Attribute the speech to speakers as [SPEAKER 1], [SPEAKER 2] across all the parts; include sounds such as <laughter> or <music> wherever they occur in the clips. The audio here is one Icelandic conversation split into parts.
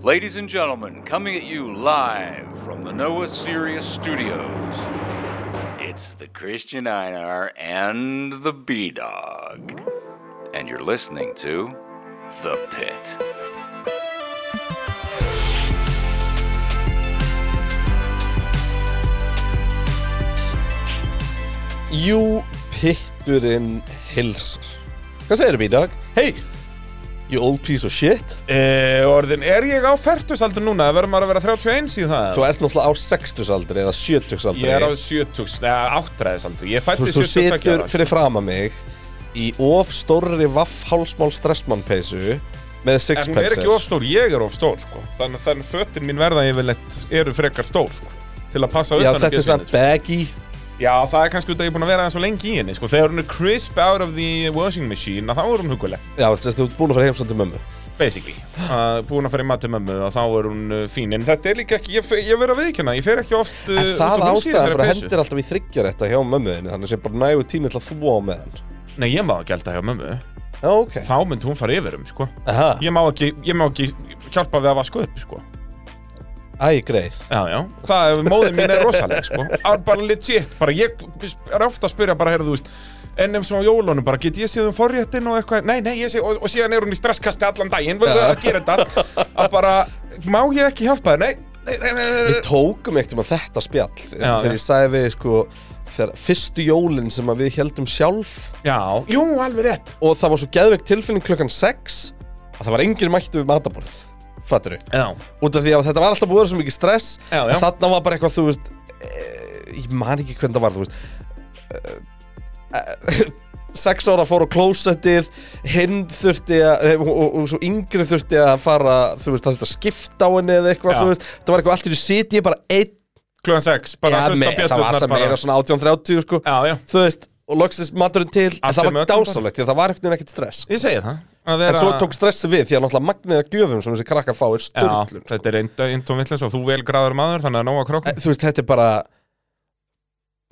[SPEAKER 1] Ladies and gentlemen, coming at you live from the Noah Sirius Studios, it's the Christian Einar and the B Dog. And you're listening to The Pit.
[SPEAKER 2] Jú, pitturinn hilsar Hvað segir við í dag? Hey, you old piece of shit
[SPEAKER 3] Uh, orðin, er ég á færtusaldur núna? Verður maður að vera 31 síðan það?
[SPEAKER 2] Þú ert náttúrulega á 60 aldri eða 70 aldri
[SPEAKER 3] Ég er á 70, neða áttræðisaldur Ég
[SPEAKER 2] Þú
[SPEAKER 3] fætti
[SPEAKER 2] veist, þú
[SPEAKER 3] 72
[SPEAKER 2] situr
[SPEAKER 3] ára
[SPEAKER 2] fyrir frama mig í of stórri vaff hálsmál stressmann peysu með
[SPEAKER 3] En hún er
[SPEAKER 2] sixpences
[SPEAKER 3] ekki of stór, ég er of stór sko. Þannig þannig fötin mín verða yfirleitt eru frekar stór sko. Til að passa
[SPEAKER 2] Já,
[SPEAKER 3] utan um
[SPEAKER 2] þetta er
[SPEAKER 3] bjöllunni,
[SPEAKER 2] svona baggy
[SPEAKER 3] sko. Já, það er kannski út að ég er búin að vera aðeins svo lengi í henni sko. Þegar hún er crisp out of the washing machine að Þá er hún huguleg,
[SPEAKER 2] Já, þú veist, þú ert búin að fara heimsum til mömmu
[SPEAKER 3] basically uh, Búin að fara í mati mömmu og þá er hún uh, fín En þetta er líka ekki, ég, fer- ég verð að viðkjöna Ég fer ekki oft uh,
[SPEAKER 2] En
[SPEAKER 3] út
[SPEAKER 2] það
[SPEAKER 3] úr húsi í
[SPEAKER 2] ástæðan fyrir að
[SPEAKER 3] þessari peysu.
[SPEAKER 2] hendir alltaf í þryggjarétta hjá mömmuðinni Þannig sem bara nægur tími til að þvó á með hann
[SPEAKER 3] Nei, ég má ekki elda hjá mömmu
[SPEAKER 2] Já, ok
[SPEAKER 3] Þá myndi hún fara yfir um, sko
[SPEAKER 2] Aha,
[SPEAKER 3] ég má ekki, ég má ekki hjálpa við að vaska upp sko.
[SPEAKER 2] æ, greið
[SPEAKER 3] já, já. það er, móðin mín er rosaleg sko. Ar- bara legit, bara ég er ofta að spyrja bara, heyrðu, þú veist en ef svona á jólunum bara, get ég séð um forréttin og eitthvað, nei, nei, ég sé, og, og síðan er hún í stresskasti allan daginn, verður að gera þetta að bara, má ég ekki hjálpa þér, nei, nei, nei, nei, nei,
[SPEAKER 2] Við tókum ekkert um að þetta spjall þegar
[SPEAKER 3] já.
[SPEAKER 2] ég sagði við sko þegar fyrstu jólin sem að við heldum sjálf
[SPEAKER 3] nei já, jú, alveg rétt
[SPEAKER 2] og það var svo geðveikt tilfinning klukkan 6 að það var engin mættu við mataborð fattur við,
[SPEAKER 3] já,
[SPEAKER 2] út af því að þetta var alltaf búið að vera svo mikið stress
[SPEAKER 3] Já, já.
[SPEAKER 2] en þarna var bara eitthvað þú veist e, ég man ekki hvernig það var þú veist e, e, <laughs> sex ára fór á klósettið hinn þurfti að eh, og, og, og svo yngri þurfti að fara þú veist það þurfti að skipta á henni eða eitthvað
[SPEAKER 3] Já.
[SPEAKER 2] þú veist það var eitthvað allt í því siti ég bara einn
[SPEAKER 3] klugan 6 bara
[SPEAKER 2] Já,
[SPEAKER 3] að
[SPEAKER 2] me,
[SPEAKER 3] hlusta
[SPEAKER 2] það var sem
[SPEAKER 3] bjöllurnar
[SPEAKER 2] meira
[SPEAKER 3] bara,
[SPEAKER 2] svona 18-30 sko.
[SPEAKER 3] já, já,
[SPEAKER 2] Þú veist, og loksist maturinn til En
[SPEAKER 3] Allt
[SPEAKER 2] það
[SPEAKER 3] er
[SPEAKER 2] var
[SPEAKER 3] mögum
[SPEAKER 2] dásalegt, því að það var einhvern veginn ekkert stress
[SPEAKER 3] ég segi það Að
[SPEAKER 2] En
[SPEAKER 3] vera-
[SPEAKER 2] svo tók stressi við, því að náttúrulega magniða gjöfum sem þessi krakkar fá er
[SPEAKER 3] Já,
[SPEAKER 2] sturlun sko.
[SPEAKER 3] þetta er eintóm villins og þú vel graður maður, þannig að nóga
[SPEAKER 2] E,
[SPEAKER 3] krókum
[SPEAKER 2] Þú veist, þetta er bara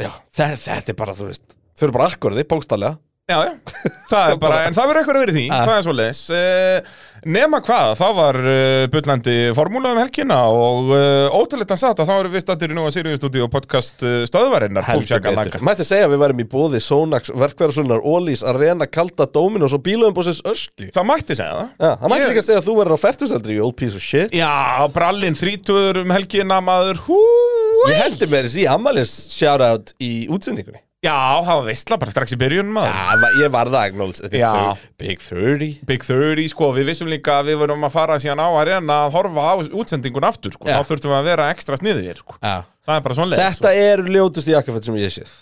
[SPEAKER 2] Já, þe þetta er bara, þú veist Þau eru bara akkurði, bókstallega
[SPEAKER 3] Já, já, það er bara, en það verður eitthvað að vera í því,
[SPEAKER 2] Ah.
[SPEAKER 3] það er svo leiðis. Nema hvað, það var uh, bullandi formúla um helgina og uh, ótrúleitt að sagt að þá eru við stattir í nú að Sirius Studio podcast uh, stöðvarinnar.
[SPEAKER 2] Heldur
[SPEAKER 3] Kúsjaka
[SPEAKER 2] betur.
[SPEAKER 3] langa.
[SPEAKER 2] Mætti segja að við værum í bóði Sónax, verkverðarsunnar, Ólís, Arena, Kalda, Dominos og bílaumbósins Öskju
[SPEAKER 3] Það mætti segja það.
[SPEAKER 2] Já, það mætti
[SPEAKER 3] Ég-
[SPEAKER 2] líka að segja að þú verður á fertusaldri, you old piece of shit
[SPEAKER 3] Já, brallinn þrítuður um helgina maður, hú,
[SPEAKER 2] Ég heldur með þessi amalis shoutout í útsendingunni
[SPEAKER 3] já, það var veistla bara strax í byrjun maður.
[SPEAKER 2] Já, va- ég var það acknowledge Þetta er
[SPEAKER 3] Já.
[SPEAKER 2] þau- Big 30
[SPEAKER 3] Big 30, sko, við vissum líka að við vorum að fara síðan á arena að horfa á útsendingun aftur, sko,
[SPEAKER 2] Já.
[SPEAKER 3] þá þurftum við að vera ekstra sniðir, sko.
[SPEAKER 2] Já.
[SPEAKER 3] Það er bara sko. svona leiðis.
[SPEAKER 2] Þetta eru ljótust jakkafett sem ég séð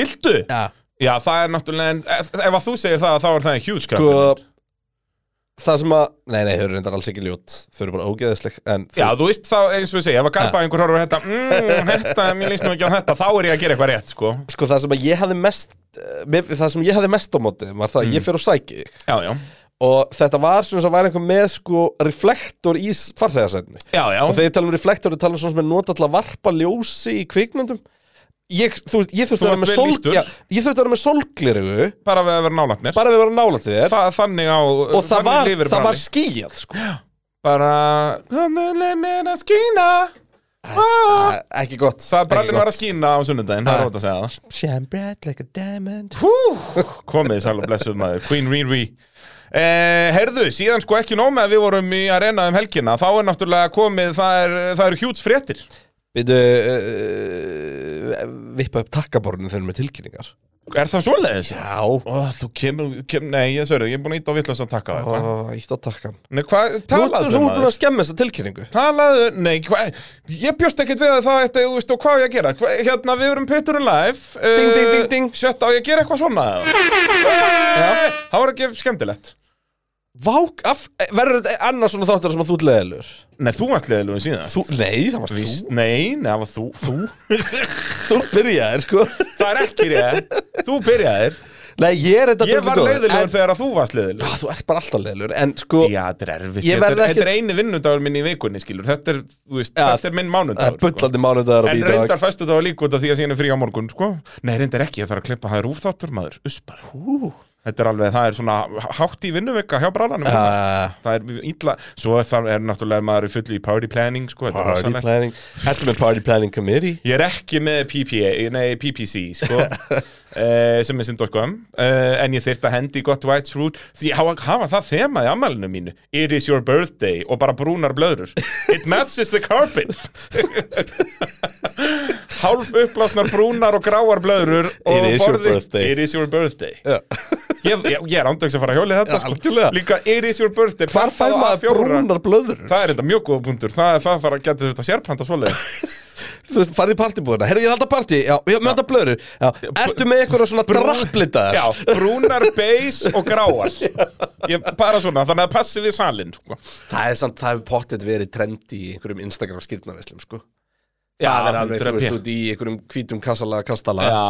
[SPEAKER 3] Gildu?
[SPEAKER 2] Já.
[SPEAKER 3] Já, það er náttúrulega, en eh, ef, ef að þú segir það, þá er það en huge
[SPEAKER 2] Sko
[SPEAKER 3] compliment.
[SPEAKER 2] Það sem að Nei, nei, þau eru reyndar alls ekki ljót Þau eru bara ógeðisleg En þú
[SPEAKER 3] Já, þú veist þá, eins og við segja, ef að garba einhver horfur þetta, mmm, þetta, mér líst nú ekki á þetta, þá er ég að gera eitthvað rétt, sko.
[SPEAKER 2] Sko það sem að ég hafði mest eh, mér- Það sem ég hafði mest á móti Var það að ég fyrir og sæki þig
[SPEAKER 3] Já, já,
[SPEAKER 2] Og þetta var svona sem var einhver með sko Reflektor í farþegarsætni
[SPEAKER 3] já, já,
[SPEAKER 2] Og þegar ég tala um reflektor Ég tala um svona sem er nota til að varpa ljósi í kvikmyndum Ég, þú veist, ég þurfti
[SPEAKER 3] Þú
[SPEAKER 2] að vera
[SPEAKER 3] varst
[SPEAKER 2] með
[SPEAKER 3] vel
[SPEAKER 2] sól
[SPEAKER 3] lýstur.
[SPEAKER 2] já, Ég þurfti að vera með sólglirugu
[SPEAKER 3] bara við að vera nálætnir.
[SPEAKER 2] Bara við varum nála þér
[SPEAKER 3] Þa, þannig á,
[SPEAKER 2] Og það
[SPEAKER 3] þannig
[SPEAKER 2] var,
[SPEAKER 3] lifir
[SPEAKER 2] það var
[SPEAKER 3] Bragi.
[SPEAKER 2] skýjað sko.
[SPEAKER 3] Bara, hannu leið mér að skína. Ah.
[SPEAKER 2] Æ, Ekki gott
[SPEAKER 3] Það
[SPEAKER 2] Ekki
[SPEAKER 3] brallin
[SPEAKER 2] gott.
[SPEAKER 3] var að skína á sunnudaginn, það
[SPEAKER 2] Ah.
[SPEAKER 3] er ótt að segja það.
[SPEAKER 2] Shine bright like a diamond
[SPEAKER 3] Hú,
[SPEAKER 2] Sko,
[SPEAKER 3] komið sæl og blessuð maður, Queen Riri eh, Herðu, síðan sko ekki nóg með að við vorum í arena um helgina Þá er náttúrulega komið, það, er, það eru hjúts fréttir
[SPEAKER 2] Við uh, vippa upp takkaborðinu þegar með tilkynningar
[SPEAKER 3] Er það svoleiðis?
[SPEAKER 2] Já
[SPEAKER 3] Ó, þú kemur, kem, nei, ég sörðu, ég er búin að íta á villast að taka á eitthvað
[SPEAKER 2] Ó, Ítt á takkan
[SPEAKER 3] Nei, hvað,
[SPEAKER 2] Þú ert þú
[SPEAKER 3] talaðu
[SPEAKER 2] ert búin
[SPEAKER 3] maður?
[SPEAKER 2] að skemma þessa tilkynningu
[SPEAKER 3] Talaðu, nei, hvað, ég bjóst ekkert við að það þetta, þú veist, og hvað á ég að gera? Hva, hérna, við erum Peturinn live eh,
[SPEAKER 2] Ding, ding, ding, ding.
[SPEAKER 3] Sjött á ég að gera eitthvað svona eða? Já, það var ekki skemmtilegt
[SPEAKER 2] Vák, af, eh, verður þetta annars svona þáttur sem að þú ert leðilur
[SPEAKER 3] Nei, þú varst leðilugum síðan
[SPEAKER 2] Þú, nei, það varst
[SPEAKER 3] Víst, nei, nei, það var þú, þú. <laughs>
[SPEAKER 2] þú Þú byrjaðir, sko
[SPEAKER 3] Það er ekki rétt Þú byrjaðir
[SPEAKER 2] <laughs> Nei, ég er þetta
[SPEAKER 3] Ég var
[SPEAKER 2] dálítið góður,
[SPEAKER 3] leiðilegur
[SPEAKER 2] en,
[SPEAKER 3] þegar að þú varst leiðilegur
[SPEAKER 2] Já, Þú ert bara alltaf leðilur En sko,
[SPEAKER 3] Já, þetta er erfitt
[SPEAKER 2] Ég
[SPEAKER 3] Þetta er,
[SPEAKER 2] verð
[SPEAKER 3] þetta er
[SPEAKER 2] ekkert-
[SPEAKER 3] eini vinnudagur minn í vikunni, skilur Þetta er, þú veist,
[SPEAKER 2] Já,
[SPEAKER 3] þetta er
[SPEAKER 2] það
[SPEAKER 3] minn
[SPEAKER 2] er
[SPEAKER 3] mánudagur sko.
[SPEAKER 2] bullandi mánudagar og
[SPEAKER 3] En
[SPEAKER 2] bídag
[SPEAKER 3] reyndar föstu var líka út af því að síðan er frí á morgun, sko Nei, reyndar ekki, ég þarf að klippa það er úfþáttur, maður Uspar Hú Þetta er alveg, það er svona hátt í vinnuvika hjá brálanum uh,
[SPEAKER 2] uh,
[SPEAKER 3] Það er illa, svo er það er náttúrulega maður er fullu í party planning sko, þetta er
[SPEAKER 2] Party
[SPEAKER 3] rosalegt.
[SPEAKER 2] planning Þetta er með party planning committee
[SPEAKER 3] Ég er ekki með PPA, nei PPC
[SPEAKER 2] <laughs>
[SPEAKER 3] sko, uh, sem er synd.com uh, en ég þyrfti að hendi í gott White's Root því ég hafa, hafa það þema í ammælinu mínu It is your birthday og bara brúnar blöður It matches the
[SPEAKER 2] <laughs>
[SPEAKER 3] carpet Hálf upplásnar brúnar og gráar blöður og
[SPEAKER 2] It is your
[SPEAKER 3] borðið-
[SPEAKER 2] birthday.
[SPEAKER 3] It is your birthday
[SPEAKER 2] Já. <laughs>
[SPEAKER 3] Ég, ég, ég er ándöks að fara að hjóli þetta
[SPEAKER 2] Já, algjörlega.
[SPEAKER 3] Líka It is your birthday
[SPEAKER 2] Hvar fær
[SPEAKER 3] pantaðu
[SPEAKER 2] maður
[SPEAKER 3] A4.
[SPEAKER 2] brúnar blöður?
[SPEAKER 3] Það er þetta mjög góða punktur Það, það þarf að geta þetta sérpanta svoleið
[SPEAKER 2] Þú veist, farið í partybúðuna Herðu, ég er alltaf partí Já, já, með alltaf blöður Já, ertu með eitthvað svona drapplitaðar?
[SPEAKER 3] Já, brúnar, beis og gráar ég, Bara svona, þannig að það passi við salin sko.
[SPEAKER 2] Það er samt, það hefur pottet verið trend í einhverjum Instagram skýrnaveslum, sko Það er alveg, þú
[SPEAKER 3] 100p.
[SPEAKER 2] veist, út í einhverjum hvítum kassala kastala
[SPEAKER 3] Já,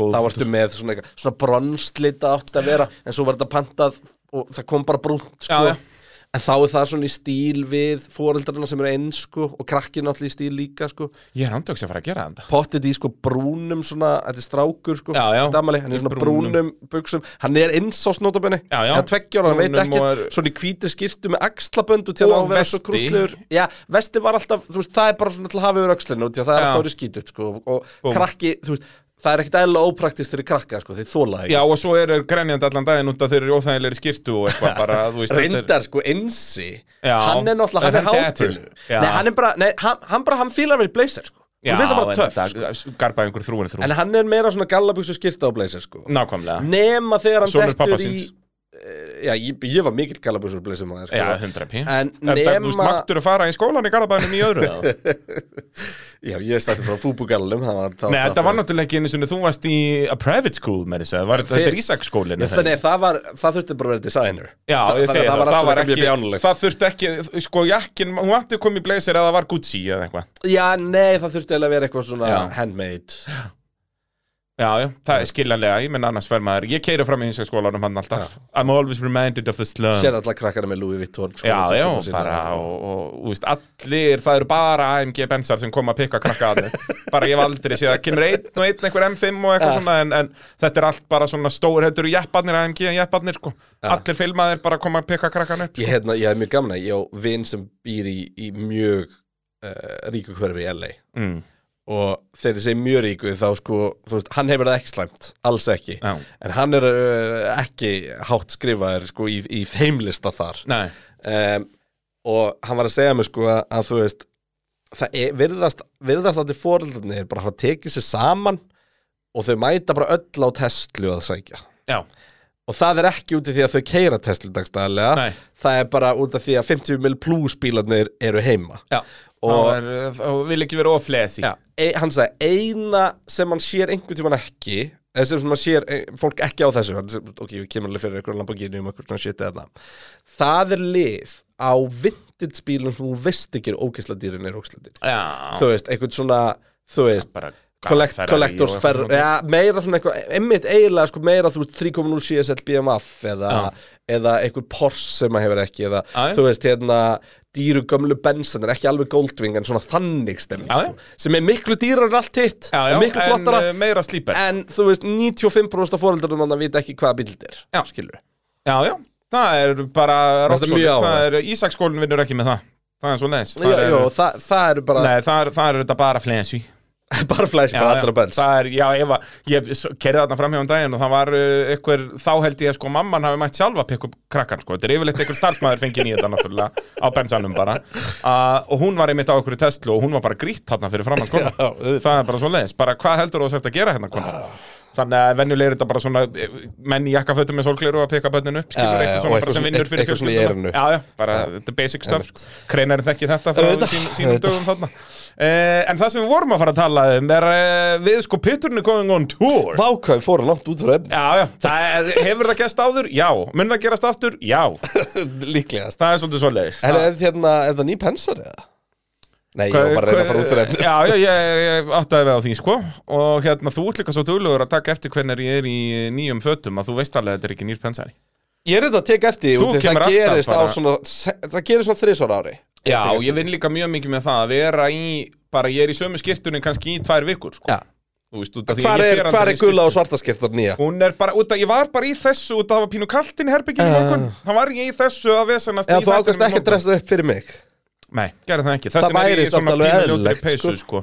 [SPEAKER 3] góð
[SPEAKER 2] Þá ertu með svona, eitthvað- svona bronslita átt að vera En svo var þetta pantað og það kom bara brúnt, sko
[SPEAKER 3] Já, já.
[SPEAKER 2] En þá er það svona í stíl við fóreldrarna sem eru eins, sko Og krakkin allir í stíl líka, sko
[SPEAKER 3] Ég er andjóks að fara að gera þetta
[SPEAKER 2] pottit í sko brúnum svona, þetta er strákur sko,
[SPEAKER 3] Já, já.
[SPEAKER 2] Damali, hann er svona brúnum,
[SPEAKER 3] Brúnum.
[SPEAKER 2] buxum, hann er innsás notabenni,
[SPEAKER 3] Já, já.
[SPEAKER 2] hann tveggjóra, hann veit
[SPEAKER 3] Brúnum
[SPEAKER 2] ekki,
[SPEAKER 3] og er-
[SPEAKER 2] svona í hvítri skirtu með axlaböndu til að
[SPEAKER 3] Og
[SPEAKER 2] hafa verið svo
[SPEAKER 3] vesti.
[SPEAKER 2] krútlegur, já, vesti var alltaf, þú veist, það er bara svona til að hafa yfir öxlinu, því að það er
[SPEAKER 3] Já.
[SPEAKER 2] alltaf orðið skítið, sko, og
[SPEAKER 3] Búm.
[SPEAKER 2] krakki, þú veist, það er ekkit eðla ópraktist fyrir krakka, sko, því þóla
[SPEAKER 3] Já,
[SPEAKER 2] ekki.
[SPEAKER 3] og svo eru grenjandi allan daginn út að þeir eru óþægilegri skiptu og eitthvað bara, þú veist þetta er-
[SPEAKER 2] Reyndar sko einsi
[SPEAKER 3] Já.
[SPEAKER 2] Hann er náttúrulega,
[SPEAKER 3] Er
[SPEAKER 2] hann er
[SPEAKER 3] hann
[SPEAKER 2] hátil
[SPEAKER 3] dapur? Já.
[SPEAKER 2] Nei, hann er bara, nei, hann, hann bara, hann fílar vel blazer sko Hún finnst það bara
[SPEAKER 3] en
[SPEAKER 2] töff sko.
[SPEAKER 3] þetta- Garba einhver þrúin þrú
[SPEAKER 2] En hann er meira svona gallabugsu skirta á blazer sko
[SPEAKER 3] Nákvæmlega
[SPEAKER 2] nema þegar hann
[SPEAKER 3] Sonur
[SPEAKER 2] dettur
[SPEAKER 3] pabba
[SPEAKER 2] í
[SPEAKER 3] síns.
[SPEAKER 2] Eh, já, ég, ég var mikill galabúsur blessið maður sko.
[SPEAKER 3] Já, 100 pí
[SPEAKER 2] en
[SPEAKER 3] Er þetta, þú veist,
[SPEAKER 2] nema
[SPEAKER 3] máttur að fara í skólan í Garabænum í
[SPEAKER 2] <laughs>
[SPEAKER 3] öðru eða?
[SPEAKER 2] já, ég sætti frá fúbugalum það var, það
[SPEAKER 3] Nei, þetta var
[SPEAKER 2] það-
[SPEAKER 3] náttúrulega ekki einu sinni, þú varst í a private school með þess að, var þetta
[SPEAKER 2] Fyrst.
[SPEAKER 3] Ísak skólinu
[SPEAKER 2] Já, þannig, það, var, það þurfti bara að vera designer Þa-
[SPEAKER 3] Já, ég
[SPEAKER 2] þannig að
[SPEAKER 3] segi það,
[SPEAKER 2] það var
[SPEAKER 3] það
[SPEAKER 2] alltaf
[SPEAKER 3] var
[SPEAKER 2] ekki mjög
[SPEAKER 3] ekki,
[SPEAKER 2] bjánulegt
[SPEAKER 3] það þurfti ekki, sko jakkin, hún átti að koma í blazer eða það var Gucci eða eitthvað.
[SPEAKER 2] já, nei, það þurfti eiginlega að vera eitthvað svona
[SPEAKER 3] Já.
[SPEAKER 2] handmade
[SPEAKER 3] Já, já, það er skiljanlega, ég menn annars fer maður, ég keiri fram í hinsaskólanum hann alltaf. I'm always reminded of the slum.
[SPEAKER 2] sér alltaf krakkana með Louis Vuitton sko,
[SPEAKER 3] já,
[SPEAKER 2] með
[SPEAKER 3] já,
[SPEAKER 2] töskuna sína.
[SPEAKER 3] bara, og, og, þú veist, allir, það eru bara AMG bensar sem koma að pikka krakka að þeim.
[SPEAKER 2] <laughs>
[SPEAKER 3] bara ég hef aldrei séð, það kemur einn og einn einhver M5 og eitthvað svona, en, en þetta er allt bara svona stór, þetta eru jepparnir AMG en jepparnir, sko. Allir filmaðir bara koma að pikka krakkan upp.
[SPEAKER 2] ég hérna, ég hef mjög gaman að ég á vin sem býr í, í mjög uh, ríku hverfi í LA
[SPEAKER 3] Mm.
[SPEAKER 2] og þegar ég segi mjög ríku þá sko, þú veist, hann hefur það ekki slæmt alls ekki,
[SPEAKER 3] Já.
[SPEAKER 2] en hann er uh, ekki hátt skrifaður sko í, í feimlista þar
[SPEAKER 3] Nei,
[SPEAKER 2] um, og hann var að segja mér sko að, að þú veist það er, virðast, virðast að þið foreldarnir bara hafa tekið sér saman og þau mæta bara öll á testlu að sækja
[SPEAKER 3] já,
[SPEAKER 2] og það er ekki út af því að þau keira Tesla dagstæðlega,
[SPEAKER 3] Nei.
[SPEAKER 2] það er bara út af því að 50 mil plus bílarnir eru heima
[SPEAKER 3] já.
[SPEAKER 2] og
[SPEAKER 3] Og, og, og vil ekki vera oflesi.
[SPEAKER 2] Já, e, hann sagði eina sem hann sér einhvern tímann ekki eða sem hann sér e, fólk ekki á þessu hann, sem, ok, ég kemur alveg fyrir einhverjum Lamborghini um eitthvað svona shit eða það það er lið á vintage bílum sem þú veist ekki er ókisla dýrin er ókisla dýrin
[SPEAKER 3] Já,
[SPEAKER 2] þú veist, einhvern svona, þú veist
[SPEAKER 3] bara
[SPEAKER 2] Collect,
[SPEAKER 3] Ferrari
[SPEAKER 2] collectors
[SPEAKER 3] og-
[SPEAKER 2] fer, ja, meira svona eitthvað, einmitt eiginlega sko, meira þú veist 3.0 CSL BMF eða, eða einhver Porsche sem maður hefur ekki eða
[SPEAKER 3] Já, já.
[SPEAKER 2] þú veist hérna dýru gömlu bensin er ekki alveg Goldwing en svona þannig stemming
[SPEAKER 3] Já, já.
[SPEAKER 2] sko, sem er miklu dýrar en allt hitt
[SPEAKER 3] já, já,
[SPEAKER 2] er miklu flottara
[SPEAKER 3] en, uh, meira slíper
[SPEAKER 2] en þú veist 95% af fóreldurum manna vita ekki hvaða bíld er
[SPEAKER 3] Já.
[SPEAKER 2] skilur
[SPEAKER 3] Já, já, það er bara
[SPEAKER 2] Þetta er
[SPEAKER 3] rocksóli.
[SPEAKER 2] mjög
[SPEAKER 3] Það er,
[SPEAKER 2] áhugavert.
[SPEAKER 3] Ísaksskólinn vinnur ekki með það Það er svo leist
[SPEAKER 2] já, já, það, það eru bara <laughs>
[SPEAKER 3] Nei, það er, það er þetta bara flensi
[SPEAKER 2] bara flæs bara allra bens
[SPEAKER 3] það er, já, ef að, ég kerði þarna framhjá um daginn og það var uh, einhver, þá held ég að sko mamman hafi mætt sjálfa að pikka upp krakkan, sko, þetta er yfirleitt einhver starfsmæður fengið í þetta náttúrulega, á bensanum bara uh, og hún var einmitt á einhverju testlu og hún var bara grýtt þarna fyrir
[SPEAKER 2] <laughs>
[SPEAKER 3] framann, sko það er bara svo leiðis, bara hvað heldur þú að þetta að gera hérna, kona? Þannig að venjulega er þetta bara svona eh, menn í jakkafötum með sólgleru að pikka bönninu upp, skilur
[SPEAKER 2] Já, já,
[SPEAKER 3] eitthvað
[SPEAKER 2] og
[SPEAKER 3] svona
[SPEAKER 2] eitthvað
[SPEAKER 3] bara sem
[SPEAKER 2] svona-
[SPEAKER 3] vinnur fyrir
[SPEAKER 2] eitthvað svona í eyranu.
[SPEAKER 3] fjölskylduna. Já, já, bara þetta er basic stuff, sko. Kreinarinn þekki þetta frá
[SPEAKER 2] Auðvitað,
[SPEAKER 3] sín, sínum dögum þarna. Eh, en það sem við vorum að fara að tala um er eh, við sko pitturinu going on tour.
[SPEAKER 2] vákvæði fóra langt út frá efni
[SPEAKER 3] Já, já, það er, hefur það gerst áður? Já. Mun það gerast aftur? Já.
[SPEAKER 2] líklegast
[SPEAKER 3] Það er svolítið svo leiðis.
[SPEAKER 2] Er, er, hérna, er það ný pensar eða? Nei, ég var bara að reyna að fara út úr efni
[SPEAKER 3] Já, já, ég, ég áttaði með á því, sko Og hérna, þú ert líka svo duglegur að taka eftir hvernig ég er í nýjum fötum að þú veist alveg að þetta er ekki nýr pensari
[SPEAKER 2] Ég er þetta að teka eftir
[SPEAKER 3] Þú
[SPEAKER 2] út af því
[SPEAKER 3] kemur
[SPEAKER 2] það
[SPEAKER 3] alltaf
[SPEAKER 2] gerist á
[SPEAKER 3] bara-
[SPEAKER 2] svona se- Það gerist svona þrisvar á ári
[SPEAKER 3] Já, og ég vinn líka mjög mikið með það að vera í bara ég er í sömu skiptunni kannski í tvær vikur, sko
[SPEAKER 2] Já,
[SPEAKER 3] Þú veist, út af því að
[SPEAKER 2] Hvar
[SPEAKER 3] ég
[SPEAKER 2] er,
[SPEAKER 3] fer
[SPEAKER 2] hvar er
[SPEAKER 3] aldrei í
[SPEAKER 2] gula
[SPEAKER 3] skipti.
[SPEAKER 2] og svartaskiptar nýja?
[SPEAKER 3] Hún er bara, út af, ég var bara í þessu út af að pínu kaltin herbygginu uh. morgun Þá var ég í þessu að vesanast
[SPEAKER 2] Eða Ah.
[SPEAKER 3] í
[SPEAKER 2] þú
[SPEAKER 3] þættinum
[SPEAKER 2] ákast
[SPEAKER 3] í
[SPEAKER 2] ekki að
[SPEAKER 3] morgun.
[SPEAKER 2] dressa upp fyrir mig
[SPEAKER 3] Nei, gerði það ekki Þess
[SPEAKER 2] Það
[SPEAKER 3] vegna er
[SPEAKER 2] væri
[SPEAKER 3] ég í svona
[SPEAKER 2] samt alveg
[SPEAKER 3] pínu ljótri
[SPEAKER 2] eðlilegt,
[SPEAKER 3] peysu, sko.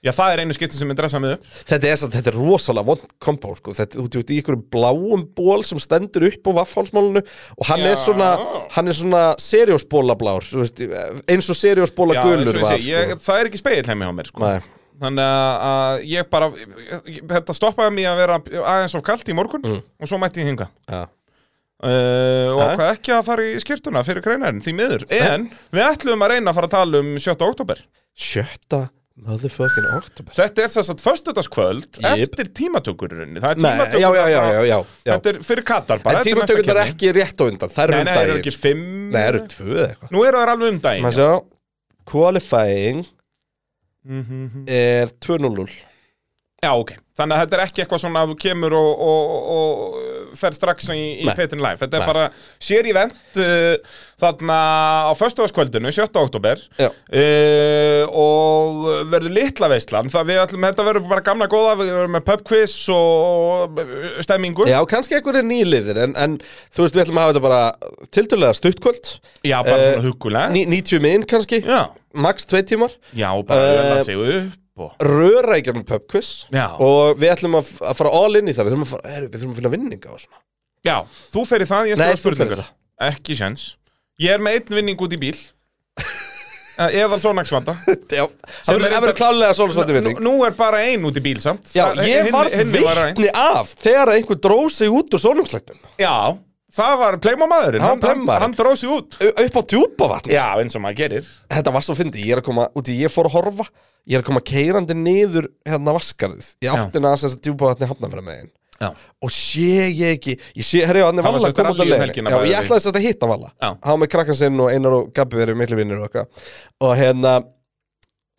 [SPEAKER 3] Já, það er einu skiptin sem ég dressa mig upp
[SPEAKER 2] Þetta er, samt- þetta er rosalega vond kompó sko. Þetta þú ert út í einhverjum bláum ból sem stendur upp á vaffhálsmálinu og hann er
[SPEAKER 3] Já.
[SPEAKER 2] svona, hann er svona seriósbólablár, þú veist, eins og seriósbóla
[SPEAKER 3] Já, eins og
[SPEAKER 2] gulur
[SPEAKER 3] ég
[SPEAKER 2] var
[SPEAKER 3] segi, ég,
[SPEAKER 2] sko.
[SPEAKER 3] það er ekki speil heimi á mér sko.
[SPEAKER 2] Nei.
[SPEAKER 3] þannig að- að ég bara ég- ég- þetta stoppaði mig að vera aðeins of kalt í morgun
[SPEAKER 2] Mm.
[SPEAKER 3] og svo mætti ég hinga
[SPEAKER 2] Já.
[SPEAKER 3] uh, og
[SPEAKER 2] Ja.
[SPEAKER 3] ákvað ekki að fara í skiptuna fyrir greinarinn, því miður en við ætlum að reyna að fara að tala um 7. oktober
[SPEAKER 2] Sjötta motherfucking oktober
[SPEAKER 3] þetta er þess að föstudagskvöld
[SPEAKER 2] Jep.
[SPEAKER 3] eftir tímatökurinn það er
[SPEAKER 2] Nei, já, já, já, já, já, já.
[SPEAKER 3] þetta er fyrir Katar bara
[SPEAKER 2] En
[SPEAKER 3] þetta næsta
[SPEAKER 2] tímatökurnar er
[SPEAKER 3] keppni.
[SPEAKER 2] ekki rétt á undan, það
[SPEAKER 3] nei,
[SPEAKER 2] eru um
[SPEAKER 3] nei, það eru
[SPEAKER 2] daginn
[SPEAKER 3] ekki fimm
[SPEAKER 2] Nei, það eru tvö eða eitthvað
[SPEAKER 3] nú eru það alveg um daginn
[SPEAKER 2] Maður sjá, qualifying
[SPEAKER 3] Mhm.
[SPEAKER 2] er 2-0
[SPEAKER 3] Já, ok. Þannig að þetta er ekki eitthvað svona að þú kemur og, og, og fer strax í, í
[SPEAKER 2] Nei.
[SPEAKER 3] Petin Live. Þetta er
[SPEAKER 2] Nei.
[SPEAKER 3] bara sér í vent uh, þarna á föstudagskvöldinu, 7. oktober
[SPEAKER 2] Já.
[SPEAKER 3] uh, og verður litla veislan. Það við ætlum, þetta verður bara gamla góða, við verðum með pub quiz og og stemmingu.
[SPEAKER 2] Já, kannski einhverjir nýliðir en, en þú veist, við ætlum að hafa þetta bara tiltölulega stuttkvöld
[SPEAKER 3] Já, bara
[SPEAKER 2] Eh,
[SPEAKER 3] svona hugulega.
[SPEAKER 2] Ní, 90 minn kannski,
[SPEAKER 3] Já.
[SPEAKER 2] max 2 tímar
[SPEAKER 3] Já, og bara uh,
[SPEAKER 2] Eh,
[SPEAKER 3] lella sig upp og...
[SPEAKER 2] Röra í gegnum pubquiz
[SPEAKER 3] Já.
[SPEAKER 2] Og við ætlum að, f- að fara all in í það Við þurfum að, fara, heru, við þurfum að finna vinninga og svona
[SPEAKER 3] Já, þú fer í það, ég
[SPEAKER 2] Nei,
[SPEAKER 3] skal
[SPEAKER 2] þú ferð í
[SPEAKER 3] spurningar. Ekki sjens. Ég er með einn vinning út í bíl.
[SPEAKER 2] <laughs>
[SPEAKER 3] Eh, Eða sónagsvanda.
[SPEAKER 2] Já,
[SPEAKER 3] Sem
[SPEAKER 2] það
[SPEAKER 3] er
[SPEAKER 2] verður
[SPEAKER 3] reyndar-
[SPEAKER 2] klálega svolsvætti
[SPEAKER 3] nú,
[SPEAKER 2] vinning
[SPEAKER 3] nú er bara ein út í bíl samt
[SPEAKER 2] Já,
[SPEAKER 3] Það-
[SPEAKER 2] ég
[SPEAKER 3] hinni-
[SPEAKER 2] var
[SPEAKER 3] hinni var ein.
[SPEAKER 2] vitni af þegar einhver dró sig út úr sólungslæknum
[SPEAKER 3] Já, það var pleimamaðurinn
[SPEAKER 2] Hann var pleimamaðurinn.
[SPEAKER 3] hann dróð sig út
[SPEAKER 2] upp á djúpavatn
[SPEAKER 3] Já, eins og maður gerir
[SPEAKER 2] Þetta var svo fyndi, ég er að koma, úti ég fór að horfa Ég er að koma keirandi niður hérna vaskarðið Ég áttina að þess að djúpavatni hafna fyrir megin
[SPEAKER 3] Já,
[SPEAKER 2] og sé ég ekki ég sé, herri, hann er
[SPEAKER 3] Það var
[SPEAKER 2] Valla
[SPEAKER 3] sem sagt
[SPEAKER 2] kom út að
[SPEAKER 3] rally um
[SPEAKER 2] leiðin
[SPEAKER 3] helgina,
[SPEAKER 2] já,
[SPEAKER 3] by the
[SPEAKER 2] ég
[SPEAKER 3] way.
[SPEAKER 2] ætlaði þess að hitta Valla
[SPEAKER 3] Já.
[SPEAKER 2] hann var með krakkan sinn og Einar og Gabi verið miklu vinnir og eitthvað og hérna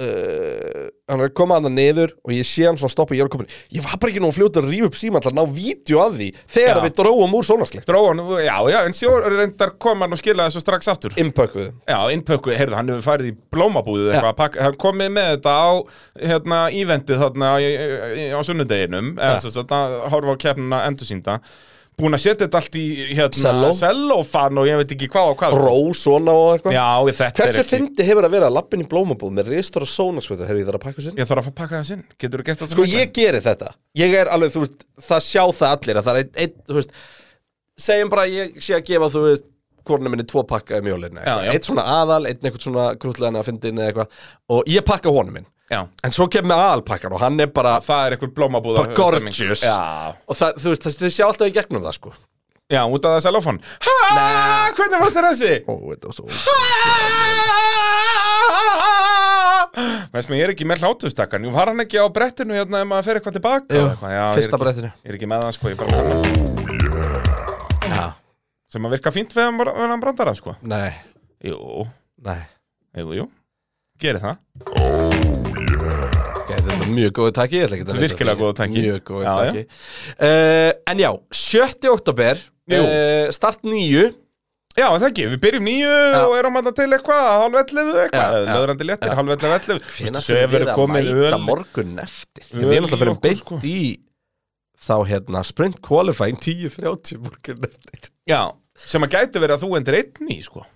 [SPEAKER 2] uh, hann er að koma hann niður og ég sé hann svona stoppa ég er að koma ég var bara ekki nú að fljóta að rífa upp síma til að ná vídeo af því þegar
[SPEAKER 3] Já.
[SPEAKER 2] við dróum úr sólarslegt
[SPEAKER 3] dróð hann, já, já, en sjór reyndar kom hann og skilaði þessu strax aftur
[SPEAKER 2] impökkuð
[SPEAKER 3] Já, innpökku, heyrðu, hann hefur farið í blómabúðið eitthvað, pakk, hann komið með þetta á hérna, íventið þarna á, á sunnudeginum, eða
[SPEAKER 2] Já.
[SPEAKER 3] þess að þetta horfa á keppnuna endursýnda búin að setja þetta allt í hérna,
[SPEAKER 2] Selló.
[SPEAKER 3] sellófan og ég veit ekki hvað og hvað
[SPEAKER 2] ró svona og eitthvað
[SPEAKER 3] Já, ég, þetta er
[SPEAKER 2] hversu
[SPEAKER 3] ekki
[SPEAKER 2] fyndi hefur að vera að lappin í blómabúð með ristur og sónarsvöldur herri, ég þarf að pakka þessu inn.
[SPEAKER 3] Ég þarf að fá að pakka þess inn, getur þú gert þetta
[SPEAKER 2] Sko
[SPEAKER 3] næsta?
[SPEAKER 2] ég geri þetta Ég er alveg, þú veist, það sjá það allir að Það er einn, ein, þú veist Segjum bara að ég sé að gefa, þú veist Hvornu minni tvo pakka um jólinu
[SPEAKER 3] Já, já.
[SPEAKER 2] Eitt svona aðal, einn eitthvað svona krútlegan að fyndi inn eða eitthvað Og ég pakka honum minn
[SPEAKER 3] Já
[SPEAKER 2] En svo kemur aðalpakkan og hann er bara
[SPEAKER 3] það er einhver blómabúða
[SPEAKER 2] Bara gorgeous.
[SPEAKER 3] já.
[SPEAKER 2] Og það, þú veist, þess- þau sjá alltaf í gegnum það, sko
[SPEAKER 3] já, út af það selofan Hæ, hvernig fannst þér þessi?
[SPEAKER 2] Ó, þetta var svo
[SPEAKER 3] Veist mér, ég er ekki með hlátustakkan Jú, var hann ekki á brettinu hérna ef maður fer eitthvað tilbaka
[SPEAKER 2] Jú,
[SPEAKER 3] og eitthvað? Já, ég er
[SPEAKER 2] fyrsta
[SPEAKER 3] ekki-
[SPEAKER 2] brettinu.
[SPEAKER 3] Ég er ekki með það, sko, ég bara
[SPEAKER 2] Já,
[SPEAKER 3] Sem að virka fínt við hann, við hann brandara, sko
[SPEAKER 2] nei,
[SPEAKER 3] Jú,
[SPEAKER 2] nei
[SPEAKER 3] jú, jú Gerið það
[SPEAKER 2] Okay, þetta er mjög góðu takki, ég ætla ekki að
[SPEAKER 3] Þetta er
[SPEAKER 2] neita
[SPEAKER 3] virkilega
[SPEAKER 2] því.
[SPEAKER 3] góðu taki.
[SPEAKER 2] Mjög góðu
[SPEAKER 3] Já,
[SPEAKER 2] takki uh, En já, 7. oktober
[SPEAKER 3] Jú.
[SPEAKER 2] uh, Start nýju
[SPEAKER 3] Já, það ekki, við byrjum nýju og erum alltaf til eitthvað, hálfellefu eitthvað,
[SPEAKER 2] Já, já.
[SPEAKER 3] löðrandi léttir, hálfellefu, ellefu,
[SPEAKER 2] Hvenær þurfum við
[SPEAKER 3] verður
[SPEAKER 2] að
[SPEAKER 3] komið
[SPEAKER 2] mæta
[SPEAKER 3] öl
[SPEAKER 2] morgun eftir?
[SPEAKER 3] öl
[SPEAKER 2] Við erum alltaf fyrir
[SPEAKER 3] í okkur,
[SPEAKER 2] beint
[SPEAKER 3] sko.
[SPEAKER 2] í þá hérna sprint qualifying 10.30 morgun eftir
[SPEAKER 3] Já, sem að gæti verið að þú endur einn í, sko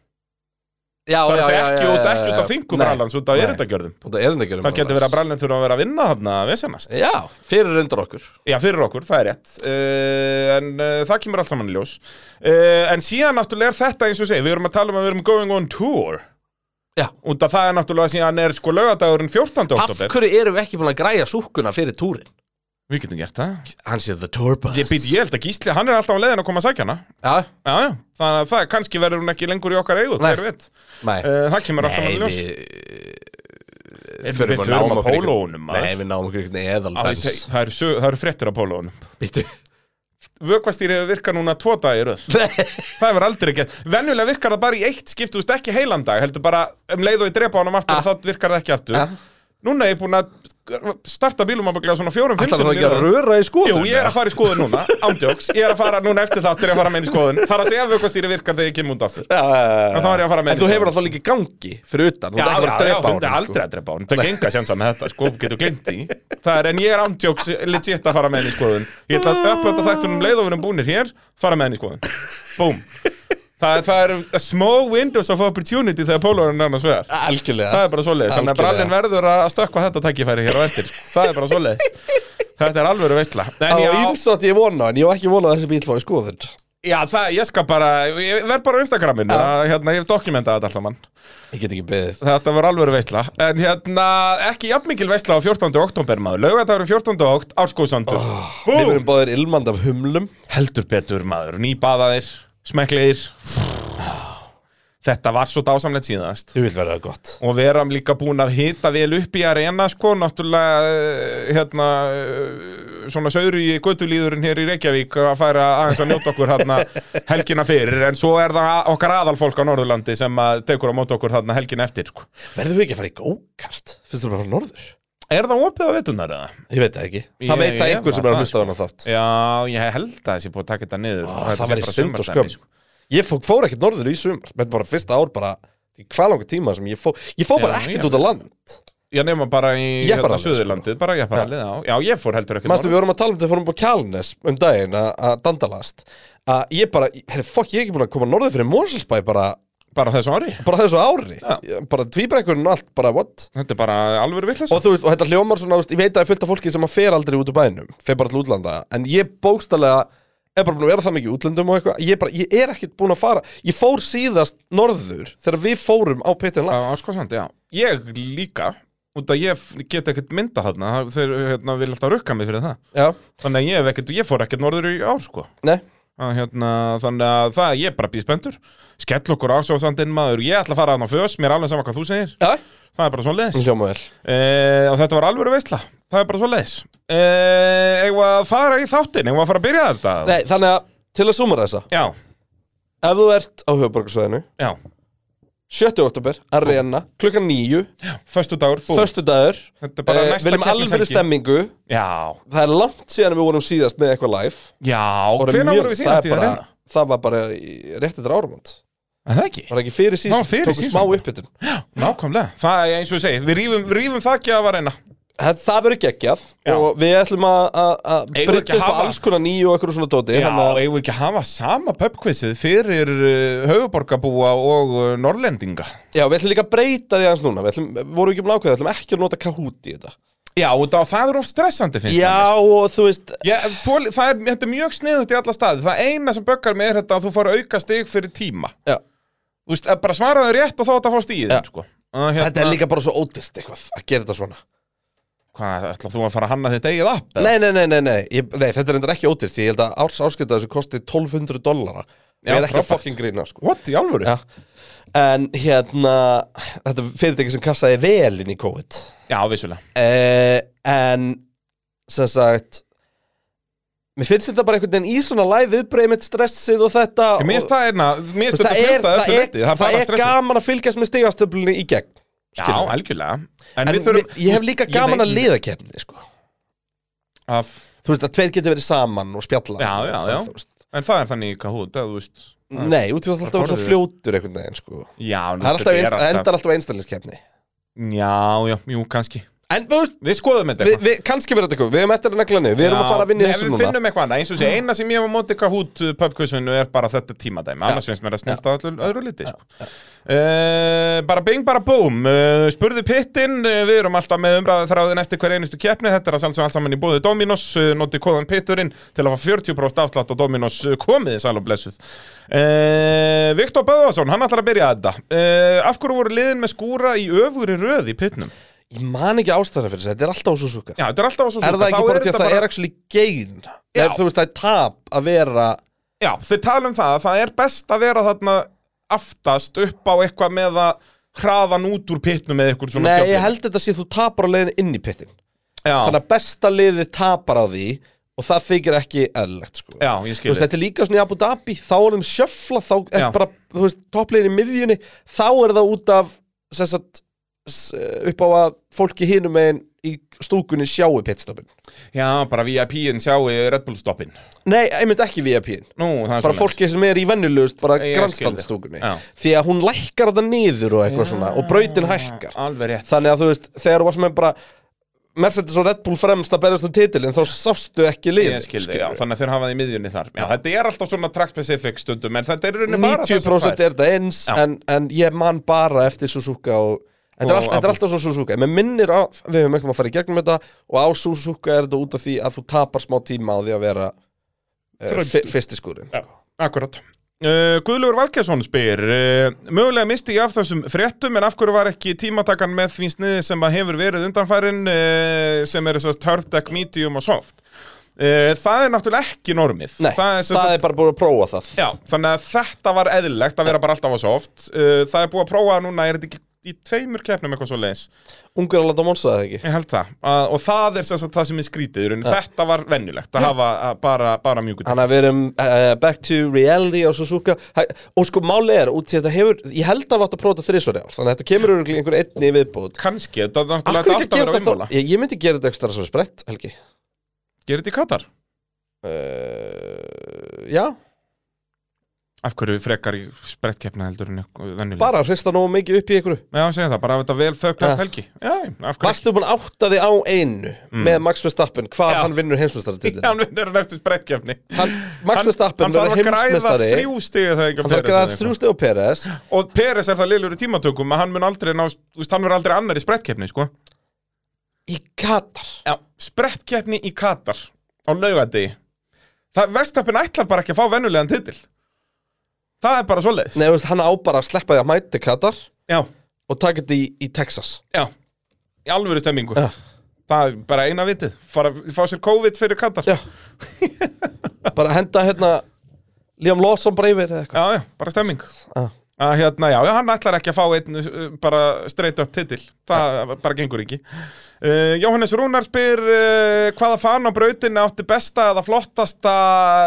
[SPEAKER 2] Já,
[SPEAKER 3] Það er að segja ekki út, ekki út af þingum
[SPEAKER 2] Nei,
[SPEAKER 3] brallans, út af
[SPEAKER 2] nei.
[SPEAKER 3] erindagjörðum.
[SPEAKER 2] Út af erindagjörðum
[SPEAKER 3] Það getur verið að brallin þurfa að vera að vinna þarna vesenast.
[SPEAKER 2] Já, fyrir undir okkur
[SPEAKER 3] Já, fyrir okkur, það er rétt. Uh, en uh, það kemur allt saman í ljós. Uh, en síðan náttúrulega er þetta eins og ég segi, við erum að tala um að við erum going on tour.
[SPEAKER 2] Já.
[SPEAKER 3] Út af það er náttúrulega síðan er sko lögadagurinn 14.
[SPEAKER 2] Af
[SPEAKER 3] oktober.
[SPEAKER 2] hverju erum við ekki búin að græja súkkuna fyrir túrin?
[SPEAKER 3] Við getum gert það.
[SPEAKER 2] Hann sé the tour bus
[SPEAKER 3] Ég býti, ég held að Gísli, hann er alltaf á leiðin að koma að sækja hana.
[SPEAKER 2] Já,
[SPEAKER 3] Já, já. Þannig að það, kannski verður hún ekki lengur í okkar eigu,
[SPEAKER 2] Nei.
[SPEAKER 3] hver veit.
[SPEAKER 2] nei
[SPEAKER 3] Uh, það kemur allt saman
[SPEAKER 2] Nei,
[SPEAKER 3] í ljós.
[SPEAKER 2] við
[SPEAKER 3] Við
[SPEAKER 2] förum og náum
[SPEAKER 3] förum að
[SPEAKER 2] okkur ykkur-
[SPEAKER 3] pólóunum, maður.
[SPEAKER 2] Nei, við náum okkur einhvern
[SPEAKER 3] Á, ég
[SPEAKER 2] eðalbens
[SPEAKER 3] segi, Það eru sög- það eru fréttir af pólóunum.
[SPEAKER 2] Býttu
[SPEAKER 3] vökvastýri hefur virkað núna tvo dag í röð það hefur aldrei gett venjulega virkar það bara í eitt skipt þú veist ekki heilan dag heldur bara um leið og ég drepa honum aftur
[SPEAKER 2] Ah.
[SPEAKER 3] þá virkar það ekki aftur
[SPEAKER 2] Ah.
[SPEAKER 3] Núna er ég búin að starta bílum að byggja svona fjórum, fimm
[SPEAKER 2] <laughs> Ætlar þú
[SPEAKER 3] sinnum
[SPEAKER 2] ekki að
[SPEAKER 3] í röð.
[SPEAKER 2] röra í skoðun?
[SPEAKER 3] Jú, ég er að fara í skoðun núna, ándjóks Ég er að fara núna eftir þáttir að fara með í skoðun Það er að segja ef aukvastýri virkar þegar ég kem út aftur
[SPEAKER 2] Já, já, já, já.
[SPEAKER 3] En þá er ég að fara með
[SPEAKER 2] Ah. En þú hefur það þá líka í gangi fyrir utan, þú
[SPEAKER 3] Já,
[SPEAKER 2] ert ekki að
[SPEAKER 3] já,
[SPEAKER 2] fara að drepa á
[SPEAKER 3] já, hún er
[SPEAKER 2] honum, sko.
[SPEAKER 3] aldrei að drepa á hún Það gengur að sjansa með þetta, sko, getur glimt í Það er, en ég er ándjóks legit að fara með henni í skoðun Ég ætla að upplöta þættunum leið og við erum búnir hér Fara með henni í skoðun Búm Það, er- það er a small windows of opportunity þegar pólórin er annars vegar
[SPEAKER 2] Algjörlega
[SPEAKER 3] Það er bara svoleiðis, þannig að
[SPEAKER 2] Algjörlega.
[SPEAKER 3] brallin verður að stökkva þetta tækifæri hér á eftir Það er bara svoleiðis Þetta er alvöru veitla
[SPEAKER 2] Á
[SPEAKER 3] En já,
[SPEAKER 2] ímsátt ég vona, en ég var ekki vona að þessi bíl fóði skoðun
[SPEAKER 3] já það, ég skal bara, ég verð bara á Instagraminu að, hérna, Ég dokumenta þetta alltaf mann
[SPEAKER 2] Ég get ekki beðið
[SPEAKER 3] Þetta var alvöru veistla En hérna, ekki jafnmikil veistla á 14. oktober maður Laugardagurinn 14. okt, árskóðsandur
[SPEAKER 2] Við verum báðir ilmand af humlum
[SPEAKER 3] Heldur betur maður, nýbaðaðir, smekklegir Þetta var svo dásamlegt síðast
[SPEAKER 2] Þú vil vera það gott
[SPEAKER 3] Og við erum líka búin að hita vel upp í arena sko Náttúrulega, eh, hérna, eh, svona sauru í göttulíðurinn hér í Reykjavík Að færa aðeins að njóta okkur <laughs> hérna helgina fyrir En svo er það okkar aðalfólk á Norðurlandi sem að tekur á mót okkur hérna helgina eftir sko
[SPEAKER 2] Verðum við ekki að fara í gókart? Finnst þú bara frá norður?
[SPEAKER 3] Er það opið á vetunar eða?
[SPEAKER 2] Ég veit það ekki Það
[SPEAKER 3] Ég-
[SPEAKER 2] veit það
[SPEAKER 3] ég
[SPEAKER 2] einhver
[SPEAKER 3] var
[SPEAKER 2] sem er að
[SPEAKER 3] það,
[SPEAKER 2] hlusta
[SPEAKER 3] sko.
[SPEAKER 2] á hana þátt
[SPEAKER 3] Já, ég held að þessi búið að taka þetta niður
[SPEAKER 2] Ó,
[SPEAKER 3] og
[SPEAKER 2] Það
[SPEAKER 3] þetta sé
[SPEAKER 2] væri
[SPEAKER 3] bara sko.
[SPEAKER 2] synd og
[SPEAKER 3] sumardæmi,
[SPEAKER 2] skömm sko. Ég fór, fór ekkert norður í sumar Þetta bara fyrsta ár bara í Hvað langar tíma sem ég fór Ég fór bara
[SPEAKER 3] Já,
[SPEAKER 2] ekkert
[SPEAKER 3] ég-
[SPEAKER 2] út á land
[SPEAKER 3] Já, nema bara í hérna,
[SPEAKER 2] Jepparalið, sko.
[SPEAKER 3] Suðurlandið, bara jepparalið, já Já, ég fór heldur ekki
[SPEAKER 2] Manstu við vorum að tala um þetta Fórum á Kjálnes um daginn að- að dandalast Að ég bara Herri fokk ég er ekki búin að koma norður fyrir Móselsbæ bara,
[SPEAKER 3] Bara þessu ári
[SPEAKER 2] bara þessu ári Ég- Bara tvíbrekkurinn og allt Bara what?
[SPEAKER 3] Þetta er bara alveg vill
[SPEAKER 2] Og þú veist, og þetta hljómar svona, þú veist, ég veit að það er fullt af fólki sem að fer aldrei út úr bænum, fer bara til útlanda, en ég bókstallega er bara búin að vera það mikið í útlöndum og eitthvað, ég, bara, ég er ekkert búin að fara, ég fór síðast norður þegar við fórum á Pétin Lang.
[SPEAKER 3] Já, áskosandi, já Ég líka, út að ég f- get ekkert mynda þarna það- Þeir hérna, vil alltaf rukka mig fyrir það
[SPEAKER 2] Já,
[SPEAKER 3] Þannig að ég, hef ekkert, ég fór ekkert norður í ár, sko
[SPEAKER 2] nei,
[SPEAKER 3] að, hérna, Þannig að það, ég er bara býspendur Skell okkur ásjóðsandinn maður Ég ætla að fara þarna á fös, mér er alveg sama hvað þú segir
[SPEAKER 2] já,
[SPEAKER 3] Það er bara svona leðis
[SPEAKER 2] hljóma vel.
[SPEAKER 3] Eh, og þetta var alvöru veistla Það er bara svo leis eh, Eigum við að fara í þáttin, eigum við að fara að byrja þetta
[SPEAKER 2] Nei, þannig að, til að súmara þessa,
[SPEAKER 3] Já,
[SPEAKER 2] ef þú ert á höfuborgarsvæðinu,
[SPEAKER 3] já
[SPEAKER 2] 7. oktober, Arena, klukkan 9,
[SPEAKER 3] Föstu dagur, bú
[SPEAKER 2] föstu dagur,
[SPEAKER 3] Þetta er bara
[SPEAKER 2] eh,
[SPEAKER 3] næsta
[SPEAKER 2] við erum
[SPEAKER 3] keppnishelgi.
[SPEAKER 2] alveg stemmingu,
[SPEAKER 3] Já,
[SPEAKER 2] það er langt síðan við vorum síðast með eitthvað live.
[SPEAKER 3] já,
[SPEAKER 2] Það
[SPEAKER 3] hvenær
[SPEAKER 2] mjög-
[SPEAKER 3] vorum við síðast
[SPEAKER 2] það er
[SPEAKER 3] í það
[SPEAKER 2] bara-
[SPEAKER 3] reyna?
[SPEAKER 2] Það var bara í- rétt eftir árumund.
[SPEAKER 3] Það er ekki,
[SPEAKER 2] Var það ekki fyrir
[SPEAKER 3] Það
[SPEAKER 2] síðan,
[SPEAKER 3] var fyrir
[SPEAKER 2] tókum
[SPEAKER 3] season.
[SPEAKER 2] smá uppbytun
[SPEAKER 3] nákvæmlega Það er eins og ég segi, við rýfum, rýfum þakja að var reyna
[SPEAKER 2] Það, það verður geggjað
[SPEAKER 3] Já.
[SPEAKER 2] og við ætlum að- að- að
[SPEAKER 3] við
[SPEAKER 2] breyta
[SPEAKER 3] ekki að
[SPEAKER 2] upp á
[SPEAKER 3] hafa-
[SPEAKER 2] alls konar nýju og eitthvað svona dóti
[SPEAKER 3] Já,
[SPEAKER 2] þannig að-
[SPEAKER 3] eigum við ekki að hafa sama pubquizið fyrir uh, höfuborgabúa og uh, norlendinga
[SPEAKER 2] já, við ætlum líka að breyta því aðeins núna Við ætlum, vorum við ekki um nákvæða, við ætlum ekki að nota Kahoot í þetta
[SPEAKER 3] Já, og það, það er of stressandi finnst mér,
[SPEAKER 2] Já, og þú veist
[SPEAKER 3] Já, þol, það er, þetta er mjög sniðut í alla staði Það eina sem böggar mig er þetta að þú fara auka stig fyrir tíma
[SPEAKER 2] já,
[SPEAKER 3] Þú veist, að bara svaraðu rétt og þá þetta fórst í þeim,
[SPEAKER 2] Já.
[SPEAKER 3] sko Að hérna,
[SPEAKER 2] Þetta er líka bara svo ódýrt eitthvað að gera þetta svona
[SPEAKER 3] Hvað, ætla þú að fara að hanna þitt eigið app? eða?
[SPEAKER 2] Nei, nei, nei, nei, nei, ég, nei þetta er endur ekki ódýrt Ég held að árs áskipta þessu kosti 1200 dollara
[SPEAKER 3] Já,
[SPEAKER 2] Ég er ekki að
[SPEAKER 3] frábært.
[SPEAKER 2] fucking grína, sko
[SPEAKER 3] What, í alvöru?
[SPEAKER 2] Já. En hérna, þetta fyrirtæki sem kassaði vel inn í COVID
[SPEAKER 3] Já, vissulega
[SPEAKER 2] uh, En sem sagt Mér finnst þetta bara einhvern veginn í svona læg viðbreið mitt stressið og þetta
[SPEAKER 3] Ég
[SPEAKER 2] og,
[SPEAKER 3] minnst það einna, minnst
[SPEAKER 2] það,
[SPEAKER 3] þetta
[SPEAKER 2] er,
[SPEAKER 3] snjóta
[SPEAKER 2] það,
[SPEAKER 3] öllu
[SPEAKER 2] er,
[SPEAKER 3] leiti Það er
[SPEAKER 2] það
[SPEAKER 3] bara
[SPEAKER 2] er
[SPEAKER 3] stressið
[SPEAKER 2] gaman að fylgjast með stigastöflunni í gegn
[SPEAKER 3] Já,
[SPEAKER 2] skilurðu.
[SPEAKER 3] algjörlega
[SPEAKER 2] En,
[SPEAKER 3] við þurfum-
[SPEAKER 2] mér- ég hef líka gaman
[SPEAKER 3] veit-
[SPEAKER 2] að liða kemni sko.
[SPEAKER 3] af,
[SPEAKER 2] Þú veist að tveir getur verið saman og spjalla
[SPEAKER 3] Já, já,
[SPEAKER 2] og það,
[SPEAKER 3] já.
[SPEAKER 2] þú veist.
[SPEAKER 3] En það er þannig í Kahoot, eða þú veist
[SPEAKER 2] Nei, út í það alltaf að vera svo
[SPEAKER 3] Horfðu.
[SPEAKER 2] fljótur einhvern veginn sko.
[SPEAKER 3] Já,
[SPEAKER 2] Mm. Það er alltaf, einst, endar alltaf einstæliskefni
[SPEAKER 3] Já, já, jú, kannski
[SPEAKER 2] En þú veist,
[SPEAKER 3] Við skoðum þetta
[SPEAKER 2] við, við, kannski verður þetta eitthvað, við erum eftir að negla niður Við erum að fara að vinna í
[SPEAKER 3] nei,
[SPEAKER 2] þessu
[SPEAKER 3] við
[SPEAKER 2] núna Mm.
[SPEAKER 3] finnum eitthvað annað, eins og sé, eina sem ég hef að móti eitthvað hút uh, pubquizinu er bara þetta tímadæmi annars finnst mér að snilta allir öðru liti sko. uh, bara bing, bara búm uh, spurðu pittin, uh, við erum alltaf með umræðu þráðin eftir hver einustu keppni þetta er að sjálfsög allt saman í bóði Dominos uh, noti kóðan pitturinn til að fá 40% afslátt á Dominos uh, komið, sæl og blessuð uh, Viktor Böðvarsson, hann ætlar að byrja þetta uh, af hverju voru liðin með skúra í öfugri röð í pittnum?
[SPEAKER 2] Ég man ekki ástæðan fyrir þessu, þetta er alltaf svo
[SPEAKER 3] Já, þetta er alltaf svo
[SPEAKER 2] Er það ekki bara því að það er actually gain
[SPEAKER 3] Já.
[SPEAKER 2] Þegar þú veist það er tap að vera
[SPEAKER 3] Já, þeir tala um það að það er best að vera þarna aftast upp á eitthvað með að hraðan út úr pittnum með eitthvað svona
[SPEAKER 2] Nei,
[SPEAKER 3] djöflin.
[SPEAKER 2] ég held þetta sé þú tapar á leiðin inn í pittin
[SPEAKER 3] já,
[SPEAKER 2] Þannig að besta liði tapar á því Og það þykir ekki eðlilegt sko
[SPEAKER 3] já, ég
[SPEAKER 2] Þú
[SPEAKER 3] skil
[SPEAKER 2] veist,
[SPEAKER 3] þetta
[SPEAKER 2] þetta er líka svona í Abu Dhabi Þá er þeim sjöfla, þá er
[SPEAKER 3] Já.
[SPEAKER 2] bara, þú veist, toppliðin í miðjunni Þá er það út af, sem sagt s- upp á að fólki hinum einn í stúkunni sjáu pitstoppin
[SPEAKER 3] Já, bara VIP-in sjáu Red Bull stoppin
[SPEAKER 2] Nei, einmitt ekki VIP-in
[SPEAKER 3] Nú, það er
[SPEAKER 2] bara
[SPEAKER 3] svoleiðis.
[SPEAKER 2] fólki sem er í venjulegust bara
[SPEAKER 3] Ég skil
[SPEAKER 2] grannstandstúkunni
[SPEAKER 3] það. Já.
[SPEAKER 2] því að hún lækkar þetta niður og eitthvað svona og brautin hækkar
[SPEAKER 3] Alveg rétt
[SPEAKER 2] þannig að þú veist, þegar þú varst með bara Mercedes og Red Bull fremst að berjast um titilin þá sástu ekki lið
[SPEAKER 3] Ég skil þig, já, þannig að þeir hafa það í miðjunni þar Já, þetta er alltaf svona track-specific stundum En þetta er í rauninni bara það sem
[SPEAKER 2] 90%
[SPEAKER 3] það
[SPEAKER 2] er þetta eins
[SPEAKER 3] Já.
[SPEAKER 2] en, en ég man bara eftir Suzuka og Þetta er,
[SPEAKER 3] Og
[SPEAKER 2] all, þetta er
[SPEAKER 3] Apple.
[SPEAKER 2] alltaf svo Suzuka, menn minnir á, við höfum eitthvað að fara í gegnum þetta og á Suzuka er þetta út af því að þú tapar smá tíma á því að vera uh,
[SPEAKER 3] Fremstur.
[SPEAKER 2] fyrsti skúrin.
[SPEAKER 3] Já, akkurat Uh, Guðlaugur Valkesson spyr uh, Mögulega misti ég af þessum fréttum en af hverju var ekki tímatakan með því sniði sem að hefur verið undanfærin uh, sem er þessast hard deck, medium og soft uh, Það er náttúrulega ekki normið
[SPEAKER 2] Nei, það er,
[SPEAKER 3] sem sagt-
[SPEAKER 2] bara búin að prófa það.
[SPEAKER 3] Já, þannig að þetta var eðlilegt að vera bara alltaf á soft uh, Það er búið að prófa það núna, er þetta ekki í tveimur keppnum eitthvað svo leins
[SPEAKER 2] Ungur að láta mónsa það ekki.
[SPEAKER 3] Ég held það, að, og það er sem sagt það sem er skrítið í rauninni. Þetta var venjulegt að hafa að, bara, bara mjúkut
[SPEAKER 2] Þannig að við erum uh, back to reality á Suzuka Hæ- og sko máli er út í þetta hefur ég held að við átt að prófa þetta þrisvar í ár þannig að þetta kemur örugglega einhver einni í viðbót
[SPEAKER 3] Kanski, þetta er
[SPEAKER 2] Af
[SPEAKER 3] náttúrulega
[SPEAKER 2] hverju
[SPEAKER 3] alltaf
[SPEAKER 2] ekki að
[SPEAKER 3] að vera
[SPEAKER 2] gera þetta
[SPEAKER 3] ummála
[SPEAKER 2] þá? Ég, ég myndi gera þetta ekstra svo sprett, Helgi
[SPEAKER 3] Gerir þetta í Katar?
[SPEAKER 2] uh, Já,
[SPEAKER 3] Af hverju frekar í sprettkeppna heldur en venjulega?
[SPEAKER 2] bara hrista nógu mikið upp í einhverju
[SPEAKER 3] Já, segja það, bara að þetta vel þögt
[SPEAKER 2] Ja.
[SPEAKER 3] af helgi Já, af hverju
[SPEAKER 2] Varstu búin að átta þig á einu með Max Verstappen, hvað
[SPEAKER 3] Mm. Já.
[SPEAKER 2] hann vinnur
[SPEAKER 3] ekki?
[SPEAKER 2] heimsmestaratitil
[SPEAKER 3] Hann vinnur hann eftir sprettkeppni
[SPEAKER 2] Max Verstappen
[SPEAKER 3] Hann
[SPEAKER 2] verður
[SPEAKER 3] þarf að græða
[SPEAKER 2] heimsmestari
[SPEAKER 3] þrjú stiga það
[SPEAKER 2] Hann þarf að græða þrjú stið á Peres
[SPEAKER 3] Og Peres er það liður í tímatökum að hann mun aldrei ná, þú veist, hann verður aldrei annar í sprettkeppni, sko
[SPEAKER 2] í Katar
[SPEAKER 3] Já, sprettkeppni í Katar á laugardegi Það, Vestappin ætlar bara ekki að fá venjulegan titil Það er bara svoleiðis
[SPEAKER 2] Nei, þú veist, hann á bara að sleppa því að mæti Katar
[SPEAKER 3] Já,
[SPEAKER 2] og taka þetta í, í Texas
[SPEAKER 3] já, í alvöru stemmingu
[SPEAKER 2] Já.
[SPEAKER 3] Það er bara eina vitið, fara, fá sér COVID fyrir Katar
[SPEAKER 2] Já <laughs> Bara henda hérna Liam Lawson bara yfir eða eitthvað
[SPEAKER 3] Já, já, bara stemming
[SPEAKER 2] ah.
[SPEAKER 3] að hérna, já, já, hann ætlar ekki að fá einn uh, bara straight up titil það bara gengur ekki uh, Jóhannes Rúnar spyr uh, hvaða fan á brautinni átti besta eða flottasta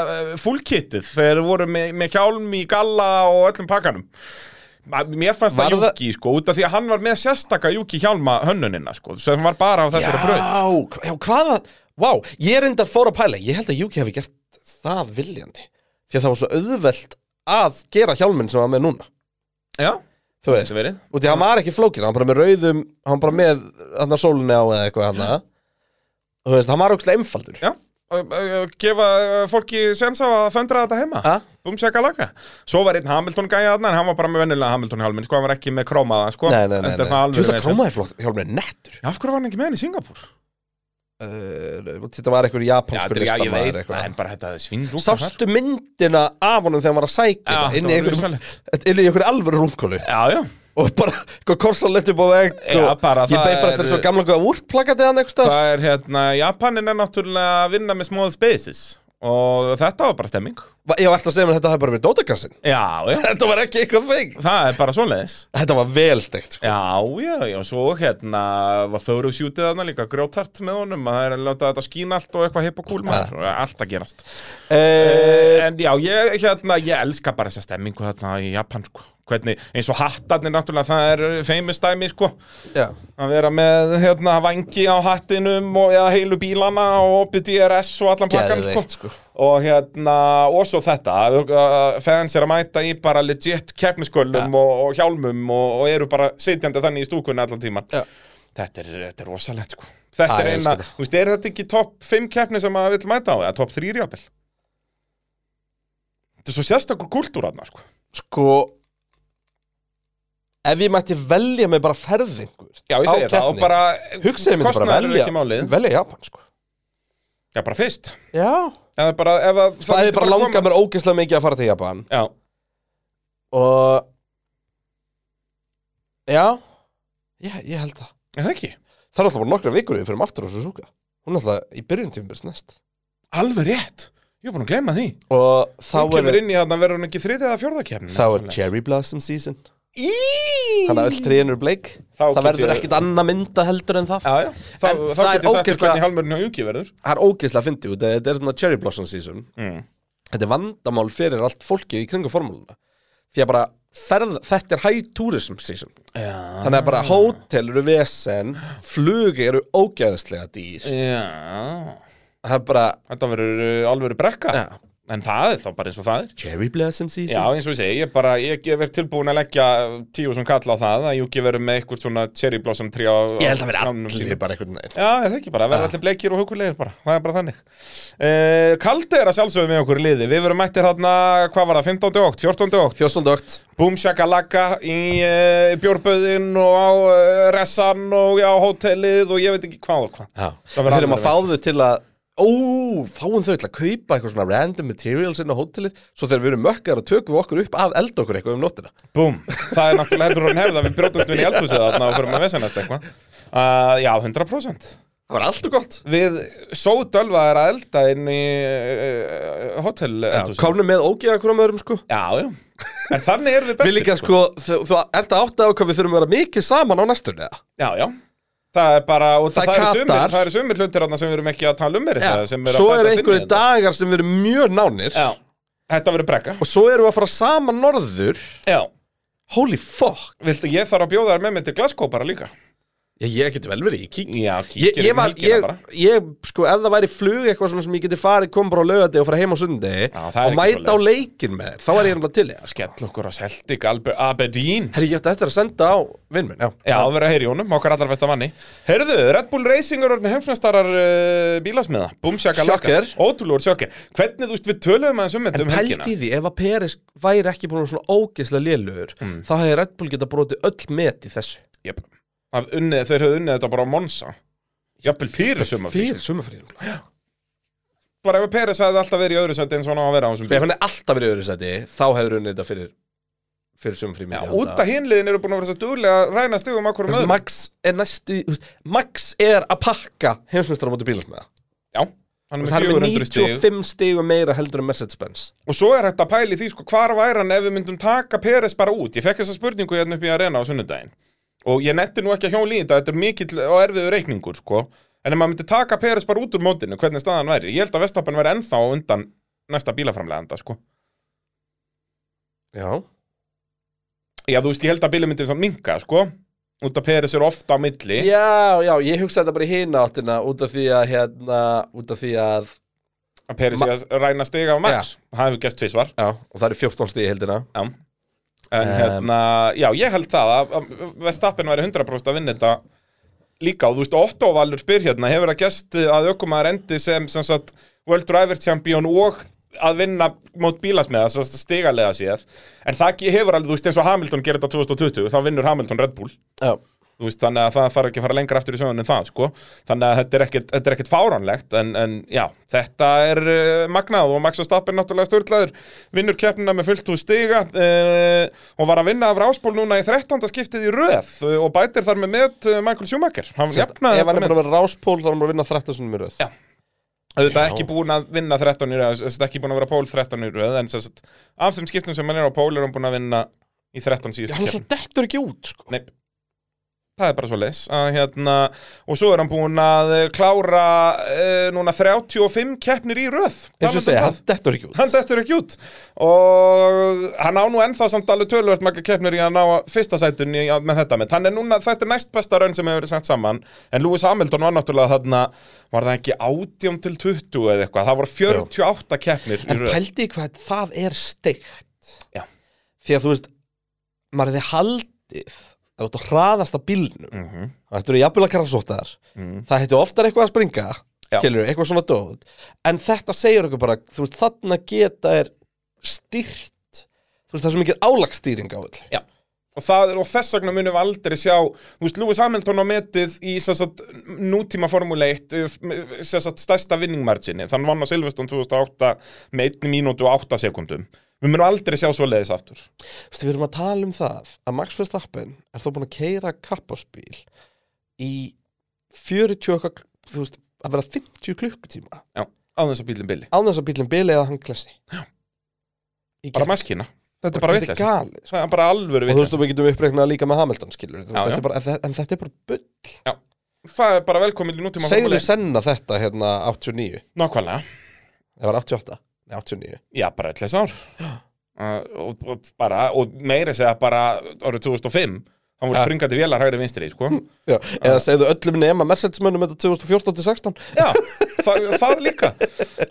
[SPEAKER 3] uh, fullkittið þegar þeir voru með, með hjálm í galla og öllum pakkanum Ma- Mér fannst
[SPEAKER 2] Var
[SPEAKER 3] það
[SPEAKER 2] það-
[SPEAKER 3] Júki, sko, út af því að hann var með sérstaka Júki hjálma hönnunina, sko, sem var bara á
[SPEAKER 2] Já,
[SPEAKER 3] þessari braut
[SPEAKER 2] hva- já, hvaða Vá, ég er endar fór að pæla Ég held að Juki hefði gert það viljandi Því að það var svo auðvelt að gera hjálminn sem hann var með núna
[SPEAKER 3] Já,
[SPEAKER 2] Þú veist,
[SPEAKER 3] verið.
[SPEAKER 2] og því að hann var ekki flókin Hann var bara með rauðum, hann var bara með hann að sólinni á eða eitthvað hann
[SPEAKER 3] Mm.
[SPEAKER 2] að Þú veist, hann var ógstlega einfaldur
[SPEAKER 3] já Ö- ö- ö- gefa ö, fólki sens á að föndra þetta heima
[SPEAKER 2] Ha?
[SPEAKER 3] Bumsjaka laga Svo var einn Hamilton gæja þarna En hann var bara með vennilega Hamilton hjálminn Sko hann var ekki með krómaða sko
[SPEAKER 2] Nei, nei, nei,
[SPEAKER 3] Enda
[SPEAKER 2] nei.
[SPEAKER 3] er það alveg
[SPEAKER 2] Þú veist að
[SPEAKER 3] vesen.
[SPEAKER 2] koma þér flott, hjálmurinn er nettur
[SPEAKER 3] Já, Af hverju var hann ekki með henni í Singapúr?
[SPEAKER 2] uh, Þetta var einhver japanskur listamaður eitthvað.
[SPEAKER 3] En bara þetta er svindlúka
[SPEAKER 2] Sástu myndina af honum þegar hann var að sækja
[SPEAKER 3] Já,
[SPEAKER 2] þetta inn í
[SPEAKER 3] þetta var
[SPEAKER 2] einhverjum-
[SPEAKER 3] rosalegt.
[SPEAKER 2] inn í einhverju alvöru rungkólu
[SPEAKER 3] Já, já
[SPEAKER 2] og bara eitthvað korsalett upp á vegg
[SPEAKER 3] Já,
[SPEAKER 2] og
[SPEAKER 3] bara
[SPEAKER 2] ég
[SPEAKER 3] það
[SPEAKER 2] beið bara
[SPEAKER 3] er-
[SPEAKER 2] eftir þessu gamla góða úrplakatið hann eitthvað staðar.
[SPEAKER 3] Það er hérna Japanin er náttúrulega að vinna með small spaces Og þetta var bara stemming
[SPEAKER 2] Va- Ég var alltaf að segja mér að þetta hafi bara verið dótakassin
[SPEAKER 3] Já, já
[SPEAKER 2] <laughs> Þetta var ekki eitthvað feik
[SPEAKER 3] Það er bara svoleiðis
[SPEAKER 2] Þetta var vel steikt sko.
[SPEAKER 3] Já, já, já, svo hérna var Föru sjútið þarna líka grjótart með honum að það er að láta þetta skína allt og eitthvað hipp og kúl maður og allt að gerast
[SPEAKER 2] uh,
[SPEAKER 3] En já, ég, hérna, ég elska bara þessa stemmingu þarna í Japan, sko Hvernig, eins og hattarnir náttúrulega, það er famous dæmi, sko
[SPEAKER 2] Já,
[SPEAKER 3] Að vera með, hérna, vangi á hattinum og eða heilu bílana og opið DRS og allan pakkan, sko.
[SPEAKER 2] Geðveikt, sko.
[SPEAKER 3] Og hérna, og svo þetta, uh, fans er að mæta í bara legit keppnisköllum og, og hjálmum og, og eru bara sitjandi þannig í stúkunni allan tíman
[SPEAKER 2] Já.
[SPEAKER 3] Þetta er, þetta er rosalegt, sko Þetta
[SPEAKER 2] Já,
[SPEAKER 3] er
[SPEAKER 2] ég
[SPEAKER 3] eina,
[SPEAKER 2] elska þetta.
[SPEAKER 3] þú veist, er þetta ekki topp 5 keppni sem maður vill mæta á, eða topp 3 jáfnvel? Þetta er svo sérstakur kultúrarna, sko
[SPEAKER 2] sko Ef ég mætti velja mig bara ferðingur
[SPEAKER 3] Já, ég
[SPEAKER 2] á
[SPEAKER 3] segi það, og
[SPEAKER 2] keppni,
[SPEAKER 3] bara
[SPEAKER 2] Hugsaði mér þetta bara
[SPEAKER 3] kostnaður er
[SPEAKER 2] velja
[SPEAKER 3] ekki málið.
[SPEAKER 2] Velja Japan sko
[SPEAKER 3] Já, bara fyrst
[SPEAKER 2] Já
[SPEAKER 3] Eða bara, ef að
[SPEAKER 2] Það hefði
[SPEAKER 3] myndi
[SPEAKER 2] bara langað
[SPEAKER 3] koma-
[SPEAKER 2] mér ógeðslega mikið að fara til Japan
[SPEAKER 3] Já,
[SPEAKER 2] og já, ég, ég held það
[SPEAKER 3] er það ekki
[SPEAKER 2] það er alltaf bara nokkra vikur við fyrir aftur á Suzuka hún er alltaf í byrjun tímabils næst
[SPEAKER 3] Alveg rétt, ég er búin að glemma því
[SPEAKER 2] og þá
[SPEAKER 3] Hún
[SPEAKER 2] er,
[SPEAKER 3] kemur inn í þarna, verður hún ekki þriðið eða fjórðakefn
[SPEAKER 2] þá er Cherry Blossom season
[SPEAKER 3] Íííí
[SPEAKER 2] þannig að öll trénur bleik
[SPEAKER 3] Þá
[SPEAKER 2] það
[SPEAKER 3] get
[SPEAKER 2] verður
[SPEAKER 3] ég-
[SPEAKER 2] ekkit annað mynda heldur en það
[SPEAKER 3] Já, já, þá,
[SPEAKER 2] En
[SPEAKER 3] þá
[SPEAKER 2] það er
[SPEAKER 3] get ég sagt þér
[SPEAKER 2] ógeðslega-
[SPEAKER 3] hvernig halmurinn hjá Juki verður
[SPEAKER 2] það er ógeðslega að fyndi út af því að þetta er svona Cherry Blossom season
[SPEAKER 3] Mm.
[SPEAKER 2] þetta er vandamál fyrir allt fólkið í kringu formúluna því að bara ferð, þetta er high tourism season já. þannig að bara hótel eru vesen flugi eru ógæðslega dýr
[SPEAKER 3] Já
[SPEAKER 2] það er bara
[SPEAKER 3] Þetta verður uh, alvöru brekka
[SPEAKER 2] Já.
[SPEAKER 3] En það er þá bara eins og það er
[SPEAKER 2] cherry blossom
[SPEAKER 3] Já,
[SPEAKER 2] season
[SPEAKER 3] eins og ég segi, ég, bara, ég verð tilbúin að leggja tíu sem kalla á það að Júki verður með eitthvað svona cherry blossom trjá
[SPEAKER 2] ég held að vera allir bara einhvern veginn
[SPEAKER 3] Já, það ekki bara, verða allir bleikir og hugulegir bara, það er bara þannig uh, Kaldi er að sjálfsögum með okkur í liði, við verum mættir þarna, hvað var það, 15. ókt, 14. ókt
[SPEAKER 2] 14. okt
[SPEAKER 3] Búmsjakalaka í uh, bjórböðin og á uh, ressan og á hótelið og ég veit ekki hvað og hvað Það
[SPEAKER 2] við
[SPEAKER 3] verður
[SPEAKER 2] þurfum að fá
[SPEAKER 3] alvöru
[SPEAKER 2] þau til að ó, fáum þau til að kaupa eitthvað svona random materials inn á hótelið svo þegar við erum mökkar og tökum við okkur upp af elda okkur eitthvað um nóttina
[SPEAKER 3] Búm, það er náttúrulega heldur hann hefð að við brjótumst við í eldhúsið þarna og förum að vesa nætt eitthvað uh, Já, 100%
[SPEAKER 2] það var alltaf gott
[SPEAKER 3] Við sódölvaðir að elda inn í uh, hótel eldhúsið
[SPEAKER 2] komnum með ógeða hverjum öðrum sko
[SPEAKER 3] Já, já En þannig erum við bestir
[SPEAKER 2] Við líka sko, þú, þú ert að átta á hvað við þurfum að vera mikið saman á næstunni eða?
[SPEAKER 3] Já, já Það er bara, og það,
[SPEAKER 2] Það
[SPEAKER 3] það,
[SPEAKER 2] katar.
[SPEAKER 3] eru sumir, það eru sumir hlutir þarna sem við erum ekki að tala um meira
[SPEAKER 2] Já,
[SPEAKER 3] ja. sem er að
[SPEAKER 2] Svo
[SPEAKER 3] bætast
[SPEAKER 2] eru
[SPEAKER 3] inn í
[SPEAKER 2] einhverju
[SPEAKER 3] þetta.
[SPEAKER 2] dagar sem við erum mjög nánir
[SPEAKER 3] Já, þetta verður brekka
[SPEAKER 2] Og svo erum við að fara saman norður
[SPEAKER 3] Já,
[SPEAKER 2] Holy fuck
[SPEAKER 3] viltu ég þarf að bjóða þær með mig til Glasgow bara líka
[SPEAKER 2] Ég, ég geti vel verið, ég kík
[SPEAKER 3] Já,
[SPEAKER 2] Ég,
[SPEAKER 3] kíkir
[SPEAKER 2] ég,
[SPEAKER 3] um
[SPEAKER 2] var,
[SPEAKER 3] helgina
[SPEAKER 2] ég,
[SPEAKER 3] bara
[SPEAKER 2] ég, sko, ef það væri flug eitthvað svona sem ég geti farið, kom bara á laugardegi og fara heim á sundi
[SPEAKER 3] Já, það er
[SPEAKER 2] og
[SPEAKER 3] ekki
[SPEAKER 2] mæta á
[SPEAKER 3] svoleiðis.
[SPEAKER 2] leikin með þér, þá var ég hérna til ég
[SPEAKER 3] Skell okkur á Celtic, Albe- Aberdeen
[SPEAKER 2] Herri, ég ætti eftir að senda á vinn minn, já
[SPEAKER 3] Já, það verður að heyri honum, okkar allar besta manni Heyrðu, Red Bull Racing er orðin heimsmestarar uh, bílasmiða Búmsjaka
[SPEAKER 2] Shocker.
[SPEAKER 3] Ótrúlur sjokker Hvernig, þú veist, við töluðum aðeins um þetta
[SPEAKER 2] En
[SPEAKER 3] um helgina
[SPEAKER 2] pældi því, ef að Peris væri ekki búin að vera svona ógeðslega lélugur
[SPEAKER 3] Mm.
[SPEAKER 2] þá hefði Red Bull geta brotið öll met í þessu
[SPEAKER 3] Jep. Að unnið, þeir höfðu unnið þetta bara á Monsa Jafnvel fyrir sumafíl
[SPEAKER 2] Fyrir sumafríðum
[SPEAKER 3] Bara ef Peres hefði alltaf verið í öðru seti eins og hann á að vera á þessum
[SPEAKER 2] Sko,
[SPEAKER 3] bíl
[SPEAKER 2] ef hann er alltaf verið í öðru seti, þá hefur hann þetta fyrir, fyrir sömum frímið.
[SPEAKER 3] Já, út af hinliðin eru búin að vera svo duglega að ræna stigum akkur um öðrum
[SPEAKER 2] Max er næstu, þú veist, Max er að pakka heimsmyndstara á móti bílasmiða.
[SPEAKER 3] Já, hann er
[SPEAKER 2] Það
[SPEAKER 3] með
[SPEAKER 2] er með
[SPEAKER 3] 400 stig
[SPEAKER 2] 95 stig og meira heldur en Mercedes-Benz.
[SPEAKER 3] Og svo er hægt að pæli því, sko, hvar væri hann ef við myndum taka Peres bara út? Ég fekk þessa spurningu hérna upp í arena á sunnudaginn. Og ég netti nú ekki að hjóla í þetta, þetta er mikill og erfiður reikningur, sko. En ef maður myndi taka Peres bara út úr mótinu, hvernig staðan væri? Ég held að Vestapen væri ennþá á undan næsta bílaframleganda, sko.
[SPEAKER 2] Já.
[SPEAKER 3] Já, þú veist, ég held að bílið myndi samt minka, sko. Út að Peres er ofta á milli.
[SPEAKER 2] Já, já, ég hugsaði þetta bara í hina áttina út af því að, hérna, út af því að,
[SPEAKER 3] Að Peres er að ræna stiga á Max. Það hefur gæst tvisvar.
[SPEAKER 2] já, og það eru 14 stig í heldina.
[SPEAKER 3] Já. En
[SPEAKER 2] Um,
[SPEAKER 3] hérna, já, ég held það að að Verstappen væri 100% að vinna þetta líka og þú veist, Otto Valur spyr hérna, hefur það gæst að aukumaður endi sem, sem sagt, World Driver Champion og að vinna mót bílasmiða, sem sagt, stigalega séð en það ge- hefur alveg, þú veist, eins og Hamilton gerir þetta 2020, þá vinnur Hamilton Red Bull
[SPEAKER 2] Já.
[SPEAKER 3] þú veist, þannig að það þarf ekki að fara lengra aftur í sögun en það, sko, þannig að þetta er ekkit, þetta er ekkit fáránlegt, en, en já þetta er uh, magnað og Max Verstappen náttúrulega störtlaður, vinnur keppnina með fullt úr stiga uh, og var að vinna af ráspól núna í 13. skiptið í röð uh, og bætir þar með með uh, Michael Schumacher, hann
[SPEAKER 2] Sérst,
[SPEAKER 3] jafnaði
[SPEAKER 2] ef hann er
[SPEAKER 3] þetta
[SPEAKER 2] bara
[SPEAKER 3] met.
[SPEAKER 2] að vera ráspól, þá er hann bara að vinna 13 sunnum í röð.
[SPEAKER 3] Já. auðvitað
[SPEAKER 2] Já.
[SPEAKER 3] ekki búin að vinna 13 í röð, þess ekki búin að vera pól 13 í röð, en þess að af þeim skiptum sem hann er á pól er hann búin að vinna í
[SPEAKER 2] Já,
[SPEAKER 3] 13 síðustu
[SPEAKER 2] hann alltaf dettur ekki út, sko.
[SPEAKER 3] Nei Það er bara svo leis hérna, Og svo er hann búinn að eh, klára uh, Núna 35 keppnir í röð
[SPEAKER 2] Eins og ég
[SPEAKER 3] Talandi um
[SPEAKER 2] segja,
[SPEAKER 3] það.
[SPEAKER 2] hann dettur ekki út.
[SPEAKER 3] Hann dettur ekki út Og hann á nú ennþá samt alveg tölvöld Maka keppnir í að ná fyrsta sætun í, Með þetta mitt Hann er núna, þetta er næst besta raun sem hefur verið sett saman En Lewis Hamilton var náttúrulega þarna Var það ekki 18 til 20 eða eitthvað Það voru 48 keppnir í
[SPEAKER 2] En
[SPEAKER 3] röð
[SPEAKER 2] pældi ég hvað það er steikt
[SPEAKER 3] Já.
[SPEAKER 2] Því að þú veist maður hefði haldið að þú ert að hraðast að bílnum
[SPEAKER 3] mm -hmm.
[SPEAKER 2] þetta eru jafnvel að karasóttar
[SPEAKER 3] Mhm.
[SPEAKER 2] það hættu oftar eitthvað að springa
[SPEAKER 3] Já.
[SPEAKER 2] skilur, eitthvað svona dóð en þetta segir okkur bara, þú veist, þarna geta er styrt þú veist, það er svo mikið álagstýring á öll
[SPEAKER 3] Já. Og, það, er- og þess vegna munum við aldrei sjá Þú veist, Lewis Hamilton á metið í sem sagt, nútíma Formule 1 sem sagt, stærsta vinningmarginni Þannig vann á Silveston 2008 með 1 mínútu og 8 sekundum Við munum aldrei sjá svo leiðis aftur
[SPEAKER 2] Þú veist, við erum að tala um það að Max Verstappen er þó búin að keira kapparsbíl í 40 okkar, þú veist, að vera 50 klukkutíma
[SPEAKER 3] Já, á þess að bílinn billi
[SPEAKER 2] á þess að bílinn bili eða hann klessi Í
[SPEAKER 3] Bara
[SPEAKER 2] gegn.
[SPEAKER 3] maskina, þetta er
[SPEAKER 2] Þetta
[SPEAKER 3] bara
[SPEAKER 2] er
[SPEAKER 3] vitleis
[SPEAKER 2] galið sko.
[SPEAKER 3] Það er bara
[SPEAKER 2] Og
[SPEAKER 3] alvöru
[SPEAKER 2] þú veist,
[SPEAKER 3] vitleis
[SPEAKER 2] og við getum uppreiknað líka með Hamilton skilur já,
[SPEAKER 3] Já,
[SPEAKER 2] þetta
[SPEAKER 3] já.
[SPEAKER 2] er bara, en, þe- en þetta er bara bull
[SPEAKER 3] Það er bara velkomin í nútíma
[SPEAKER 2] Segðu
[SPEAKER 3] Formule 1
[SPEAKER 2] senna þetta hérna 89
[SPEAKER 3] Nákvæmlega,
[SPEAKER 2] Það var 88, nei 89
[SPEAKER 3] já, bara vitleis ár uh, og, og, bara, og meira segja bara árið 2005 hann voru
[SPEAKER 2] Ja. Hm.
[SPEAKER 3] springandi vélar hægri vinstri sko.
[SPEAKER 2] Já, eða segðu öllum nema Mercedes-mönnum þetta 2014-16
[SPEAKER 3] já, það, það líka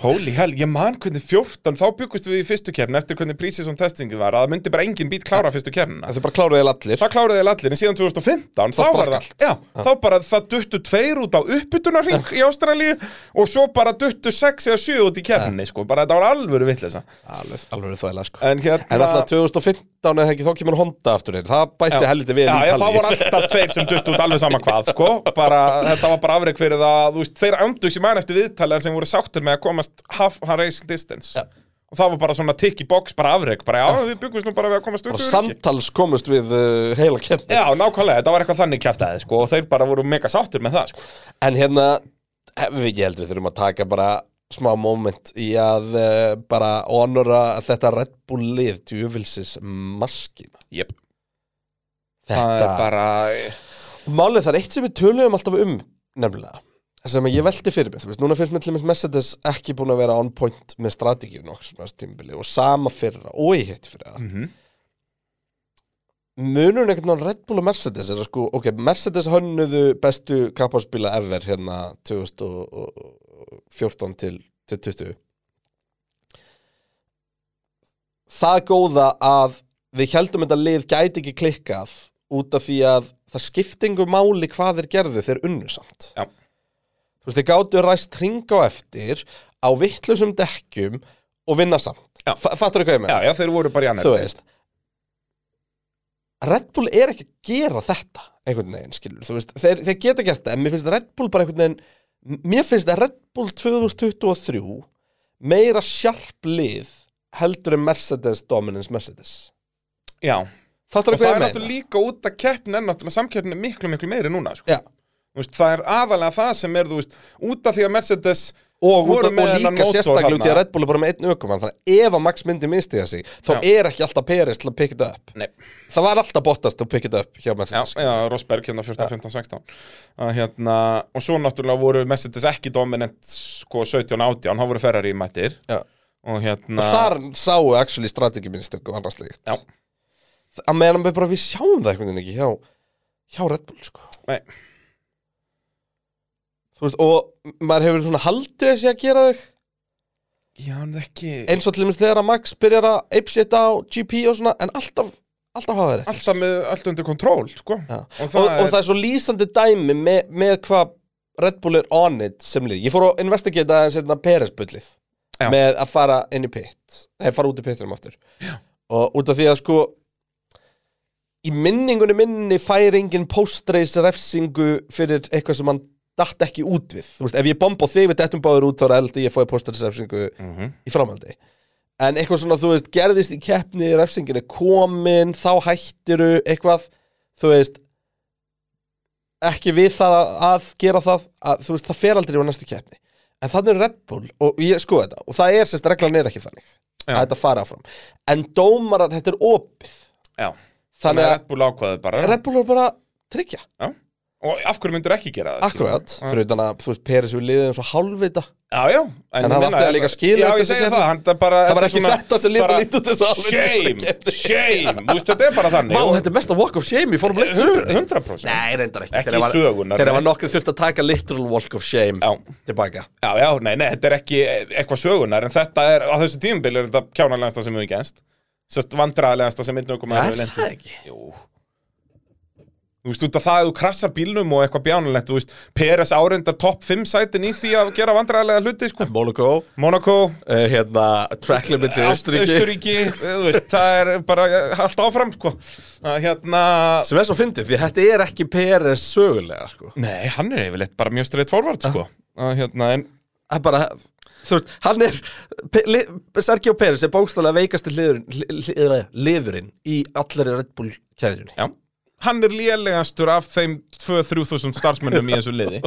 [SPEAKER 3] holy hell, ég man hvernig 14 þá byggust við í fyrstu kefni eftir hvernig pre-season testingið var að það myndi bara engin bít klára fyrstu kefnina
[SPEAKER 2] Þau bara kláruðu eða allir
[SPEAKER 3] það kláraði þeir allir en síðan 2015
[SPEAKER 2] Þá
[SPEAKER 3] þá, var
[SPEAKER 2] sprakk
[SPEAKER 3] það, já, þá bara það duttu tveir út á uppbytunarring í Ástralíu og svo bara duttu sex eða sjö út í kefni sko, bara þetta var alvöru vitleysa
[SPEAKER 2] Alveg, alveg þvæla sko En,
[SPEAKER 3] en hérna
[SPEAKER 2] alltaf 2015 eða ekki þá kemur Honda aftur inn Það bætti
[SPEAKER 3] Já.
[SPEAKER 2] heldur við
[SPEAKER 3] Já,
[SPEAKER 2] í
[SPEAKER 3] já,
[SPEAKER 2] tali <laughs>
[SPEAKER 3] það voru alltaf tveir sem duttu út alveg sama hvað, sko bara, Þetta var bara afreg fyrir það þú veist, Þeir andu sem mann eftir viðtalið sem voru sáttir með að komast half a race distance
[SPEAKER 2] Já.
[SPEAKER 3] Og það var bara svona tick í box, bara afreg bara, Já, við byggumst nú bara við að komast út
[SPEAKER 2] Og
[SPEAKER 3] úr öryggi.
[SPEAKER 2] samtals komust við uh, heila kenni
[SPEAKER 3] Já, nákvæmlega, þetta var eitthvað þannig kjæftæði, sko Og þeir bara voru mega sáttir með það, sko
[SPEAKER 2] En hérna, hefum við ekki heldur við þurfum að taka bara smá moment í að uh, bara honora þetta Red Bull lið djöfilsins maskina
[SPEAKER 3] Jep, það
[SPEAKER 2] Þetta,
[SPEAKER 3] er bara
[SPEAKER 2] málið það er eitt sem við töluðum alltaf um nefnilega sem að ég velti fyrir mig, þú veist, núna fyrst með til dæmis Mercedes ekki búin að vera on point með strategið nokkuð sem þessu tímbili og sama fyrra og ég heiti fyrra
[SPEAKER 3] mm
[SPEAKER 2] munurinn einhvern veginn á Red Bull og Mercedes er að sko, ok, Mercedes hönnuðu bestu kapparspila ever hérna 2014 til, til 20 það góða að við heldum þetta lið gæti ekki klikkað út af því að það skiptingu máli hvað þeir gerðu þeir unnu samt
[SPEAKER 3] Já.
[SPEAKER 2] þú veist, þeir gáttu ræst hring á eftir á vittlusum dekkjum og vinna samt
[SPEAKER 3] Já.
[SPEAKER 2] fattur þau hvað ég með?
[SPEAKER 3] Já, já, þeir voru bara í annar
[SPEAKER 2] þú veist Red Bull er ekki að gera þetta einhvern veginn, skilur, þú veist þeir, þeir geta gert þetta, en mér finnst Red Bull bara einhvern veginn mér finnst að Red Bull 2023 meira sjarp lið heldur en Mercedes Dominance Mercedes
[SPEAKER 3] Já,
[SPEAKER 2] Fattar
[SPEAKER 3] og
[SPEAKER 2] þú hvað
[SPEAKER 3] það
[SPEAKER 2] ég
[SPEAKER 3] er
[SPEAKER 2] meina?
[SPEAKER 3] náttúrulega líka út að keppnin er náttúrulega samkeppnin er miklu, miklu meiri núna, sko
[SPEAKER 2] Já,
[SPEAKER 3] Þú veist, það er aðalega það sem er, þú veist, út af því að Mercedes
[SPEAKER 2] og, og,
[SPEAKER 3] voru með
[SPEAKER 2] og
[SPEAKER 3] þennan
[SPEAKER 2] líka
[SPEAKER 3] mótor
[SPEAKER 2] sérstaklega út í að
[SPEAKER 3] þarna.
[SPEAKER 2] Red Bull er bara með einn aukumann þannig að ef að Max myndi mistiða sig þá
[SPEAKER 3] Já.
[SPEAKER 2] er ekki alltaf Peris til að pikka þetta upp
[SPEAKER 3] Nei,
[SPEAKER 2] það var alltaf Bottas til að pikka þetta upp hjá
[SPEAKER 3] já,
[SPEAKER 2] Mercedes
[SPEAKER 3] já, Rosberg hérna 14, 15, 16 að, hérna, og svo náttúrulega voru Mercedes ekki dominant sko 17, 18, þá voru Ferrari mættir
[SPEAKER 2] Já.
[SPEAKER 3] og hérna
[SPEAKER 2] og þar sáu actually strategi minnstök og annars líkt
[SPEAKER 3] Já.
[SPEAKER 2] að meðan við bara við sjáum það einhvern veginn ekki hjá, hjá Red Bull sko
[SPEAKER 3] Nei.
[SPEAKER 2] Þú veist, og maður hefur svona haldið þessi að gera þau
[SPEAKER 3] já, en það ekki
[SPEAKER 2] eins og til dæmis þegar að Max byrjar að apeshita á GP og svona en alltaf, alltaf hafa þeir rétt
[SPEAKER 3] alltaf með, allt undir kontról sko.
[SPEAKER 2] Já.
[SPEAKER 3] og
[SPEAKER 2] og,
[SPEAKER 3] það
[SPEAKER 2] og
[SPEAKER 3] er
[SPEAKER 2] það er svo lýsandi dæmi með, með hvað Red Bull er on it sem lið ég fór að investigata aðeins hérna Peres-bullið
[SPEAKER 3] Já.
[SPEAKER 2] með að fara inn í pit nei, fara út í pitinum aftur Já. og út af því að sko í minningunni minni fær engin post-race refsingu fyrir eitthvað sem hann datt ekki út við þú veist, ef ég bomba á þig við dettum báður út þá er eldi ég fóði post-race refsingu
[SPEAKER 3] Mhm.
[SPEAKER 2] í framhaldi en eitthvað svona, þú veist, gerðist í keppni refsingin er komin, þá hættiru eitthvað, þú veist ekki við það að gera það, að, þú veist, það fer aldrei á næstu keppni, en þannig er Red Bull og ég skoði þetta, og það er sérst, reglan er ekki þannig að
[SPEAKER 3] Já.
[SPEAKER 2] þetta fara áfram en dómarar, þetta er opið
[SPEAKER 3] já,
[SPEAKER 2] þannig
[SPEAKER 3] þannig að
[SPEAKER 2] að
[SPEAKER 3] Red Bull ákvaði bara
[SPEAKER 2] Red Bull er bara að tryggja,
[SPEAKER 3] já. og af hverju myndur ekki gera það skilur?
[SPEAKER 2] akkurat
[SPEAKER 3] Já.
[SPEAKER 2] fyrir utan að, þú veist, Peris við liðið eins og hálfvita
[SPEAKER 3] Já, já
[SPEAKER 2] En hann
[SPEAKER 3] ég meina-
[SPEAKER 2] átti að líka skilið
[SPEAKER 3] Já,
[SPEAKER 2] eftir
[SPEAKER 3] ég
[SPEAKER 2] þessa
[SPEAKER 3] segja
[SPEAKER 2] keppni.
[SPEAKER 3] það hann, það, bara,
[SPEAKER 2] Það var
[SPEAKER 3] þetta er
[SPEAKER 2] ekki þetta sem lét að
[SPEAKER 3] bara-
[SPEAKER 2] líta út eins og alveg þessa
[SPEAKER 3] Shame,
[SPEAKER 2] keppni.
[SPEAKER 3] shame Þú veist, þetta er bara þannig
[SPEAKER 2] sko, Vá, þetta er mest að walk of shame í formule 1 sögunni.
[SPEAKER 3] 100%
[SPEAKER 2] Nei, reyndar ekki,
[SPEAKER 3] Ekki
[SPEAKER 2] Þeirra var-
[SPEAKER 3] sögunar,
[SPEAKER 2] Þeirra
[SPEAKER 3] nei.
[SPEAKER 2] var nokkuð þurft að taka literal walk of shame
[SPEAKER 3] Já.
[SPEAKER 2] Tilbaka
[SPEAKER 3] Já, já, nei, nei, þetta er ekki eitthvað sögunar en þetta er, á þessu tímbil er þetta kjánalegasta sem hefur gænst Sest vandræðalegasta sem einn okkur
[SPEAKER 2] Er það ekki?
[SPEAKER 3] Jú Þú veist, út af það að þú krassar bílnum og eitthvað bjánulegt, þú veist, Peres árendar topp 5 sætin í því að gera vandræðalega hluti, sko
[SPEAKER 2] Monaco,
[SPEAKER 3] Monaco,
[SPEAKER 2] uh, hérna, track limits í Austuríki
[SPEAKER 3] Östuríki, þú veist, það er bara allt áfram, sko Að, Hérna
[SPEAKER 2] Sem er svo fyndið, því þetta er ekki PRS sögulega sko.
[SPEAKER 3] Nei, hann er yfirleitt bara mjög streitt forvart,
[SPEAKER 2] Ah.
[SPEAKER 3] sko Að, Hérna, en
[SPEAKER 2] Það er bara, þú veist, hann er Pe- li- Sergio Peres er bókstæðlega veikasti liðurinn, li, li, eða liðurinn í allari Red Bull kæðjunni
[SPEAKER 3] Já. Hann er lélegastur af þeim 2-3.000 starfsmönnum í þessu liði.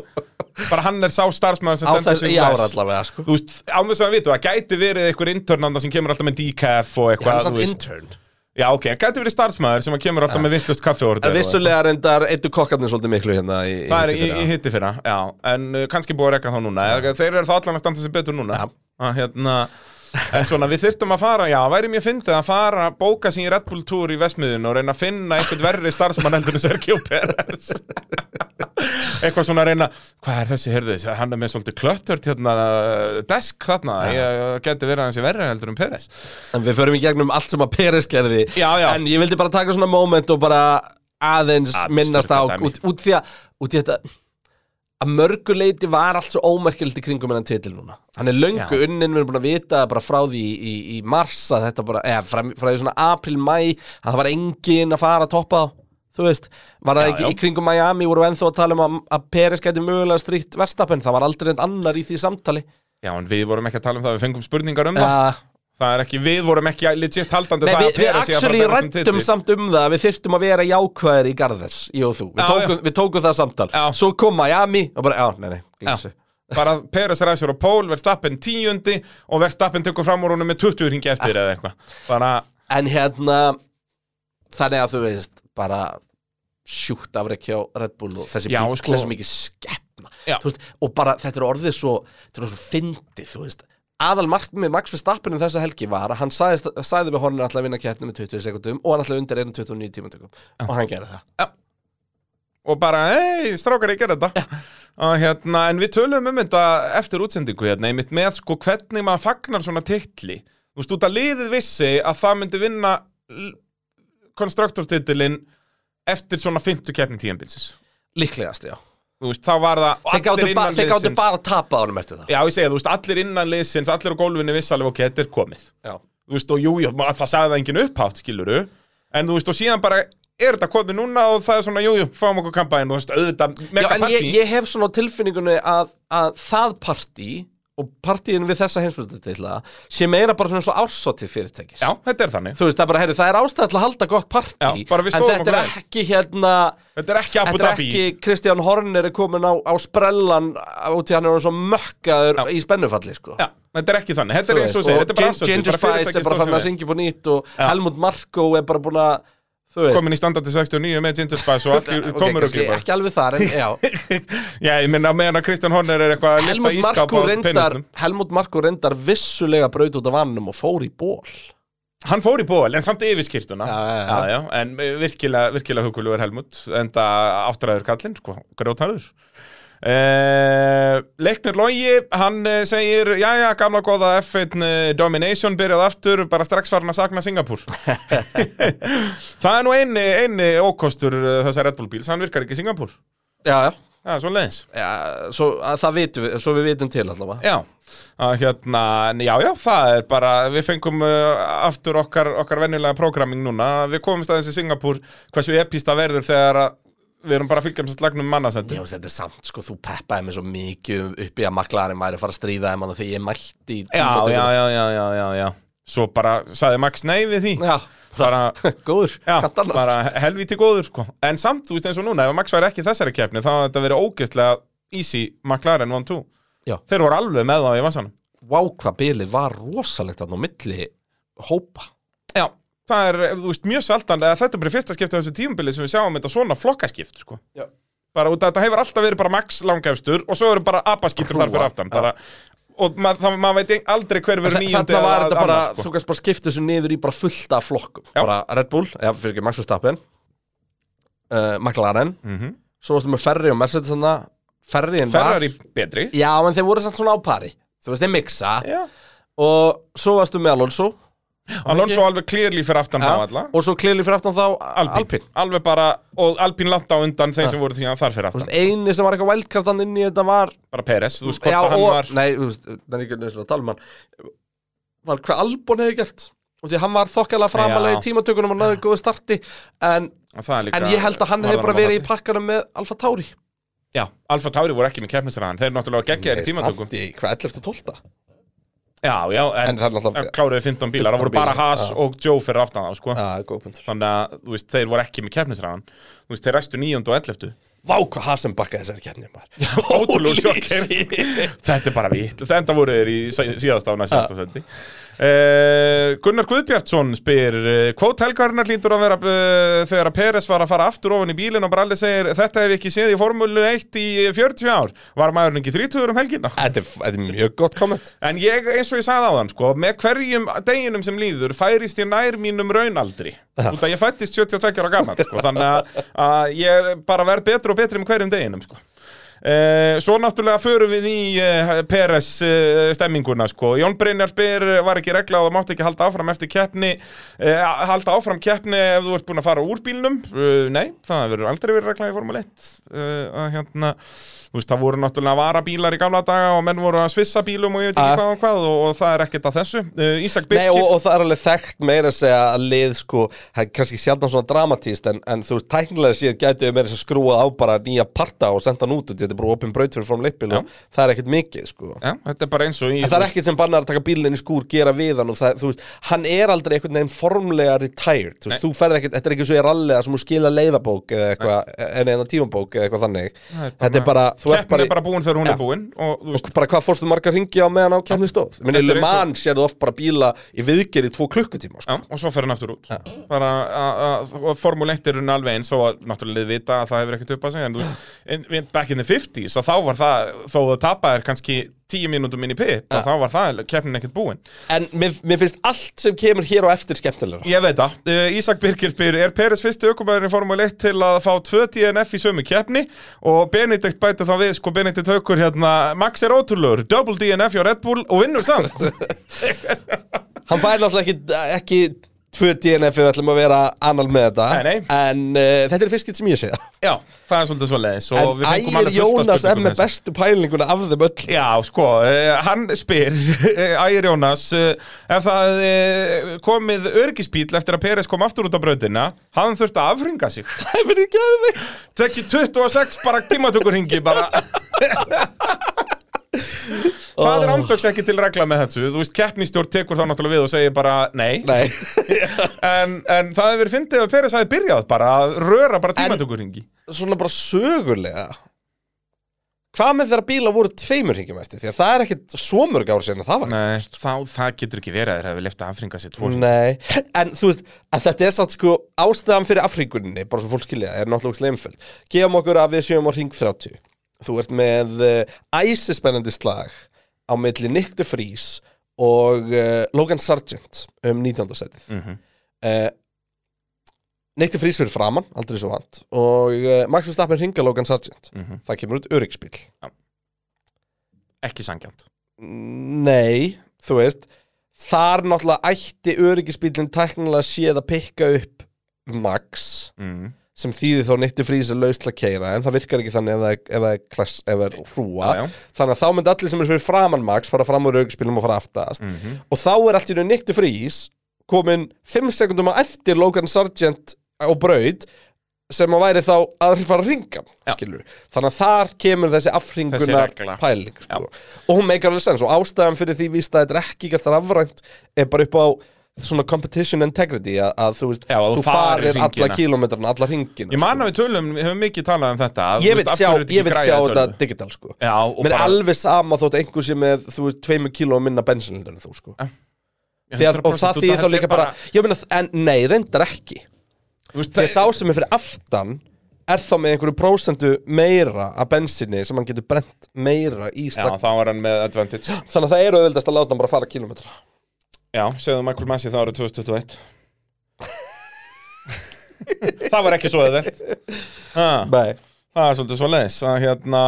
[SPEAKER 3] Bara hann er sá starfsmöður sem
[SPEAKER 2] Á
[SPEAKER 3] stendur
[SPEAKER 2] þess
[SPEAKER 3] sig
[SPEAKER 2] í ára allavega sko.
[SPEAKER 3] Þú veist, án þess að við vitum, það gæti verið einhver internanda sem kemur alltaf með decaf
[SPEAKER 2] Hann
[SPEAKER 3] og
[SPEAKER 2] er
[SPEAKER 3] eitthvað,
[SPEAKER 2] samt intern
[SPEAKER 3] Já, ok, það gæti verið starfsmöður sem kemur alltaf með vittlust kaffiordu.
[SPEAKER 2] En vissulega reyndar eittu kokkarnir svolítið miklu hérna í,
[SPEAKER 3] Það er í,
[SPEAKER 2] hittifyrra.
[SPEAKER 3] í hitti fyrra, já. En uh, kannski búið að rekka þá núna. Ja. Þeir eru þá allan að standa sig betur núna.
[SPEAKER 2] Já.
[SPEAKER 3] Að, hérna, En svona, við þyrftum að fara, já, væri mér fyndið að fara að bóka sín Red Bull Tour í Vestmiðun og reyna að finna eitthvað verri starfsmann heldur en Sergio Perez <laughs> Eitthvað svona að reyna, hvað er þessi, heyrðu þessi, hann er með svolítið klötturt hérna, desk þarna, ég geti verið að þessi verri heldur en Perez
[SPEAKER 2] En við förum í gegnum allt sem að Peres gerði
[SPEAKER 3] Já, já.
[SPEAKER 2] En ég vildi bara taka svona moment og bara aðeins
[SPEAKER 3] Absurd
[SPEAKER 2] minnast á
[SPEAKER 3] dæmi.
[SPEAKER 2] út, út því að út í þetta að mörguleiti var allt svo ómerkilegt í kringum hennan titil núna hann er löngu
[SPEAKER 3] Já.
[SPEAKER 2] unnin, við erum búin að vita bara frá því í, í, í mars að þetta bara, eða frá, frá því svona april, mæ að það var engin að fara að toppa þá þú veist, var það
[SPEAKER 3] Já,
[SPEAKER 2] ekki
[SPEAKER 3] já.
[SPEAKER 2] í kringum Miami voru ennþá að tala um að, að Peres gæti mögulega stríkt verstapen, það var aldrei enn annar í því samtali
[SPEAKER 3] Já, en við vorum ekki að tala um það, við fengum spurningar um það
[SPEAKER 2] uh,
[SPEAKER 3] Það er ekki, við vorum ekki legit haldandi
[SPEAKER 2] Nei, við,
[SPEAKER 3] það að
[SPEAKER 2] við
[SPEAKER 3] Perez sé að fara að
[SPEAKER 2] actually
[SPEAKER 3] berjast um
[SPEAKER 2] rættum
[SPEAKER 3] titil.
[SPEAKER 2] samt um það að við þyrftum að vera jákvæðir í Garðers, ég og þú Við,
[SPEAKER 3] Já,
[SPEAKER 2] tókum, við tókum það samtal,
[SPEAKER 3] Já.
[SPEAKER 2] svo kom Miami og bara, já, nei, nei, glinsu
[SPEAKER 3] bara Peres ræsir á pól, Verstappen tíundi og Verstappen tekur fram úr honum með 20 ringi eftir eða eitthvað bara,
[SPEAKER 2] En hérna, þannig að þú veist, bara sjúkt afrek hjá Red Bull og þessi
[SPEAKER 3] Já,
[SPEAKER 2] bíl
[SPEAKER 3] sko.
[SPEAKER 2] þessi mikið skeppna
[SPEAKER 3] Já.
[SPEAKER 2] Þú veist, Og bara, þetta er orðið svo, þetta er svo fyndið, þú veist Aðal markmið Max Verstappen um þessa helgi var að hann sagði, sagði við honum alltaf að vinna kettni með 20 sekundum og hann alltaf undir 1.29 tímantökum og hann gerði það
[SPEAKER 3] og bara, hei, strákar ég gerði þetta og hérna, en við tölum um þetta eftir útsendingu hérna, einmitt með sko hvernig maður fagnar svona titli þú veist, út að liðið vissi að það myndi vinna konstruktortitilinn eftir svona 50 keppni tíðanbilsis
[SPEAKER 2] Líklegast, já
[SPEAKER 3] þú veist, þá var það
[SPEAKER 2] Þeir
[SPEAKER 3] allir
[SPEAKER 2] gáttu, ba
[SPEAKER 3] innan
[SPEAKER 2] þeir gáttu
[SPEAKER 3] liðsins-
[SPEAKER 2] bara að tapa ánum eftir það
[SPEAKER 3] Já, ég segja, þú veist, allir innan liðsins, allir á gólfinu viss alveg, ok, þetta er komið
[SPEAKER 2] Já.
[SPEAKER 3] þú veist, og jú, jú, ma- það sagði það engin upphátt, skiluru, en þú veist, og síðan bara er þetta komið núna og það er svona, jú, jú, fáum okkur kampaðin, þú veist, auðvitað,
[SPEAKER 2] Já,
[SPEAKER 3] mega
[SPEAKER 2] en
[SPEAKER 3] partí,
[SPEAKER 2] ég, ég hef svona á tilfinningunni að, að það partí og partíin við þessa heimsbyrðutitla sé meira bara svona svo ársótið fyrirtækis
[SPEAKER 3] já, þetta er þannig,
[SPEAKER 2] Þú veist, það er bara, heyrðu, það er ástæð til að halda gott partí
[SPEAKER 3] Já, bara
[SPEAKER 2] En
[SPEAKER 3] við stóðum
[SPEAKER 2] þetta er
[SPEAKER 3] okkur
[SPEAKER 2] ekki hérna
[SPEAKER 3] þetta er ekki Abu
[SPEAKER 2] Þetta er
[SPEAKER 3] Dhabi,
[SPEAKER 2] ekki Kristján Horner er komin á, á sprellan út í hann er orðinn svo mökkaður í spennufalli sko.
[SPEAKER 3] já, þetta er ekki þannig, þetta
[SPEAKER 2] Þú
[SPEAKER 3] er
[SPEAKER 2] veist,
[SPEAKER 3] eins og segir, þetta er bara
[SPEAKER 2] Gin- Ginger Spice er bara fann að
[SPEAKER 3] fyrirtækið
[SPEAKER 2] syngja upp á nýtt og Helmut Marko er bara búin að þú veist,
[SPEAKER 3] komin í standardi 69 með Ginger Spice og allt í
[SPEAKER 2] ok, kannski
[SPEAKER 3] tómurugli bara.
[SPEAKER 2] ekki alveg þar en <laughs> já
[SPEAKER 3] Já, ég minna meðan að Kristján Horner er eitthvað að lifta
[SPEAKER 2] Helmut
[SPEAKER 3] ískap
[SPEAKER 2] Marko
[SPEAKER 3] á
[SPEAKER 2] reyndar
[SPEAKER 3] penustum.
[SPEAKER 2] Helmut Marko reyndar vissulega braut út af vannum og fór í ból
[SPEAKER 3] Hann fór í ból, en samt yfirskirtuna
[SPEAKER 2] Já, já, já.
[SPEAKER 3] já, já, En virkilega, virkilega hugulugur Helmut Enda áttræður kallinn, sko, grótarður Uh, Leiknir Logi, hann eh, segir Jæja, gamla góða F1 eh, Domination byrjað aftur, bara strax farin að sakna
[SPEAKER 2] <laughs>
[SPEAKER 3] Singapúr <laughs> Það er nú eini, eini ókostur eh, þessa Red Bull bíls, hann virkar ekki í Singapúr
[SPEAKER 2] Já, já,
[SPEAKER 3] Já, svo leiðins
[SPEAKER 2] já svo, að það vitum við, svo við vitum til allavega
[SPEAKER 3] Já, að hérna, en já, já, það er bara, við fengum uh, aftur okkar, okkar venjulega prógramming núna, við komumst aðeins í Singapúr, hversu epíst það verður þegar að við erum bara að fylgjum sér slagnum
[SPEAKER 2] Ég
[SPEAKER 3] mannasendur.
[SPEAKER 2] veist þetta er samt, sko, þú peppaði mig svo mikið um- upp í að maklarinn væri að fara að stríða þeim hana þegar ég mætti í
[SPEAKER 3] Já,
[SPEAKER 2] tímatökum.
[SPEAKER 3] já, já, já, já, já, já, svo bara sagði Max nei við því,
[SPEAKER 2] já
[SPEAKER 3] bara...
[SPEAKER 2] <laughs> Góður,
[SPEAKER 3] Já,
[SPEAKER 2] kanntu annað?
[SPEAKER 3] bara helvíti góður sko En samt, þú veist eins og núna, ef Max væri ekki í þessari keppni þá hafði þetta verið ógeðslega easy McLaren 1-2
[SPEAKER 2] Já.
[SPEAKER 3] Þeir voru alveg með þá í vassanum
[SPEAKER 2] Vá, hvað bilið var rosalegt þarna á milli hópa
[SPEAKER 3] Já, það er, þú veist, mjög sjaldan að þetta er bara í fyrsta skipti á þessu tímabili sem við sjáum þetta svona flokkaskipt, sko
[SPEAKER 2] Já.
[SPEAKER 3] bara út að þetta hefur alltaf verið bara max langefstur og svo eru bara apaskýtur þar fyrir
[SPEAKER 2] Hrúga,
[SPEAKER 3] aftan bara, og maður það- maður veit aldrei hver verður nýjundi
[SPEAKER 2] Þarna var þetta bara,
[SPEAKER 3] sko.
[SPEAKER 2] þú kannski bara skipta þessu niður í bara fullt af flokkum
[SPEAKER 3] Já.
[SPEAKER 2] Bara Red Bull, já, fyrir ekki Max Verstappen uh, McLaren
[SPEAKER 3] Mhm.
[SPEAKER 2] Svo varstu með Ferri og Mercedes þannig að Ferri en var
[SPEAKER 3] Ferrari betri
[SPEAKER 2] Já, en þeir voru samt svona á pari Þú veist, þeir mixa
[SPEAKER 3] Já.
[SPEAKER 2] Og svo varstu með Alonso
[SPEAKER 3] Alonso alveg klýrlí fyrir aftan þá alla
[SPEAKER 2] Og svo klili fyrir aftan þá Alpín,
[SPEAKER 3] Alpín, alveg bara, og Alpín langt á undan þeim sem voru því að þar fyrir
[SPEAKER 2] Þú veist,
[SPEAKER 3] aftan
[SPEAKER 2] eini sem var eitthvað wildkraftan inn í þetta var
[SPEAKER 3] bara Peres, þú veist hvort að hann
[SPEAKER 2] og,
[SPEAKER 3] var
[SPEAKER 2] Nei, þú veist, menn ekki nöðslega talmann um Var hvað Albon hefði gert Og því að hann var þokkalega framalega í
[SPEAKER 3] Já.
[SPEAKER 2] tímatökunum og náði góðu starti en,
[SPEAKER 3] Og það er líka-
[SPEAKER 2] en ég held að hann hefði
[SPEAKER 3] varðan
[SPEAKER 2] bara
[SPEAKER 3] á
[SPEAKER 2] verið í
[SPEAKER 3] haldi.
[SPEAKER 2] pakkanum með Alfa Tauri
[SPEAKER 3] Já, Alfa Tauri voru ekki með keppnisraðan þeir náttúrulega geggja þeir í tímatökum
[SPEAKER 2] Samt í hvað 11. 12.
[SPEAKER 3] Já, já, en,
[SPEAKER 2] En það er náttúrulega-
[SPEAKER 3] en kláruðu 15 bílar, það voru
[SPEAKER 2] 15
[SPEAKER 3] bara
[SPEAKER 2] bílar,
[SPEAKER 3] Haas og Joe fyrir aftan þá, sko
[SPEAKER 2] Ah, góð punktur.
[SPEAKER 3] Þannig að, þú veist, þeir voru ekki með keppnisræðan Þú veist, þeir ræstu 9. og 11.
[SPEAKER 2] Vá hvað Hasen bakkaði þessari kefni maður Holy
[SPEAKER 3] ótrúlegur sjokk.
[SPEAKER 2] shit.
[SPEAKER 3] Þetta er bara vitt Þetta voru þeir í sí- síðasta á næsta
[SPEAKER 2] Ja.
[SPEAKER 3] sendi Eh, Gunnar Guðbjartsson spyr eh, Kvót helgarinnar hlýtur að vera uh, þegar að Peres var að fara aftur ofan í bílinn og Bralli segir þetta hef ég ekki séð í formúlu 1 í 40 ár Var maðurinn ekki 30 um helgina?
[SPEAKER 2] Þetta er, þetta er mjög gott komment
[SPEAKER 3] En ég, eins og ég sagði á þann, sko, með hverjum deginum sem líður færist ég nær mínum raunaldri. Út að ég fættist 72 ára gammal, sko, þannig að, að ég bara verð betri og betri með hverjum deginum, sko. Eh, svo náttúrulega förum við í eh, Peres eh, stemminguna sko. Jón Brynjar spyr, eh, var ekki regla og það mátti ekki halda áfram eftir keppni eh, halda áfram keppni ef þú ert búin að fara úr bílnum eh, nei, það verður aldrei verið regla í Formule 1 eh, að hérna, þú veist, það voru náttúrulega varabílar í gamla daga og menn voru að svissa bílum og ég veit
[SPEAKER 2] Ah.
[SPEAKER 3] ekki hvað og hvað og, og það er ekkert að þessu eh, Ísak
[SPEAKER 2] Nei,
[SPEAKER 3] Birkir
[SPEAKER 2] og, og það er alveg þekkt meira að segja að lið sko, það er kannski sjaldan svona dramatíst en, en þú veist, tæknilega séð gætu við meira að skrúa á bara nýja parta og senda hann út út, þetta er bara opin braut fyrir fram leipil og það er ekkert mikið sko.
[SPEAKER 3] Já, þetta er bara eins og í
[SPEAKER 2] En það er ekkert sem bannar að taka bílinn í skúr, gera við hann og það, þú veist, hann er aldrei einhvern veginn formlega retired, þú veist, þú ferð ekkert, þetta er ekki svo í ralliða sem þú skila leiðabók eða eitthvað, en eða tímabók eða eitthvað þannig, þetta er bara, þú ert
[SPEAKER 3] keppni
[SPEAKER 2] bara,
[SPEAKER 3] er bara búin þegar hún
[SPEAKER 2] Já.
[SPEAKER 3] er búin og þú veist,
[SPEAKER 2] bara hvað fórstu margar hringi á meðan á kemni stóð? Ég Minni,
[SPEAKER 3] Þetta er
[SPEAKER 2] Le
[SPEAKER 3] eins og-
[SPEAKER 2] Mans sérðu oft bara bíla í viðgerð í tvo klukkutíma, sko.
[SPEAKER 3] Já, og svo fer hann aftur út bara að- að- og Formule 1 er hún alveg eins og að náttúrulega við vita að það hefur ekkert upp að segja en þú veist, in- in- back in the 50s að þá var það, þó að tapa er kannski 10 mínútum inn í pit og þá var það keppnin ekkert búin
[SPEAKER 2] En mér, mér finnst allt sem kemur hér á eftir skemmtilega
[SPEAKER 3] Ég veit það, uh, Ísak Birgir spyr Er Peres fyrsti ökumæðurinn í Formule 1 til að fá 2 DNF í sömu keppni og Benedikt bæti þá við, sko Benedikt haukur hérna, Max er ótrúlegur, double DNF hjá Red Bull og vinnur samt
[SPEAKER 2] <laughs> Hann fær náttúrulega ekki, ekki tvö DNF ef við ætlum að vera annal með þetta
[SPEAKER 3] Nei, nei.
[SPEAKER 2] En uh, þetta er fyrst getur sem ég sé það
[SPEAKER 3] Já, það er svolítið svo leiðis
[SPEAKER 2] En ægir Jónas er með bestu pælinguna af þeim öll
[SPEAKER 3] Já, sko, eh, hann spyr Ægir Jónas eh, ef það eh, komið örgisbíl eftir að Peres kom aftur út á brautina hann þurfti að afhringa sig
[SPEAKER 2] <laughs> Það finnir ekki að mig
[SPEAKER 3] tekki 26 bara tímatökur hingi bara Það er andöks ekki til regla með þessu Þú veist, keppnistjórn tekur þá náttúrulega við og segir bara nei,
[SPEAKER 2] Nei, <laughs>
[SPEAKER 3] En, en það hefur verið fyndið að Peres hafi byrjað bara að röra bara
[SPEAKER 2] En-
[SPEAKER 3] tímatökur hingi
[SPEAKER 2] svona bara sögulega Hvað með þeirra bíla voru tveimur hringjum eftir? Því að það er ekkit svo mörg ár sinna það var
[SPEAKER 3] Nei, þá, það getur ekki verið að þeir hafi left að afhringa sig tvo
[SPEAKER 2] Nei, en þú veist að þetta er satt sko ástæðan fyrir afhringuninni bara svo fólk skilja, það er náttúrulega sleimföld gefum okkur að við séum á hring 30 þú ert með uh, æsispennandi slag á milli Nick de Vries og uh, Logan Sargent um 19. setið mm
[SPEAKER 3] Mhm.
[SPEAKER 2] -hmm. uh, Nick de Vries fyrir framann, aldrei svo vant og uh, Max Verstappen hringa Logan Sargent
[SPEAKER 3] Mhm.
[SPEAKER 2] það kemur út öryggspíl
[SPEAKER 3] Ekki sangjant
[SPEAKER 2] Nei, þú veist Þar náttúrulega ætti öryggisbílinn tæknilega séð að pikka upp Max
[SPEAKER 3] mm.
[SPEAKER 2] sem þýðir þá nýttu frísi laust til að keira en það virkar ekki þannig ef það er, ef það er, klass, ef það er hrúa
[SPEAKER 3] Já, já.
[SPEAKER 2] þannig að þá myndi allir sem er fyrir framan Max fara fram úr öryggisbílum og fara aftast
[SPEAKER 3] Mhm.
[SPEAKER 2] og þá er allt í raun nýttu frís komin 5 sekundum á eftir Logan Sargent og Braud sem að væri þá að fara að ringa skilur. þannig að þar kemur þessi afringunar
[SPEAKER 3] regla.
[SPEAKER 2] pæling sko. og hún meikar alveg sens og ástæðan fyrir því víst að þetta er ekki gert þar afrænt er bara upp á svona competition integrity að, að þú veist,
[SPEAKER 3] Já, að þú
[SPEAKER 2] þú
[SPEAKER 3] farir
[SPEAKER 2] farir alla
[SPEAKER 3] hringina.
[SPEAKER 2] kílómetran, alla hringina sko.
[SPEAKER 3] Ég man að við tölum, við höfum mikið talað um þetta
[SPEAKER 2] ég vil sjá, ég vil sjá þetta digital sko
[SPEAKER 3] Já, Eh, og
[SPEAKER 2] Mér er
[SPEAKER 3] bara
[SPEAKER 2] alveg sama þótt einhver sem er, þú veist, tveimur kíló að minna bensinlindur en þú, sko.
[SPEAKER 3] Eh.
[SPEAKER 2] Þegar, og
[SPEAKER 3] 100%
[SPEAKER 2] það þýðir þá
[SPEAKER 3] þetta er
[SPEAKER 2] líka bara, ég meina, en nei, reyndar ekki.
[SPEAKER 3] þú veist,
[SPEAKER 2] Þegar sá sem er fyrir aftan er þá með einhverju prósentu meira af bensinni sem hann getur brent meira í
[SPEAKER 3] Já,
[SPEAKER 2] slag.
[SPEAKER 3] þá var hann með Advantage
[SPEAKER 2] Þannig að það eru auðvildast að láta hann bara fara kílómetra.
[SPEAKER 3] Já, segðu Michael Massey það árið
[SPEAKER 2] <laughs>
[SPEAKER 3] 2021 Það var ekki svo auðvelt Ha,
[SPEAKER 2] Nei.
[SPEAKER 3] Það er svolítið svo leiðis hérna,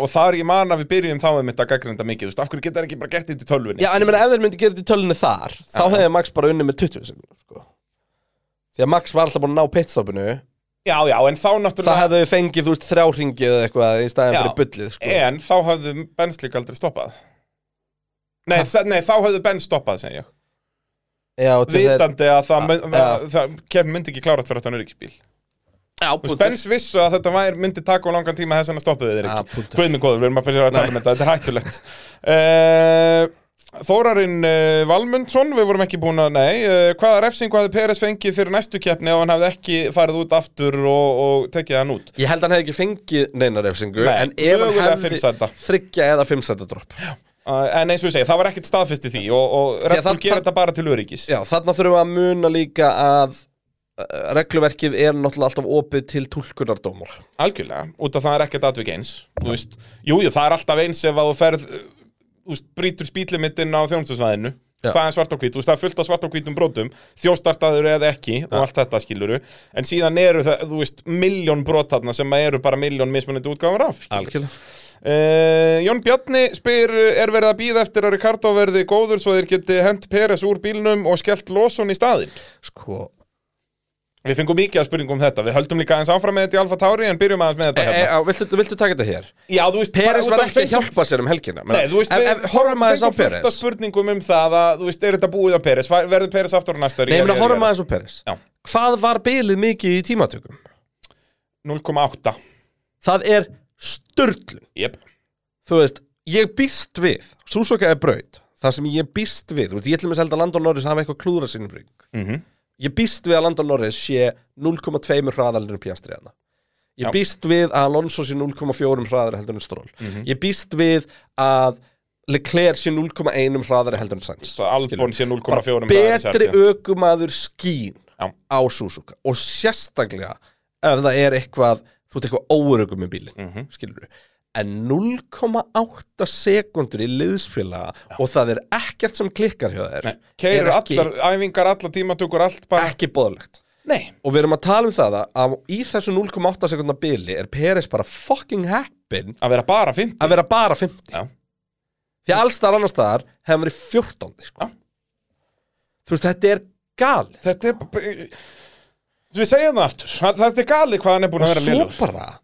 [SPEAKER 3] Og það er ég man að við byrjum þá um þetta gaggrinda mikið þú veist, Af hverju geta það ekki bara gert þetta í tölvunni
[SPEAKER 2] Já, en ég meina, ef þeir myndi gera þetta í tölunni þar, þá hefði Max bara unnið með 20 sekundum, sko. Því að Max var alltaf búin að ná pitstopinu,
[SPEAKER 3] já, já, en þá náttúrulega
[SPEAKER 2] það hefði fengið, þú veist, þrjáringi eða eitthvað í staðin
[SPEAKER 3] Já.
[SPEAKER 2] fyrir bullið, sko.
[SPEAKER 3] En þá hafðu Benz líka aldrei stoppað Nei, þa- nei þá hafðu Benz stoppað, segi ég
[SPEAKER 2] Já, og til þeir-
[SPEAKER 3] vitandi að það, mun,
[SPEAKER 2] Já.
[SPEAKER 3] að, það kemur myndi ekki klárat fyrir þetta nörgisbíl
[SPEAKER 2] Já, punktur.
[SPEAKER 3] Spens vissu að þetta væri, myndi taka á langan tíma þess að stoppa þeir
[SPEAKER 2] Já,
[SPEAKER 3] ekki
[SPEAKER 2] punktur.
[SPEAKER 3] Guð minn góður, við erum að byrja að tala um þetta, þetta er
[SPEAKER 2] <laughs>
[SPEAKER 3] hættulegt uh, Þórarinn uh, Valmundsson, við vorum ekki búin að, nei uh, Hvaða refsingu hafði Peres fengið fyrir næstu keppni ef hann hafði ekki farið út aftur og, og tekið hann út?
[SPEAKER 2] Ég held að hann hefði ekki fengið neina refsingu
[SPEAKER 3] Nei,
[SPEAKER 2] En ef hann
[SPEAKER 3] mögulega
[SPEAKER 2] hefði
[SPEAKER 3] fimm sæta.
[SPEAKER 2] þryggja eða fimmsæta dropp
[SPEAKER 3] Uh, En eins og ég segi, það var ekkert staðfest í því og, og
[SPEAKER 2] að
[SPEAKER 3] Red Bull
[SPEAKER 2] það-
[SPEAKER 3] gerir
[SPEAKER 2] það-
[SPEAKER 3] þetta bara til öryggis
[SPEAKER 2] Já, þarna þurfum við að muna líka að eh, regluverkið er náttúrulega alltaf opið til tólkunardómur
[SPEAKER 3] Algjörlega, út af það er ekkert atvik eins Þú veist, jú, jú, það er alltaf eins ef að þú ferð uh, Þú veist, brýtur spýtlimittin á þjónustusvæðinu
[SPEAKER 2] Já.
[SPEAKER 3] Það er svart á hvít, þú veist, það er fullt af svart á hvítum brotum Þjóstartaður eða ekki og allt þetta skiluru En síðan eru það, þú veist, miljón brot þarna sem eru bara miljón mismunandi útgáfur af skilurðu.
[SPEAKER 2] Algjörlega
[SPEAKER 3] Uh, Jón Bjarni spyr er verið að býða eftir að Ricardo verði góður svo þeir geti hent Peres úr bílnum og skellt Lawson í staðinn
[SPEAKER 2] Sko,
[SPEAKER 3] Við fengum mikið að spurningum um þetta, við höldum líka aðeins áfram með þetta í Alfa Tauri en byrjum aðeins
[SPEAKER 2] e,
[SPEAKER 3] með þetta
[SPEAKER 2] e, á,
[SPEAKER 3] hérna
[SPEAKER 2] viltu, viltu taka þetta hér?
[SPEAKER 3] Já, þú veist, bara
[SPEAKER 2] Peres
[SPEAKER 3] út
[SPEAKER 2] var
[SPEAKER 3] af
[SPEAKER 2] ekki að
[SPEAKER 3] fengum-
[SPEAKER 2] hjálpa sér um helgina
[SPEAKER 3] Nei, þú veist,
[SPEAKER 2] ef,
[SPEAKER 3] við
[SPEAKER 2] ef, Horfum aðeins á
[SPEAKER 3] fengum fullt af
[SPEAKER 2] Peres
[SPEAKER 3] spurningum um það að, þú veist, er þetta búið á Peres, Var- verður Peres aftur á næsta ári?
[SPEAKER 2] Nei, ég meina,
[SPEAKER 3] Jæja,
[SPEAKER 2] horfum
[SPEAKER 3] jæja,
[SPEAKER 2] aðeins á Peres
[SPEAKER 3] jæja. hérna. Já,
[SPEAKER 2] Hvað var bilið mikið í tímatökum?
[SPEAKER 3] 0,8
[SPEAKER 2] Það er störtlun
[SPEAKER 3] Jep,
[SPEAKER 2] Þú veist, ég býst við Súsoka er braut Það sem ég býst við, þú veist, ég ætlum að selda Landon Norris hafa eitthvað klúðra sinni bring
[SPEAKER 3] Mhm.
[SPEAKER 2] Ég býst við að Landon Norris sé 0,2 hraðalinn um Piastri hana Ég
[SPEAKER 3] Já.
[SPEAKER 2] býst við að Alonso sé 0,4 hraðari heldur en Stroll
[SPEAKER 3] Mhm.
[SPEAKER 2] Ég býst við að Leclerc sé 0,1 hraðari heldur en Sainz
[SPEAKER 3] svo Albon um sé 0,4
[SPEAKER 2] betri
[SPEAKER 3] öll
[SPEAKER 2] ökumaður skín
[SPEAKER 3] Já.
[SPEAKER 2] á Suzuka og sérstaklega ef það er eitthvað þú ert eitthvað óörugum með bílinn
[SPEAKER 3] Mhm.
[SPEAKER 2] mm en 0,8 sekundur í liðsfélaga og það er ekkert sem klikkar hjá þér
[SPEAKER 3] Keirur
[SPEAKER 2] er ekki,
[SPEAKER 3] allar, æfingar, allar tímatökur, allt bara
[SPEAKER 2] ekki boðlegt
[SPEAKER 3] Nei,
[SPEAKER 2] og við erum að tala um það að- að í þessu 0,8 sekundar bíli er Peres bara fucking heppin
[SPEAKER 3] að vera bara 50
[SPEAKER 2] að vera bara 50
[SPEAKER 3] Já.
[SPEAKER 2] því að alls þar annars staðar hefur verið 14 sko.
[SPEAKER 3] Já.
[SPEAKER 2] þú veist þetta er galið
[SPEAKER 3] Þetta er b- b- Við segjum það aftur Það- Þetta er galið hvað hann er búin að
[SPEAKER 2] og
[SPEAKER 3] vera
[SPEAKER 2] svo
[SPEAKER 3] liður
[SPEAKER 2] bara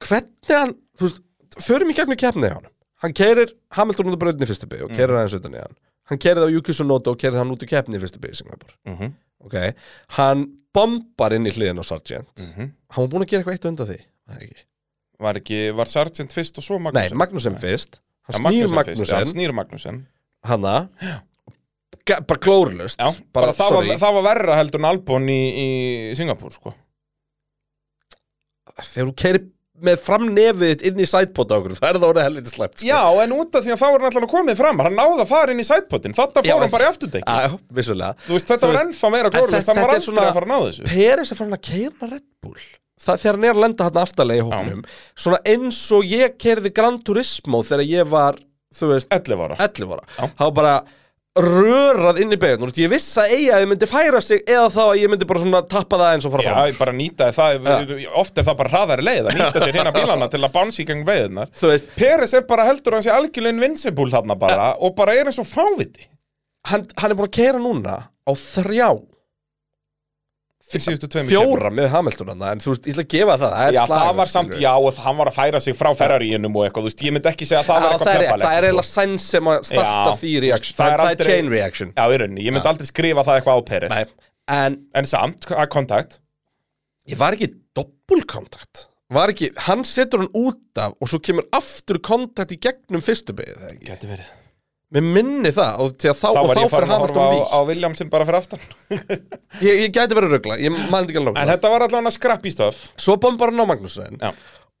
[SPEAKER 2] hvernig hann, þú veist, förum í gegnum keppnið hjá hann hann keirir Hamilton út af brautinni í fyrstu bygg og
[SPEAKER 3] Mhm.
[SPEAKER 2] keirir aðeins utan í hann hann keirir það á Júkis og Nóta og keirir hann út í keppni í fyrstu bygg í Singapur
[SPEAKER 3] Mhm.
[SPEAKER 2] ok, hann bombar inn í hliðin á Sargent
[SPEAKER 3] Mhm.
[SPEAKER 2] hann var búin að gera eitthvað eitt undan því Var það ekki.
[SPEAKER 3] Var ekki, var Sargent fyrst og svo
[SPEAKER 2] nei,
[SPEAKER 3] Magnussen
[SPEAKER 2] Magnussen fyrst hann
[SPEAKER 3] Ja,
[SPEAKER 2] snýr
[SPEAKER 3] fyrst, já,
[SPEAKER 2] Magnussen,
[SPEAKER 3] Snýr Magnussen
[SPEAKER 2] hanna ga- bara glórlust
[SPEAKER 3] Já, bara, það, var, það var verra heldur en Albon í, í Singapur sko.
[SPEAKER 2] þegar þú keirir með framnefið þitt inn í sætpóta okkur, það er það orðið helviti slæmt sko.
[SPEAKER 3] Já, en út af því að þá var hann alltaf komið fram Hann náði að fara inn í sætpotin Þetta
[SPEAKER 2] Já,
[SPEAKER 3] fór
[SPEAKER 2] en-
[SPEAKER 3] hann bara í afturdekki
[SPEAKER 2] Já, já, vissulega
[SPEAKER 3] Þú veist, þetta
[SPEAKER 2] þú
[SPEAKER 3] var
[SPEAKER 2] veist-
[SPEAKER 3] ennþá meira
[SPEAKER 2] en
[SPEAKER 3] glórlust
[SPEAKER 2] þetta-
[SPEAKER 3] Hann var
[SPEAKER 2] þetta er
[SPEAKER 3] aldrei
[SPEAKER 2] svona-
[SPEAKER 3] að fara að ná þessu
[SPEAKER 2] Peres er farin að keira Red Bull Það, þegar hann er að lenda hérna aftarlega í hóknum Svona eins og ég keirði Gran Turismo Þegar ég var, þú veist,
[SPEAKER 3] 11 ára
[SPEAKER 2] 11 ára Það var bara rörað inn í beigjarn Ég vissi að eiga að ég myndi færa sig Eða þá að ég myndi bara svona tappa það eins og fara
[SPEAKER 3] Já,
[SPEAKER 2] fram
[SPEAKER 3] ég bara nýta það,
[SPEAKER 2] Ah.
[SPEAKER 3] oft er það bara hraðari leið að nýta sér hérna bílana til að bánsi í gang veiðnar
[SPEAKER 2] Þú veist,
[SPEAKER 3] Peres er bara heldur hans í algjörlega invincible þarna bara
[SPEAKER 2] Ah.
[SPEAKER 3] og bara er eins og fáviti
[SPEAKER 2] hann, hann er búin að keira núna Á þrjá,
[SPEAKER 3] fyrir síðustu tveimur keppnum.
[SPEAKER 2] fjóra með Hamilton hana, En þú veist, ég ætla að gefa það Það er
[SPEAKER 3] Já,
[SPEAKER 2] slagur,
[SPEAKER 3] það var samt,
[SPEAKER 2] skilurðu. Ah.
[SPEAKER 3] já, og hann var að færa sig frá ferraríinum og eitthvað, þú veist, ég myndi ekki segja að það
[SPEAKER 2] Já, það
[SPEAKER 3] var eitthvað
[SPEAKER 2] er, það er
[SPEAKER 3] sko.
[SPEAKER 2] eiginlega sæns sem að starta
[SPEAKER 3] Já,
[SPEAKER 2] því reaction
[SPEAKER 3] það
[SPEAKER 2] Það
[SPEAKER 3] er
[SPEAKER 2] er, það
[SPEAKER 3] aldrei-
[SPEAKER 2] er chain reaction
[SPEAKER 3] Já, í rauninni, ég myndi aldrei skrifa það eitthvað á Peres
[SPEAKER 2] Nei, En
[SPEAKER 3] En samt, að kontakt
[SPEAKER 2] ég var ekki doppulkontakt var ekki, hann setur hann út af og svo kemur aftur kontakt í gegnum fyrstu beigð, þegar ekki
[SPEAKER 3] Gæti verið
[SPEAKER 2] mér minni það, og, þá, þá,
[SPEAKER 3] Þá
[SPEAKER 2] og
[SPEAKER 3] var
[SPEAKER 2] þá fyrir
[SPEAKER 3] ég farin að
[SPEAKER 2] Hamilton
[SPEAKER 3] horfa á, á
[SPEAKER 2] vík
[SPEAKER 3] Williamson bara fyrir aftan
[SPEAKER 2] ég, ég gæti verið rögla, ég maður ekki alveg
[SPEAKER 3] En
[SPEAKER 2] nákvæmlega.
[SPEAKER 3] þetta var allan að skrappi stöf
[SPEAKER 2] svo bombar hann á Magnúsin
[SPEAKER 3] Já.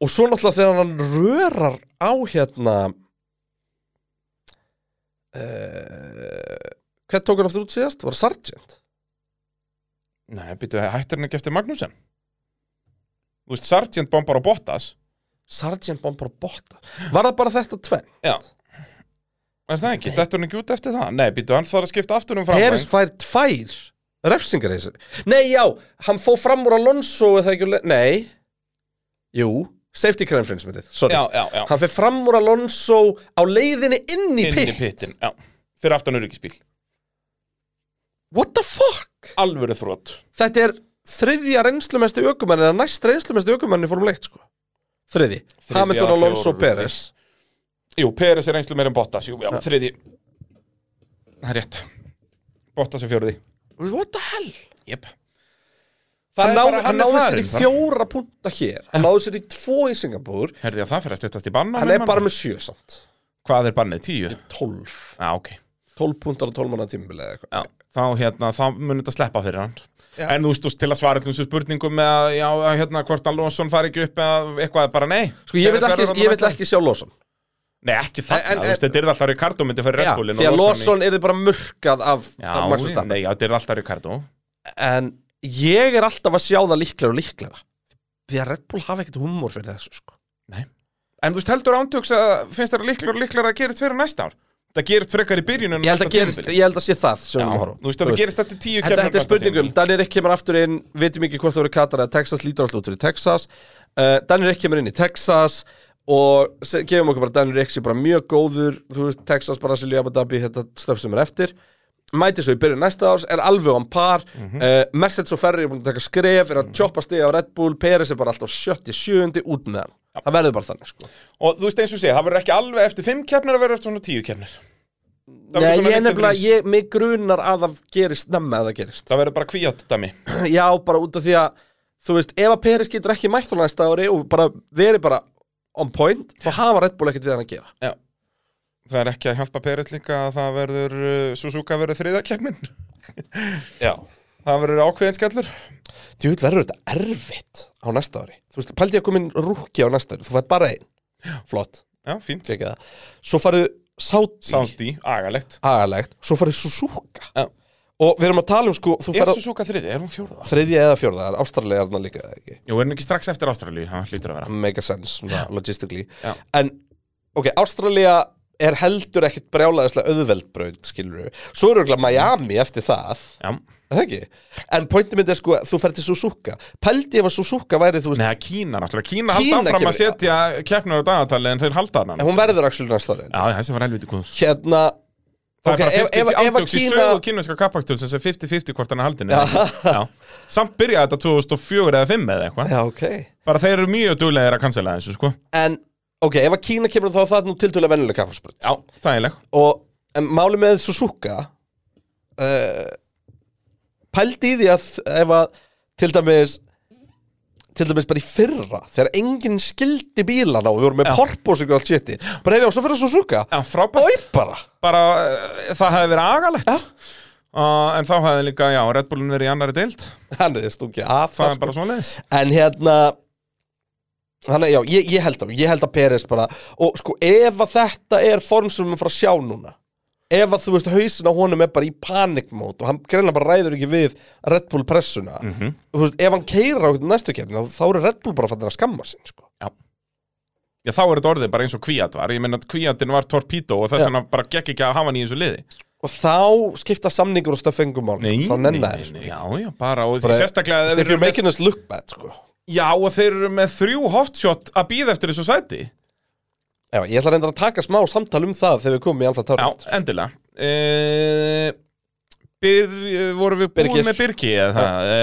[SPEAKER 2] og svo náttúrulega þegar hann rörar á hérna uh, hvað tók hann aftur út síðast? var Sargent?
[SPEAKER 3] Nei, býttu, hættir hann ekki eftir Magnúsen Þú veist, Sargent bombar á Bottas
[SPEAKER 2] Sargent bombar á botta var það bara þetta tvenn?
[SPEAKER 3] Já Er það ekki? Þetta er hann ekki út eftir það? Nei, býttu, hann þarf að skipta aftur um framvæng
[SPEAKER 2] Peres fær tvær refsingar í þessu Nei, já, hann fó fram úr Alonso eða ekki, úr le- Nei Jú, safety car infringementið Sorry,
[SPEAKER 3] Já, já, já
[SPEAKER 2] hann fer fram úr Alonso á leiðinni inn í
[SPEAKER 3] inn í
[SPEAKER 2] pitt
[SPEAKER 3] pittin já. fyrir aftan öryggisbíl
[SPEAKER 2] What the fuck?
[SPEAKER 3] alvöru þrótt
[SPEAKER 2] Þetta er þriðja reynslumestu ökumann eða næst reynslumestu ökumann í Formule 1 sko Þriði,
[SPEAKER 3] Þriðja,
[SPEAKER 2] Hamilton, Alonso,
[SPEAKER 3] fjórði.
[SPEAKER 2] Peres
[SPEAKER 3] Jú, Peres er einslu meir en Bottas Jú, já, þriði Það er rétt Bottas er fjörði
[SPEAKER 2] What the hell?
[SPEAKER 3] Jep
[SPEAKER 2] Hann,
[SPEAKER 3] er
[SPEAKER 2] ná,
[SPEAKER 3] bara-
[SPEAKER 2] hann
[SPEAKER 3] er
[SPEAKER 2] náði sér í
[SPEAKER 3] farinn, það-
[SPEAKER 2] fjóra punta hér Hann náði sér í tvo í Singapur
[SPEAKER 3] Herði að það fyrir að styrtast í banna
[SPEAKER 2] Hann
[SPEAKER 3] með
[SPEAKER 2] er
[SPEAKER 3] mann.
[SPEAKER 2] bara með sjö samt
[SPEAKER 3] Hvað er bannið? Tíu? Já,
[SPEAKER 2] 12
[SPEAKER 3] ok
[SPEAKER 2] 12 puntar og 12 manna tímbil eða eitthvað
[SPEAKER 3] Já, þá hérna, þá mun þetta sleppa fyrir hann
[SPEAKER 2] Já.
[SPEAKER 3] En þú veist, þú veist, til að svara allir þessu spurningum með að, já, hérna, hvort Alonso fari ekki upp eða eitthvað, bara nei
[SPEAKER 2] Sko ég vil
[SPEAKER 3] Peres
[SPEAKER 2] ekki,
[SPEAKER 3] verður þarna
[SPEAKER 2] ég vil
[SPEAKER 3] næsta.
[SPEAKER 2] ekki sjá Lawson
[SPEAKER 3] Nei, ekki þarna,
[SPEAKER 2] En- en-
[SPEAKER 3] þú veist, þetta er alltaf Ricardo myndi fyrir Red
[SPEAKER 2] Já,
[SPEAKER 3] Bullin
[SPEAKER 2] því að Lawson er bara murkað af,
[SPEAKER 3] Já,
[SPEAKER 2] af Max
[SPEAKER 3] nei,
[SPEAKER 2] Verstappen
[SPEAKER 3] já, þetta er alltaf Ricardo
[SPEAKER 2] en ég er alltaf að sjá það líklega og líklega því að Red Bull hafa ekkert humor fyrir þessu sko.
[SPEAKER 3] En þú veist, heldur ántöks að finnst þér líklar og líklar að gerist fyrir næsta ár Það gerist frekar í byrjun en
[SPEAKER 2] ég, held
[SPEAKER 3] næsta
[SPEAKER 2] að gerist,
[SPEAKER 3] tímabil.
[SPEAKER 2] ég held að sé það sem við
[SPEAKER 3] Já,
[SPEAKER 2] erum að horfa á.
[SPEAKER 3] Þú veist, þetta gerist þetta tíu
[SPEAKER 2] Þetta,
[SPEAKER 3] kemur
[SPEAKER 2] þetta er spurningum, Daniel Rick kemur aftur inn veitum ekki hvort það verið Katar eða Texas lítur alltaf út fyrir Texas uh, Daniel Rick kemur inn í Texas og se- gefum okkur bara Daniel Rick sé bara mjög góður þú veist, Texas, Brasilíu, Abu Dhabi þetta stöf sem er eftir mæti svo í byrjun næsta árs, er alveg án par mm Mercedes og Ferrari er búin að taka skref er að tjoppa stiga á Red Bull, Peres er bara alltaf sjötti, sjöundi út með hann það verður bara þannig sko
[SPEAKER 3] Og þú veist eins og sé, það verður ekki alveg eftir fimm keppnir að vera eftir svona tíu keppnir Það verður
[SPEAKER 2] Nei,
[SPEAKER 3] svona
[SPEAKER 2] ég
[SPEAKER 3] neitt
[SPEAKER 2] nefnilega,
[SPEAKER 3] öðruvísi.
[SPEAKER 2] ég, mig grunar að það gerist nefna að það gerist
[SPEAKER 3] Það verður bara kvíat dæmi
[SPEAKER 2] Já, bara út af því að Þú veist, ef að Peris getur ekki mætt á næsta ári og bara verið bara on point þá hafa Red Bull ekkert við hann að gera
[SPEAKER 3] Já Það er ekki að hjálpa Peres líka að það verður uh, Suzuka verður þriða keppnin <laughs> Já Það verður ákveðin skellur
[SPEAKER 2] Þú veit, verður þetta erfitt á næsta ári Þú veist, pældi ég að koma inn rúki á næsta ári þú fætt bara einn Flott,
[SPEAKER 3] Já, fínt
[SPEAKER 2] klikið það Svo farið Saudi,
[SPEAKER 3] Sándi, agalegt
[SPEAKER 2] agalegt Svo farið Suzuka
[SPEAKER 3] Já.
[SPEAKER 2] Og við erum að tala um sko Þú
[SPEAKER 3] Er
[SPEAKER 2] farið á
[SPEAKER 3] Suzuka þriði? Er hún fjórða?
[SPEAKER 2] þriðja eða fjórða Það er ástralega þarna líka eða ekki
[SPEAKER 3] Jú, er hún ekki strax eftir Ástralíu? Það hlýtur að vera
[SPEAKER 2] make a sense, svona, logistically
[SPEAKER 3] Já.
[SPEAKER 2] en, ok, Ástralía er heldur ekkit brjálæðislega auðveldbraut skilur við, svo eru ekki Miami eftir það,
[SPEAKER 3] Já
[SPEAKER 2] er það ekki en pointi mitt er sko, að þú fer til Suzuka pældi ef að Suzuka væri, þú veist
[SPEAKER 3] Nei, það er Kína náttúrulega Kína,
[SPEAKER 2] Kína
[SPEAKER 3] halda áfram að
[SPEAKER 2] kemur-
[SPEAKER 3] setja keppnur á dagatali en þeir halda hann
[SPEAKER 2] en hún verður axil næsta ári
[SPEAKER 3] Já, þessi var helviti góður
[SPEAKER 2] hérna,
[SPEAKER 3] Það
[SPEAKER 2] ok,
[SPEAKER 3] er
[SPEAKER 2] ef, ef,
[SPEAKER 3] bara 50
[SPEAKER 2] ef að
[SPEAKER 3] átjóks í
[SPEAKER 2] Kína
[SPEAKER 3] sögu kínverska kappaktúrsins sem 50-50 hvort hann er haldin eða ekki. Já. Samt byrjaði þetta 2004 eða 5 eða eitthvað
[SPEAKER 2] já, ok,
[SPEAKER 3] Bara þeir eru mjög duglegir að cancela þessu sko
[SPEAKER 2] en ok, ef að Kína kemur þá er það nú tiltölulega venjulega kapparsbraut
[SPEAKER 3] Já, þægileg
[SPEAKER 2] og en máli með Suzuka uh, pældi í því að ef að til dæmis til dæmis bara í fyrra þegar enginn skildi bílana og við vorum með
[SPEAKER 3] Já.
[SPEAKER 2] porpósing og allt sétti bara heyrðu, og svo fyrir Suzuka
[SPEAKER 3] Já, frábært
[SPEAKER 2] Oi, bara,
[SPEAKER 3] Bara uh, það hefði verið agalegt uh, En þá hefði líka, já, Red Bullin verið í annari deild
[SPEAKER 2] hann er stungið af
[SPEAKER 3] Það
[SPEAKER 2] það
[SPEAKER 3] er bara svona leðis
[SPEAKER 2] sko. en hérna hann er, já, ég, ég held að ég held að Peres bara, og sko ef að þetta er form sem við erum að fara að sjá núna ef að þú veist, hausin á honum er bara í panikmót og hann greinlega bara ræður ekki við Red Bull pressuna
[SPEAKER 3] -hmm.
[SPEAKER 2] þú veist, ef hann keirar á einhvern næstu keppni þá, þá eru Red Bull bara fannir að skamma sín sko.
[SPEAKER 3] Já, þá er þetta orðið bara eins og kvíat var Ég meina að kvíatin var torpító og þess
[SPEAKER 2] Já.
[SPEAKER 3] vegna bara gekk ekki að hafa hann í þessu liði
[SPEAKER 2] og þá skipta samningur og stöfengum mál
[SPEAKER 3] Nei,
[SPEAKER 2] þá
[SPEAKER 3] nei,
[SPEAKER 2] nenna
[SPEAKER 3] nei,
[SPEAKER 2] þér
[SPEAKER 3] nei.
[SPEAKER 2] sko.
[SPEAKER 3] Já, já, bara og
[SPEAKER 2] Bara-
[SPEAKER 3] sérstaklega ef
[SPEAKER 2] Just
[SPEAKER 3] þeir
[SPEAKER 2] if you're
[SPEAKER 3] eru með-
[SPEAKER 2] making us look bad sko.
[SPEAKER 3] Já, og þeir eru með þrjú hotshot að býða eftir þessu sæti
[SPEAKER 2] Já, ég ætla reyndar að taka smá samtal um það þegar við komum í Alfa
[SPEAKER 3] Já,
[SPEAKER 2] Tauri
[SPEAKER 3] endilega e Byr, voru við búin
[SPEAKER 2] Birgir.
[SPEAKER 3] með Birgi eða það e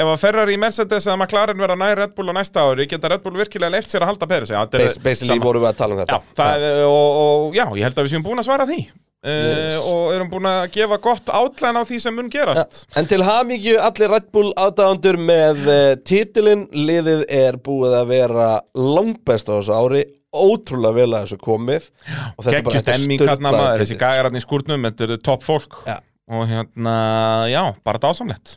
[SPEAKER 3] ef að Ferrari, Mercedes eða McLaren vera nær Red Bull á næsta ári geta Red Bull virkilega leift sér að halda Peris já, þetta er
[SPEAKER 2] Bas basically
[SPEAKER 3] sama.
[SPEAKER 2] vorum við að tala um
[SPEAKER 3] já,
[SPEAKER 2] þetta
[SPEAKER 3] það, er- og, og já, ég held að við séum búin að svara því e
[SPEAKER 2] Yes.
[SPEAKER 3] og erum búin að gefa gott átlæn á því sem mun gerast
[SPEAKER 2] En til hamingju allir Red Bull aðdáðandur með uh, titilinn Liðið er búið að vera langbest á þessu ári Ótrúlega vel að þessu komið Og þetta er bara-
[SPEAKER 3] geggjust
[SPEAKER 2] þetta er
[SPEAKER 3] emming hérna
[SPEAKER 2] sturlaður
[SPEAKER 3] maður þessi
[SPEAKER 2] titill.
[SPEAKER 3] gæjararni í skúrnum, þetta eru topp fólk
[SPEAKER 2] Já.
[SPEAKER 3] og hérna, já, bara dásamlegt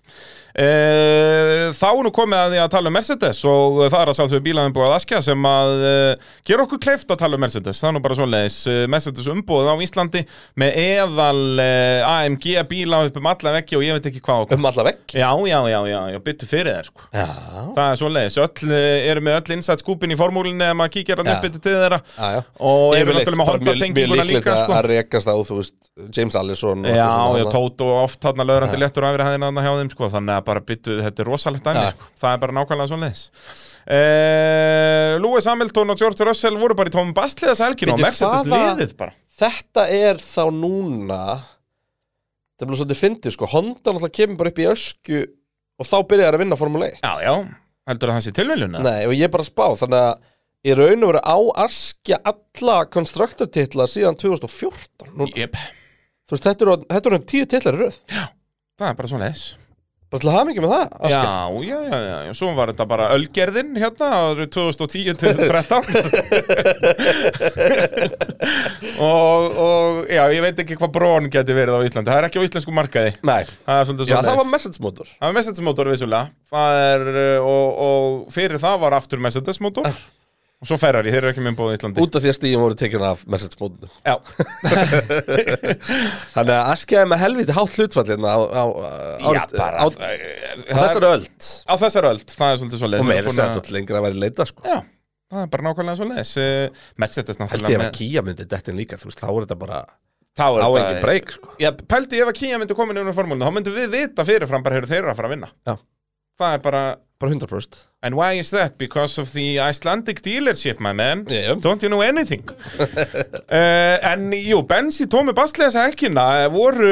[SPEAKER 3] e, þá er nú komið að því að tala um Mercedes og það er að sjálfsögur bílaðin búið að askja sem að e, gera okkur kleift að tala um Mercedes það er nú bara svoleiðis, e, Mercedes umbúið á Íslandi með eðal e, AMG bíla upp um alla veggi og ég veit ekki hvað okkur.
[SPEAKER 2] Um alla vegg
[SPEAKER 3] Já, já, já, já, já, byttu fyrir þér sko
[SPEAKER 2] Já,
[SPEAKER 3] Það er svoleiðis, öll, eh, eru með öll innsætt skúpin í formúlinni ef maður kíkir hann
[SPEAKER 2] Já.
[SPEAKER 3] uppbytti til þeirra
[SPEAKER 2] já, já
[SPEAKER 3] og eru
[SPEAKER 2] Yfirleitt,
[SPEAKER 3] náttúrulega með
[SPEAKER 2] bara mjög-
[SPEAKER 3] Honda-tenginguna
[SPEAKER 2] Mjög
[SPEAKER 3] líka
[SPEAKER 2] líklegt
[SPEAKER 3] sko.
[SPEAKER 2] að- að rekast á, þú veist, James Allison og
[SPEAKER 3] Já,
[SPEAKER 2] eitthvað
[SPEAKER 3] já,
[SPEAKER 2] svona
[SPEAKER 3] Tóto oft þarna lögrandi léttur afri hæðina þarna hjá þeim sko, þannig að bara byttu, þetta er rosalegt dæmi
[SPEAKER 2] Já.
[SPEAKER 3] sko. það er bara nákvæmlega svo leis eh, Lewis Hamilton og George Russell voru bara í tómum bastlið þessa helgin og
[SPEAKER 2] Bíddu,
[SPEAKER 3] Mercedes
[SPEAKER 2] hvaða-
[SPEAKER 3] liðið bara
[SPEAKER 2] Þetta er þá núna Það er bara svolítið fyndið, sko Honda náttúrulega kemur bara upp í ösku Og þá byrjar það að vinna Formule 1
[SPEAKER 3] Já, já, heldur það hans í tilviljuna?
[SPEAKER 2] Nei, og ég er bara að spá, þannig að Í raun og veru á askja alla konstruktortitla síðan 2014 Nú,
[SPEAKER 3] Jep,
[SPEAKER 2] Þú veist, þetta eru orðin- þetta eru um tíu titlar í röð
[SPEAKER 3] það er bara svo leis
[SPEAKER 2] Bara til að hafa mikið með það,
[SPEAKER 3] Já,
[SPEAKER 2] askja
[SPEAKER 3] já, já, já, já, svo var þetta bara Ölgerðin hérna árið 2010 til
[SPEAKER 2] <laughs>
[SPEAKER 3] 13 og, og já, ég veit ekki hvað brón geti verið á Íslandi, það er ekki á íslensku markaði
[SPEAKER 2] Nei,
[SPEAKER 3] Það er svolítið
[SPEAKER 2] já, það
[SPEAKER 3] svoleiðis.
[SPEAKER 2] var Mercedes motor
[SPEAKER 3] Það
[SPEAKER 2] Ah.
[SPEAKER 3] var Mercedes motor vissulega Það er, uh, og, og fyrir það var aftur Mercedes motor Og svo Ferrari, þeir eru ekki með bóðið í Íslandi
[SPEAKER 2] Út af því að stíðum voru tekin af Mercedes mótunum
[SPEAKER 3] Já, <laughs>
[SPEAKER 2] Þannig að askjaði með helviti hátt hlutfall hérna á, á, á,
[SPEAKER 3] já
[SPEAKER 2] á,
[SPEAKER 3] bara á,
[SPEAKER 2] á þessar öld
[SPEAKER 3] á þessar öld, það er svolítið svo leiðis
[SPEAKER 2] Og meira sér alltaf lengra að vera í leita sko
[SPEAKER 3] Já, það er bara nákvæmlega svo leiðis
[SPEAKER 2] Held
[SPEAKER 3] Mercedes
[SPEAKER 2] ég
[SPEAKER 3] náttúrulega
[SPEAKER 2] að kýja myndi dettin líka, þú veist, þá er þetta bara
[SPEAKER 3] Þá er
[SPEAKER 2] á
[SPEAKER 3] þetta-
[SPEAKER 2] engin breyk sko
[SPEAKER 3] Já, pældi ef að Kíja myndi koma inn í formúluna, þá myndum við vita fyrirfram bara hefur þeirra að fara að vinna
[SPEAKER 2] Já.
[SPEAKER 3] Það er bara,
[SPEAKER 2] Bara 100%
[SPEAKER 3] and why is that? Because of the Icelandic dealership, my man
[SPEAKER 2] yeah.
[SPEAKER 3] Don't you know anything? <laughs> uh, en jú, Benz í tómi basli þessa helgina eh, voru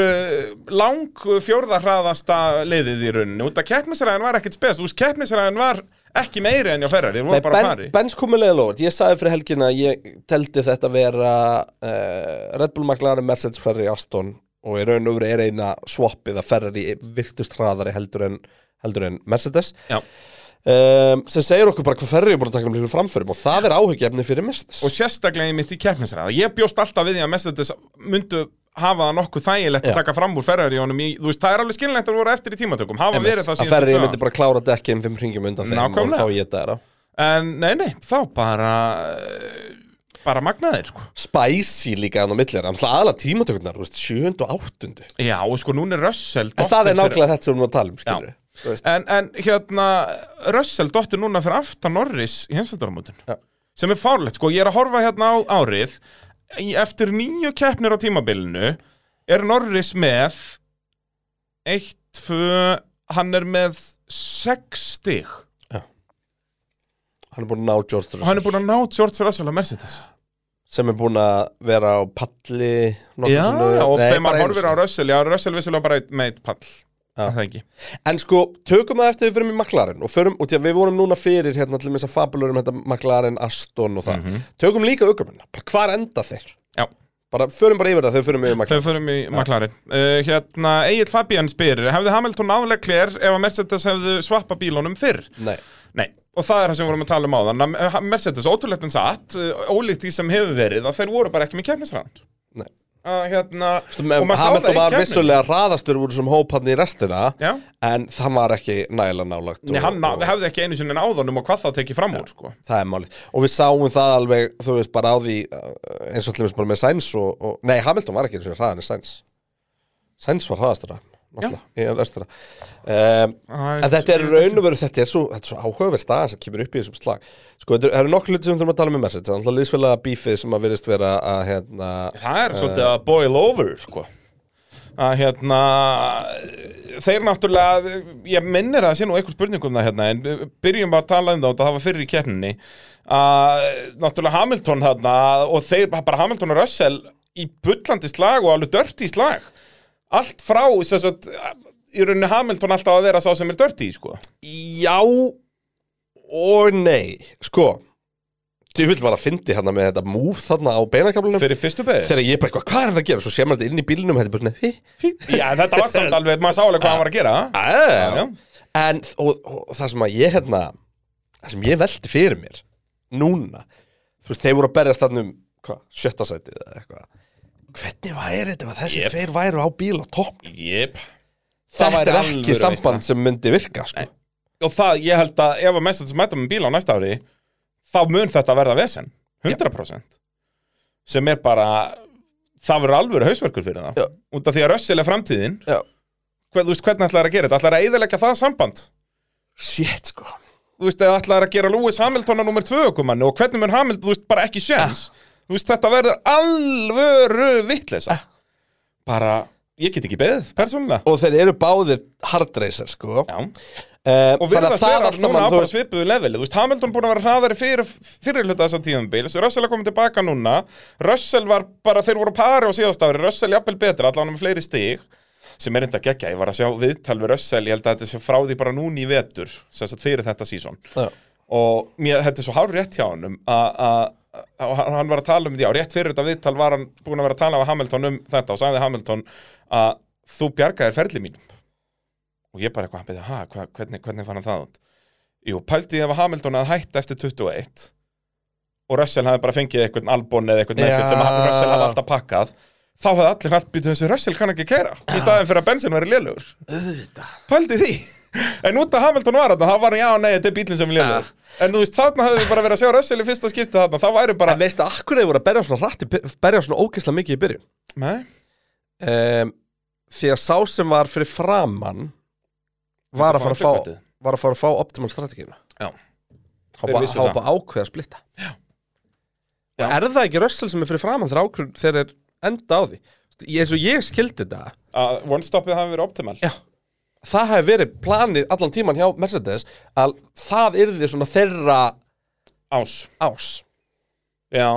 [SPEAKER 3] lang fjórðarraðasta leiðið í rauninni út að keppnisræðin var ekkit spes, úr keppnisræðin var ekki meiri enn hjá Ferrari, við
[SPEAKER 2] Nei,
[SPEAKER 3] vorum bara að
[SPEAKER 2] ben,
[SPEAKER 3] fari
[SPEAKER 2] Benz komið leiða lóð Ég sagði fyrir helgina að ég teldi þetta vera uh, Red Bull McLaren, Mercedes, Ferrari, Aston og í raun og veru er eina swappið að Ferrari virtust hraðari heldur en, heldur en Mercedes
[SPEAKER 3] Já.
[SPEAKER 2] um, sem segir okkur bara hvað Ferrari er búin að taka um framförum og það er áhugjefni fyrir Mercedes
[SPEAKER 3] og sérstaklega mitt í keppnisræða ég bjóst alltaf við því að Mercedes myndu hafa það nokkuð þægilegt
[SPEAKER 2] Já.
[SPEAKER 3] að taka fram úr Ferrari honum í, þú veist, það er alveg skilnilegt að voru eftir í tímatökum hafa verið það
[SPEAKER 2] að
[SPEAKER 3] síðan
[SPEAKER 2] Ferrari myndi bara klára dekkin fimm hringjum undan þeim
[SPEAKER 3] Nákvæmlega.
[SPEAKER 2] og þá ég þetta er á
[SPEAKER 3] en nei, nei, þá bara eh, bara magnaðir, sko
[SPEAKER 2] Spicy líka hann á millir, hann aðla tímatökurnar, þú veist, 7. og 8.
[SPEAKER 3] já, og sko, núna er Russell
[SPEAKER 2] En það
[SPEAKER 3] dottin
[SPEAKER 2] er nákvæmlega þetta sem við erum að tala um, skilur
[SPEAKER 3] Já.
[SPEAKER 2] við. Þú veist,
[SPEAKER 3] fyrir, en, en hérna, Russell dottir núna fyrir aftan Norris í heimsvöldarmótin
[SPEAKER 2] Já.
[SPEAKER 3] sem er fárlegt, sko, ég er að horfa hérna á árið Í- eftir nýju keppnir á tímabilinu er Norris með eitt, tvö hann er með sex stig
[SPEAKER 2] Hann er búin að ná George
[SPEAKER 3] og
[SPEAKER 2] Russell.
[SPEAKER 3] hann er búin að ná George Russell að Mercedes
[SPEAKER 2] sem er búin að vera á palli nokkrum
[SPEAKER 3] Já,
[SPEAKER 2] sinnum.
[SPEAKER 3] og
[SPEAKER 2] Nei, bara
[SPEAKER 3] þegar maður
[SPEAKER 2] einu
[SPEAKER 3] horfir á
[SPEAKER 2] sinni.
[SPEAKER 3] Russell Já, Russell vissulega bara eitt- með eitt pall
[SPEAKER 2] Já.
[SPEAKER 3] Er Það ekki
[SPEAKER 2] En sko, tökum það eftir við fyrir mig McLaren og, förum, og því að við vorum núna fyrir hérna til þess að fabulur um þetta McLaren, Aston og það
[SPEAKER 3] Mhm.
[SPEAKER 2] Tökum líka aukumenn, bara hvar enda þeir?
[SPEAKER 3] Já.
[SPEAKER 2] Bara, förum bara yfir það, þau förum yfir McLaren
[SPEAKER 3] Þau förum í McLaren uh, Hérna, Egil Fabian spyrir Hefði Hamilton afleglir ef að Mercedes hefðu svappa bílunum fyrr?
[SPEAKER 2] Nei,
[SPEAKER 3] Nei, og það er það sem við vorum að tala um áðan að eh, Mercedes, ótrúlegt en satt eh, ólíkt því sem hefur verið, að þeir voru bara ekki með keppnisrand
[SPEAKER 2] nei
[SPEAKER 3] að hérna,
[SPEAKER 2] Stu, með,
[SPEAKER 3] og maður sá
[SPEAKER 2] Hamilton
[SPEAKER 3] það í
[SPEAKER 2] var
[SPEAKER 3] keppnin
[SPEAKER 2] vissulega raðastur úr þessum hóp hann í restina
[SPEAKER 3] Já.
[SPEAKER 2] en það var ekki nægilega nálagt
[SPEAKER 3] Nei,
[SPEAKER 2] og-
[SPEAKER 3] hann
[SPEAKER 2] og-
[SPEAKER 3] hefði ekki einu sinni náðanum og hvað það tekið fram úr, sko
[SPEAKER 2] Það er málið. Og við sáum það alveg, þú veist, bara á því uh, eins og allir veist bara með Sainz og, og Nei, Hamilton var ekki eins og hraðan en Sainz. Sainz var hraðastur að í restina. Um,
[SPEAKER 3] Æ,
[SPEAKER 2] en þetta er raun og veru, þetta er svo, þetta er svo áhugaverð staðan sem kemur upp í þessum slag. Sko, þetta eru- það eru nokkuð hluti sem við þurfum að tala með message. Það er alltaf liðsfélaga bífið sem að virðist vera að, hérna,
[SPEAKER 3] Það er svolítið að boil over, sko að hérna þeir náttúrulega, ég minnir að það sé nú einhver spurning um það hérna, en byrjum bara að tala um það og það var fyrir í keppninni að náttúrulega Hamilton þarna og þeir, bara Hamilton og Russell í bullandi slag og alveg dörti slag allt frá, sem sagt í rauninni Hamilton alltaf að vera sá sem er dörti, sko
[SPEAKER 2] já og nei. Sko, djúvill var að fyndi hérna með þetta move þarna á beinakablinum.
[SPEAKER 3] fyrir fyrstu beðið.
[SPEAKER 2] Þegar ég bara eitthvað, hvað er hann að gera? Svo sé maður þetta inn í bílnum, þetta er bara, nei,
[SPEAKER 3] Já, þetta var samt alveg, maður sá alveg hvað hann var að gera
[SPEAKER 2] Já,
[SPEAKER 3] já.
[SPEAKER 2] En og, og það sem að ég hérna Það sem ég velti fyrir mér Núna Þú veist, þeir voru að berjast þarna um hva, Sjötta sætið eða eitthvað Hvernig væri þetta ef að þessi
[SPEAKER 3] Jep.
[SPEAKER 2] tveir væru á bíl á topp
[SPEAKER 3] Jep Það
[SPEAKER 2] Þetta
[SPEAKER 3] væri
[SPEAKER 2] er
[SPEAKER 3] alvöru
[SPEAKER 2] ekki
[SPEAKER 3] veisla.
[SPEAKER 2] samband sem myndi virka sko.
[SPEAKER 3] og það, ég held að ef að Mercedes mæta með bíl á næsta ári þá mun þetta verða vesen 100% sem er bara það verður alvöru hausverkur fyrir það
[SPEAKER 2] Já.
[SPEAKER 3] út af því að Russell er framtíðin
[SPEAKER 2] Já.
[SPEAKER 3] Hver, þú veist hvernig ætlaðir að gera þetta, ætlaðir að eðilegja það samband
[SPEAKER 2] Shit sko
[SPEAKER 3] þú veist, eða ætlaðir að gera Lewis Hamilton að nummer 2 okkumann og hvernig mun Hamilton, þú veist, bara ekki sjens
[SPEAKER 2] Ah.
[SPEAKER 3] þú veist, þetta verður alvöru vitleysa bara, ég get ekki beðið, persónulega
[SPEAKER 2] Ah. Og þeir eru báðir hardracer sko
[SPEAKER 3] Já.
[SPEAKER 2] Eh,
[SPEAKER 3] og
[SPEAKER 2] Þannig
[SPEAKER 3] verðast
[SPEAKER 2] að það
[SPEAKER 3] vera
[SPEAKER 2] allt
[SPEAKER 3] núna
[SPEAKER 2] saman
[SPEAKER 3] á
[SPEAKER 2] þú
[SPEAKER 3] bara
[SPEAKER 2] veist,
[SPEAKER 3] svipuðu leveli þú veist, Hamilton búin að vera hraðari fyrir, fyrir hluta þessa tíðumbil, Russell er komin tilbaka núna Russell var bara, þeir voru á pari á síðast ári, Russell jafnvel betra allan með fleiri stig, sem er enda geggja ég var að sjá viðtal við Russell, ég held að þetta sé frá því bara núna í vetur, sem sagt fyrir þetta sísón
[SPEAKER 2] Já.
[SPEAKER 3] og mér, þetta er svo hár rétt hjá honum að- að að hann hann var að tala um því á rétt fyrir þetta viðtal var hann búin að vera að tala af Hamilton um þetta og sagði Hamilton að þú bjargaðir ferli mínum og ég bara eitthvað, "Ha, hva, hvernig, hvernig fann hann það út Jú, pældi ég ef að Hamilton að hætta eftir 21 og Russell hafði bara fengið eitthvað albon eða eitthvað
[SPEAKER 2] Já.
[SPEAKER 3] message sem hann- Russell hafði alltaf pakkað þá hafði allir hrætt býtu þessu Russell kann ekki kæra í staðin fyrir að bensin væri lélugur
[SPEAKER 2] Auðvitað
[SPEAKER 3] pældi því en út að Hamilton var þetta, þá var hann já, nei, þetta er bílinn sem er lélugur En þú veist, þarna hefði bara verið að sjá Russell í fyrsta skipti þarna Það væri bara
[SPEAKER 2] En veistu að hverju þau voru að berja svona rætt berja svona ógeðslega mikið í byrjun
[SPEAKER 3] Nei,
[SPEAKER 2] um, Því að sá sem var fyrir framann var að fara að fá
[SPEAKER 3] Þetta
[SPEAKER 2] var að fara að fá optimal strategíuna
[SPEAKER 3] Já. Þeir vissu það.
[SPEAKER 2] Hápa ákveða að splitta Já.
[SPEAKER 3] Já.
[SPEAKER 2] Er það ekki rössal sem er fyrir framann þegar ákveður þegar er enda á því Ég- eins og ég skildi þetta
[SPEAKER 3] Að one stopið hafi verið optimal
[SPEAKER 2] Já. það hefði verið planið allan tíman hjá Mercedes að það yrði svona þeirra
[SPEAKER 3] Ás
[SPEAKER 2] ás
[SPEAKER 3] Já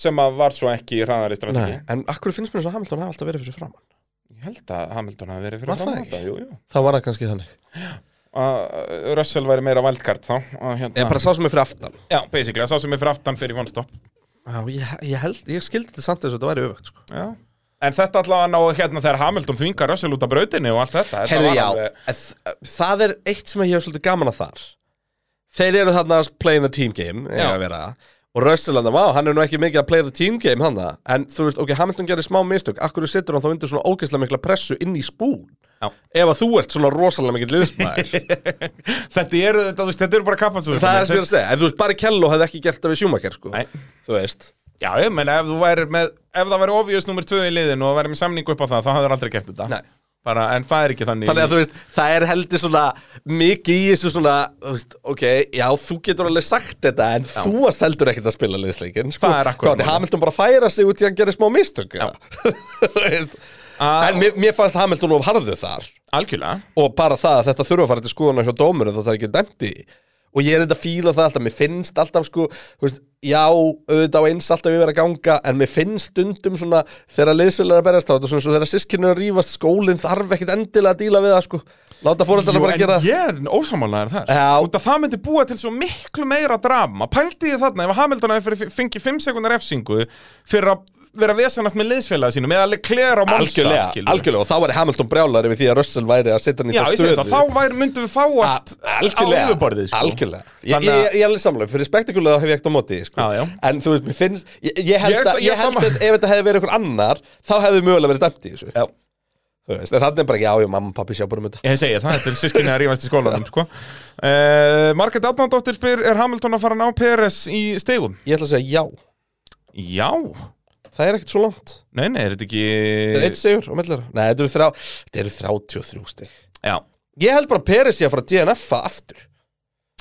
[SPEAKER 3] Sem að var svo ekki í hraðari strategi
[SPEAKER 2] En akkur finnst mér eins og Hamilton hafa alltaf verið fyrir framann
[SPEAKER 3] Ég held að Hamilton hafi verið
[SPEAKER 2] Var
[SPEAKER 3] fyrir
[SPEAKER 2] það
[SPEAKER 3] framan
[SPEAKER 2] ekki?
[SPEAKER 3] alltaf, Jú, jú
[SPEAKER 2] Það var það kannski þannig
[SPEAKER 3] Að uh, Russell væri meira vældkart þá að
[SPEAKER 2] Ég
[SPEAKER 3] hérna.
[SPEAKER 2] bara sá sem er fyrir aftan
[SPEAKER 3] Já, basically, sá sem er fyrir aftan fyrir one stop
[SPEAKER 2] Já, ég, ég held, ég skildi þetta samt þess að þetta væri öfugt sko.
[SPEAKER 3] Já. En þetta allavega ná hérna þegar Hamilton þvingar Russell út af brautinni og allt þetta þetta
[SPEAKER 2] Herði
[SPEAKER 3] var
[SPEAKER 2] já,
[SPEAKER 3] alveg-
[SPEAKER 2] eð- það er eitt sem ég hef svolítið gaman að þar Þeir eru þarna að play the team game eiga
[SPEAKER 3] Já.
[SPEAKER 2] að vera. Og Russell hann, vá, hann er nú ekki mikið að play the team game hann En þú veist, ok, Hamilton gerir smá mistök Akkur setur hann þá undir svona ógeðslega mikla pressu inn í spún
[SPEAKER 3] Já.
[SPEAKER 2] Ef að þú ert svona rosalega mikill liðsmaður
[SPEAKER 3] <laughs> Þetta eru þetta, þú veist, þetta eru bara kappansöður
[SPEAKER 2] Það er sko sem ég er að segja, ef þú veist, bara Kello hefði ekki gert það við Schumacher, sko
[SPEAKER 3] Nei.
[SPEAKER 2] Þú veist
[SPEAKER 3] Já, ég meina, ef þú væri með, ef það væri obvious nummer 2 í liðinu og væri með samningu upp á það, þá hafður aldrei gert þetta.
[SPEAKER 2] Nei.
[SPEAKER 3] Bara, en það er ekki þannig.
[SPEAKER 2] Þannig að þú veist, það er heldur svona mikið í þessu svona, þú veist, ok, já, þú getur alveg sagt þetta en þú varst heldur ekkert að spila liðsleikin, sko.
[SPEAKER 3] Það er akkúrat
[SPEAKER 2] Hvað, átti
[SPEAKER 3] málið.
[SPEAKER 2] Hamilton bara að færa sig út í að gera smá mistök, já. <laughs> Þú veist,
[SPEAKER 3] Að-
[SPEAKER 2] en mér, mér fannst Hamilton of harðu þar
[SPEAKER 3] Algjörlega.
[SPEAKER 2] og bara það að þetta þurfa að fara til skoðunar hjá dómur þá það er ekki dæmt í og ég er þetta að fíla það alltaf, mér finnst alltaf sko, þú veist, já, auðvitað á eins alltaf ég verið að ganga, en mér finnst stundum svona, þegar liðsvelar er að berast á þetta svona, svo þegar sískinu er að rífast, skólinn þarf ekkit endilega að díla við það sko, láta fóröldana bara
[SPEAKER 3] en
[SPEAKER 2] að gera
[SPEAKER 3] ég er ósamálaður þar.
[SPEAKER 2] Já.
[SPEAKER 3] Út að það myndi búa til svo miklu meira drama. Pældi ég þarna, ef Hamilton hafi fyrir- fengið 5 sekundar efsingu fyrir að vera vesanast með liðsfélaga sínum, eða klera á monsa,
[SPEAKER 2] algjörlega, algjörlega, og þá var Hamilton brjálar yfir því að Russell væri að setja hann í þá
[SPEAKER 3] Já, ég
[SPEAKER 2] stöðu
[SPEAKER 3] segi það, þá væri, myndum við fá allt
[SPEAKER 2] A- algjörlega,
[SPEAKER 3] á yfirborðið, sko.
[SPEAKER 2] algjörlega. Ég,
[SPEAKER 3] Þannig
[SPEAKER 2] ég, ég
[SPEAKER 3] að-
[SPEAKER 2] er alveg samlega, fyrir spektakulega hef ég ekkert á móti því, sko.
[SPEAKER 3] Já, já.
[SPEAKER 2] en þú veist, mér finnst ég, ég held,
[SPEAKER 3] Ég er
[SPEAKER 2] að,
[SPEAKER 3] sa- ég
[SPEAKER 2] ég
[SPEAKER 3] er
[SPEAKER 2] held
[SPEAKER 3] sama.
[SPEAKER 2] að ef þetta hefði verið einhver annar þá hefði mögulega verið dæmt í þessu
[SPEAKER 3] Já.
[SPEAKER 2] Þú veist, en þannig er bara ekki, já, já, mamma, pappi sjá bara um þetta
[SPEAKER 3] Ég segi það, þetta er sískinni að rífast í skólanum sko. uh, Margaret Adnandóttir spyr Er Hamilton að fara að ná Peres í stegum?
[SPEAKER 2] ég ætla að segja já,
[SPEAKER 3] Já
[SPEAKER 2] það er ekkert svo langt
[SPEAKER 3] Nei, nei, er þetta ekki
[SPEAKER 2] það er eitt sigur á millara, nei, þetta eru, þrjá, þetta eru 33 stig
[SPEAKER 3] Já,
[SPEAKER 2] ég held bara að Peris ég að fara að DNF-a aftur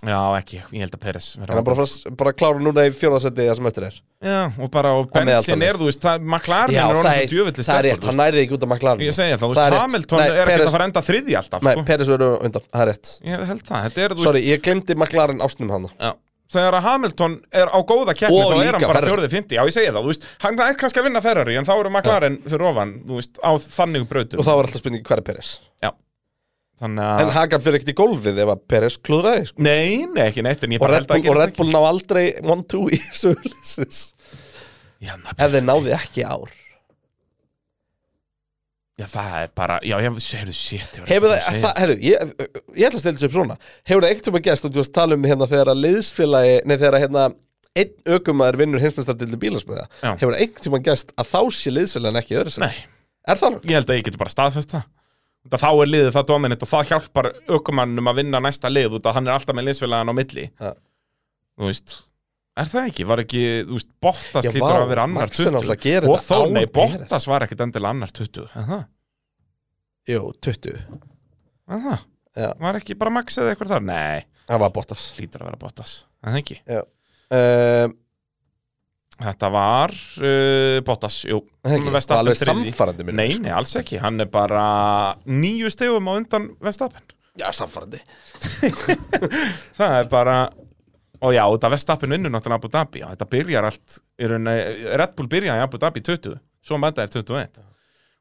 [SPEAKER 3] já ekki, ég held að Peres
[SPEAKER 2] en hann bara, að fara að- bara að klára núna í fjóðarsendi það sem eftir er
[SPEAKER 3] Já, og bara, og
[SPEAKER 2] Á
[SPEAKER 3] bensin
[SPEAKER 2] meðaltali.
[SPEAKER 3] er, þú veist það, McLaren er
[SPEAKER 2] það,
[SPEAKER 3] orðin svo
[SPEAKER 2] er, það
[SPEAKER 3] djöfulli
[SPEAKER 2] er rétt,
[SPEAKER 3] sterkur
[SPEAKER 2] hann nærið ekki út af McLaren
[SPEAKER 3] Ég segi það, þú
[SPEAKER 2] er
[SPEAKER 3] veist,
[SPEAKER 2] rétt.
[SPEAKER 3] Hamilton
[SPEAKER 2] Nei,
[SPEAKER 3] er ekkert
[SPEAKER 2] Perez-
[SPEAKER 3] að fara að enda þriði alltaf
[SPEAKER 2] Nei,
[SPEAKER 3] sko.
[SPEAKER 2] Peres verður á undan, það er rétt
[SPEAKER 3] Ég held það, þetta er, þú veist
[SPEAKER 2] Sorry, ég glemdi McLaren ástnum hann
[SPEAKER 3] Já. Þegar að Hamilton er á góða keppni
[SPEAKER 2] Og
[SPEAKER 3] þá er hann
[SPEAKER 2] líka
[SPEAKER 3] bara
[SPEAKER 2] Ferrari.
[SPEAKER 3] fjórði fymti, já ég segi það, þú veist, hann er kannski að vinna Ferrari en þá eru McLaren fyrir ofan, þú veist, Ah. á þannig brautum.
[SPEAKER 2] Og þá var alltaf spurning hver er Peres
[SPEAKER 3] Þannig að...
[SPEAKER 2] En Hagan fyrir ekkert í gólfið ef að Peres klúðraði sko.
[SPEAKER 3] Nei, nei, ekki neitt, en ég
[SPEAKER 2] Og
[SPEAKER 3] bara
[SPEAKER 2] Red
[SPEAKER 3] held að
[SPEAKER 2] Bull,
[SPEAKER 3] gerist
[SPEAKER 2] og Red Bull ná aldrei 1-2 í sögulisis
[SPEAKER 3] ekki. Já, na,
[SPEAKER 2] Ef þeir náði ekki í ár
[SPEAKER 3] já, það er bara, já, já, heyrðu, shit ég var
[SPEAKER 2] Hefur
[SPEAKER 3] ekki
[SPEAKER 2] það,
[SPEAKER 3] að segja.
[SPEAKER 2] það herru, ég, ég ætla að stela þessu upp svona Hefur það ekkert um að gerst og þú varst að tala um hérna þegar að liðsfélagi Nei, þegar að hérna einn ökumæður vinnur heimsmyndstartildi bílasmiða
[SPEAKER 3] Já.
[SPEAKER 2] Hefur það einhvern tímann gerst að þá sé liðsfélagin ekki í öðru sinni?
[SPEAKER 3] Nei,
[SPEAKER 2] Er það nú?
[SPEAKER 3] ég held að ég geti bara staðfest það Það þá er liðið það dominant og það hjálpar aukumannum að vinna næsta lið út að hann er alltaf með liðsfélagan á milli
[SPEAKER 2] Ja.
[SPEAKER 3] Þú veist, er það ekki? Var ekki, þú veist, Bottas
[SPEAKER 2] Já,
[SPEAKER 3] lítur
[SPEAKER 2] vá,
[SPEAKER 3] að vera annar
[SPEAKER 2] Max er náttúrulega að gera
[SPEAKER 3] 20 Og
[SPEAKER 2] þetta
[SPEAKER 3] þó,
[SPEAKER 2] án
[SPEAKER 3] nei,
[SPEAKER 2] Perez.
[SPEAKER 3] Bottas var ekkit endilega annar 20 Er það?
[SPEAKER 2] Jú, 20
[SPEAKER 3] Er það?
[SPEAKER 2] Já.
[SPEAKER 3] Var ekki bara Max eða eitthvað þar? Nei,
[SPEAKER 2] Það var Bottas
[SPEAKER 3] lítur að vera Bottas Er það ekki? Ehm,
[SPEAKER 2] um,
[SPEAKER 3] Þetta var uh, Bottas, jú
[SPEAKER 2] Það var
[SPEAKER 3] Verstappen
[SPEAKER 2] alveg
[SPEAKER 3] þriðji.
[SPEAKER 2] samfarandi sko. minn
[SPEAKER 3] Nei, nei, alls ekki, hann er bara nýju stegum á undan Vestapen
[SPEAKER 2] Já, samfarandi
[SPEAKER 3] Það er bara, og já, þetta Vestapen vinnur náttúrulega Abu Dhabi, já, þetta byrjar allt í raun, Red Bull byrjaði í Abu Dhabi 20, svo mæta er 21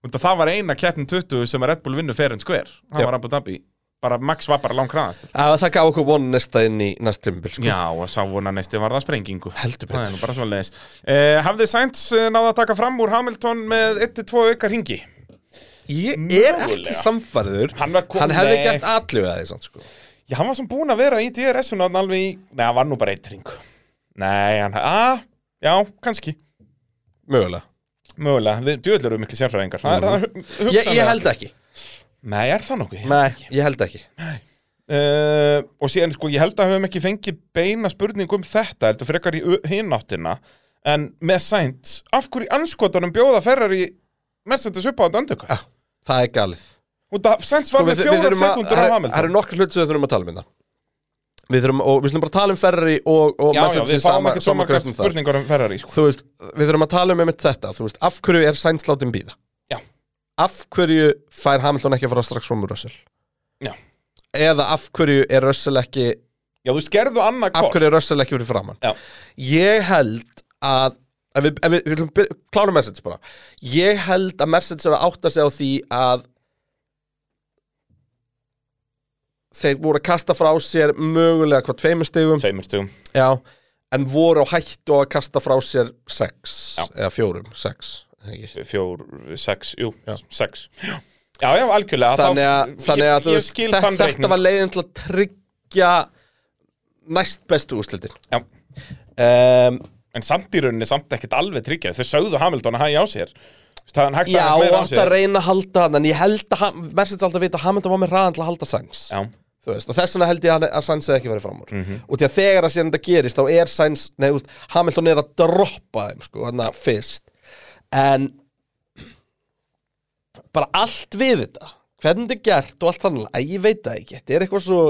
[SPEAKER 3] og það var eina keppnin 20 sem að Red Bull vinnur fer en skver, það
[SPEAKER 2] Já.
[SPEAKER 3] var Abu Dhabi bara Max var bara langkraðast
[SPEAKER 2] Já, það gaf okkur von næsta inn í næst tímbil sko.
[SPEAKER 3] Já, og sá vona næsti var það sprengingu
[SPEAKER 2] Heldur
[SPEAKER 3] Það er nú
[SPEAKER 2] betur
[SPEAKER 3] bara svo leiðis eh, Hafði Sainz eh, náð að taka fram úr Hamilton með 1-2 auka ringi
[SPEAKER 2] Ég er
[SPEAKER 3] Mögulega.
[SPEAKER 2] ekki samfærður
[SPEAKER 3] Hann var kom-
[SPEAKER 2] Hann hefði
[SPEAKER 3] Nei.
[SPEAKER 2] gert atlið að því samt, sko.
[SPEAKER 3] Já, hann var sem búinn að vera í DRS-un hann alveg í... Nei, hann var nú bara eitt ring. Nei, hann... Ah, já, kannski.
[SPEAKER 2] Mögulega
[SPEAKER 3] Mögulega. Við djöðlur eru miklu sérfræðingar. Mm. Það er
[SPEAKER 2] Mhm. ég, ég held
[SPEAKER 3] að...
[SPEAKER 2] ekki
[SPEAKER 3] Nei, er það nokkuð? Ég held
[SPEAKER 2] Nei,
[SPEAKER 3] ekki.
[SPEAKER 2] ég held ekki
[SPEAKER 3] uh, og síðan sko ég held að höfum ekki fengið beina spurningu um þetta heldur frekar í hináttina en með sænt, af hverju anskotanum bjóða Ferrari Mercedes upp á þetta
[SPEAKER 2] Já.
[SPEAKER 3] öndöka?
[SPEAKER 2] það er galið Sko,
[SPEAKER 3] Út af sænt
[SPEAKER 2] Ah.
[SPEAKER 3] var við
[SPEAKER 2] við- við
[SPEAKER 3] fjórar
[SPEAKER 2] þurfum að-
[SPEAKER 3] sekundur á
[SPEAKER 2] það er- Það
[SPEAKER 3] Hamilton
[SPEAKER 2] eru nokkar hlut sem við þurfum að tala um þetta Við þurfum, og við þurfum bara að tala um Ferrari og, og
[SPEAKER 3] Já, já,
[SPEAKER 2] Mercedes í
[SPEAKER 3] við fáum ekki svo margar
[SPEAKER 2] kröftum þar.
[SPEAKER 3] spurningar um Ferrari sko.
[SPEAKER 2] Þú veist, við þurfum að tala um einmitt þetta Þú veist, af hverju er Sainz látum býða?
[SPEAKER 3] Já.
[SPEAKER 2] Af hverju fær Hamilton ekki að fara strax fram úr Russell?
[SPEAKER 3] Já.
[SPEAKER 2] Eða af hverju er Russell ekki
[SPEAKER 3] Já, þú skerðu annað
[SPEAKER 2] Af
[SPEAKER 3] hvort
[SPEAKER 2] hverju er Russell ekki fyrir framann?
[SPEAKER 3] Já.
[SPEAKER 2] Ég held að Ef við, ef við, við ætlum að byrja- klárum Mercedes bara Ég held að Mercedes er að átta sig á því að Þeir voru að kasta frá sér mögulega hvað tveimur stigum
[SPEAKER 3] Tveimur stugum
[SPEAKER 2] Já, en voru á hættu að kasta frá sér sex
[SPEAKER 3] Já.
[SPEAKER 2] eða fjórum, sex er það ekki?
[SPEAKER 3] fjór, sex, jú,
[SPEAKER 2] Já.
[SPEAKER 3] sex Já, já, algjörlega þá-
[SPEAKER 2] þannig að, þannig að
[SPEAKER 3] ég,
[SPEAKER 2] þú
[SPEAKER 3] ég
[SPEAKER 2] veist,
[SPEAKER 3] skil
[SPEAKER 2] þe-
[SPEAKER 3] þann
[SPEAKER 2] þetta
[SPEAKER 3] reikning
[SPEAKER 2] var leiðin til að tryggja næst bestu úrslitin
[SPEAKER 3] Já,
[SPEAKER 2] um,
[SPEAKER 3] en samt í rauninni samt ekkert alveg tryggjað þau sögðu Hamilton að hægja á sér Þú veist, það hann hægt
[SPEAKER 2] Já,
[SPEAKER 3] aðeins
[SPEAKER 2] og
[SPEAKER 3] meira á
[SPEAKER 2] átt að
[SPEAKER 3] sér
[SPEAKER 2] reyna að halda hann en ég held að, Ham- Mercedes alltaf vita að Hamilton var með hraðan til að halda Sainz
[SPEAKER 3] Já, Mhm.
[SPEAKER 2] Þú veist, og þess vegna held ég að, hann- að Sainz hefði ekki verið fram úr og því að þegar að síðan þetta gerist þá er Sainz, nei, þú veist, Hamilton er að droppa þeim, sko, hann að fyrst en bara allt við þetta hvernig þetta er gert og allt þannig að ég veit það ekki, þetta er eitthvað svo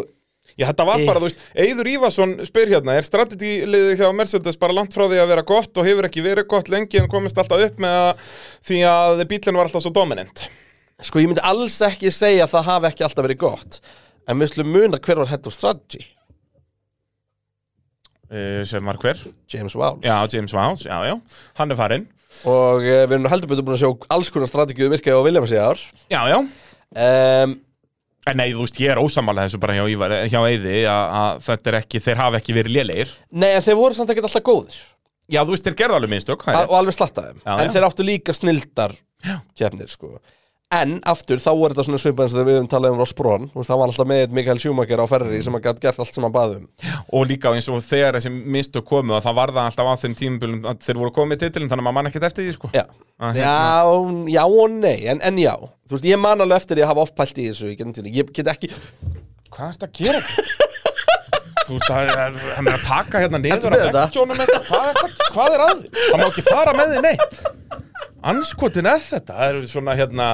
[SPEAKER 3] Já, þetta var
[SPEAKER 2] Eh.
[SPEAKER 3] bara, þú veist, Eyður Ívason spyr hérna, er strategiðið hjá Mercedes bara langt frá því að vera gott og hefur ekki verið gott lengi en komist alltaf upp með að, því að bílinn var alltaf svo dominant
[SPEAKER 2] sko, ég myndi alls ekki segja að það hafi ekki alltaf verið gott en við slum muna hver var head of strategy
[SPEAKER 3] uh, sem var hver?
[SPEAKER 2] James Wowles
[SPEAKER 3] Já, James Vance, já, já, hann er farinn
[SPEAKER 2] og uh, við erum nú heldur betur búin að sjá alls konar strategið virkaði á Williams í ár
[SPEAKER 3] Já, já,
[SPEAKER 2] um,
[SPEAKER 3] en nei, þú veist, ég er ósamála þessu bara hjá, Ívar, eh, hjá Eyði að, að þetta er ekki, þeir hafa ekki verið lélegir
[SPEAKER 2] Nei, en þeir voru samt ekkert alltaf góðir
[SPEAKER 3] Já, þú veist, þeir gerðu alveg minnstök
[SPEAKER 2] a- og alveg slattaðum
[SPEAKER 3] Já,
[SPEAKER 2] en
[SPEAKER 3] já.
[SPEAKER 2] þeir áttu líka snildar kefnir sko. en aftur þá voru þetta svona svipað eins og þegar við höfum talað um Ross Brawn Þú veist, það var alltaf með Mikael Schumacher á ferri sem að gætt gert allt sem hann baði um
[SPEAKER 3] og líka eins og þegar þessi mistök komu að það var það alltaf á þeim tímabölum að þeir voru komið titilin þannig að maður mann ekkert eftir því sko
[SPEAKER 2] Já,
[SPEAKER 3] Að
[SPEAKER 2] já,
[SPEAKER 3] hérna.
[SPEAKER 2] já og nei, en, en já Þú veist, ég man alveg eftir því að hafa ofpælt í þessu í gegnum tíðina. Ég get ekki,
[SPEAKER 3] hvað er þetta að gera? <laughs> þú veist að hann er að taka hérna
[SPEAKER 2] Ertu
[SPEAKER 3] niður
[SPEAKER 2] með
[SPEAKER 3] að
[SPEAKER 2] þetta?
[SPEAKER 3] vekkjónum þetta hvað, er það- hvað er að því? hann má ekki fara með því neitt anskotin er þetta það eru svona hérna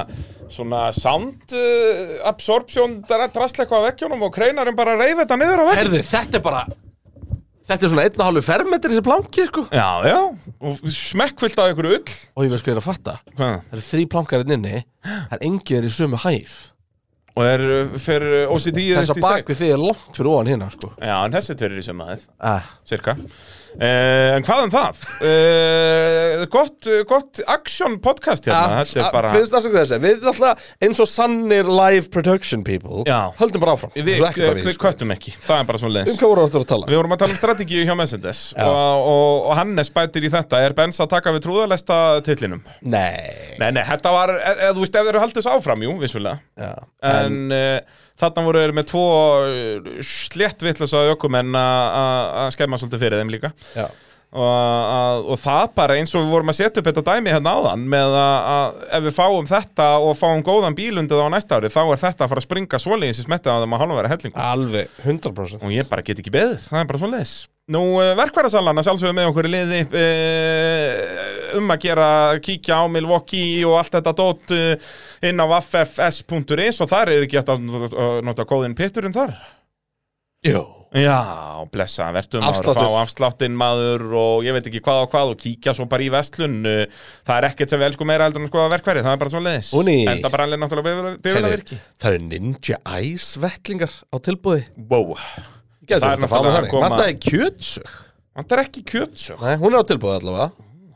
[SPEAKER 3] svona sound uh, absorption það er að drasla eitthvað að vekkjónum og kreinarinn bara reyfi þetta niður á vekkjónum
[SPEAKER 2] herðu, þetta er bara Þetta er svona einn og hálfu fermetri þessi plankir sko.
[SPEAKER 3] já, já, og smekkfullt af ykkur ull
[SPEAKER 2] Og ég veist hvað ég er að fatta
[SPEAKER 3] hvað?
[SPEAKER 2] Það eru þrý plankar inn inni Það er engið er í sömu hæf
[SPEAKER 3] og er uh, fyrir OCD -ið
[SPEAKER 2] Þess að
[SPEAKER 3] þitt í steik?
[SPEAKER 2] bak við þig er langt fyrir ofan hérna sko.
[SPEAKER 3] já, en þessi tverir í sem aðeins
[SPEAKER 2] ah.
[SPEAKER 3] Cirka uh, En hvað um það? Uh, gott, gott action podcast
[SPEAKER 2] Ah.
[SPEAKER 3] hérna Þetta er bara
[SPEAKER 2] Byrðist afsökuð þessi Við erum alltaf eins og sannir live production people
[SPEAKER 3] Já.
[SPEAKER 2] Höldum bara áfram
[SPEAKER 3] Við,
[SPEAKER 2] Svo ekki bara sko.
[SPEAKER 3] við, við köttum ekki, það er bara svona
[SPEAKER 2] Um
[SPEAKER 3] leðis
[SPEAKER 2] hvað voru áttur að tala?
[SPEAKER 3] Við vorum að tala um strategíu hjá Mercedes og, og, og Hannes bætir í þetta Er Benz að taka við trúðalesta titlinum?
[SPEAKER 2] Nei
[SPEAKER 3] Nei, nei, þetta var, e, e, þú veist, ef þeir eru haldið þessu áfram, jú, vissulega
[SPEAKER 2] Já.
[SPEAKER 3] En, en þarna voru þeir með tvo slett vitlösa ökumenn að- að að skemma svolítið fyrir þeim líka
[SPEAKER 2] Já.
[SPEAKER 3] og, að, og það bara eins og við vorum að setja upp þetta dæmi hérna áðan með að, að ef við fáum þetta og fáum góðan bílundið á næsta ári þá er þetta að fara að springa svoleiðis í smettið á þeim að hálfa vera hellingu
[SPEAKER 2] Alveg 100%
[SPEAKER 3] og ég bara get ekki beðið, það er bara svoleiðis Nú, eh, verkværasalana sjálfsögum með okkur í liði eh, um að gera kíkja á Milwaukee og allt þetta dót eh, inn á ffs.is og þar er ekki hægt að nota- nota kóðin pitturinn þar
[SPEAKER 2] Jú
[SPEAKER 3] Já, blessa, verðum maður að
[SPEAKER 2] Afsláttur.
[SPEAKER 3] fá afsláttinn maður og ég veit ekki hvað og hvað og kíkja svo bara í vestlun uh, Það er ekkert sem við elskum meira heldur en að skoða verkværi, það er bara svo leiðis
[SPEAKER 2] Úni.
[SPEAKER 3] Enda bara alveg náttúrulega bifurða virki
[SPEAKER 2] Það eru Ninja Ice vettlingar á tilbúði
[SPEAKER 3] Wow,
[SPEAKER 2] Gæður
[SPEAKER 3] Það er
[SPEAKER 2] þetta að fá
[SPEAKER 3] náttúrulega
[SPEAKER 2] með
[SPEAKER 3] að
[SPEAKER 2] þannig
[SPEAKER 3] koma-
[SPEAKER 2] Vantaði kjötsög
[SPEAKER 3] það er ekki kjötsög
[SPEAKER 2] Nei, hún er á tilbúði allavega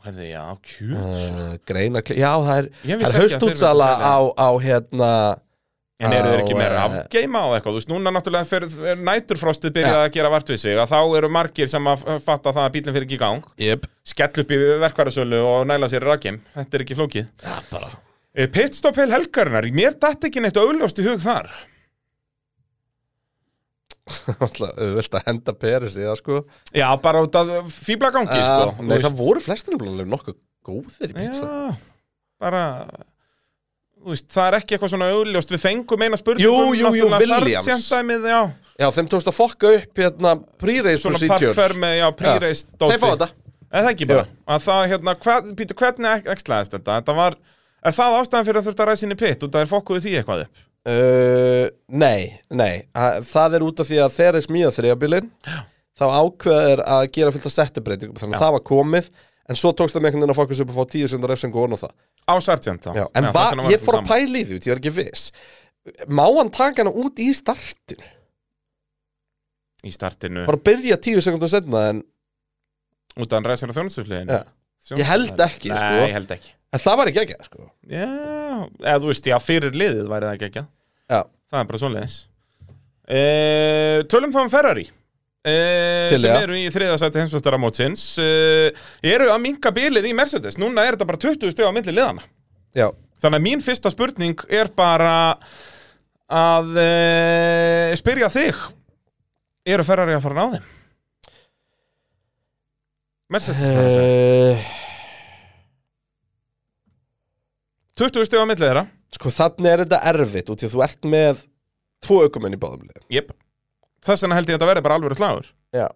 [SPEAKER 3] Herði, já, kjötsög
[SPEAKER 2] uh, Greina, já það er
[SPEAKER 3] Ég
[SPEAKER 2] Það er
[SPEAKER 3] vissi ekki að þeir
[SPEAKER 2] haustútsala
[SPEAKER 3] myndu selja.
[SPEAKER 2] á, á hérna
[SPEAKER 3] En eru þeir ekki
[SPEAKER 2] á,
[SPEAKER 3] meira
[SPEAKER 2] eh,
[SPEAKER 3] afgeima og eitthvað, þú veist, núna náttúrulega fyrir næturfrostið byrjað að gera vart við sig að þá eru margir sem að f- fatta það að bílinn fyrir ekki í gang
[SPEAKER 2] Jep
[SPEAKER 3] skell upp í verkvarðarsölu og næla sér rakim Þetta er ekki flókið
[SPEAKER 2] Já, Ah, bara <laughs>
[SPEAKER 3] Eh, Pitstop heil helgarinnar, mér datt ekki neitt augljóst í hug þar
[SPEAKER 2] Alltaf auðvelt að henda Peris í það sko Eh,
[SPEAKER 3] Já, bara út af fýblagangi,
[SPEAKER 2] Já,
[SPEAKER 3] sko
[SPEAKER 2] Nei, það voru flestir nefnilega nokkuð góðir í pizza
[SPEAKER 3] Já, bara þú veist, það er ekki eitthvað svona augljóst Við fengum eina spurningu
[SPEAKER 2] Jú, jú, jú, Williams.
[SPEAKER 3] Sargent-dæmið, já
[SPEAKER 2] Já, þeim tókst að fokka upp hérna pre-race
[SPEAKER 3] Svona parkfer
[SPEAKER 2] procedures
[SPEAKER 3] með, já, pre-race
[SPEAKER 2] Já, þeir fá þetta.
[SPEAKER 3] En það ekki bara
[SPEAKER 2] Jú.
[SPEAKER 3] Að það, hérna, hvað, Pítur, hvernig ekslaðist þetta? Þetta var Er það ástæðan fyrir að þurfti að ræða sinni pitt og það er fokkuðu því eitthvað upp?
[SPEAKER 2] uh, Nei, nei Þa- Það er út af því að þeir er smíða þriðabílin þá ákveðir að gera fullt að setja breytingum þannig að það var komið en svo tókst það með einhvern veginn að fokkus upp að fá tíu sundar refsingu og það
[SPEAKER 3] Á Sargent þá
[SPEAKER 2] Já, en
[SPEAKER 3] Já,
[SPEAKER 2] va,
[SPEAKER 3] þess vegna var
[SPEAKER 2] ég
[SPEAKER 3] þetta
[SPEAKER 2] fór að
[SPEAKER 3] saman.
[SPEAKER 2] pæla í því út, ég var ekki viss Má hann taka hana út í startinu?
[SPEAKER 3] Í startinu
[SPEAKER 2] Bara byrja tíu sekundum setna en
[SPEAKER 3] Út af hann ræðsir á þjónustufliðinu
[SPEAKER 2] Já. Ég held ekki,
[SPEAKER 3] Nei,
[SPEAKER 2] sko.
[SPEAKER 3] ég held ekki
[SPEAKER 2] En það var ekki ekki, sko
[SPEAKER 3] Já, eða þú veist, já, fyrir liðið væri það ekki ekki
[SPEAKER 2] Já,
[SPEAKER 3] Það er bara svoleiðis e, Tölum þá um Ferrari e,
[SPEAKER 2] Til,
[SPEAKER 3] sem
[SPEAKER 2] já.
[SPEAKER 3] eru í þriðasæti heimsvöldara mótsins e, eru að minka bilið í Mercedes Núna er þetta bara 20 steg á milli liðana
[SPEAKER 2] já,
[SPEAKER 3] Þannig að mín fyrsta spurning er bara að e, spyrja þig Eru Ferrari að fara að ná þeim? Mercedes þarf að segja.
[SPEAKER 2] uh,
[SPEAKER 3] 20 steg á milli þeirra
[SPEAKER 2] Sko, þannig er þetta erfitt út í að þú ert með tvo aukumenn í báðum liðum
[SPEAKER 3] Jep Þess vegna held ég að þetta verði bara alvöru slagur
[SPEAKER 2] Já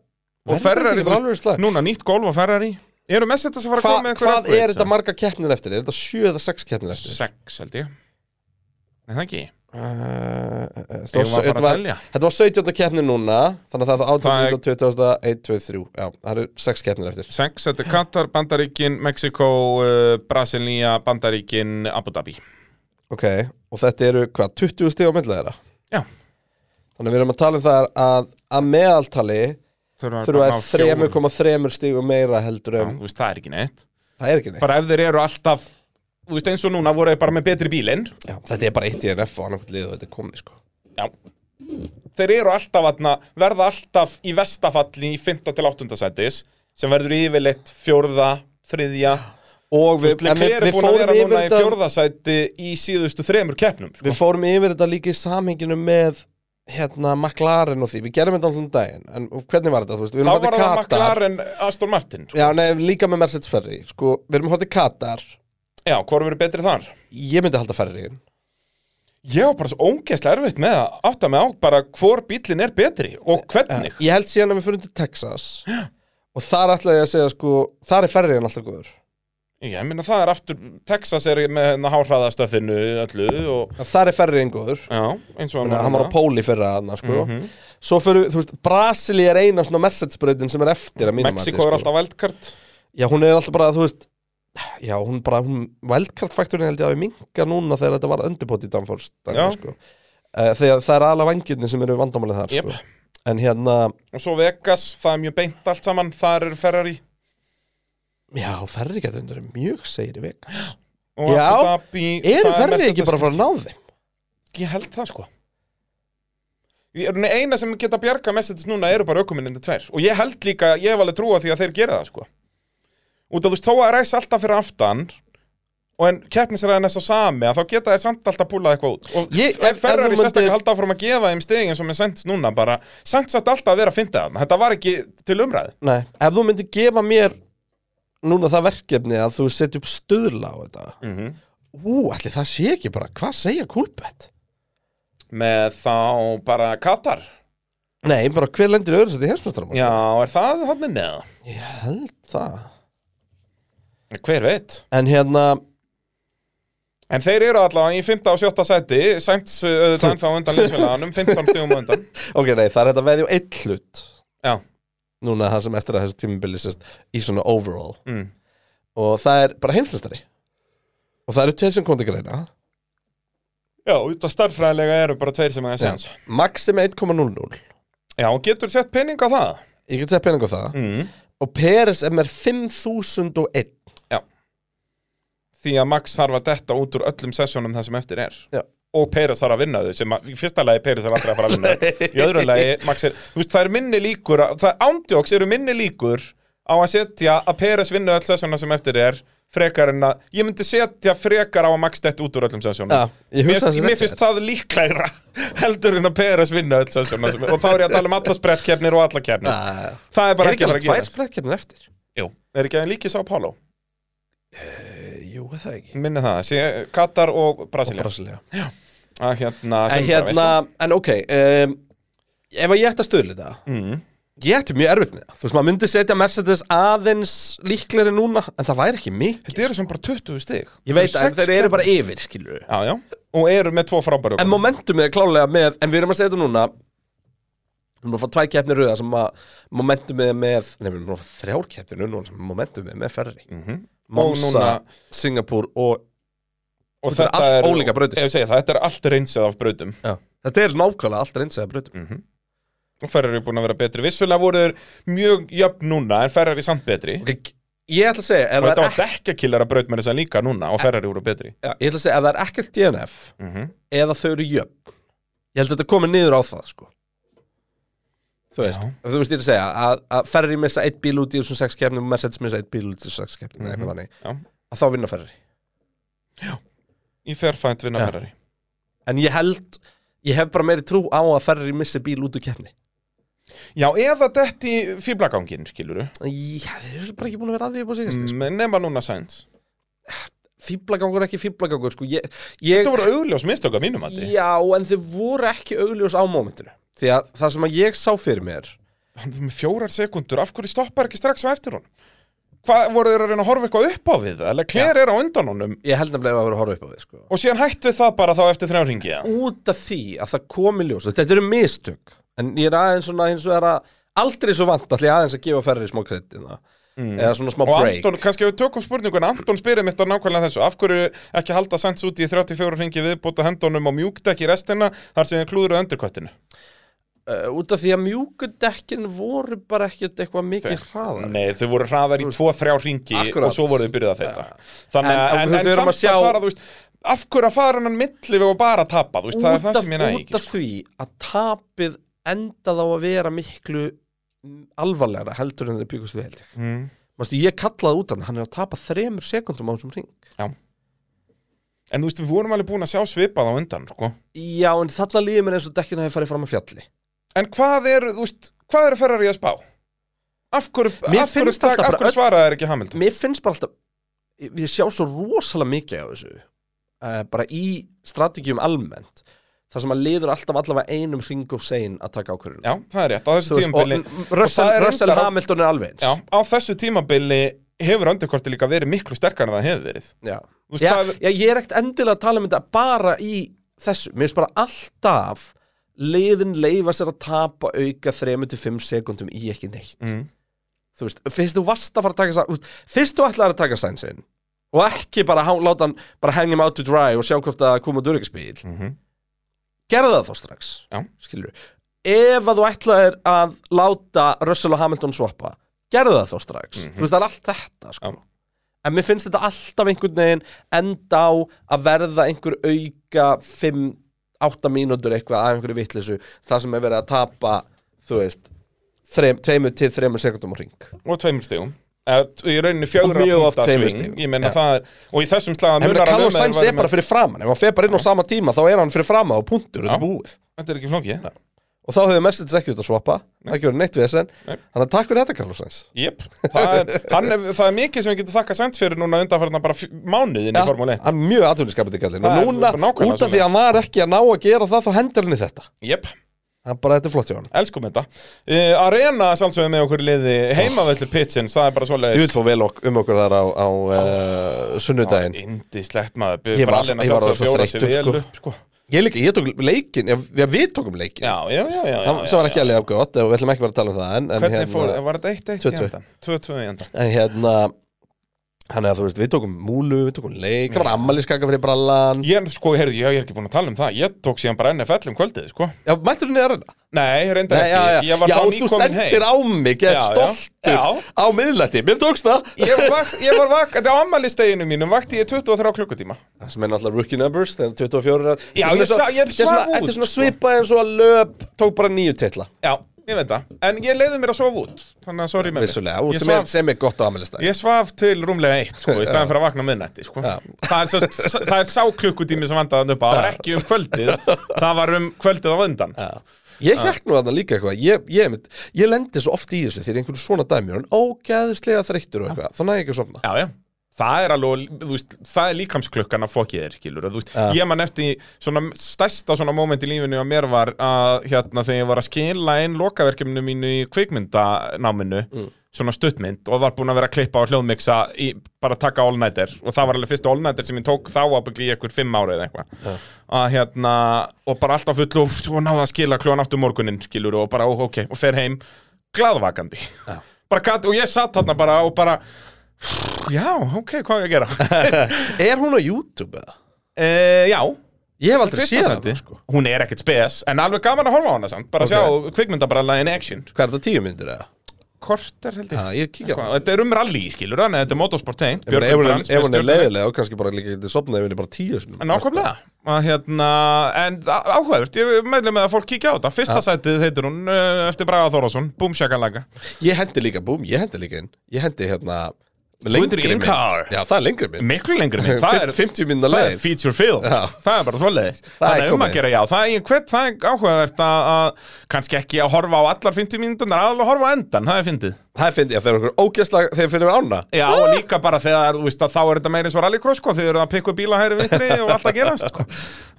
[SPEAKER 3] Og Ferrari, þú veist,
[SPEAKER 2] veist
[SPEAKER 3] núna nýtt golf á Ferrari Eru Mercedes að fara að
[SPEAKER 2] Hva,
[SPEAKER 3] koma með einhver
[SPEAKER 2] Hvað er
[SPEAKER 3] upgrades,
[SPEAKER 2] þetta
[SPEAKER 3] eða?
[SPEAKER 2] marga keppnir eftir? Er þetta sjö eða sex keppnir eftir?
[SPEAKER 3] Sex, held ég Nei, það ekki
[SPEAKER 2] Uh, uh, uh,
[SPEAKER 3] Eh, Eigum við að
[SPEAKER 2] þetta,
[SPEAKER 3] fara að
[SPEAKER 2] var,
[SPEAKER 3] telja?
[SPEAKER 2] þetta var 17. keppnir núna Þannig að það
[SPEAKER 3] Það
[SPEAKER 2] er
[SPEAKER 3] er-
[SPEAKER 2] 18, 20, 1, 2, 3 Já, það eru sex keppnir eftir
[SPEAKER 3] Sex, þetta er Katar, Bandaríkin, Mexiko, uh, Brasilia, Bandaríkin, Abu Dhabi
[SPEAKER 2] Ok, og þetta eru hvað, 20 stíð á milli þeirra?
[SPEAKER 3] Já.
[SPEAKER 2] Þannig að við erum að tala um það að að meðaltali þurfa að 3,3 stígum meira heldur
[SPEAKER 3] Já,
[SPEAKER 2] um
[SPEAKER 3] Þú veist, það er ekki neitt
[SPEAKER 2] Það er ekki neitt
[SPEAKER 3] Bara ef þeir eru alltaf Þú veist, eins og núna voru þeir bara með betri bílinn
[SPEAKER 2] Já, Þetta er bara eitt í NF og annarkvæmt lið og þetta er komið sko
[SPEAKER 3] Já Þeir eru alltaf aðna, verða alltaf í vestafalli í 5. til 8. sætis sem verður yfirleitt fjórða, þriðja
[SPEAKER 2] Og
[SPEAKER 3] Þú
[SPEAKER 2] við, en
[SPEAKER 3] veist,
[SPEAKER 2] við,
[SPEAKER 3] Leclerc er
[SPEAKER 2] við,
[SPEAKER 3] búin að
[SPEAKER 2] fórum
[SPEAKER 3] vera
[SPEAKER 2] yfir
[SPEAKER 3] núna í
[SPEAKER 2] þetta,
[SPEAKER 3] fjórða sæti í síðustu þremur keppnum sko.
[SPEAKER 2] við fórum yfir þetta líka í samhenginu með hérna McLaren og því Við gerum þetta alltaf um daginn En hvernig var þetta? Þú veist, við
[SPEAKER 3] Þá
[SPEAKER 2] erum
[SPEAKER 3] var
[SPEAKER 2] horfði
[SPEAKER 3] það
[SPEAKER 2] Katar
[SPEAKER 3] McLaren Aston Martin sko.
[SPEAKER 2] Já, nei, líka með Mercedes Ferri Sko, við erum horfði Katar
[SPEAKER 3] Já, hvort verður betri þar?
[SPEAKER 2] Ég myndi halda Ferri
[SPEAKER 3] Ég var bara svo óngeðslega erfitt með að átta mig á bara hvor bílinn er betri og hvernig
[SPEAKER 2] Ég held síðan að við fyrir til
[SPEAKER 3] <gasps>
[SPEAKER 2] Texas Og þar ætlaði ég að segja sko Þar er ferriðan alltaf góður
[SPEAKER 3] Ég meina það er aftur, Texas er með háhraðastöfinu öllu og
[SPEAKER 2] Þar er ferriðan góður
[SPEAKER 3] Já, eins og hérna.
[SPEAKER 2] Þannig að hann var á Póli fyrra þarna sko
[SPEAKER 3] Mhm.
[SPEAKER 2] Svo fyrir, við- þú veist, Brasili er eina svona Mercedes-brautin sem er eftir að mínum
[SPEAKER 3] Mexiko er alltaf veldkart
[SPEAKER 2] Já, hún er alltaf bara, þú veist Já, hún bara, hún, wildcard-faktorin held ég að við minka núna þegar þetta var undirbótt í Danfors
[SPEAKER 3] Já.
[SPEAKER 2] sko. Eh, Þegar það er alveg vangirni sem eru vandamálið þar
[SPEAKER 3] Jep.
[SPEAKER 2] sko. En hérna,
[SPEAKER 3] Og svo Vegas, það er mjög beint allt saman, þar er Ferrari
[SPEAKER 2] já, ferri getur undir mjög segir í vik
[SPEAKER 3] og
[SPEAKER 2] Já,
[SPEAKER 3] Abu Dhabi
[SPEAKER 2] Eru
[SPEAKER 3] það er
[SPEAKER 2] ferri ekki
[SPEAKER 3] Mercedes-
[SPEAKER 2] bara að fara að ná þeim?
[SPEAKER 3] Ég held það sko Ég er eina sem geta bjarga messages núna eru bara ökuminnindir tver og ég held líka, ég hef alveg trúa því að þeir gera það sko Út af þú veist, þó að ræs alltaf fyrir aftan og en keppnisræðin er svo sami að þá geta þeir samt alltaf púlað eitthvað út og
[SPEAKER 2] Ég-
[SPEAKER 3] ég,
[SPEAKER 2] ef- ef
[SPEAKER 3] ef ferrar
[SPEAKER 2] þú
[SPEAKER 3] í
[SPEAKER 2] myndir-
[SPEAKER 3] sérstaklega halda áfram að gefa þeim stegin eins og með sent núna bara sent satt alltaf að vera að fynda þarna, þetta var ekki til umræði
[SPEAKER 2] Nei, ef þú myndir gefa mér núna það verkefni að þú setja upp stöðla á þetta
[SPEAKER 3] Mhm.
[SPEAKER 2] Ú, allir það sé ekki bara, hvað segja kúlbett?
[SPEAKER 3] með þá bara Katar
[SPEAKER 2] Nei, bara hver lendir öðru sætti heimsmestramál?
[SPEAKER 3] Já, er það hann neða?
[SPEAKER 2] Ég held það
[SPEAKER 3] Hver veit?
[SPEAKER 2] En hérna,
[SPEAKER 3] En þeir eru allavega í 5. og 7. seti Sainz uh, ennþá undan liðsfélaganum 15 stígum á undan
[SPEAKER 2] ok, nei, það er þetta veðjum eitt hlut
[SPEAKER 3] Já,
[SPEAKER 2] núna það sem eftir að þessu tímabili sérst í svona overall
[SPEAKER 3] mm.
[SPEAKER 2] og það er bara heimsmestari og það eru tveir sem kom til greina
[SPEAKER 3] Já út af starffræðilega eru bara tveir sem að séns Já,
[SPEAKER 2] Max er með 1,00
[SPEAKER 3] Já og getur sett penning á það
[SPEAKER 2] ég get segja pening á það
[SPEAKER 3] mm.
[SPEAKER 2] og Peres er með 5001
[SPEAKER 3] Því að Max þarf að detta út úr öllum sessjónum það sem eftir er
[SPEAKER 2] Já.
[SPEAKER 3] Og Peres þarf að vinna þau sem að, í fyrsta lagi Peres er aldrei að fara að vinna þau Í öðru lagi, Max er, þú veist, það er minni líkur að- Það ándjóks eru minni líkur á að setja að Peres vinna öll sessjónum sem eftir er frekar en að, ég myndi setja frekar á að Max detta út úr öllum sessjónum
[SPEAKER 2] Já, ég
[SPEAKER 3] Mér,
[SPEAKER 2] hugsa þessi
[SPEAKER 3] mér finnst það líklegra <laughs> heldur en að Peres vinna öll sessjóna sem, og þá er ég að tala um alla sprettkeppnir og alla keppnir
[SPEAKER 2] er
[SPEAKER 3] það er bara
[SPEAKER 2] ekki
[SPEAKER 3] ekki að
[SPEAKER 2] bara
[SPEAKER 3] fara að gera
[SPEAKER 2] tvær sprettkeppnir eftir
[SPEAKER 3] Jú. er ekki að líkis á Pálo
[SPEAKER 2] Eh, Jú, er það ekki
[SPEAKER 3] minni það, sé, Katar og
[SPEAKER 2] Og
[SPEAKER 3] Brasilia
[SPEAKER 2] Brasilia
[SPEAKER 3] að hérna,
[SPEAKER 2] En
[SPEAKER 3] sem
[SPEAKER 2] hérna,
[SPEAKER 3] bara
[SPEAKER 2] en ok um, Ef að ég ætti að stöðla þetta
[SPEAKER 3] veist mm.
[SPEAKER 2] Ég ætti mjög erfitt með það Þú veist, maður myndi setja Mercedes aðeins líklegri núna En það væri ekki mikið
[SPEAKER 3] þetta eru sem bara 20 stig
[SPEAKER 2] Ég veit að þeir eru bara yfir, skilur við
[SPEAKER 3] já, já, og eru með tvo frábæru
[SPEAKER 2] En momentumið er klálega með En við erum að segja þetta núna Við erum að fá tvær keppnir rauða sem að Momentumið er með Nei, við erum að fá þrjár keppnir rauða sem Momentumið er með ferri
[SPEAKER 3] mm -hmm.
[SPEAKER 2] Monsa,
[SPEAKER 3] núna-
[SPEAKER 2] Singapúr og
[SPEAKER 3] og
[SPEAKER 2] Þetta eru
[SPEAKER 3] þetta
[SPEAKER 2] allt
[SPEAKER 3] eru-
[SPEAKER 2] ólíkar brautir.
[SPEAKER 3] Ef ég segi það, þetta er allt reynsið af brautum
[SPEAKER 2] Já. Þetta er nákvæmlega allt reynsaða brautum
[SPEAKER 3] og Ferrari er búin að vera betri vissulega voru þeir mjög jöfn núna en Ferrari samt betri
[SPEAKER 2] okay, Ég ætla að segja ef það
[SPEAKER 3] og
[SPEAKER 2] er
[SPEAKER 3] þetta var dekkjakillar að braut með þess að líka núna og Ferrari voru betri
[SPEAKER 2] Já, ég ætla að segja, ef það er ekkert DNF
[SPEAKER 3] Mhm.
[SPEAKER 2] eða þau eru jöfn ég held að þetta komi niður á það sko. þú veist, þú veist ég er að segja að, að ferri missa eitt bíl út í þessum sex kefnum og Mercedes missa eitt bíl út í þessum sex kefnum mm -hmm.
[SPEAKER 3] Já.
[SPEAKER 2] að þá vinna ferri
[SPEAKER 3] í ferfænt vinna
[SPEAKER 2] Já.
[SPEAKER 3] Ferrari
[SPEAKER 2] en ég held, ég hef bara meiri trú á að ferri missi bíl út úr kefni
[SPEAKER 3] Já, eða dett í fýblagangin, skiluru
[SPEAKER 2] ég er bara ekki búin að vera að því upp á sigast mm.
[SPEAKER 3] Men nema núna Sainz
[SPEAKER 2] fýblagangur er ekki fýblagangur sko. ég, ég,
[SPEAKER 3] Þetta voru augljós mistök að mínum að því
[SPEAKER 2] já, en þau voru ekki augljós á mómentinu því að það sem að ég sá fyrir mér
[SPEAKER 3] Hann er með fjórar sekundur, af hverju stoppar ekki strax á eftir hún? Hvað voru þeir að reyna að horfa eitthvað upp á við? það? Eller Claire er á undan honum
[SPEAKER 2] ég held nefnilega að vera að horfa upp á því sko.
[SPEAKER 3] og síðan hættu við það bara þá eftir þrjá ringi ja.
[SPEAKER 2] út af því að það komi ljós og þetta eru mistök en ég er aðeins svona hins vegar að aldrei svo vant allir aðeins að gefa ferri smá kredd mm. eða svona smá
[SPEAKER 3] Og
[SPEAKER 2] break
[SPEAKER 3] Anton, kannski við tökum spurninguna, Anton spyrir mitt á nákvæmlega þessu, af hverju ekki halda Sainz út í 34 ringi viðbúta hendunum og mjúkdekki restina þar sem þið klúður á öndurkvættinu?
[SPEAKER 2] uh, út af því að mjúkudekkin voru bara ekkert eitthvað mikið hraðar
[SPEAKER 3] Nei, þau voru hraðar í 2-3 ringi
[SPEAKER 2] Akkurat.
[SPEAKER 3] og svo voru þau byrjuð að feita. Þannig
[SPEAKER 2] En-
[SPEAKER 3] að,
[SPEAKER 2] en
[SPEAKER 3] en,
[SPEAKER 2] þú
[SPEAKER 3] en,
[SPEAKER 2] veist, við erum að
[SPEAKER 3] samt að,
[SPEAKER 2] sjá-
[SPEAKER 3] fara, þú veist, af hverju að fara hennan milli við og bara tapa, þú veist, það er
[SPEAKER 2] út
[SPEAKER 3] það
[SPEAKER 2] af,
[SPEAKER 3] sem ég næg
[SPEAKER 2] út
[SPEAKER 3] ekki. sko.
[SPEAKER 2] af því að tapið endaði á að vera miklu mm, alvarlegra heldur en þeir byggust við held ég
[SPEAKER 3] Mm.
[SPEAKER 2] Mastu, ég kallaði út hann, hann er að tapa þremur sekundum á þessum ring
[SPEAKER 3] En þú veist, við vorum alveg búin að sjá svipað á undan, sko.
[SPEAKER 2] já en þarna líður mér eins og dekkin hafi farið fram að fjalli
[SPEAKER 3] En hvað eru, þú veist, hvað eru Ferrari að spá? Af hverju,
[SPEAKER 2] Mér
[SPEAKER 3] af hverju,
[SPEAKER 2] finnst
[SPEAKER 3] stak,
[SPEAKER 2] alltaf
[SPEAKER 3] af
[SPEAKER 2] bara
[SPEAKER 3] hverju
[SPEAKER 2] öll-
[SPEAKER 3] svaraði er ekki Hamilton?
[SPEAKER 2] mér finnst bara alltaf ég ég sjá svo rosalega mikið á þessu uh, bara í strategjum almennt þar sem að liður alltaf allavega einum ring of sein að taka ákvörðun
[SPEAKER 3] Já, það er rétt, á þessu tíðanbili
[SPEAKER 2] og Russell,
[SPEAKER 3] það er
[SPEAKER 2] Russell
[SPEAKER 3] reyndar á-
[SPEAKER 2] Hamilton er alveg eins
[SPEAKER 3] Já, á þessu tímabili hefur öndurkorti líka verið miklu sterkar en það hefur verið.
[SPEAKER 2] Já.
[SPEAKER 3] Þú veist,
[SPEAKER 2] Já,
[SPEAKER 3] það er-
[SPEAKER 2] já, ég er ekkert endilega að tala um þetta bara í þessu, mér finnst bara alltaf liðin leifa sér að tapa auka 3-5 sekundum í ekki neitt
[SPEAKER 3] Mm.
[SPEAKER 2] þú veist, fyrst þú varst að fara að taka Sainz- þú veist, fyrst þú ætlaðir að taka sænsinn og ekki bara há, láta hann bara hang him out to dry og sjá hvort það kom út úr ekki spil
[SPEAKER 3] Mm -hmm.
[SPEAKER 2] gerðu það þá strax
[SPEAKER 3] Já.
[SPEAKER 2] skilur ef að þú ætlaðir að láta Russell og Hamilton swappa gerðu það þá strax
[SPEAKER 3] Mhm.
[SPEAKER 2] þú veist, það er allt þetta sko.
[SPEAKER 3] Já.
[SPEAKER 2] en mér finnst þetta alltaf einhvern veginn enda á að verða einhver auka 5-8 mínútur eitthvað af einhverju vitleysu þar sem er verið að tapa þú veist þreim, tveimur til þreimur sekundum á ring
[SPEAKER 3] Og tveimur stegum. Í rauninni fjögur
[SPEAKER 2] Og mjög oft tveimur stigum.
[SPEAKER 3] Ég meina
[SPEAKER 2] Já.
[SPEAKER 3] það er, og í þessum slaga
[SPEAKER 2] en
[SPEAKER 3] munar
[SPEAKER 2] Carlos
[SPEAKER 3] um að
[SPEAKER 2] Sainz
[SPEAKER 3] þeir
[SPEAKER 2] er
[SPEAKER 3] væru
[SPEAKER 2] bara
[SPEAKER 3] með-
[SPEAKER 2] fyrir framan ef hann fer bara inn á sama tíma þá er hann fyrir framan og punktur, þetta
[SPEAKER 3] Já.
[SPEAKER 2] er búið
[SPEAKER 3] Þetta er ekki flókið.
[SPEAKER 2] og þá hefur Mercedes ekki út að swappa ekki verið neitt við þess en
[SPEAKER 3] Nei.
[SPEAKER 2] þannig að takk fyrir þetta Carlos Sainz
[SPEAKER 3] Jep, það er, hann er, það er mikið sem við getum þakka sænt fyrir núna undanfarnar bara f- mánuðin í Formule 1.
[SPEAKER 2] hann er mjög atvinniskapandi kallinn og
[SPEAKER 3] Það er
[SPEAKER 2] núna,
[SPEAKER 3] bara nákvæmlega
[SPEAKER 2] út af því
[SPEAKER 3] svoleiðis.
[SPEAKER 2] að hann var ekki að ná að gera það þá hendur henni þetta
[SPEAKER 3] Jep,
[SPEAKER 2] það er bara þetta er flott hjá hann
[SPEAKER 3] elskum þetta. Uh, Arena sjálfsögum með okkur í liði heimavöldur pitsins, það er bara svoleiðis.
[SPEAKER 2] Þú veit fór vel ok um okkur þar á, á uh, sunnudaginn
[SPEAKER 3] Indislegt maður, byrðu
[SPEAKER 2] Ég var-
[SPEAKER 3] brallin að
[SPEAKER 2] ég var
[SPEAKER 3] sjálfsögum
[SPEAKER 2] orðinn svo
[SPEAKER 3] bjóra sig
[SPEAKER 2] þreyttur, sko.
[SPEAKER 3] vel upp, sko.
[SPEAKER 2] Ég líka, ég tók leikin, já, já, við tókum leikin
[SPEAKER 3] Já, já, já, já.
[SPEAKER 2] Það
[SPEAKER 3] já,
[SPEAKER 2] sem var
[SPEAKER 3] já,
[SPEAKER 2] ekki alveg afgótt og við ætlum ekki að vera að tala um það en, en
[SPEAKER 3] Hvernig fór,
[SPEAKER 2] hérna,
[SPEAKER 3] var þetta 1-1 í
[SPEAKER 2] 2-2.
[SPEAKER 3] endan? 2-2 í endan
[SPEAKER 2] en hérna Þannig að þú veist, við tókum múlu, við tókum leik Það var ammaliskaka fyrir brallan
[SPEAKER 3] Ég, sko, heyrðu, ég, ég er ekki búin að tala um það Ég tók síðan bara NFL um kvöldið, sko
[SPEAKER 2] Já, mættur henni að reyna
[SPEAKER 3] Nei, reyndar
[SPEAKER 2] Nei,
[SPEAKER 3] ekki
[SPEAKER 2] já, já,
[SPEAKER 3] Ég var
[SPEAKER 2] já
[SPEAKER 3] þá
[SPEAKER 2] þú
[SPEAKER 3] nýkomin
[SPEAKER 2] sendir
[SPEAKER 3] heim
[SPEAKER 2] á mig,
[SPEAKER 3] Já,
[SPEAKER 2] get
[SPEAKER 3] já.
[SPEAKER 2] stoltur
[SPEAKER 3] Já.
[SPEAKER 2] á miðlætti, mér tókst það
[SPEAKER 3] Ég var, ég var vakt, þetta á ammælisteginu mínum Vakti ég 23 klukkutíma
[SPEAKER 2] <laughs> Það sem er náttúrulega rookie numbers, þegar 24 er-
[SPEAKER 3] Já,
[SPEAKER 2] Þetta
[SPEAKER 3] ég
[SPEAKER 2] svona-
[SPEAKER 3] sa- ég
[SPEAKER 2] þetta svona-
[SPEAKER 3] svaf út,
[SPEAKER 2] Þetta er svona
[SPEAKER 3] sko.
[SPEAKER 2] svipað eins og að löp tók bara nýju titla
[SPEAKER 3] Já, ég veit það En ég leiði mér að sofa út Þannig að sorry með mér
[SPEAKER 2] Vissulega, og
[SPEAKER 3] Ég
[SPEAKER 2] sem, er-
[SPEAKER 3] svaf-
[SPEAKER 2] sem er gott á amelistæð
[SPEAKER 3] Ég svaf til rúmlega eitt, sko, í
[SPEAKER 2] <laughs>
[SPEAKER 3] staðan fyrir að vakna á miðnætti, sko.
[SPEAKER 2] Já.
[SPEAKER 3] Það er, svo, s- það er sá klukkutími sem vandaði hann upp á, það var ekki um kvöldið, það var um kvöldið á undan.
[SPEAKER 2] Ég hjælt nú þarna líka eitthvað Ég, ég, ég, ég lendi svo oft í þessu þegar einhverjum svona dæmi og hann ógæðislega þreyttur og eitthvað Þannig að ég ekki að sofna
[SPEAKER 3] Já, já. Það er alveg, þú veist, það er líkamsklukkan að fokkið er, skilur, þú veist,
[SPEAKER 2] Ja.
[SPEAKER 3] ég man eftir svona stærsta svona moment í lífinu á mér var að, hérna, þegar ég var að skila inn lokaverkefninu mínu í kvikmyndanáminu, svona stuttmynd og var búinn að vera að klippa og hljóðmiksa í, bara taka all-nighter og það var alveg fyrsta all-nighter sem ég tók þá að byggja í ykkur fimm árið eða eitthvað að hérna, og bara alltaf full og, og náða að skila kljóðan áttu morguninn, skilur, og bara, ó, ok, og fer heim glaðvakandi,
[SPEAKER 2] Já.
[SPEAKER 3] bara gat, og ég satt þarna bara og bara Já, ok, hvað er ég að gera?
[SPEAKER 2] <laughs> Er hún á YouTube eða?
[SPEAKER 3] e, já,
[SPEAKER 2] Ég hef aldrei
[SPEAKER 3] fyrsta
[SPEAKER 2] séð
[SPEAKER 3] sæti.
[SPEAKER 2] hana sko.
[SPEAKER 3] Hún er ekkert spes, en alveg gaman að horfa á hana samt Bara
[SPEAKER 2] Ok.
[SPEAKER 3] okay. sjá kvikmyndabralla in action
[SPEAKER 2] Hvað er þetta, tíu myndir eða?
[SPEAKER 3] Korter held
[SPEAKER 2] Já,
[SPEAKER 3] ég
[SPEAKER 2] ég kíkja á
[SPEAKER 3] Hva,
[SPEAKER 2] hana
[SPEAKER 3] Þetta er um rally, skilur þannig að Þetta er motorsport tengt
[SPEAKER 2] Ég meina, Ef
[SPEAKER 3] Björgvin
[SPEAKER 2] hún
[SPEAKER 3] Franz
[SPEAKER 2] er-
[SPEAKER 3] með
[SPEAKER 2] ef hún er
[SPEAKER 3] stjörnuna.
[SPEAKER 2] leiðilega og kannski bara líka getið sopnaði henni bara tíu sko. sinum
[SPEAKER 3] Nákvæmlega Að, hérna, En á- áhugavert, ég meðlega með að fólk kíkja á þetta Fyrsta sætið heitir hún uh, eftir Braga Þórásson Boom Shakalaka
[SPEAKER 2] Ég hendi líka, búm, ég hendi líka inn Ég hendi hérna
[SPEAKER 3] hendir í
[SPEAKER 2] Lengri mynd
[SPEAKER 3] Inkar.
[SPEAKER 2] Já, það er lengri mynd
[SPEAKER 3] Miklu lengri minn,
[SPEAKER 2] <laughs>
[SPEAKER 3] það
[SPEAKER 2] Fimm-
[SPEAKER 3] er
[SPEAKER 2] 50 minna
[SPEAKER 3] Það er
[SPEAKER 2] leið
[SPEAKER 3] feature film,
[SPEAKER 2] Já.
[SPEAKER 3] það er bara svoleiðis
[SPEAKER 2] Það er
[SPEAKER 3] Þannig að um
[SPEAKER 2] komið.
[SPEAKER 3] að gera já, það er, hver, það er áhugavert að, að kannski ekki að horfa á allar 50 mínúturnar, aðalega að horfa á endan, það er fyndið
[SPEAKER 2] Það er fyndið, þegar okkur ógæsla Þegar finnum við ána
[SPEAKER 3] Já, og líka bara þegar, þú veist, að þá er þetta meira eins og rallycross, sko, þeir eru að pikka upp bíla hægri vinstri og allt að gerast, sko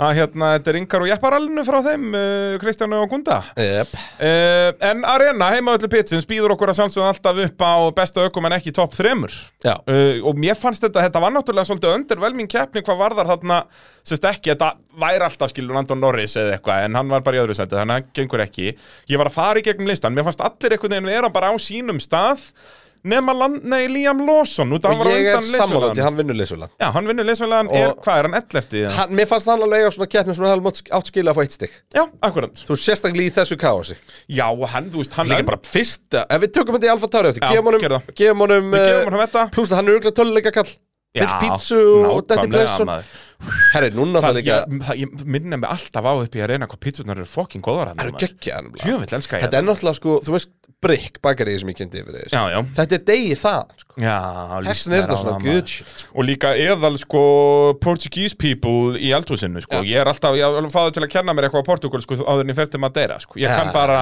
[SPEAKER 3] að hérna, þetta er yngar og jepparallinu frá þeim uh, Kristjánu og Gunda
[SPEAKER 2] Jep
[SPEAKER 3] uh, En Arena, heimavöldu pitsins, býður okkur að sjálfsögðu alltaf upp á besta ökum en ekki topp þremur
[SPEAKER 2] Já
[SPEAKER 3] uh, og mér fannst þetta, þetta var náttúrulega svolítið öndirvelming keppni hvað varðar þarna sérst ekki, þetta væri alltaf skilur Anton Norris eða eitthvað, en hann var bara í öðru seti þannig að hann gengur ekki, ég var að fara í gegnum listan mér fannst allir einhvern veginn vera bara á sínum stað nema land, nei, Liam Lawson út af hann
[SPEAKER 2] Og
[SPEAKER 3] var á
[SPEAKER 2] ég er
[SPEAKER 3] undan
[SPEAKER 2] sammálaði,
[SPEAKER 3] leysvölan
[SPEAKER 2] hann vinnur leysvölan
[SPEAKER 3] Já, hann vinnur leysvölan, er,
[SPEAKER 2] Og-
[SPEAKER 3] hvað er hann 11 í það?
[SPEAKER 2] hann, Mér fannst hann alveg á svona keppnum sem hann hefði átt skilja að fá eitt stygg
[SPEAKER 3] Já, akkurat
[SPEAKER 2] Þú veist, sérstaklega í þessu káasi
[SPEAKER 3] Já, og hann, þú veist, hann
[SPEAKER 2] Líka bara fyrsta, ef við tökum þetta í Alfa Tauri eftir
[SPEAKER 3] Já,
[SPEAKER 2] Gefum
[SPEAKER 3] gerðu
[SPEAKER 2] honum,
[SPEAKER 3] það.
[SPEAKER 2] gefum honum
[SPEAKER 3] Við gefum
[SPEAKER 2] eh,
[SPEAKER 3] honum þetta.
[SPEAKER 2] Plús að hann er örgulega töluleika kall Vill pítsu og detti
[SPEAKER 3] nákvæmlega,
[SPEAKER 2] pressun
[SPEAKER 3] maður.
[SPEAKER 2] Herri, núna það
[SPEAKER 3] Það,
[SPEAKER 2] líka
[SPEAKER 3] ég, það- ég minna mig alltaf á upp í að reyna hvað pítsunar eru fucking góðar hann
[SPEAKER 2] Það eru geggja hann
[SPEAKER 3] Tjöfull elska ég
[SPEAKER 2] Þetta er náttúrulega sko, þú veist, brikk bakarið sem ég kynnti yfir þér
[SPEAKER 3] Já, já.
[SPEAKER 2] Þetta er degi það sko.
[SPEAKER 3] Já, líst
[SPEAKER 2] Þessin er
[SPEAKER 3] mér
[SPEAKER 2] þetta
[SPEAKER 3] á
[SPEAKER 2] svona
[SPEAKER 3] það, maður.
[SPEAKER 2] good shit sko.
[SPEAKER 3] Og líka eðal sko Portuguese people í eldhúsinu sko Ég er alltaf, ég er fáður til að kenna mér eitthvað á Portugal sko áður en ég fer til Madeira sko Ég kann
[SPEAKER 2] Já.
[SPEAKER 3] bara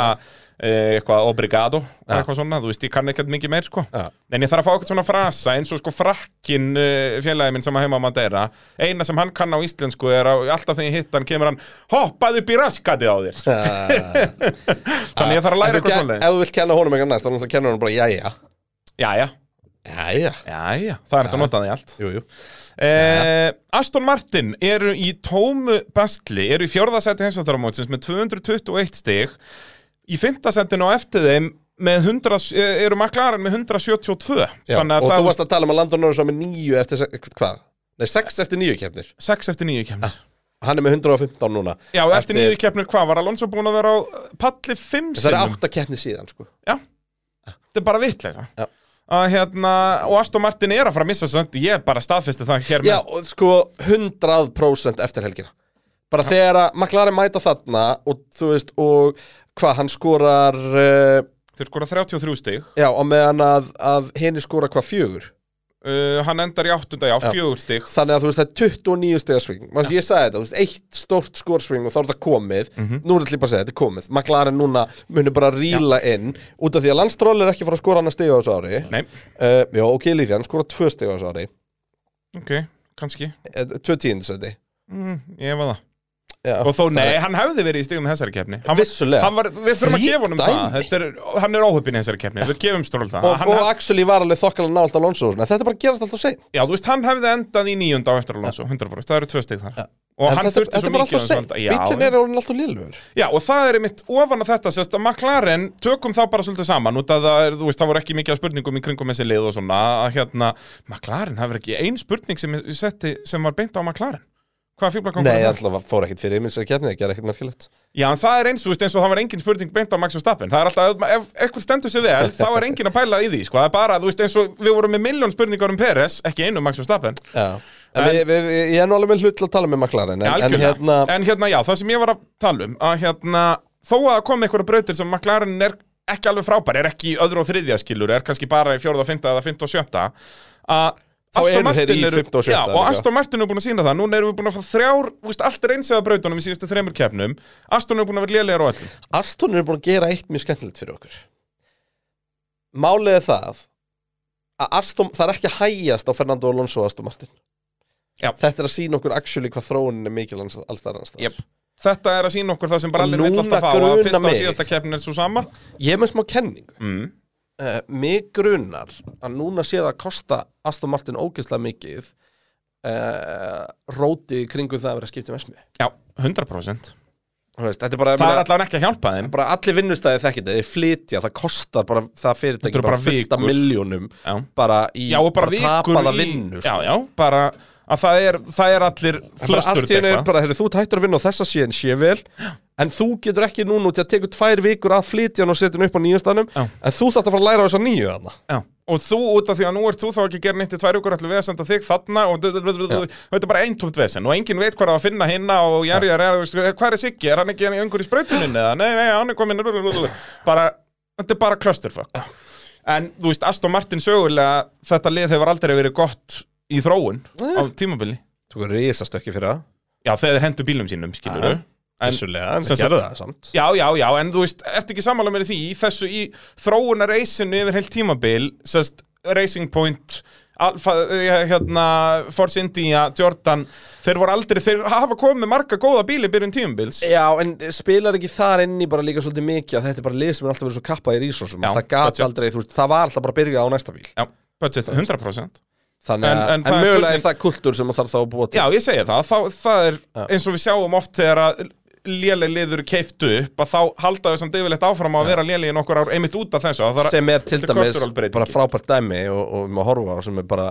[SPEAKER 3] eh, eitthvað obrigado eitthvað svona, þú veist, ég kann ekkert mikið meir sko
[SPEAKER 2] Já.
[SPEAKER 3] En ég þarf að fá eitthvað svona frasa eins og sko frakkin uh, félagi minn sem að heima á Madeira Eina sem hann kann á íslensku er að alltaf þegar ég hitt hann kemur hann Hoppað upp í raskatið á þér Þannig ég <laughs> þarf að
[SPEAKER 2] En þú
[SPEAKER 3] læra eitthvað
[SPEAKER 2] ge-
[SPEAKER 3] svona
[SPEAKER 2] Ef þú vilt kenna honum eitthvað næst, þá náttúrulega kenna honum bara jæja
[SPEAKER 3] Jæja,
[SPEAKER 2] Jæja,
[SPEAKER 3] jæja, það er þetta að nota það í allt
[SPEAKER 2] jú, jú
[SPEAKER 3] Eh, Aston Martin eru í tómu bastli, eru í fjórðasæti heimsvættaramótsins með 221 stig í fimmtasætinu á eftir þeim með 100, eh, eru maklarinn með 172
[SPEAKER 2] Já,
[SPEAKER 3] þannig
[SPEAKER 2] og
[SPEAKER 3] að
[SPEAKER 2] þú
[SPEAKER 3] það var
[SPEAKER 2] varst að tala um að Landon Norris var með nýju eftir, se- hvað? Nei, sex eftir nýju keppnir
[SPEAKER 3] 6 eftir 9 kemur
[SPEAKER 2] Ah, Hann er með 115 núna
[SPEAKER 3] Já, og eftir 9 kemur hvað var Alonso búin að vera á eh, palli 5
[SPEAKER 2] Það er
[SPEAKER 3] sinnum
[SPEAKER 2] átta keppnir síðan, sko
[SPEAKER 3] Já, þetta er bara vitleisa
[SPEAKER 2] Já.
[SPEAKER 3] að hérna, og Aston Martin er að fara að missa samt, ég bara staðfesti það hér
[SPEAKER 2] Já,
[SPEAKER 3] með
[SPEAKER 2] og sko, 100% eftir helgina Bara þegar að McLaren mæta þarna og þú veist, og hvað, hann skorar uh,
[SPEAKER 3] þeir skora 33 stig
[SPEAKER 2] Já, og meðan að, að henni skora hvað fjögur
[SPEAKER 3] uh, hann endar í 8. já,
[SPEAKER 2] Já.
[SPEAKER 3] 4 stig
[SPEAKER 2] Þannig að þú veist, það er 29 stiga sving Manns, ég sagði þetta, þú veist, eitt stórt skorsving og þá er þetta komið,
[SPEAKER 3] Mhm.
[SPEAKER 2] nú er þetta líka að segja þetta er komið McLaren núna munir bara ríla inn út af því að landstról er ekki fara að skora hann að stiga á þessu ári
[SPEAKER 3] Nei,
[SPEAKER 2] uh, Já, ok, lífið, hann skora tvö stiga á þessu ári
[SPEAKER 3] ok, kannski
[SPEAKER 2] uh, Tvö tíundisæti
[SPEAKER 3] Mm, ég var það.
[SPEAKER 2] Já,
[SPEAKER 3] Og þó,
[SPEAKER 2] það
[SPEAKER 3] nei,
[SPEAKER 2] er-
[SPEAKER 3] hann hefði verið í stigum í þessari keppni. Hann var-
[SPEAKER 2] Vissulega.
[SPEAKER 3] Hann var, við þurfum að
[SPEAKER 2] Fríkt
[SPEAKER 3] gefa honum það.
[SPEAKER 2] dæmi.
[SPEAKER 3] Þetta Er, hann er óhöppin í þessari keppni, við gefum stról það.
[SPEAKER 2] Og,
[SPEAKER 3] hann
[SPEAKER 2] og
[SPEAKER 3] hef,
[SPEAKER 2] actually var alveg þokkalega nált Alonso og svona. Þetta bara gerast alltaf seint
[SPEAKER 3] já, þú veist, hann hefði endað í níunda á eftir Alonso, 100%. Það eru tvö stig þar. Og
[SPEAKER 2] En
[SPEAKER 3] hann
[SPEAKER 2] Þetta
[SPEAKER 3] þurfti
[SPEAKER 2] þetta
[SPEAKER 3] svo
[SPEAKER 2] er bara
[SPEAKER 3] mikið
[SPEAKER 2] alltaf
[SPEAKER 3] á
[SPEAKER 2] seint
[SPEAKER 3] þessu-
[SPEAKER 2] Bíllinn
[SPEAKER 3] Já,
[SPEAKER 2] er orðin alltaf liðlugur
[SPEAKER 3] já, og það er einmitt ofan að þetta, sérst að McLaren, tökum þá bara svolítið saman, út að það, er, þú veist, það voru ekki mikið af spurningum í kringum þessi lið og svona, að hérna, McLaren, það verið ekki ein spurning sem, ég setti, sem var beint á McLaren. Hvað fíbla kom
[SPEAKER 2] Nei, alltaf fór ekkit fyrir einminsar kefni Það gerði ekkit merkilegt
[SPEAKER 3] Já, en það er eins, þú veist, eins og það var engin spurning beint á Max Verstappen. Það er alltaf, ef- ef eitthvað stendur sér vel, þá er engin að pæla í því, sko. Það er bara, þú veist, eins og við vorum með miljón spurningar um Peres, ekki einu um Max Verstappen.
[SPEAKER 2] Já En, en, við, við, ég er nú alveg með hlut til að tala með McLaren en, en
[SPEAKER 3] Algjörlega.
[SPEAKER 2] hérna,
[SPEAKER 3] en hérna, já, það sem ég var að tala um, að hérna, þó að það kom einhverja brautir sem McLaren er ekki alveg frábær, er ekki í öðru og þriðja skilur, er kannski bara í fjórða, fymta eða fymta og sjötta, að
[SPEAKER 2] Þá
[SPEAKER 3] Aston
[SPEAKER 2] eru þeir
[SPEAKER 3] Martin
[SPEAKER 2] í
[SPEAKER 3] eru-
[SPEAKER 2] fimmta og sjötta
[SPEAKER 3] Já, og
[SPEAKER 2] líka.
[SPEAKER 3] Aston Martin er búin að sína það Núna erum við búin að fá þrjár, þú veist, allt er eins eða brautunum í síðustu þremur keppnum Aston er búin að vera lélegar á öllum
[SPEAKER 2] Aston er búin að gera eitt mjög skemmtilegt fyrir okkur Málið er það að Aston, það er ekki að hægjast á Fernando Alonso og Aston Martin
[SPEAKER 3] Já.
[SPEAKER 2] Þetta er að sína okkur actually hvað þróunin er mikil alls alls staðar annars staðar.
[SPEAKER 3] Jep. Þetta er að sína okkur það sem brallin vill
[SPEAKER 2] Núna
[SPEAKER 3] alltaf fá að
[SPEAKER 2] grunar
[SPEAKER 3] fyrsta og
[SPEAKER 2] mig.
[SPEAKER 3] síðasta keppnin er svo sama
[SPEAKER 2] Ég er með smá kenningu
[SPEAKER 3] mm.
[SPEAKER 2] uh, Mig grunar að núna sé það að kosta Aston Martin ógeðslega mikið uh, rótið í kringum það að vera skipt um esmi
[SPEAKER 3] Já, 100%
[SPEAKER 2] Þú veist, Þetta er bara,
[SPEAKER 3] Það er allavega ekki að hjálpa þeim
[SPEAKER 2] bara allir vinnustæði þekkið þeir flytja, það kostar bara það
[SPEAKER 3] Þetta
[SPEAKER 2] fyrirtæki
[SPEAKER 3] eru
[SPEAKER 2] bara,
[SPEAKER 3] bara
[SPEAKER 2] fullt af
[SPEAKER 3] vikur.
[SPEAKER 2] miljónum
[SPEAKER 3] Já,
[SPEAKER 2] bara í
[SPEAKER 3] já og bara, vikur
[SPEAKER 2] tapaða
[SPEAKER 3] í-
[SPEAKER 2] vinnu sko.
[SPEAKER 3] Já, já, bara að það er, það er allir
[SPEAKER 2] Það er bara
[SPEAKER 3] flöstur
[SPEAKER 2] allt í hennu bara, heyrðu, þú ert hættur að vinna á þessa síðan sé vel en þú getur ekki núna út í að tekur tvær vikur að flytja hann og setja hann upp á nýjastanum
[SPEAKER 3] Já.
[SPEAKER 2] en þú þarft að fara að læra á þessa nýju þarna
[SPEAKER 3] Já. Og þú út af því að nú ert þú þá ekki að gera nýtt í tvær ykkur allir við að senda þig þarna og þetta er bara eintóft vesen og enginn veit hvað það að finna hinna og jarjar er, þú veist, hvað er Siggi, er hann ekki einhver í sprautuninni eða nei, nei, hann er komin bara, þetta er bara clusterfuck en þú veist, Aston Martin sögulega þetta lið hefur aldrei verið gott í þróun á tímabili
[SPEAKER 2] Tóku risastökki fyrir það
[SPEAKER 3] já, þegar þeir hendu bílum sínum, skilur
[SPEAKER 2] Já. Vissulega, en
[SPEAKER 3] sem
[SPEAKER 2] það gerði
[SPEAKER 3] sagt-
[SPEAKER 2] það samt
[SPEAKER 3] Já, já, já, en þú veist, ertu ekki sammála mér í því í þessu í þróunar reysinu yfir heilt tímabil, sérst Racing Point Alfa, eh, hérna, Force India, Jordan þeir voru aldrei, þeir hafa komið með marga góða bíli byrjun tímabils
[SPEAKER 2] Já, en spilar ekki þar inn í bara líka svolítið mikið að þetta er bara lið sem er alltaf verið svo kappað í rísósum
[SPEAKER 3] Já,
[SPEAKER 2] það gat
[SPEAKER 3] budget.
[SPEAKER 2] aldrei, þú veist, það var alltaf bara að byrja á næsta bíl
[SPEAKER 3] Já, budget 100%
[SPEAKER 2] Þannig
[SPEAKER 3] En-
[SPEAKER 2] að,
[SPEAKER 3] en
[SPEAKER 2] en,
[SPEAKER 3] það er
[SPEAKER 2] mögulega
[SPEAKER 3] spurning-
[SPEAKER 2] er það kultúr sem þarf þá að búa til
[SPEAKER 3] Já, ég segi það, þá, það er
[SPEAKER 2] Já.
[SPEAKER 3] eins og við sjáum oft þegar að léleg liður keiftu upp að þá halda þau samt yfirleitt áfram að vera léleg í nokkur ár einmitt út af þessu að það er-
[SPEAKER 2] sem er til
[SPEAKER 3] þetta er
[SPEAKER 2] dæmis
[SPEAKER 3] cultural breyting.
[SPEAKER 2] bara frábært dæmi og, og við má horfa á sem er bara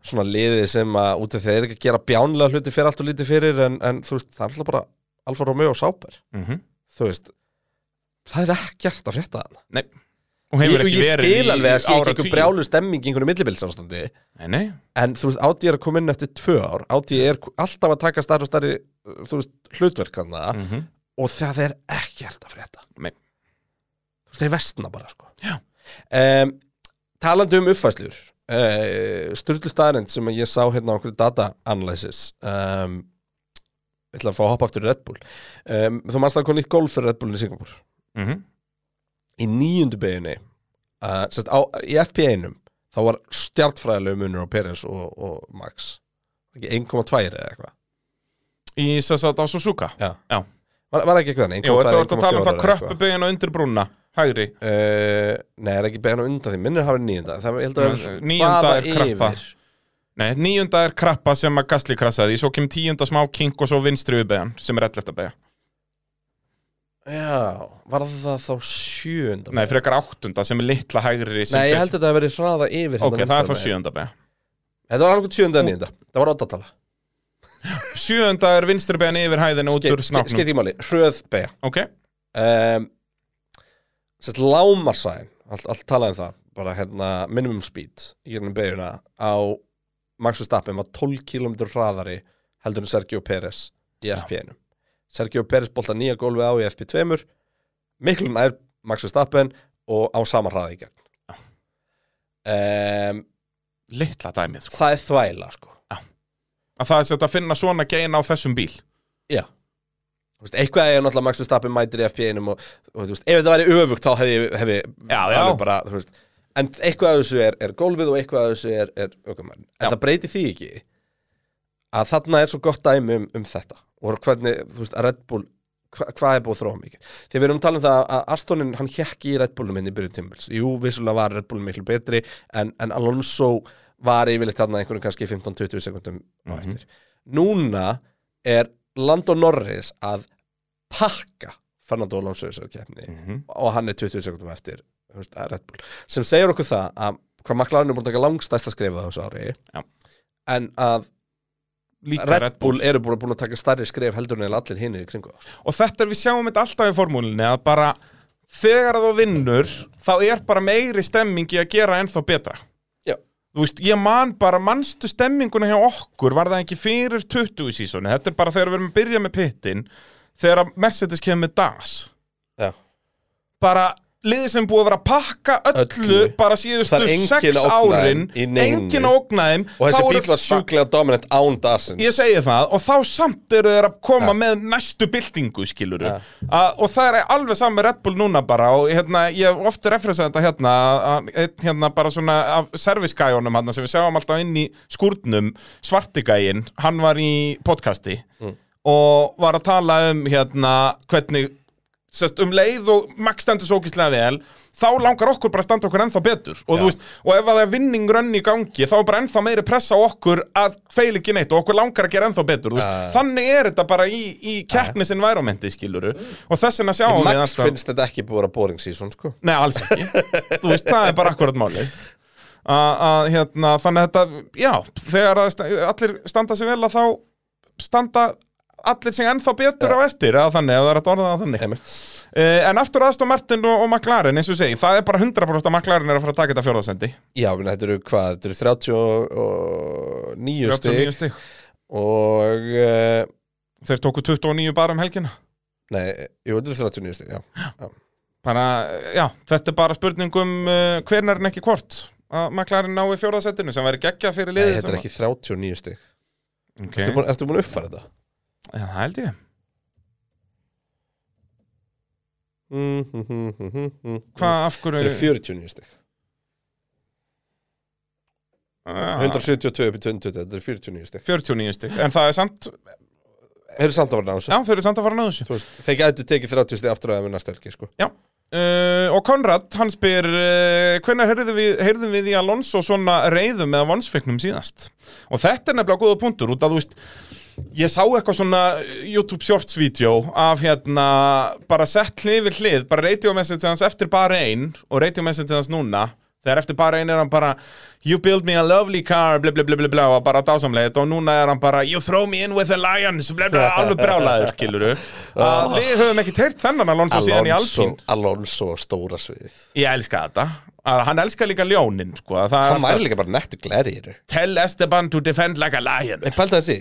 [SPEAKER 2] svona liði sem að út af þeir ekki að gera bjánlega hluti fyrir allt og lítið fyrir en, en þú veist, það er alltaf bara Alfa Romeo og Sáber,
[SPEAKER 3] Mhm.
[SPEAKER 2] þú veist það er ekkert að frétta þarna
[SPEAKER 3] Nei, og hefur
[SPEAKER 2] Ég,
[SPEAKER 3] ekki
[SPEAKER 2] ég
[SPEAKER 3] verið
[SPEAKER 2] skil alveg að sé ekki
[SPEAKER 3] áratugi.
[SPEAKER 2] einhver brjálu stemming í einhverju millibilsástandi
[SPEAKER 3] Nei, nei,
[SPEAKER 2] en þú veist, Audi er að koma inn eftir tvö ár Audi er alltaf að taka starri og starri uh, þú veist, hlutverk hann
[SPEAKER 3] Mhm.
[SPEAKER 2] og það er ekkert að frétta
[SPEAKER 3] Nei.
[SPEAKER 2] þú veist, þeir vestna bara sko
[SPEAKER 3] Já.
[SPEAKER 2] um, talandi um uppfæslur uh, styrlu staðarind sem ég sá hérna á okkur data analysis um, ég ætla að fá að hoppa aftur í Red Bull um, þú manst það kom nýtt golf fyrir Red Bullin í Singapur
[SPEAKER 3] Mhm.
[SPEAKER 2] í níundu beginni uh, sérst, á, í FP1-um þá var stjartfræðilegu munur á Peres og, og Max ekki 1,2 eða eitthvað
[SPEAKER 3] í þess að á Suzuka
[SPEAKER 2] var, var ekki eitthvað þannig,
[SPEAKER 3] Jú,
[SPEAKER 2] 1,2,
[SPEAKER 3] þú ert að tala
[SPEAKER 2] 1,4
[SPEAKER 3] um það
[SPEAKER 2] eða
[SPEAKER 3] kröppu
[SPEAKER 2] eitthvað.
[SPEAKER 3] byggin og undir brúna Hægri
[SPEAKER 2] Uh, nei, er ekki beina undan því, minnir hafa nýjunda það ég held að vera
[SPEAKER 3] Níunda
[SPEAKER 2] hraða
[SPEAKER 3] er krabba.
[SPEAKER 2] yfir.
[SPEAKER 3] Nei, níunda er krappa sem að Gasly krassaði í, Svo kemur tíunda smá kink og svo vinstri ubeigjan Sem er ellert að beigja
[SPEAKER 2] já, var það þá sjöunda
[SPEAKER 3] Nei, frekar áttunda sem er litla hægri sem
[SPEAKER 2] nei ég
[SPEAKER 3] fer-
[SPEAKER 2] held að það veri hraða yfir
[SPEAKER 3] Ok, það er þá
[SPEAKER 2] sjönda
[SPEAKER 3] sjöunda beigja
[SPEAKER 2] þetta var alveg sjönda en nýjunda, það var óttatala
[SPEAKER 3] Sjöunda er vinstri beigjan yfir hæðinu út úr snáknum
[SPEAKER 2] skeitt í máli, hröð beja
[SPEAKER 3] Ok,
[SPEAKER 2] um, sérst lámarsæn allt, allt talaði um það bara hérna minimum speed í hérna beiguna á Max Verstappen var 12 km hraðari heldur en Sergio Pérez í FP1 Sergio Pérez bolta nýja gólfi á í FP2 miklu nær Max Verstappen og á sama hraði í gegn um,
[SPEAKER 3] litla dæmið sko
[SPEAKER 2] það er þvæla sko
[SPEAKER 3] Að það er sett að finna svona gein á þessum bíl
[SPEAKER 2] Já Þú veist, eitthvað er náttúrulega Max Verstappen mætir í FP1 og, og þú veist, ef þetta væri öfugt þá hefði hef
[SPEAKER 3] Já, já.
[SPEAKER 2] bara, þú veist en eitthvað af þessu er, er gólfið og eitthvað af þessu er, er ökumann, en
[SPEAKER 3] Já.
[SPEAKER 2] það breytir því ekki að þarna er svo gott dæmi um, um þetta og hvernig, þú veist, að Red Bull hva, hvað er búið að þróa mikið þegar við erum að tala um það að Astonin, hann hjekk í Red Bullum inn í byrjun tímbils, jú, vissulega var Red Bullum miklu betri, en, en Alonso var yfirleitt þarna einhvern kannski 15-20 sekundum
[SPEAKER 3] Mhm.
[SPEAKER 2] á eftir núna er Landon Norris að pakka Fernando Alonso í þessari keppni og hann er 20 sekundum eftir þú veist, að Red Bull, sem segir okkur það að hvað McLaren er búin að taka langstæsta skrifa á þessu ári
[SPEAKER 3] Já.
[SPEAKER 2] en að
[SPEAKER 3] Líka
[SPEAKER 2] Red, Bull eru búin að, búin að taka stærri skrif heldur en allir hinir í kringu það, sko.
[SPEAKER 3] Og þetta er við sjáum þetta alltaf í formúlinni að bara þegar þú vinnur þá er bara meiri stemming í að gera ennþá betra
[SPEAKER 2] Já.
[SPEAKER 3] Þú veist, ég man bara, manstu stemminguna hjá okkur var það ekki fyrir 20 sísoni þetta er bara þegar við erum að byrja með pittin þegar að Mercedes kemur með DAS
[SPEAKER 2] Já.
[SPEAKER 3] bara liðið sem er búið að vera að pakka öllu,
[SPEAKER 2] Öllu.
[SPEAKER 3] bara síðustu
[SPEAKER 2] Það er enginn
[SPEAKER 3] sex
[SPEAKER 2] að ógna
[SPEAKER 3] árin
[SPEAKER 2] þeim í neinu.
[SPEAKER 3] enginn að ógna þeim
[SPEAKER 2] Og
[SPEAKER 3] þá
[SPEAKER 2] þessi
[SPEAKER 3] eru
[SPEAKER 2] bíl var
[SPEAKER 3] það-
[SPEAKER 2] sjúklega dominant án dasins
[SPEAKER 3] ég segi það og þá samt eru þeir að koma með næstu byltingu skiluru ja. og það er alveg saman með Red Bull núna bara og hérna, ég hef oft referensað þetta hérna, að- einn hérna bara svona af servicegæjunum hérna sem við sjáum alltaf inn í skúrnum svartigæjin, hann var í podcasti og var að tala um hérna hvernig sest, um leið og Max stendur svo ógislega vel þá langar okkur bara að standa okkur ennþá betur og, þú veist, og ef að það er vinning rönn í gangi þá er bara ennþá meiri pressa á okkur að feil ekki neitt og okkur langar að gera ennþá betur ja.
[SPEAKER 2] Já.
[SPEAKER 3] þannig er þetta bara í, í keppnis environmenti skiluru og þess vegna sjáum við
[SPEAKER 2] Max
[SPEAKER 3] alltaf-
[SPEAKER 2] finnst þetta ekki búið að vera boring season sko
[SPEAKER 3] Nei, alls ekki Þú veist, það er bara akkurat máli að hérna, þannig að þetta já, þegar að sta- allir standa sig vel að þá standa allir sig ennþá betur á eftir eða þannig, ef það er að orða það þannig
[SPEAKER 2] Einmitt.
[SPEAKER 3] Uh, en aftur aðstof Martin og, og McLaren, eins og ég segi, það er bara 100% að McLaren er að fara að taka þetta fjórðarsendi.
[SPEAKER 2] Já, menn, þetta eru hvað, þetta eru 39
[SPEAKER 3] 39
[SPEAKER 2] stig
[SPEAKER 3] stig.
[SPEAKER 2] og uh,
[SPEAKER 3] Þeir tóku 29 bara um helgina.
[SPEAKER 2] nei, jú, þetta eru 39 stig, já, já.
[SPEAKER 3] Þannig að, já, þetta er bara spurning um uh, hvernig er hann ekki hvort að McLaren nái fjórðarsendinu sem væri geggja fyrir
[SPEAKER 2] Nei,
[SPEAKER 3] liðið.
[SPEAKER 2] þetta er ekki 39 stig
[SPEAKER 3] Okay.
[SPEAKER 2] Ertu búin, ertu búin að uppfæra þetta?
[SPEAKER 3] Já, það held ég.
[SPEAKER 2] Mm, mm, mm, mm, mm, mm.
[SPEAKER 3] Hvað, af
[SPEAKER 2] Þetta
[SPEAKER 3] hverju?
[SPEAKER 2] eru 49 stig
[SPEAKER 3] Já,
[SPEAKER 2] 172 upp í 22, þetta eru 49 stig
[SPEAKER 3] 49 stig. En það er samt,
[SPEAKER 2] Hefur samt að vera náðs
[SPEAKER 3] já, þeir eru samt að fara að náðu þessu.
[SPEAKER 2] Þú veist, þeir gætu tekið 30 stig aftur á þeim við næsta helgi, sko
[SPEAKER 3] Uh, og Konrad, hann spyr uh, hvernig heyrðum við, heyrðum við í Alonso svona reyðum eða vonsfeknum síðast og þetta er nefnilega góða punktur út að þú veist, ég sá eitthvað svona YouTube Shorts vídeo af hérna bara sett hlið við hlið bara radio message hans eftir bara ein og radio message hans núna þegar eftir bara ein er hann bara you build me a lovely car, bla bla bla bla bla og bara dásamleit og núna er hann bara you throw me in with a lions, bla bla, alveg brálaður skiluru, að við höfum ekki teirt þennan Alonso, síðan í
[SPEAKER 2] Alonso,
[SPEAKER 3] Alpín
[SPEAKER 2] Alonso á stóra sviðið
[SPEAKER 3] Ég elska þetta að hann elskar líka ljónin sko. að það er
[SPEAKER 2] Hann væri
[SPEAKER 3] alltaf,
[SPEAKER 2] líka bara nettu glæri eru
[SPEAKER 3] Tell Esteban to defend like a lion
[SPEAKER 2] En pælda þessi,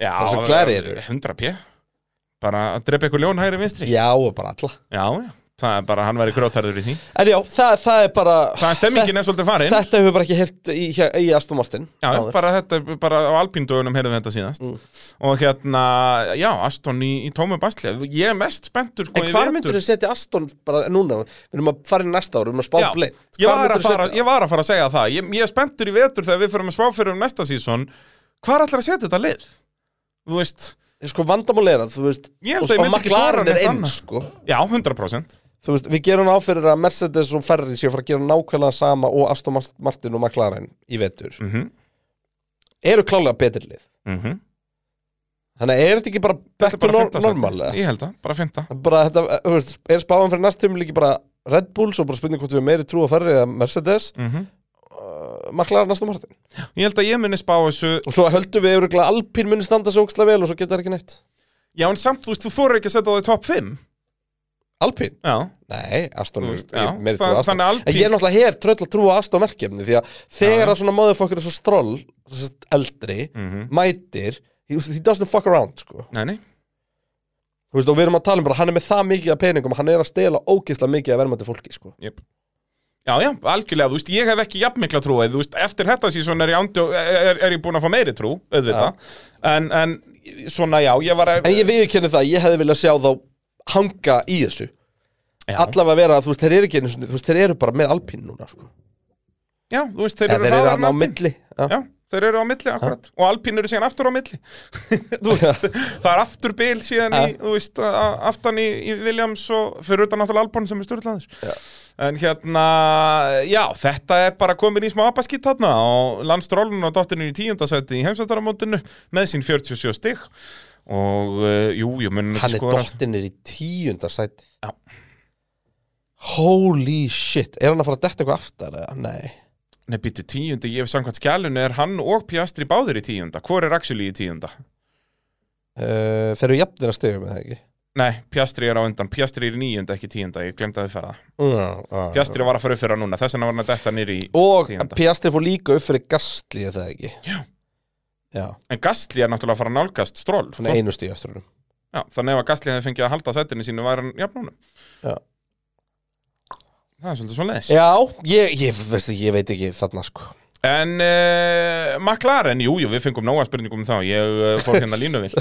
[SPEAKER 3] Já,
[SPEAKER 2] er svo glaðir eru.
[SPEAKER 3] 100 p Bara að drepa ykkur ljón hægri vinstri Já,
[SPEAKER 2] já og bara alla
[SPEAKER 3] já, það er bara, hann væri grótarður í því
[SPEAKER 2] En já, það, það er bara
[SPEAKER 3] Það er stemmingin er svolítið farin
[SPEAKER 2] Þetta hefur bara ekki heyrt í, hjá- í Aston Martin
[SPEAKER 3] Já,
[SPEAKER 2] áður.
[SPEAKER 3] bara þetta, bara á alpíndögunum heyrðum við þetta síðast
[SPEAKER 2] Mm.
[SPEAKER 3] Og hérna, já, Aston í, í tómum basli Ég er mest spenntur sko,
[SPEAKER 2] En
[SPEAKER 3] í
[SPEAKER 2] hvar
[SPEAKER 3] vetur.
[SPEAKER 2] myndur þú setja Aston bara núna? Við erum að fara inn næsta ár, við erum að spá
[SPEAKER 3] Já,
[SPEAKER 2] blind Hvar
[SPEAKER 3] ég var, að
[SPEAKER 2] myndirðu
[SPEAKER 3] fara,
[SPEAKER 2] setja-
[SPEAKER 3] ég var að fara að segja það Ég, ég er spenntur í vetur þegar við fyrir að spá fyrir um næsta sísón Hvar ætlar að setja þetta lið? Þú veist,
[SPEAKER 2] Sko vandamál er að, þú veist
[SPEAKER 3] Ég held
[SPEAKER 2] og-
[SPEAKER 3] að ég
[SPEAKER 2] Og
[SPEAKER 3] myndi ekki þora
[SPEAKER 2] McLaren er
[SPEAKER 3] neitt
[SPEAKER 2] eins,
[SPEAKER 3] annað.
[SPEAKER 2] sko
[SPEAKER 3] já, 100%
[SPEAKER 2] Þú veist, við gerum á fyrir að Mercedes og Ferrari séu að fara að gera nákvæmlega sama og Aston Martin og McLaren í vetur
[SPEAKER 3] mm -hmm.
[SPEAKER 2] Eru klálega betri lið
[SPEAKER 3] Mm -hmm.
[SPEAKER 2] Þannig að er þetta ekki bara back to nor- normal? eða?
[SPEAKER 3] Ég held það, bara fymta
[SPEAKER 2] bara þetta, eh, þú veist, er spáðan fyrir næst tímul ekki bara Red Bull, svo bara spurning hvort við erum meiri trú að ferri eða Mercedes,
[SPEAKER 3] mm
[SPEAKER 2] uh, maklar næsta Martin.
[SPEAKER 3] Ég held að ég minni spá þessu
[SPEAKER 2] Og svo höldum við öruglega Alpín muni standa svo ókslega vel og svo geta það ekki neitt.
[SPEAKER 3] Já, en samt, þú veist, þú þorir ekki að setja það í top 5
[SPEAKER 2] Alpín?
[SPEAKER 3] Já,
[SPEAKER 2] Nei, Aston
[SPEAKER 3] Þú
[SPEAKER 2] er
[SPEAKER 3] veist, já,
[SPEAKER 2] ég er meiri trú
[SPEAKER 3] það-
[SPEAKER 2] að Aston.
[SPEAKER 3] þannig að Alpín-
[SPEAKER 2] En ég er náttúrulega hef tröll að trúa Aston verkefni því að þegar að svona motherfucker er svo stroll, sest, eldri,
[SPEAKER 3] Mhm.
[SPEAKER 2] mætir, he, he doesn't fuck around, sko.
[SPEAKER 3] nei, nei
[SPEAKER 2] Þú veist, og við erum að tala um bara, hann er með það mikið af peningum, hann er að stela ógeðslega mikið af verðmættu fólki, sko.
[SPEAKER 3] yep. Já, já, algjörlega, þú veist, ég hef ekki jafnmikla trúið, þú veist, eftir þetta síðan er ég, andi, er, er ég búin að fá meiri trú, auðvitað en, en, svona, já, ég var að
[SPEAKER 2] En ég viðurkenni það, ég hefði viljað sjá þá hanga í þessu
[SPEAKER 3] Já.
[SPEAKER 2] Allavega vera, þú veist, þeir eru ekki einu sinni, þú veist, þeir eru bara með alpín núna, sko
[SPEAKER 3] Já, þú veist, þeir
[SPEAKER 2] Eða
[SPEAKER 3] eru
[SPEAKER 2] þeir eru
[SPEAKER 3] hraðari
[SPEAKER 2] hann
[SPEAKER 3] en
[SPEAKER 2] á
[SPEAKER 3] Alpín.
[SPEAKER 2] milli Já,
[SPEAKER 3] Já, þeir eru á milli akkurat og Alpín eru síðan aftur á milli <laughs> Þú veist, það er aftur bil síðan í,
[SPEAKER 2] Já.
[SPEAKER 3] þú veist, a- aftan í, í Williams og fyrir utan náttúrulega Albon sem er styrlaður En hérna, já, þetta er bara komin í smá abaskitt þarna og landstrólun og dottinu í tíundasæti í heimsættaramótinu með sín 47 stig og uh, jú, ég mun
[SPEAKER 2] hann er
[SPEAKER 3] skora
[SPEAKER 2] dottinir í tíunda sæti
[SPEAKER 3] Já.
[SPEAKER 2] Holy shit, er hann að fara að detta eitthvað aftar eða? Nei,
[SPEAKER 3] Nei, býttu tíundi, ég hef samkvæmt skjælun er hann og Piastri báðir í tíunda Hvor er actually í tíunda?
[SPEAKER 2] uh, þeir eru jafnir að stegja með það ekki
[SPEAKER 3] Nei, Piastri er á undan, Piastri er í níunda, ekki tíunda, ég glemdi að við ferða
[SPEAKER 2] mm, uh.
[SPEAKER 3] Pjastri var að fara upp fyrir hann núna, þess vegna var hann að detta nýri í
[SPEAKER 2] Og
[SPEAKER 3] tíunda.
[SPEAKER 2] Pjastri fór líka upp fyrir Gastli eða það ekki
[SPEAKER 3] Já.
[SPEAKER 2] Já,
[SPEAKER 3] En Gastli er náttúrulega að fara að nálgast Sko, stról
[SPEAKER 2] svona einu stíu eftir honum
[SPEAKER 3] Já, Þannig ef að Gastli hefði fengið að halda sættinu sínu var hann jafn núna
[SPEAKER 2] Já.
[SPEAKER 3] það er svolítið svo leis
[SPEAKER 2] Já, ég, ég, veistu, ég veit ekki þarna sko
[SPEAKER 3] En uh, McLaren, jú, jú, við fengum nóga spurningum um þá, ég uh, fór hérna línuvill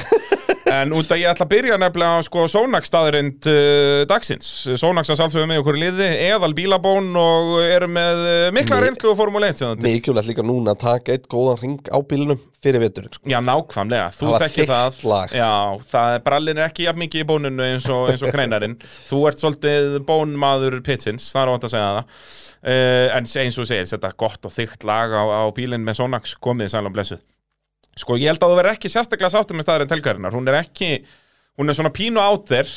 [SPEAKER 3] En út að ég ætla að byrja nefnilega á sko Sónagstaðurind uh, dagsins Sónagstas alls við með okkur í liði, eðal bílabón og erum með uh, mikla
[SPEAKER 2] Mi-
[SPEAKER 3] reynslu og fórum og leitt
[SPEAKER 2] Mikilvægt líka núna að taka eitt góðan ring á bílunum fyrir veturinn sko.
[SPEAKER 3] Já, nákvæmlega, þú
[SPEAKER 2] Það var
[SPEAKER 3] þekkir
[SPEAKER 2] þykkt
[SPEAKER 3] það
[SPEAKER 2] lag.
[SPEAKER 3] Já, það er brallin er ekki jafn mikið í bóninu eins og, eins og
[SPEAKER 2] <laughs>
[SPEAKER 3] kreinarinn Þú ert svolítið bónmaður pitsins, það er óvænt að segja það uh, En se- eins og þú segir, þetta gott og þykkt lag á, á bílinn með Sonax komið sæl og blessuð Sko, ég held að þú verður ekki sérstaklega sáttum með staðarinn telgarinnar Hún er ekki, hún er svona pínu out there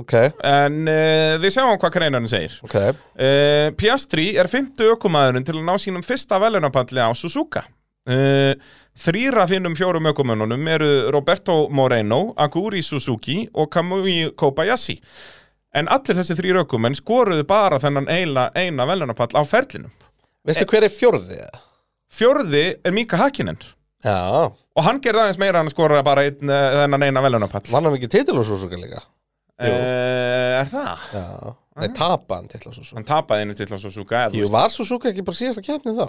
[SPEAKER 2] Ok,
[SPEAKER 3] En uh, við sjáum hvað kreinarinn segir
[SPEAKER 2] ok
[SPEAKER 3] Uh, Piastri er fymtu ökumæðurinn til að ná sínum fyrsta velunapalli á Suzuka. Uh, þrýra finnum fjórum ökumönunum eru Roberto Moreno, Aguri Suzuki og Kamui Kobayashi. En allir þessi þrýra ökumenn skoruðu bara þennan eila, eina velunapall á ferlinum.
[SPEAKER 2] Veistu
[SPEAKER 3] Eh.
[SPEAKER 2] hver er fjórðið?
[SPEAKER 3] Fjórði er Mika Hakkinen
[SPEAKER 2] Já,
[SPEAKER 3] og hann gerði aðeins meira en skora bara einn, eh, þennan eina velunapall.
[SPEAKER 2] vann hann ekki titil og svo svo líka
[SPEAKER 3] Uh, er það?
[SPEAKER 2] Já, nei, tapa hann titil og svo svo
[SPEAKER 3] Hann tapaði einu til á Suzuka. eða Ah. þú
[SPEAKER 2] Jú, var svo svo ekki bara síðasta keppni þá?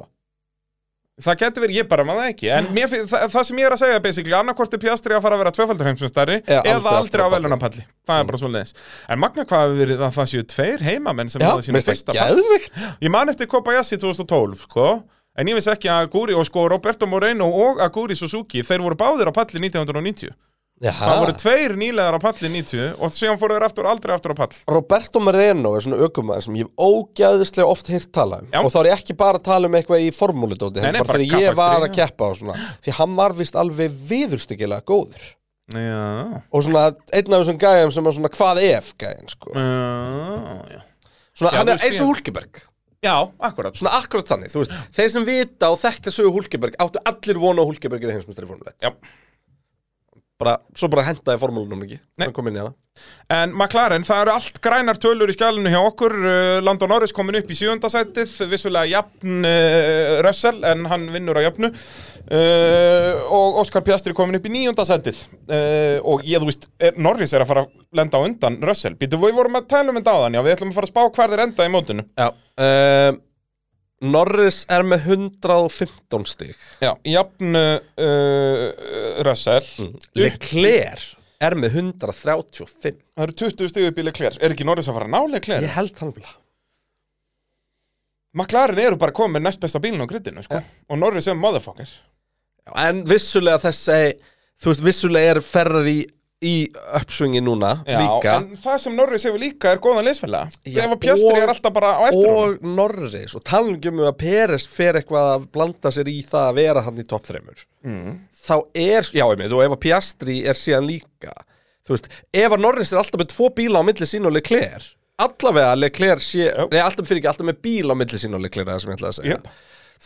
[SPEAKER 3] Það getur verið, ég bara maður það ekki En mér, finn- það, það sem ég er að segja basically annarkvort er Piastri að fara að vera tvöfaldar heimsmyndstari
[SPEAKER 2] Eða
[SPEAKER 3] Eða aldrei,
[SPEAKER 2] aldrei
[SPEAKER 3] á
[SPEAKER 2] aftur á
[SPEAKER 3] velunapalli Það er bara svo leiðis En magna hvað hefur verið að það séu tveir heimamenn sem
[SPEAKER 2] Já,
[SPEAKER 3] hefðu sínum
[SPEAKER 2] veist
[SPEAKER 3] fyrsta
[SPEAKER 2] það
[SPEAKER 3] pall
[SPEAKER 2] geðvikt
[SPEAKER 3] Ég man eftir Kobayashi 2012 sko En ég vissi ekki að Aguri og sko Roberto Moreno og Aguri Suzuki Þeir voru báðir á palli 1990 Það voru
[SPEAKER 2] Já,
[SPEAKER 3] tveir nýlegar á palli 90 Og síðan fóru þeir aftur aldrei aftur á pall
[SPEAKER 2] Roberto Moreno er svona ökumæður sem ég hef ógæðislega oft hýrt tala um
[SPEAKER 3] Já.
[SPEAKER 2] og þá er ég ekki bara að tala um eitthvað í formúlidóti
[SPEAKER 3] Nei, nei,
[SPEAKER 2] bara,
[SPEAKER 3] bara
[SPEAKER 2] bara þegar ég var
[SPEAKER 3] kappakstri,
[SPEAKER 2] að keppa og svona því hann var vist alveg viðurstyggilega góður
[SPEAKER 3] Já,
[SPEAKER 2] og svona einn af þessum gæjum sem er svona hvað ef gæjum sko
[SPEAKER 3] já, já.
[SPEAKER 2] svona,
[SPEAKER 3] Mm. Já,
[SPEAKER 2] hann
[SPEAKER 3] þú
[SPEAKER 2] er
[SPEAKER 3] veist,
[SPEAKER 2] eins og Hulkeberg
[SPEAKER 3] já akkurat
[SPEAKER 2] svona akkurat þannig, þú veist, þeir sem vita og þekka sögu Hulkeberg áttu allir vona á Hulkeberg í heimsmyndstari formuleitt
[SPEAKER 3] Já.
[SPEAKER 2] bara, svo bara hendaði formúlunum ekki
[SPEAKER 3] Nei.
[SPEAKER 2] Hann kom inn í hana.
[SPEAKER 3] En McLaren, það eru allt grænar tölur í skjálinu hjá okkur Uh, Landon Norris komin upp í sjöndasætið Vissulega jafn uh, Russell En hann vinnur á jafnu uh, Og Óskar Piastri komin upp í níundasætið uh, Og ég, þú veist, er, Norris er að fara að lenda á undan Russell Býtu, við vorum að tala um þetta áðan Já, við ætlum að fara að spá hvar þeir enda í mótinu
[SPEAKER 2] Já, um, Norris er með 115 stig
[SPEAKER 3] Já, jafn uh, uh, Russell
[SPEAKER 2] Leclerc er með 135
[SPEAKER 3] Það eru 20 stig upp í Leclerc Er ekki Norris að fara að ná Leclerc?
[SPEAKER 2] Ég held hann bila
[SPEAKER 3] McLaren eru bara komin með næst besta bílinn á grittinu, sko Og Norris er motherfucker
[SPEAKER 2] En vissulega þessi Þú veist, vissulega er Ferrari í uppsvingi núna
[SPEAKER 3] Já,
[SPEAKER 2] líka
[SPEAKER 3] en það sem Norris hefur líka er góðan leysfélaga
[SPEAKER 2] Já,
[SPEAKER 3] Ef að Pjastri
[SPEAKER 2] og-
[SPEAKER 3] er alltaf bara á eftir honum
[SPEAKER 2] Og Norris og talangjum um að Peres fer eitthvað að blanda sér í það að vera hann í topp þreymur
[SPEAKER 3] mm.
[SPEAKER 2] þá er, já einmitt, og ef að Piastri er síðan líka, þú veist ef að Norris er alltaf með tvo bíla á milli sín og Leclerc, allavega Leclerc sé, nei alltaf fyrir ekki, alltaf með bíl á milli sín og Leclerc, það sem ég ætlaði að segja
[SPEAKER 3] Jöp.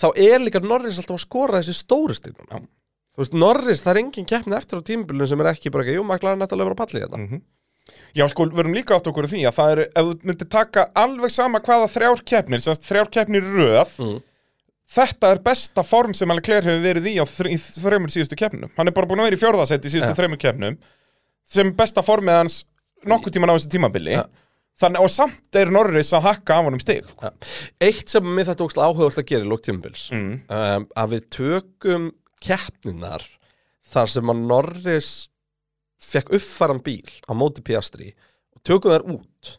[SPEAKER 2] þá er líka Norris alltaf að skora þessi stórusti núna,
[SPEAKER 3] Já.
[SPEAKER 2] þú veist, Norris, það er engin keppni eftir á tímbilun sem er ekki bara ekki, jú, maklar hann eftir að vera að palli hérna. þetta
[SPEAKER 3] Já, sko, við erum líka átt okkur á því að það er Ef þú myndir taka alveg sama hvaða þrjár keppnir Sannst þrjár keppnir í röð
[SPEAKER 2] Mm.
[SPEAKER 3] Þetta er besta form sem Leclerc hefur verið í á þr í þreymur síðustu keppnum Hann er bara búin að vera í fjórðasett í síðustu
[SPEAKER 2] Já.
[SPEAKER 3] þreymur keppnum Sem er besta formið hans nokkuð tíman á þessu tímabili
[SPEAKER 2] Já.
[SPEAKER 3] Þannig, og samt er Norris að hakka af honum stig sko.
[SPEAKER 2] Ja. Eitt sem mér þetta ógst áhugavert að gera í lóktímbils mm. um, að við tökum keppninar þar sem að Norris fekk uppfaran bíl á móti Piastri og tökum þær út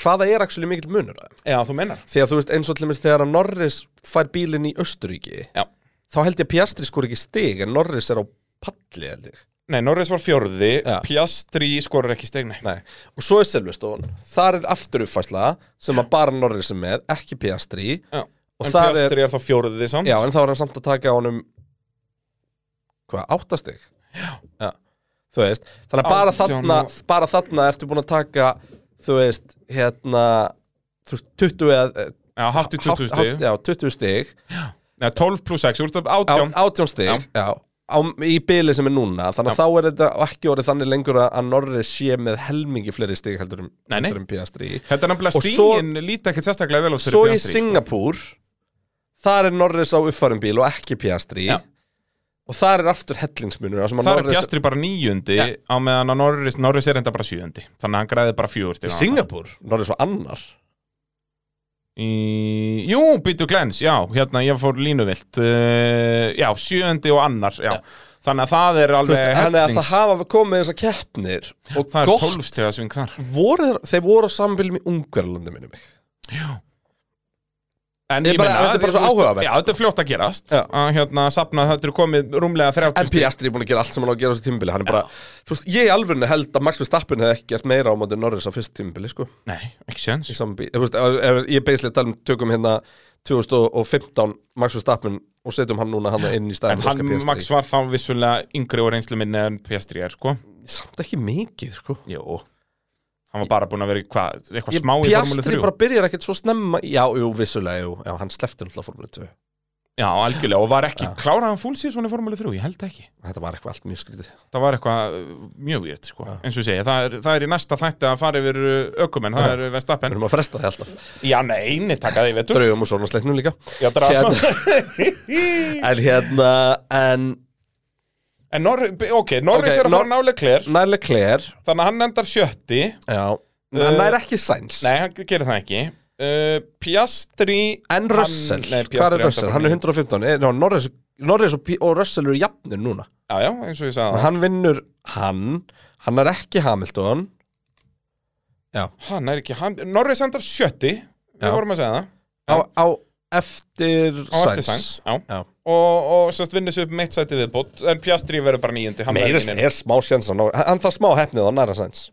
[SPEAKER 2] hvaða er actually mikill munur að þeim
[SPEAKER 3] Já, þú meinar
[SPEAKER 2] því að þú veist eins og til dæmis þegar að Norris fær bílinn í Östuríki
[SPEAKER 3] Já.
[SPEAKER 2] þá held ég að Piastri skor ekki stig en Norris er á palli held ég
[SPEAKER 3] Nei, Norris var fjórði,
[SPEAKER 2] Já.
[SPEAKER 3] Pjastri skorur ekki stig, nei
[SPEAKER 2] Nei. og svo er Silveston, þar er aftur uppfæsla sem að bara Norris er með, ekki Piastri
[SPEAKER 3] Já.
[SPEAKER 2] Og
[SPEAKER 3] en
[SPEAKER 2] það er-
[SPEAKER 3] Piastri er, þá fjóruðið samt
[SPEAKER 2] Já, en þá var hann samt að taka á honum Hvað, áttastig? Já, Þú veist, þannig að bara
[SPEAKER 3] Átján
[SPEAKER 2] þarna
[SPEAKER 3] og-
[SPEAKER 2] bara þarna ertu búin að taka þú veist, hérna þú veist, 20 eða eh,
[SPEAKER 3] Já, hattu 20
[SPEAKER 2] hátt-
[SPEAKER 3] stig
[SPEAKER 2] hátt- Já, 20 stig
[SPEAKER 3] Nei, 12 pluss 6, úr þetta 18
[SPEAKER 2] Á- 18 stig,
[SPEAKER 3] Já.
[SPEAKER 2] já, Á, í byli sem er núna, þannig að þá er þetta ekki orðið þannig lengur að- að Norris sé með helmingi fleiri stig heldur um,
[SPEAKER 3] Nei, nei.
[SPEAKER 2] heldur um PS3
[SPEAKER 3] Þetta er nefnilega
[SPEAKER 2] Og svo-
[SPEAKER 3] stígin líti ekkert sérstaklega vel á
[SPEAKER 2] Svo í
[SPEAKER 3] Piastri, sko.
[SPEAKER 2] Singapúr Þar er Norris á uppfærum bíl og ekki Piastri
[SPEAKER 3] Já.
[SPEAKER 2] Og þar er aftur hellingsmunur þar sem að
[SPEAKER 3] Þar er
[SPEAKER 2] Norris-
[SPEAKER 3] Pjastri bara níundi
[SPEAKER 2] Já.
[SPEAKER 3] á meðan að Norris, Norris er enda bara sjöundi þannig að hann græði bara fjögur
[SPEAKER 2] Í
[SPEAKER 3] stig á hann.
[SPEAKER 2] Singapúr, Norris var annar
[SPEAKER 3] Í, jú, Bitu Glens, já, hérna ég fór línuvilt uh, Já, sjöndi og annar, já Þannig að það er
[SPEAKER 2] Þú
[SPEAKER 3] alveg
[SPEAKER 2] veist, Þannig að það
[SPEAKER 3] hellings
[SPEAKER 2] hafa komið þessar keppnir og
[SPEAKER 3] Það er
[SPEAKER 2] gott
[SPEAKER 3] tólfstega sving þar
[SPEAKER 2] voru, þeir- þeir voru á sambilum í Ungverðlandi minni mig
[SPEAKER 3] En
[SPEAKER 2] Ég bara- þetta er bara svo
[SPEAKER 3] þú veist,
[SPEAKER 2] áhugavert, sko.
[SPEAKER 3] Já, þetta er fljótt að gerast
[SPEAKER 2] Já.
[SPEAKER 3] Að hérna safna, þetta er komið rúmlega 30
[SPEAKER 2] En Piastri er búin að gera allt sem hann á að gera á þessu tímbili Hann er bara, þú veist, ég í alvörinu held að Max Verstappen hefði ekki gert meira á móti Norris á fyrst tímbili, sko
[SPEAKER 3] Nei, ekki séns
[SPEAKER 2] Í sama bí- Þú veist, ef- ef ég beislega talum tökum hérna 2015 Max Verstappen og setjum hann núna hann inn í
[SPEAKER 3] En
[SPEAKER 2] stæðan
[SPEAKER 3] hann, Max var þá vissulega yngri og reynslu minni en Piastri er, sko
[SPEAKER 2] Samt ekki mikið, sko
[SPEAKER 3] Jú Hann var bara búin að vera í hvað, eitthvað
[SPEAKER 2] Ég,
[SPEAKER 3] smá í Formule
[SPEAKER 2] Piastri
[SPEAKER 3] 3
[SPEAKER 2] bara byrjar ekkert svo snemma Já, jú, vissulega, jú, já, hann slefti náttúrulega Formule 2
[SPEAKER 3] Já, algjörlega, og var ekki, kláraði hann fúlsíðsvon í Formule 3, ég held ekki
[SPEAKER 2] Þetta var eitthvað allt mjög skrítið
[SPEAKER 3] það var eitthvað uh, mjög výrt sko. eins og ég segi, það er, það er í næsta þætti að fara yfir uh, ökumenn, það er
[SPEAKER 2] Við
[SPEAKER 3] Vestappen
[SPEAKER 2] erum að fresta það alltaf
[SPEAKER 3] Já, nei, eini taka því, veitur
[SPEAKER 2] Draugum og svona sleiknum líka
[SPEAKER 3] Já, drasla.
[SPEAKER 2] En hérna, en
[SPEAKER 3] <laughs> En Nor ok,
[SPEAKER 2] Ok,
[SPEAKER 3] Norris er að
[SPEAKER 2] Nor-
[SPEAKER 3] fara nálega klær
[SPEAKER 2] Næle Claire
[SPEAKER 3] þannig að hann endar sjötti
[SPEAKER 2] Já, hann er ekki sæns
[SPEAKER 3] Eh, Nei, hann gerir það ekki uh, Piastri
[SPEAKER 2] En
[SPEAKER 3] hann-
[SPEAKER 2] Russell,
[SPEAKER 3] nei,
[SPEAKER 2] hvað er
[SPEAKER 3] Piastri
[SPEAKER 2] Russell? Hann er 115, eh, ná, Norris, Norris og, P- og Russell eru jafnir núna
[SPEAKER 3] Já, já, eins og ég
[SPEAKER 2] En
[SPEAKER 3] sagði hann,
[SPEAKER 2] Hann vinnur hann, hann er ekki Hamilton Já,
[SPEAKER 3] hann er ekki, hann, Norris endar sjötti
[SPEAKER 2] Já.
[SPEAKER 3] Við vorum að segja það
[SPEAKER 2] á, á eftir
[SPEAKER 3] Á eftir
[SPEAKER 2] sæns
[SPEAKER 3] Sainz, já.
[SPEAKER 2] Já.
[SPEAKER 3] Og, og sérst vinnur sér upp meitt sæti viðbót En Piastri verður bara nýjandi hann verður
[SPEAKER 2] Meira
[SPEAKER 3] ekki
[SPEAKER 2] sem
[SPEAKER 3] neinn.
[SPEAKER 2] er smá sjans hann, hann þarf smá hefnið á næra sæns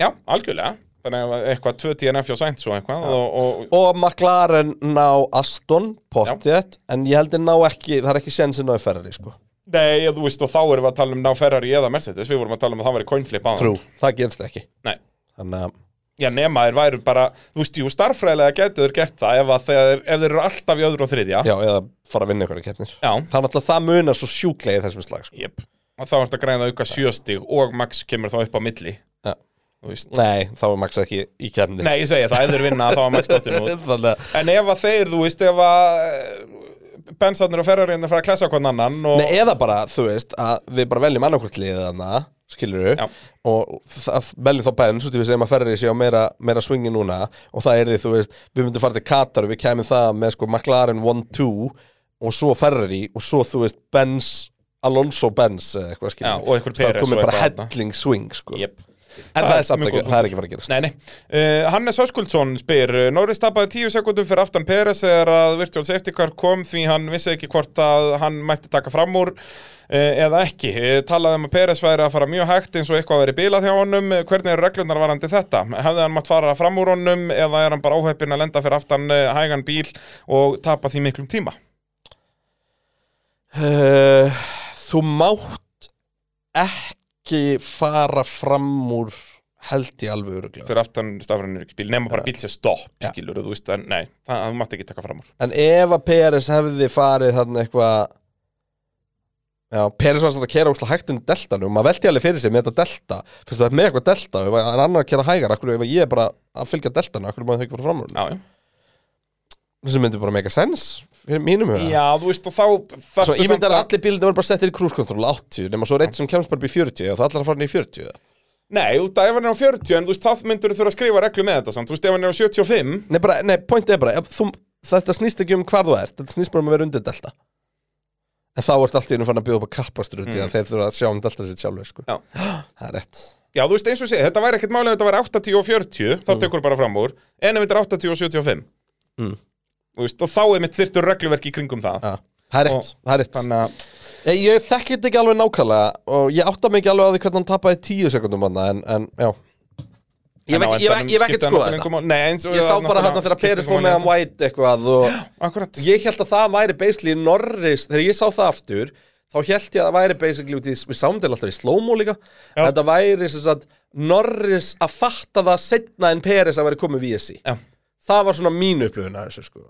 [SPEAKER 3] Já, algjörlega Þannig að eitthvað 2 DNF hjá Sainz og eitthvað og, og,
[SPEAKER 2] Og McLaren ná Aston, pottið En ég heldur ná ekki, það er ekki sjansinn á Ferrari sko.
[SPEAKER 3] Nei, þú veist, og þá erum við að tala um ná Ferrari eða Mercedes Við vorum að tala um að það væri coinflip á
[SPEAKER 2] Trú, það gerst ekki
[SPEAKER 3] Nei,
[SPEAKER 2] Þannig að
[SPEAKER 3] já nema þeir væru bara Þú veist, jú, starffræðilega getur þeir gett það ef, að þeir, ef þeir eru alltaf í öðru og þriðja
[SPEAKER 2] Já, eða fara að vinna einhverja keppnir
[SPEAKER 3] Já.
[SPEAKER 2] Það er náttúrulega það munar svo sjúklega í þessum slag sko.
[SPEAKER 3] Jep. Og þá ertu að græða auka sjöstig og Max kemur þá upp á milli
[SPEAKER 2] Já.
[SPEAKER 3] Þú veist
[SPEAKER 2] Nei, þá er Max ekki í keppni
[SPEAKER 3] Nei, ég segi það, ef þeir vinna þá er Max dottinn út
[SPEAKER 2] <laughs> Þannig að
[SPEAKER 3] En ef að þeir, þú veist, ef að Bensarnir og Ferrari er að fara að klessa hvern annan og...
[SPEAKER 2] Nei, eða bara, þú veist, að við bara veljum annarkvort liðið þarna, skilur við
[SPEAKER 3] Já.
[SPEAKER 2] og það, veljum þá Benz, út í við segjum að Ferrari sé á meira, meira swingi núna og það er því, þú veist, við myndum fara til Katar og við kæmum það með sko McLaren 1-2 og svo Ferrari og svo, þú veist, Benz Alonso Benz eða eitthvað skilur
[SPEAKER 3] Já, og einhver Perez
[SPEAKER 2] Það
[SPEAKER 3] og
[SPEAKER 2] komið bara
[SPEAKER 3] eitthvað þarna.
[SPEAKER 2] helling swing, sko
[SPEAKER 3] Jep.
[SPEAKER 2] En það,
[SPEAKER 3] Það er
[SPEAKER 2] er samt
[SPEAKER 3] mjög
[SPEAKER 2] ekki,
[SPEAKER 3] góð
[SPEAKER 2] það er ekki fara að gerast
[SPEAKER 3] Nei, nei. Uh, Hannes Höskuldsson spyr uh, Norris tapaði tíu sekundum fyrir aftan Peres þegar að virtual safety car kom því hann vissi ekki hvort að hann mætti taka fram úr uh, eða ekki uh, talaði um að Peres væri að fara mjög hægt eins og eitthvað væri bilað hjá honum Uh, hvernig eru reglunar varandi þetta? Hefði hann mátt fara fram úr honum eða er hann bara óhæppin að lenda fyrir aftan uh, hægan bíl og tapa því miklum tíma?
[SPEAKER 2] Uh, þú mátt ekki fara fram úr held í alveg öruglega
[SPEAKER 3] Fyrir aftan stafrann er ekki bíl nema bara bíl sér stopp,
[SPEAKER 2] Ja.
[SPEAKER 3] skilur þú veist, en nei, það, það mátti ekki taka fram úr
[SPEAKER 2] En ef að Peres hefði farið þarna eitthvað Já, Peres var samt að kera ósla hægt um deltanum maður velti alveg fyrir sig með þetta delta Fyrstu það er með eitthvað delta, ef að- en annar að kera hægar akkur ef að ég er bara að fylgja deltanu akkur maður þau ekki fara fram úr
[SPEAKER 3] Já, já.
[SPEAKER 2] Þessu myndi bara mega sens fyrir mínum huga
[SPEAKER 3] já, þú veist og þá
[SPEAKER 2] Svo
[SPEAKER 3] þarftu samt
[SPEAKER 2] ímyndar
[SPEAKER 3] að-
[SPEAKER 2] að allir bílunni voru bara settir í krúskontrol 80, nema svo reitt sem kemst bara upp í 40 og það allar að fara niður í 40
[SPEAKER 3] Nei, út af ef hann er á 40 en þú veist, það myndur þú þurfa að skrifa reglu með þetta samt, þú veist, ef hann er á 75
[SPEAKER 2] Nei, bara, nei, point er bara, ef þú, þetta snýst ekki um hvar þú ert, þetta snýst bara um að vera undir delta. En þá ert allt í unum fann að bjóða upp að kappastur út í
[SPEAKER 3] Mm.
[SPEAKER 2] að þeir þurfa að sjá um delta sitt sjálfur, sko.
[SPEAKER 3] Já.
[SPEAKER 2] Það er rétt.
[SPEAKER 3] Já, þú veist, eins og sé, þetta væri ekkert málið að þetta væri 80 og 40 þá tekur bara fram úr, en ef þetta er 80 og 75
[SPEAKER 2] Mm.
[SPEAKER 3] Þú veist, og þá er mitt þyrftur regluverk í kringum það
[SPEAKER 2] Já. Það er rétt,
[SPEAKER 3] Og-
[SPEAKER 2] það er rétt.
[SPEAKER 3] Þannig að,
[SPEAKER 2] Ég, ég þekki þetta ekki alveg nákvæmlega og ég átta mig ekki alveg á því hvernig hann tapaði tíu sekundum hann, en, en já. Ég hef
[SPEAKER 3] þannig að
[SPEAKER 2] ekki- ég hef ekki- ég hef
[SPEAKER 3] skiptir
[SPEAKER 2] ekkert
[SPEAKER 3] hann
[SPEAKER 2] skoðað
[SPEAKER 3] náttúrulega
[SPEAKER 2] þetta.
[SPEAKER 3] engu máli. Nei, eins og
[SPEAKER 2] Ég sá bara hann þegar Peris fór með hann white eitthvað og...
[SPEAKER 3] Akkurat,
[SPEAKER 2] ég held að það væri basically Norris, þegar ég sá það aftur þá held ég að það væri basically út í, við sáum til alltaf í slow-mo líka þetta væri sem sagt Norris að fatta það setna en Peres að væri komið VSI
[SPEAKER 3] Já.
[SPEAKER 2] það var svona mín upplifun að þessu sko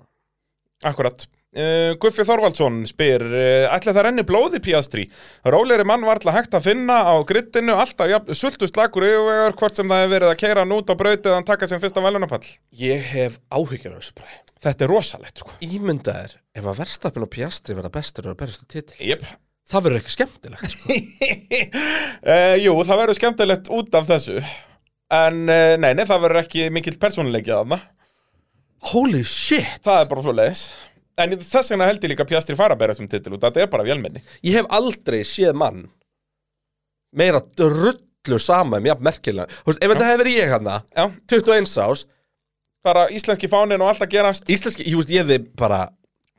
[SPEAKER 3] akkurat Uh, Guffi Þorvaldsson spyr uh, Ætla það renni blóði píastri Róleri mann var alltaf hægt að finna á grittinu Alltaf ja, sultuslakur yfirvegar Hvort sem það hefur verið að keira hann út á braut Eða hann taka sem fyrsta velunapall
[SPEAKER 2] ég hef áhyggjur af þessu bræði
[SPEAKER 3] Þetta er rosalegt sko.
[SPEAKER 2] ímyndaðir, ef að verðstapin og Piastri verða bestur og berustu um titil,
[SPEAKER 3] Jep <laughs>
[SPEAKER 2] það verður ekki skemmtilegt sko.
[SPEAKER 3] uh, Jú, það verður eh, skemmtilegt út af þessu En uh, nei, nei, það verður ekki mikill persónuleikja þarna
[SPEAKER 2] Holy shit
[SPEAKER 3] Það er bara svo leiðis En þess vegna held ég líka að Pjastri fara að bera þessum titil og þetta er bara vélmenni
[SPEAKER 2] Ég hef aldrei séð mann meira drullu sama um jafn merkilega Þú veist, Ef þetta hefði verið ég hann
[SPEAKER 3] Já,
[SPEAKER 2] 21 ás,
[SPEAKER 3] bara íslenski fánin og allt að gerast
[SPEAKER 2] íslenski, ég veist, ég hefði bara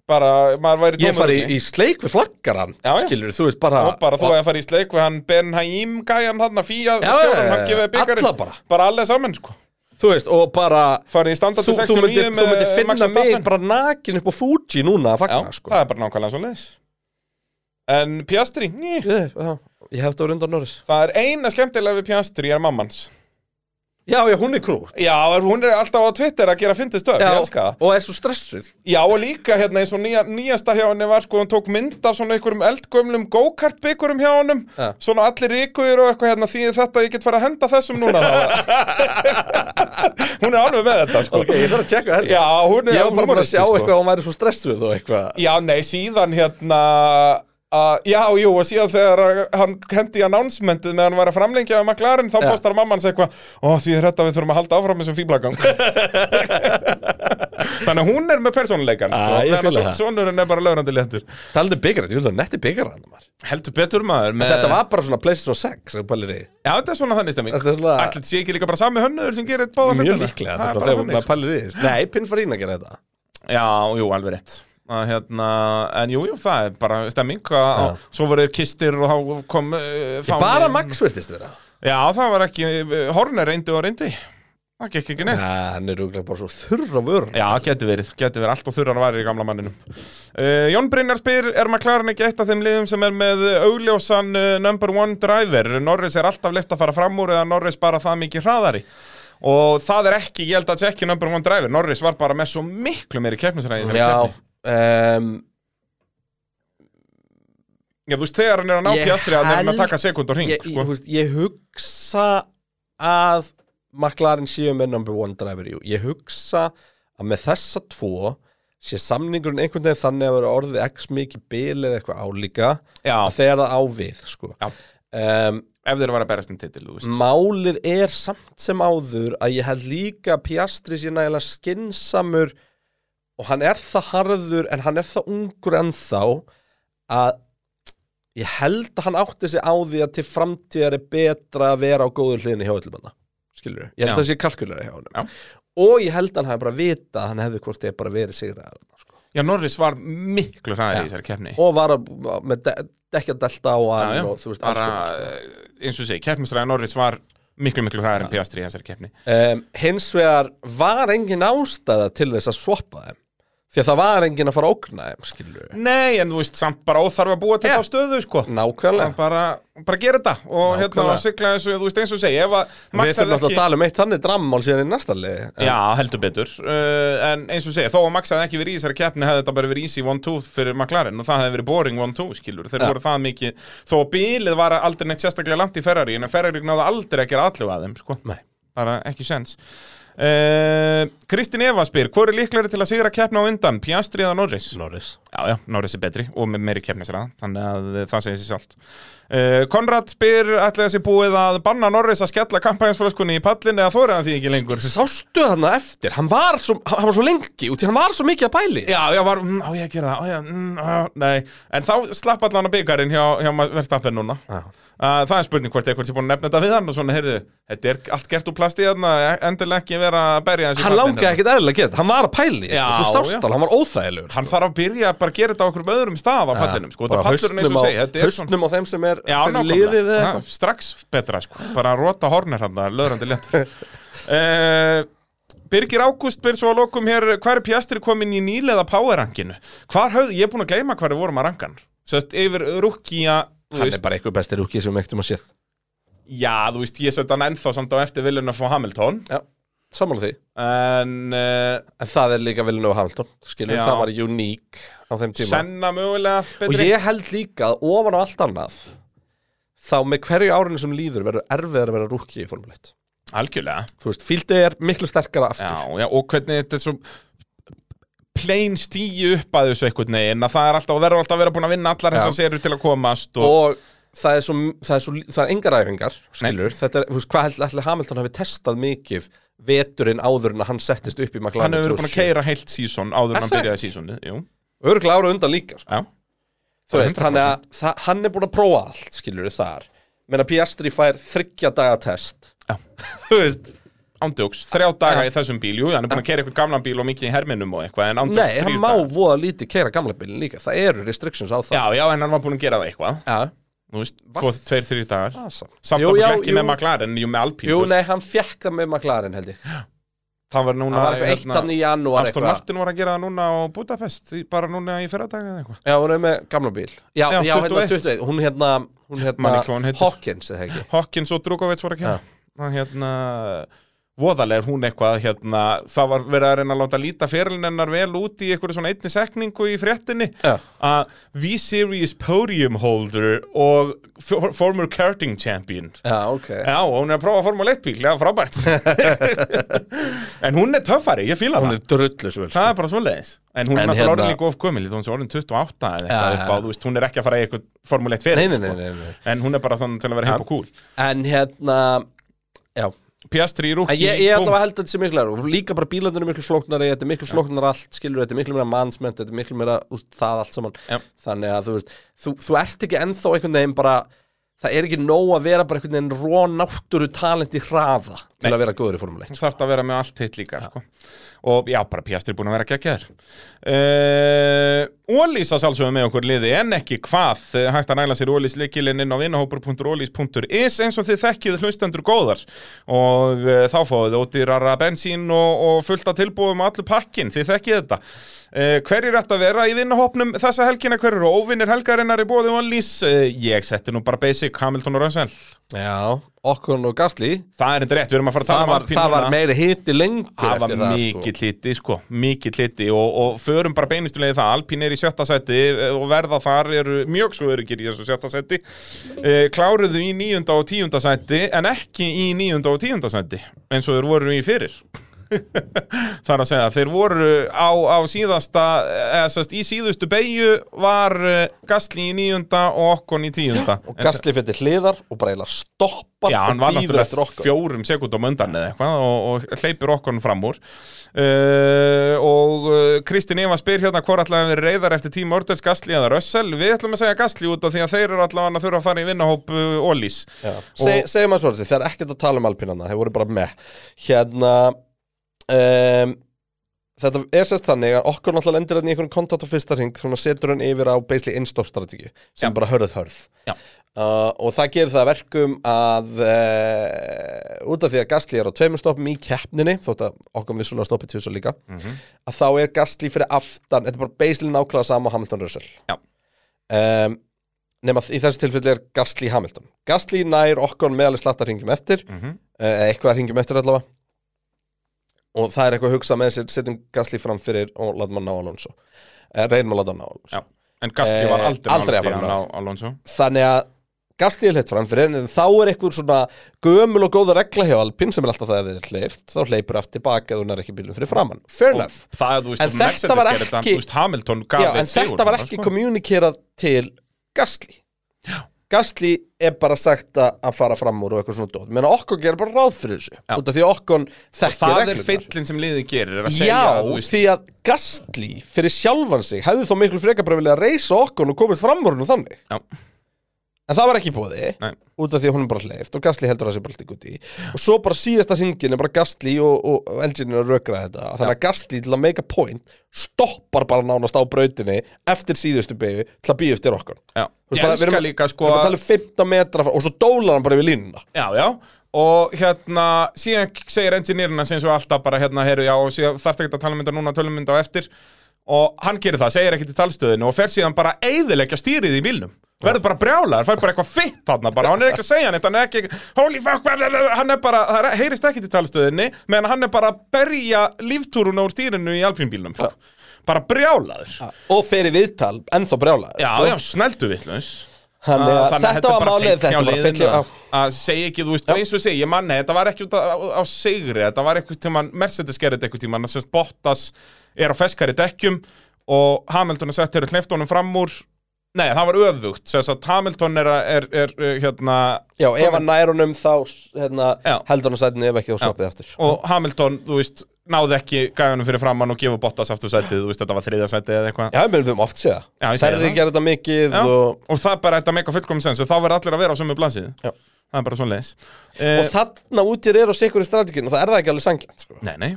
[SPEAKER 3] bara, maður væri
[SPEAKER 2] Ég fari
[SPEAKER 3] tómurugli.
[SPEAKER 2] í sleik við flaggaran
[SPEAKER 3] Já, já.
[SPEAKER 2] Skilur, þú veist, bara,
[SPEAKER 3] og bara þú að fara í sleik við hann Ben Haim gæjan þarna fíja
[SPEAKER 2] Já, já,
[SPEAKER 3] stjóran,
[SPEAKER 2] já,
[SPEAKER 3] hann gefið byggarinn
[SPEAKER 2] alla bara.
[SPEAKER 3] bara allir saman sko
[SPEAKER 2] Þú veist, og bara
[SPEAKER 3] farið í standartu
[SPEAKER 2] Þú, þú
[SPEAKER 3] 69
[SPEAKER 2] myndir, þú
[SPEAKER 3] með
[SPEAKER 2] myndir finna
[SPEAKER 3] Max Verstappen.
[SPEAKER 2] mig bara nakin upp á Fuji núna að
[SPEAKER 3] Já,
[SPEAKER 2] fagna, sko
[SPEAKER 3] það er bara nákvæmlega svo leiðis En Pjastri, ný,
[SPEAKER 2] Ég, já, ég hef þetta á rundan Norris
[SPEAKER 3] það er eina skemmtilega við Pjastri er mammans
[SPEAKER 2] Já, já, hún er krút
[SPEAKER 3] Já, er- hún er alltaf á Twitter að gera fyndið stöf, ég elska það
[SPEAKER 2] og er svo stressuð
[SPEAKER 3] Já, og líka hérna eins og nýja, nýjasta hjá henni var sko, hún tók mynd af svona einhverjum eldgömlum go-kart byggurum hjá honum
[SPEAKER 2] Já.
[SPEAKER 3] Svona allir ríkuður og eitthvað hérna því þetta ég get fara að henda þessum núna
[SPEAKER 2] <laughs>
[SPEAKER 3] þá Hún er alveg með þetta sko
[SPEAKER 2] Ok, ég þarf að tjekka helg
[SPEAKER 3] Já, hún er
[SPEAKER 2] Ég var bara búin að
[SPEAKER 3] húmoristi, sko.
[SPEAKER 2] sjá eitthvað að hún væri svo stressuð og eitthvað
[SPEAKER 3] Já, nei, síðan hérna Uh, já, jú, og síðan þegar hann hendi í annánsmentið meðan hann var að framlengja um McLaren, þá
[SPEAKER 2] Já.
[SPEAKER 3] postar mamman sig eitthvað Ó, því er þetta við þurfum að halda áfram
[SPEAKER 2] <laughs>
[SPEAKER 3] þessum fíblagang Þannig að hún er með sko. persónuleikan
[SPEAKER 2] Ah, ég fíla það.
[SPEAKER 3] Svonurinn er bara lögrandi léttur
[SPEAKER 2] Taldi byggarinn, ég vil það netti byggarinn maður
[SPEAKER 3] Heldur betur maður með...
[SPEAKER 2] Þetta var bara svona PlayStation 6 sem pælir í
[SPEAKER 3] Já, þetta er svona þannig stemming
[SPEAKER 2] Þetta er svona-
[SPEAKER 3] Ætli sé ekki líka bara sami hönnuður sem gerir báða
[SPEAKER 2] Mjög
[SPEAKER 3] hlutina?
[SPEAKER 2] líklega,
[SPEAKER 3] Það
[SPEAKER 2] þetta er bara þegar
[SPEAKER 3] er bara þannig. sko.
[SPEAKER 2] maður pælir í því Nei, Pininfarina gera þetta
[SPEAKER 3] Já, jú, alveg rétt að, hérna, En jú, jú, það er bara stemming að, að, Svo voru kistir og þá kom uh,
[SPEAKER 2] Ég bara Max virtist vera
[SPEAKER 3] Já, það var ekki, uh, Horner reyndi og reyndi Það gekk ekki neitt
[SPEAKER 2] Já, hann er rúglega bara svo þurr á vörun
[SPEAKER 3] Já, geti verið, geti verið, allt og þurran varir í gamla manninum uh, Jón Brynjar spyr, er McLaren ekki eitt af þeim liðum sem er með augljósan uh, number one driver Norris er alltaf leitt að fara fram úr eða Norris bara það mikið hraðari Og það er ekki, ég held að það sé ekki number one driver Norris var bara með svo miklu meiri keppnisræði
[SPEAKER 2] Já, um,
[SPEAKER 3] Já, þú veist, þegar hann er að ná
[SPEAKER 2] Ég
[SPEAKER 3] pjastri að hann er að
[SPEAKER 2] held-
[SPEAKER 3] taka sekund og ring,
[SPEAKER 2] ég, ég,
[SPEAKER 3] sko.
[SPEAKER 2] húst, ég hugsa að McLaren séu með number one driver jú. ég hugsa að með þessa tvo sé samningurinn einhvern veginn þannig að vera orðið x mikið bil eða eitthvað álíka að
[SPEAKER 3] Já,
[SPEAKER 2] þegar það á við sko.
[SPEAKER 3] Já.
[SPEAKER 2] um,
[SPEAKER 3] ef þeir var að berast um titil, þú veist.
[SPEAKER 2] málið er samt sem áður að ég held líka að Piastri sé nægilega skinsamur og hann er það harður en hann er það ungur ennþá að ég held að hann átti sig á því að til framtíðar er betra að vera á góðu hliðinni hjá öllum hann skilur ég held
[SPEAKER 3] Já.
[SPEAKER 2] að það sé kalkulari hjá hann
[SPEAKER 3] Já.
[SPEAKER 2] og ég held að hann hafi bara vita að hann hefði hvort eð bara verið sigraðar sko.
[SPEAKER 3] Já, Norris var miklu
[SPEAKER 2] Já.
[SPEAKER 3] hraðir í þessari keppni.
[SPEAKER 2] og var að, með de dekja delta á hann
[SPEAKER 3] já, já.
[SPEAKER 2] og þú veist alls
[SPEAKER 3] Bara, eh,
[SPEAKER 2] konar sko.
[SPEAKER 3] eins og sé, keppnisræði Norris var miklu, miklu hraðir en pjastri í þessari keppni.
[SPEAKER 2] um, hins vegar var engin ástæða til þess að swappa þeim því að það var engin að fara að ógna þeim skilur
[SPEAKER 3] Nei, en þú veist, samt bara óþarf að búa til
[SPEAKER 2] Já.
[SPEAKER 3] þá stöðu, sko. Hann
[SPEAKER 2] nákvæmlega
[SPEAKER 3] Bara, bara gera þetta og hérna
[SPEAKER 2] Nákvæmlega.
[SPEAKER 3] og sigla þessu, þú veist, eins og sé, ef að
[SPEAKER 2] við
[SPEAKER 3] Max
[SPEAKER 2] þurfum
[SPEAKER 3] hefði
[SPEAKER 2] náttúrulega að
[SPEAKER 3] ekki...
[SPEAKER 2] tala um eitt þannig drammál síðan í næsta liði En-
[SPEAKER 3] Já, heldur betur, uh, en eins og segja, þó að Max hefði ekki verið í þessari keppni hefði þetta bara verið easy 1-2 fyrir McLaren og það hefði verið boring 1-2, skilur,
[SPEAKER 2] Já.
[SPEAKER 3] þeir voru það mikið, þó að bílið var aldrei neitt sérstaklega langt í Ferrari, en að Ferrari náði aldrei að gera allu að þeim, sko,
[SPEAKER 2] Nei.
[SPEAKER 3] bara ekki sens. Uh, Kristín Eva spyr, hvor er líklari til að sigra keppna á undan, Piastri eða Norris?
[SPEAKER 2] Norris
[SPEAKER 3] Já, já, Norris er betri og með meiri keppnisra þannig að eh, það segir sér sjálft uh, Konrad spyr ætli þessi búið að banna Norris að skella kampanjansflöskunni í pallin eða þórið hann því ekki lengur
[SPEAKER 2] sástu þarna eftir, hann var svo, hann var svo lengi út í hann var svo mikið að pæli í.
[SPEAKER 3] Já, já, var, mm, á ég að gera það, á ég að, mm, á, nei En þá slapp allan að byggarinn hjá, hjá Verstappen núna
[SPEAKER 2] Já.
[SPEAKER 3] uh, Það er spurning hvort eitthvað sé búin að nefna þetta við hann og svona, heyrðu, þetta er allt gert úr plasti þarna, e, endilega ekki vera að berja þessi
[SPEAKER 2] hann langaði ekkert eðlilega að gera þetta, hann var að pæli í,
[SPEAKER 3] Já,
[SPEAKER 2] sko. þú
[SPEAKER 3] já.
[SPEAKER 2] sást hann, hann var óþægilegur
[SPEAKER 3] Hann þarf að byrja að bara gera þetta á okkur öðrum stað á pallinum, sko,
[SPEAKER 2] Bara
[SPEAKER 3] þetta pallurinn eins
[SPEAKER 2] haustnum
[SPEAKER 3] og
[SPEAKER 2] á-
[SPEAKER 3] segi, þetta er svona
[SPEAKER 2] haustnum á þeim sem er
[SPEAKER 3] Já,
[SPEAKER 2] fyrir
[SPEAKER 3] nákvæmlega.
[SPEAKER 2] liðið eða
[SPEAKER 3] Ha,
[SPEAKER 2] eitthvað.
[SPEAKER 3] Strax betra, sko, bara að rota hornir hann, löðrandi léttur <laughs> uh, Birgir Ágúst byrð svo að lokum hér, hvar er Pjastri komin í nýlega powerrankinu? Hvar höfðu, ég er búin að gleyma hvar við vorum að rankan Sest yfir rúkja
[SPEAKER 2] hann er bara eitthvað bestir rúkið sem við ektum að séð
[SPEAKER 3] Já, þú veist, ég set hann ennþá samt á eftir viljun að fá Hamilton
[SPEAKER 2] já, sammála því
[SPEAKER 3] En uh,
[SPEAKER 2] En það er líka Villeneuve Hamilton skilur,
[SPEAKER 3] Já.
[SPEAKER 2] það var uník á þeim tíma
[SPEAKER 3] senna mögulega
[SPEAKER 2] og
[SPEAKER 3] betri
[SPEAKER 2] ég held líka að ofan á allt annað þá með hverju árinu sem líður verður erfiðar að vera rúki í Formule 1
[SPEAKER 3] Algjörlega
[SPEAKER 2] þú veist, fíldið er miklu sterkara aftur
[SPEAKER 3] Já, já, og hvernig þetta er svo plain stíu upp að þessu einhvern veginn að það er alltaf, verður alltaf að vera búin að vinna allar
[SPEAKER 2] Já.
[SPEAKER 3] þessar serur til að komast og,
[SPEAKER 2] og það er svo, það er svo það er engar æfingar skilur, þetta er, þú veist, hvað held, ætli Hamilton hafi testað mikið veturinn áður en að hann settist upp í McLaren
[SPEAKER 3] Hann hefur verið búin að
[SPEAKER 2] 2007.
[SPEAKER 3] keira heilt sísón áður
[SPEAKER 2] Er
[SPEAKER 3] en hann
[SPEAKER 2] það
[SPEAKER 3] byrjaði sísónið Jú,
[SPEAKER 2] Örugglega ára undan líka sko.
[SPEAKER 3] já
[SPEAKER 2] Þú
[SPEAKER 3] Það er
[SPEAKER 2] veist, þannig að það, hann er búin að prófa allt skilur þar Menna Piastri fær þryggja daga test
[SPEAKER 3] Já. <laughs>
[SPEAKER 2] Þú veist,
[SPEAKER 3] Ándjóks, þrjá daga í þessum bíl, jú, hann er búin að keira eitthvað gamlan bíl og mikið í herminum og eitthvað En ándjóks,
[SPEAKER 2] nei, hann má voða lítið keira gamla bílinn líka Það eru restrictions á
[SPEAKER 3] Já,
[SPEAKER 2] það
[SPEAKER 3] já, en hann var búin að gera það eitthvað
[SPEAKER 2] Já,
[SPEAKER 3] Þú veist,
[SPEAKER 2] Var-
[SPEAKER 3] tvo, tveir, þrjir dagar
[SPEAKER 2] það er samt.
[SPEAKER 3] Samt
[SPEAKER 2] Jú,
[SPEAKER 3] jú,
[SPEAKER 2] já,
[SPEAKER 3] ekki
[SPEAKER 2] jú.
[SPEAKER 3] með McLaren, jú, með Alpine
[SPEAKER 2] Jú,
[SPEAKER 3] þú veist.
[SPEAKER 2] nei, hann fekk það með McLaren held ég
[SPEAKER 3] Það var núna hérna
[SPEAKER 2] Það hérna var eitthvað eitt hann í janúar
[SPEAKER 3] Aston
[SPEAKER 2] eitthvað
[SPEAKER 3] Martin var að gera það núna á Budapest í- Bara núna í fyrradag eða eitthvað
[SPEAKER 2] Já, hún er með gamla bíl Já,
[SPEAKER 3] Já,
[SPEAKER 2] já, hérna
[SPEAKER 3] 21.
[SPEAKER 2] 21 Hún hérna, hún
[SPEAKER 3] Man ekki hvað
[SPEAKER 2] hérna
[SPEAKER 3] hún heitir.
[SPEAKER 2] Hawkins, eða ekki
[SPEAKER 3] Hawkins og Drogovic voru að
[SPEAKER 2] Já.
[SPEAKER 3] kemja ja. hérna, voðalega er hún eitthvað hérna, það var verið að reyna að láta líta fyrirlin hennar vel út í einhverju svona einni sekningu í fréttinni
[SPEAKER 2] Já.
[SPEAKER 3] að V-Series podium holder og for- former karting champion
[SPEAKER 2] Já, ok
[SPEAKER 3] Já, og hún er að prófa Formule 1 bíl, já,
[SPEAKER 2] <laughs>
[SPEAKER 3] frábært En hún er töffari, ég fíla
[SPEAKER 2] Hún
[SPEAKER 3] það
[SPEAKER 2] er drullu svo vel sko.
[SPEAKER 3] Það er bara svoleiðis En hún
[SPEAKER 2] En
[SPEAKER 3] er náttúrulega
[SPEAKER 2] hérna-
[SPEAKER 3] orðin líka of gömul, þú veist, orðin 28 eða
[SPEAKER 2] Já, já,
[SPEAKER 3] eitthvað upp á,
[SPEAKER 2] já.
[SPEAKER 3] þú veist, hún er ekki að fara í eitthvað Formule 1 fyrir
[SPEAKER 2] Nei, nei, nei, nei, nei.
[SPEAKER 3] En hún er bara þannig til að vera hip og cool
[SPEAKER 2] En hérna Já,
[SPEAKER 3] Piastri í
[SPEAKER 2] en
[SPEAKER 3] rúki
[SPEAKER 2] ég, ég allavega held að þetta sé miklu lægra og líka bara bílandur er miklu flóknari, þetta er miklu flóknara allt, skilur, þetta er miklu meira mannsmennt, þetta er miklu meira úst, það allt saman,
[SPEAKER 3] Já.
[SPEAKER 2] þannig að þú veist, þú, þú ert ekki ennþá einhvern veginn bara, það er ekki nóg að vera bara einhvern veginn ró náttúru talent í hraða til
[SPEAKER 3] Nei.
[SPEAKER 2] að vera góður í formuleitt.
[SPEAKER 3] Þú þarft að vera með allt hitt líka sko. Og já, bara Piastri er búin að vera geggjaður uh, Ólís að sjálfsögum með okkur liði En ekki hvað Eh, Hægt að næla sér Ólís leikilinn inn á vinahópur.ólís.is Eins og þið þekkið hlustendur góðar Og uh, þá fáið þið ódýrara bensín og, og fullt að tilbúum allu pakkin Þið þekkið þetta uh, Hverjir ætti að vera í vinahópnum þessa helgina Hverjir eru óvinnir helgarinnar í bóði Ólís uh, Ég setti nú bara basic Hamilton og Rönsel
[SPEAKER 2] Já, okkur og Gasly,
[SPEAKER 3] Það er enda rétt, við erum að fara að
[SPEAKER 2] það
[SPEAKER 3] tala um
[SPEAKER 2] var,
[SPEAKER 3] Alpine
[SPEAKER 2] það var
[SPEAKER 3] núna.
[SPEAKER 2] meiri hiti lengur
[SPEAKER 3] Það var
[SPEAKER 2] eftir það
[SPEAKER 3] mikill hiti, sko, mikill hiti og, og förum bara beinustulegi það, Alpín er í sjötta seti eh, og verða þar eru mjög svo örugir í þessu sjötta seti Eh, Kláruðu í níunda og tíunda seti en ekki í níunda og tíunda seti eins og þeir voru í fyrir <laughs> Þar að segja, þeir voru á, á síðasta, eða sérst, í síðustu beigju var eh, Gasly í níunda og Okkon í tíunda
[SPEAKER 2] sko. og Gasly fyrir hliðar og bara eiginlega stoppar
[SPEAKER 3] Já, hann
[SPEAKER 2] og
[SPEAKER 3] var
[SPEAKER 2] býður eftir
[SPEAKER 3] náttúrulega
[SPEAKER 2] okkur
[SPEAKER 3] fjórum sekundum undan eða eitthvað og, og hleypir okkur fram úr uh, og uh, Kristinn Eva spyr hérna hvort ætlaði við reyðar eftir tíma Ördels Gastli eða Rössel við ætlum að segja Gastli út af því að þeir eru allavega að þurfa að fara í vinnahóp uh, Ólís
[SPEAKER 2] Se, segjum að svona, það er ekkert að tala um alpínana þeir voru bara með hérna um, þetta er sérst þannig að okkur náttúrulega endur hann í einhvern kontakt á fyrsta ring þannig að setur hann yfir á basically einstopp strategíu sem
[SPEAKER 3] Já.
[SPEAKER 2] bara hörð hörð
[SPEAKER 3] Já.
[SPEAKER 2] Uh, og það gerir það að verkum að uh, út af því að Gasly er á tveimur stoppum í keppninni þótt að okkur við svona stoppið tvisar líka að þá er Gasly fyrir aftan þetta er bara basically nákvæmlega sama og Hamilton Russell
[SPEAKER 3] Já.
[SPEAKER 2] um, nema í þessu tilfelli er Gasly Hamilton Gasly nær okkur með alveg slatta ringjum eftir eh,
[SPEAKER 3] Mhm.
[SPEAKER 2] eða eitthvað ringjum eftir allavega og það er eitthvað að hugsa með sér setjum Gasly fram fyrir og látum hann ná Alonso Eh, reynum að láta hann ná Alonso
[SPEAKER 3] Já. en Gastli
[SPEAKER 2] Eh,
[SPEAKER 3] var aldrei,
[SPEAKER 2] aldrei að
[SPEAKER 3] nálægt í
[SPEAKER 2] fara
[SPEAKER 3] hann
[SPEAKER 2] með.
[SPEAKER 3] á- á Alonso
[SPEAKER 2] þannig að Gasly er hlitt fram fyrir en þá er eitthvað svona gömul og góða regla hjá Alpin sem er alltaf það að það er hlift þá hleypur aftur tilbaka ef hún er ekki bílum fyrir framann fair
[SPEAKER 3] og
[SPEAKER 2] enough
[SPEAKER 3] það að þú veist,
[SPEAKER 2] En
[SPEAKER 3] og
[SPEAKER 2] þetta
[SPEAKER 3] Mercedes
[SPEAKER 2] var
[SPEAKER 3] gerði þetta,
[SPEAKER 2] ekki-
[SPEAKER 3] þú veist, Hamilton gaf
[SPEAKER 2] Já,
[SPEAKER 3] einn
[SPEAKER 2] en
[SPEAKER 3] sigur
[SPEAKER 2] þetta var
[SPEAKER 3] þarna,
[SPEAKER 2] ekki
[SPEAKER 3] sko.
[SPEAKER 2] kommunikerað til Gasly Gasly er bara sagt að að fara fram úr og eitthvað svona dót menn okkur gerir bara ráð fyrir þessu út af því að okkur þekkir
[SPEAKER 3] það er
[SPEAKER 2] reglurnar.
[SPEAKER 3] feillin sem liðið gerir er að segja,
[SPEAKER 2] Já,
[SPEAKER 3] þú veist,
[SPEAKER 2] því að Gasly fyrir sjálfan sig hefði þá miklu frekar bara vilja að reysa okkur og komist fram úr nú þannig
[SPEAKER 3] Já.
[SPEAKER 2] En það var ekki bóði
[SPEAKER 3] Nei.
[SPEAKER 2] út af því að hún er bara hleyft og Gasly heldur að það sé bara allt í guti og svo bara síðasta hringin er bara Gasly og, og, og enginin að rökra þetta þannig að Gasly til að make a point stoppar bara nánast á brautinni eftir síðustu begu til að býja eftir okkur
[SPEAKER 3] já.
[SPEAKER 2] Þú veist
[SPEAKER 3] ég
[SPEAKER 2] bara, við
[SPEAKER 3] elska
[SPEAKER 2] erum-
[SPEAKER 3] líka
[SPEAKER 2] Við
[SPEAKER 3] sko
[SPEAKER 2] erum að tala um 15 metra frá, og svo dólar hann bara yfir línuna
[SPEAKER 3] Já, já Og hérna, síðan segir engineerina sem svo alltaf bara hérna, heyrðu, já, og síðan þarf ekki að tala um mynda núna, tala um mynda á eftir Og hann gerir það, segir ekki til talstöðinu og fer síðan bara eiðilegja stýrið í bílnum Verður bara brjálaður, fær bara eitthvað fitt þarna bara, hann er ekki að segja neitt, hann er ekki, holy fuck, bla, bla, bla, hann er bara, það er- heyrist ekki til talstöðinni Meðan hann er bara að berja líftúruna úr stýrinu í alpínbílnum sko. Bara brjálaður Já,
[SPEAKER 2] og fer í viðtal, ennþá brjálaði
[SPEAKER 3] já, snældu vitlaus
[SPEAKER 2] Þannig að
[SPEAKER 3] Ah, Þannig
[SPEAKER 2] þetta var
[SPEAKER 3] bara
[SPEAKER 2] málið,
[SPEAKER 3] feill hjá
[SPEAKER 2] þetta var
[SPEAKER 3] liðinu
[SPEAKER 2] feill
[SPEAKER 3] að- að segja ekki, þú veist, eins og ég segi, ég manni þetta var ekki út á, á sigri, þetta var eitthvað tíman Mercedes gerði þetta eitthvað tíman, þess að Bottas er á feskari dekkjum og Hamilton er sett til að hleyfta honum fram úr Nei, það var öfugt, þess að Hamilton er, að- er, er eh, hérna
[SPEAKER 2] Já, ef hann nær honum þá hérna,
[SPEAKER 3] Já.
[SPEAKER 2] heldur hann sætinu ef ekki þá svappið aftur
[SPEAKER 3] og Hamilton, þú veist, náði ekki gæðanum fyrir framann og gefa Bottas aftur sætið, þú veist, þetta var þriðja sætið eða eitthvað
[SPEAKER 2] Já, ég meðum við höfum oft séð
[SPEAKER 3] Já,
[SPEAKER 2] það
[SPEAKER 3] ég segi
[SPEAKER 2] Ferri
[SPEAKER 3] það.
[SPEAKER 2] gerir þetta mikið
[SPEAKER 3] Já,
[SPEAKER 2] og,
[SPEAKER 3] og það er bara þetta mega fullkomum sens þá verður allir að vera á sömu blansið
[SPEAKER 2] Já.
[SPEAKER 3] það er bara svona leis Eh,
[SPEAKER 2] og þarna útir er og sikur í strategin og það er það ekki alveg sangjant sko.
[SPEAKER 3] Nei, nei,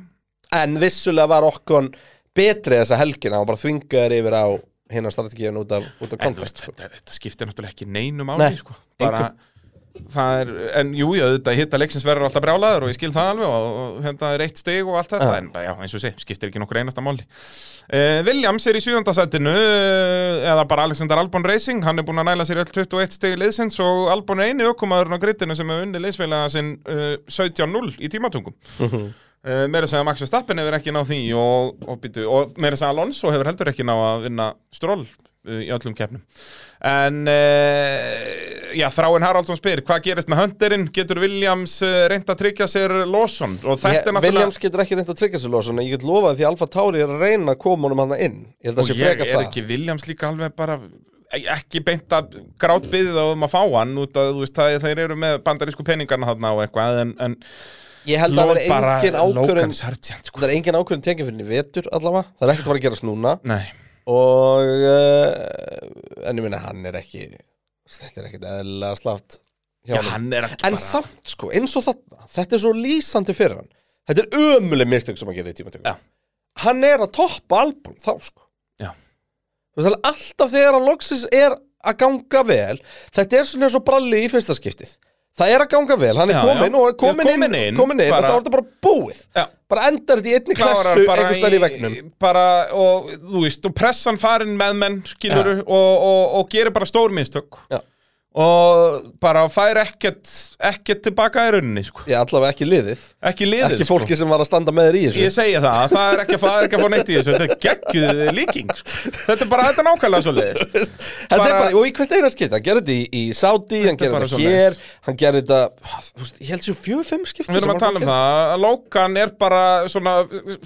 [SPEAKER 2] En vissulega var okkon betri þessa helgina og bara þvingaður yfir á hérna strategin út af, út af
[SPEAKER 3] en þú
[SPEAKER 2] kontekst
[SPEAKER 3] veist,
[SPEAKER 2] sko.
[SPEAKER 3] þetta, þetta skiptir náttúrulega ekki neinu máli
[SPEAKER 2] Nei,
[SPEAKER 3] sko. bara, það er, en jú, já, þetta hitta leiksins verður alltaf brjálaður og ég skil það alveg og, og hérna er eitt stig og allt þetta
[SPEAKER 2] Já.
[SPEAKER 3] en bara, já, eins og sé, skiptir ekki nokkur einasta máli uh, Williams er í sjöndasættinu uh, eða bara Alexander Albon Racing hann er búin að næla sér öll 21 stig liðsins og Albon er eini ökumaðurinn á grittinu sem hefur unni liðsfélaga sinn uh, 17-0 í tímatungum
[SPEAKER 2] Mhm.
[SPEAKER 3] Uh, meira að segja Max Verstappen hefur ekki náð því og, og, býtu, og meira að segja Alonso hefur heldur ekki náð að vinna stról uh, í öllum keppnum en uh, já, Þráin Haraldsson spyr hvað gerist með Hunterinn, getur Williams uh, reynd að tryggja sér Lawson og þetta
[SPEAKER 2] Ég,
[SPEAKER 3] er náttúrulega
[SPEAKER 2] Williams getur ekki reynd að tryggja sér losun en ég get lofað því að Alfa Tauri er að reyna að koma honum hann inn Ég held að
[SPEAKER 3] og
[SPEAKER 2] sé
[SPEAKER 3] ég
[SPEAKER 2] freka
[SPEAKER 3] er
[SPEAKER 2] það
[SPEAKER 3] ekki Williams líka alveg bara e- ekki beint að grátbyðið á um að fá hann út að þú veist það þeir eru með bandarísku peningarna þarna og eitthvað en, en
[SPEAKER 2] Ég held að það er engin
[SPEAKER 3] Logan
[SPEAKER 2] ákvörðin
[SPEAKER 3] Sargent sko.
[SPEAKER 2] Það er engin ákvörðin tekið fyrir henni vetur allavega Það er ekkert að fara að gerast núna
[SPEAKER 3] nei
[SPEAKER 2] og uh, en ég minna hann er ekki þetta er ekkert eðlilega slaft hjá
[SPEAKER 3] Já,
[SPEAKER 2] honum.
[SPEAKER 3] hann er ekki
[SPEAKER 2] en
[SPEAKER 3] bara
[SPEAKER 2] samt sko, eins og þarna þetta er svo lýsandi fyrir hann þetta er ömuleg mistök sem hann gerir í tímatöku
[SPEAKER 3] Já.
[SPEAKER 2] hann er að toppa album þá sko
[SPEAKER 3] Já.
[SPEAKER 2] Þú veist, þannig að alltaf þegar hann loksins er að ganga vel þetta er svona eins og bralli í fyrsta skiptið það er að ganga vel, hann er
[SPEAKER 3] Já,
[SPEAKER 2] komin
[SPEAKER 3] já.
[SPEAKER 2] og er komin,
[SPEAKER 3] Já, komin inn,
[SPEAKER 2] komin inn
[SPEAKER 3] bara-
[SPEAKER 2] og þá er þetta bara búið
[SPEAKER 3] Já.
[SPEAKER 2] bara endar þetta í einni klessu einhvers staðar í vegnum
[SPEAKER 3] bara, og þú veist, og pressan farin með menn, skilur og, og, og gerir bara stór mistök
[SPEAKER 2] Já.
[SPEAKER 3] og bara fær ekkert ekkert tilbaka í rauninni, sko
[SPEAKER 2] Já, allavega ekki liðið
[SPEAKER 3] ekki liðið,
[SPEAKER 2] ekki fólki sem var að standa með þér í
[SPEAKER 3] sko.
[SPEAKER 2] þessu
[SPEAKER 3] ég segja það, það er ekki að, það er ekki að fá neitt í þessu þetta er geggjuð líking, sko þetta er bara, þetta er nákvæmlega svo liðis
[SPEAKER 2] Þetta er
[SPEAKER 3] bara-
[SPEAKER 2] bara, og í hvert eina skipti, hann gerði þetta í, í Saudi, hann
[SPEAKER 3] Þetta er
[SPEAKER 2] gerði
[SPEAKER 3] bara
[SPEAKER 2] þetta hér,
[SPEAKER 3] svoleiðis.
[SPEAKER 2] hann gerði þetta, þú veist, ég held sér fjögur, fimm skipti
[SPEAKER 3] Við erum að tala um það, að Lókan er bara svona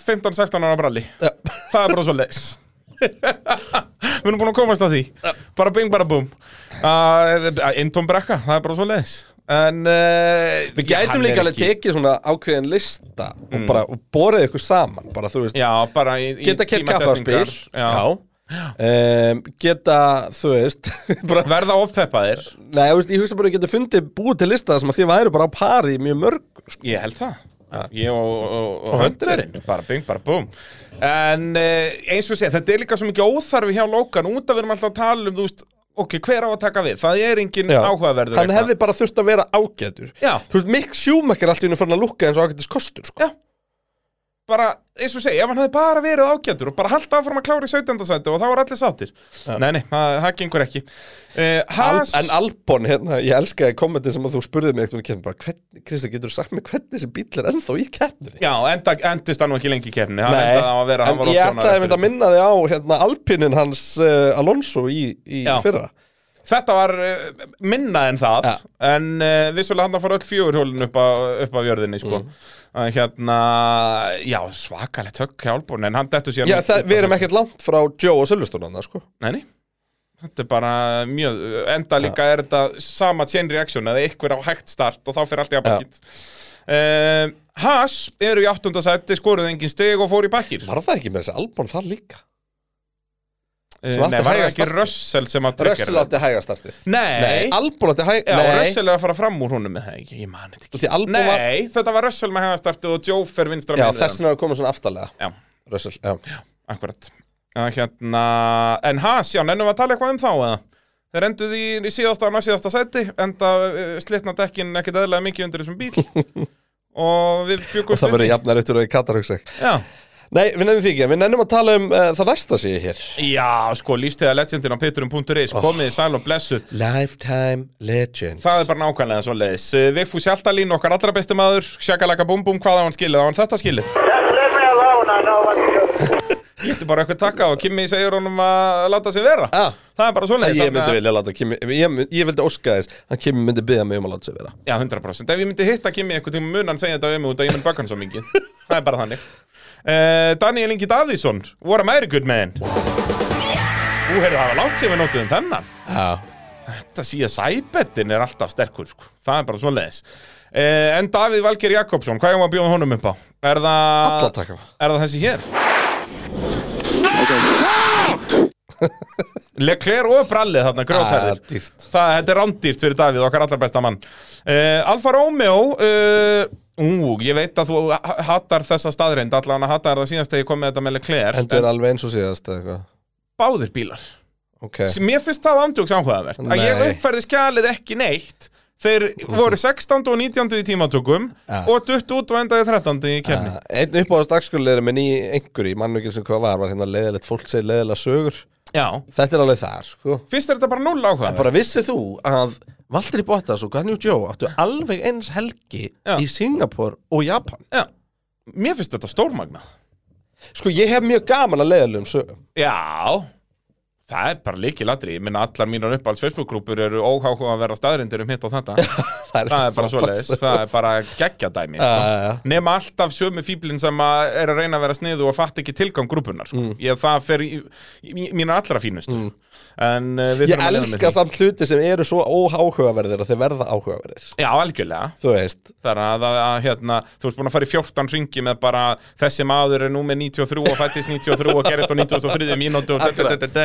[SPEAKER 3] 15-16 ára bralli
[SPEAKER 2] Já.
[SPEAKER 3] Það er bara svo leis Við erum búin að komast að því Bara bing, bara búm uh, Intón brekka, það er bara svo leis En uh,
[SPEAKER 2] Við gætum líka alveg tekið svona ákveðin lista og bara, og borðið ykkur saman, bara þú veist,
[SPEAKER 3] Mm. Já, bara í, í
[SPEAKER 2] geta kert kapparspil,
[SPEAKER 3] tímasetningar. Já.
[SPEAKER 2] Um, geta, þú veist, <laughs> bara,
[SPEAKER 3] Verða ofpeppaðir
[SPEAKER 2] nei, þú veist, ég hugsa bara að geta fundið búið til lista sem að þið væru bara á pari í mjög mörg, sko.
[SPEAKER 3] Ég held það Ég og, og, og
[SPEAKER 2] Og
[SPEAKER 3] höndurinn, bara bing, bara búm En eh, eins og sé, þetta er líka svo mikið óþarfi hjá Lókan Út að við erum alltaf að tala um, þú veist Ok, hver á að taka við? Það er engin
[SPEAKER 2] Já.
[SPEAKER 3] áhugaverður
[SPEAKER 2] Hann hefði bara þurft að vera ágætur.
[SPEAKER 3] Já.
[SPEAKER 2] Þú veist, Mick Schumacher er allt í hennu farin að lukka eins og ágætis kostur, sko.
[SPEAKER 3] Já. bara, eins og segja, ef hann hefði bara verið ágætur og bara haldt áfram að klára í 17. sæti og þá var allir sáttir Nei, nei, það, það gengur ekki uh,
[SPEAKER 2] Al
[SPEAKER 3] Has,
[SPEAKER 2] en Albon, hérna, ég elskaði kommentin sem að þú spurði mig eitthvað kemur bara, hvern, Krista, getur þú sagt mig hvernig þessi bíl er ennþá í keppninni?
[SPEAKER 3] Já, enda, endist hann nú ekki lengi í keppni Hann endaði á að vera, hann
[SPEAKER 2] en
[SPEAKER 3] var
[SPEAKER 2] ég
[SPEAKER 3] oft
[SPEAKER 2] ætlaði
[SPEAKER 3] hjónar
[SPEAKER 2] að mynda að minna þig á hérna, Alpinin hans uh, Alonso í, í
[SPEAKER 3] Já.
[SPEAKER 2] fyrra.
[SPEAKER 3] Þetta var uh, minna en það
[SPEAKER 2] Já.
[SPEAKER 3] En uh, vissulega hann að fara öll fjögurhjólin upp, á- upp af jörðinni, sko mm. Hérna, já, svakalegt högg hjá Albon En hann dettur síðan
[SPEAKER 2] Já,
[SPEAKER 3] út-
[SPEAKER 2] það,
[SPEAKER 3] út
[SPEAKER 2] við
[SPEAKER 3] af
[SPEAKER 2] erum
[SPEAKER 3] þessu.
[SPEAKER 2] ekkert langt frá Joe og Silveston hann, sko.
[SPEAKER 3] Nei, nei Þetta er bara mjög, enda líka er þetta sama chain reaction eða einhver á hægt start og þá fyrir allt í abaskitt uh, Haas eru í áttundasætti, skoruð engin stig og fór í bakkir
[SPEAKER 2] Var það ekki með þessi Albon þar líka?
[SPEAKER 3] Eh, Nei,
[SPEAKER 2] sem átti
[SPEAKER 3] var það
[SPEAKER 2] hæga
[SPEAKER 3] ekki
[SPEAKER 2] startið?
[SPEAKER 3] Russell sem að tryggja
[SPEAKER 2] Russell átti hægastartið.
[SPEAKER 3] Nei,
[SPEAKER 2] Albon átti hæg...
[SPEAKER 3] já,
[SPEAKER 2] nei,
[SPEAKER 3] Russell er að fara fram úr honum með það, ég, ég man þetta
[SPEAKER 2] Og
[SPEAKER 3] ekki
[SPEAKER 2] því Albon
[SPEAKER 3] Nei,
[SPEAKER 2] var-
[SPEAKER 3] þetta var Russell með hegastartið og Joe fer vinstra
[SPEAKER 2] Já,
[SPEAKER 3] megin við hann.
[SPEAKER 2] þess vegna er komið svona aftarlega.
[SPEAKER 3] Já.
[SPEAKER 2] Russell, já.
[SPEAKER 3] Akkurat uh, hérna, En Haas, já, nennum við að tala eitthvað um þá eða? Þeir enduðu í, í síðasta og næsíðasta seti Enda uh, slitna dekkin ekkit eðlega mikið undir þessum bíl
[SPEAKER 2] <laughs>
[SPEAKER 3] Og við
[SPEAKER 2] Og
[SPEAKER 3] bjögumst
[SPEAKER 2] það verður jafnar eftir og í Katar, hugsa ég.
[SPEAKER 3] Já.
[SPEAKER 2] Nei, við nefnum því ekki, við nefnum að tala um uh, það næsta sé ég hér.
[SPEAKER 3] já, sko, lífstíða legendin á peturum.is Komið í sæl og blessuð
[SPEAKER 2] Lifetime Legend
[SPEAKER 3] Það er bara nákvæmlega svo leiðis Vigfús Hjaltalín, okkar allra besti maður Sjakalaka búm búm, hvað á hann skilið? Á hann þetta skilið?
[SPEAKER 4] Leave me alone. I know what to do.
[SPEAKER 3] Þetta er bara eitthvað takka og Kimi segir honum að láta sig vera
[SPEAKER 2] Ah.
[SPEAKER 3] Það er bara svo leiðis
[SPEAKER 2] Ég myndi vilja láta Kimi Ég, mynd, ég vildi óska þess að Kimi myndi byggja mig um að láta sig vera
[SPEAKER 3] Já, 100% Ef ég myndi hitta Kimi eitthvað tíma mun hann segja þetta við mig út að ég myndi baka hann svo mikið Það Eh, er bara þannig uh, Daniel Ingi Davíðsson What am I a good man Þú heyrðu hafa langt sem við notuðum þennan
[SPEAKER 2] Já,
[SPEAKER 3] Þetta CSI-bettin er alltaf sterkur sko. Það er bara svo leiðis En Davíð Valgeir Jakobsson, hvað er maður að bjóða honum upp á? Er það,
[SPEAKER 2] alla takkana
[SPEAKER 3] er það þessi hér? <laughs> Leclerc og brallið þarna, grótærðir
[SPEAKER 2] Ah, dýrt.
[SPEAKER 3] Það, þetta er rándýrt fyrir Davíð, okkar allar besta mann. Uh, Alfa Romeo, uh, ú, ég veit að þú ha- hattar þessa staðreind, allan að hattar það síðast þegar ég kom með þetta með Leclerc,
[SPEAKER 2] Endur
[SPEAKER 3] en
[SPEAKER 2] er alveg eins og síðast eða eitthvað
[SPEAKER 3] báðir bílar.
[SPEAKER 2] Ok,
[SPEAKER 3] Sem Mér finnst það andjóks áhugavert, að ég
[SPEAKER 2] Nei.
[SPEAKER 3] uppfærði skjalið ekki neitt, þeir voru 16. og 19. í tímatökum
[SPEAKER 2] Ja.
[SPEAKER 3] og dutt út og endaði 13. í kefni.
[SPEAKER 2] Ah, einn uppáðast dagskulir minn í einhverju, ég mann ekki sem hvað var var hérna leiðilegt fólk segir leiðilega sögur
[SPEAKER 3] Já,
[SPEAKER 2] Þetta er alveg þar, sko
[SPEAKER 3] finnst þér þetta bara null áhugavert?
[SPEAKER 2] Ah, Bara vissið þú að Valtteri Bottas og Ganyu Joe áttu alveg eins helgi
[SPEAKER 3] Já.
[SPEAKER 2] í Singapur og Japan
[SPEAKER 3] Já, mér finnst þetta stórmagnað.
[SPEAKER 2] Sko, ég hef mjög gaman að leiðilegum sögum
[SPEAKER 3] Já Það er bara líkilatri, ég minna allar mínar uppáhalds Facebook-grúpur eru óháhuga að vera staðrindir um hitt og þetta Það er bara svoleiðis, það er bara geggjadæmi uh.
[SPEAKER 2] uh,
[SPEAKER 3] Nema alltaf sömu fíblin sem að er að reyna að vera sniðu og fatt ekki tilgang grúpunar sko. Ég það fer í, í, í mína allra fínustu En uh, við
[SPEAKER 2] Ég
[SPEAKER 3] þurfum að lifa með
[SPEAKER 2] elska
[SPEAKER 3] því.
[SPEAKER 2] samt hluti sem eru svo óháhugaverðir að þeir verða áhugaverðir
[SPEAKER 3] Já, algjörlega
[SPEAKER 2] Þú veist
[SPEAKER 3] Það er að, að, að hérna, þú ert búin að fara í 14 ringi með bara þessi maður er nú með 93 og fættist 93 og gerist á 93 mínútu og d-d-d-d-d-d.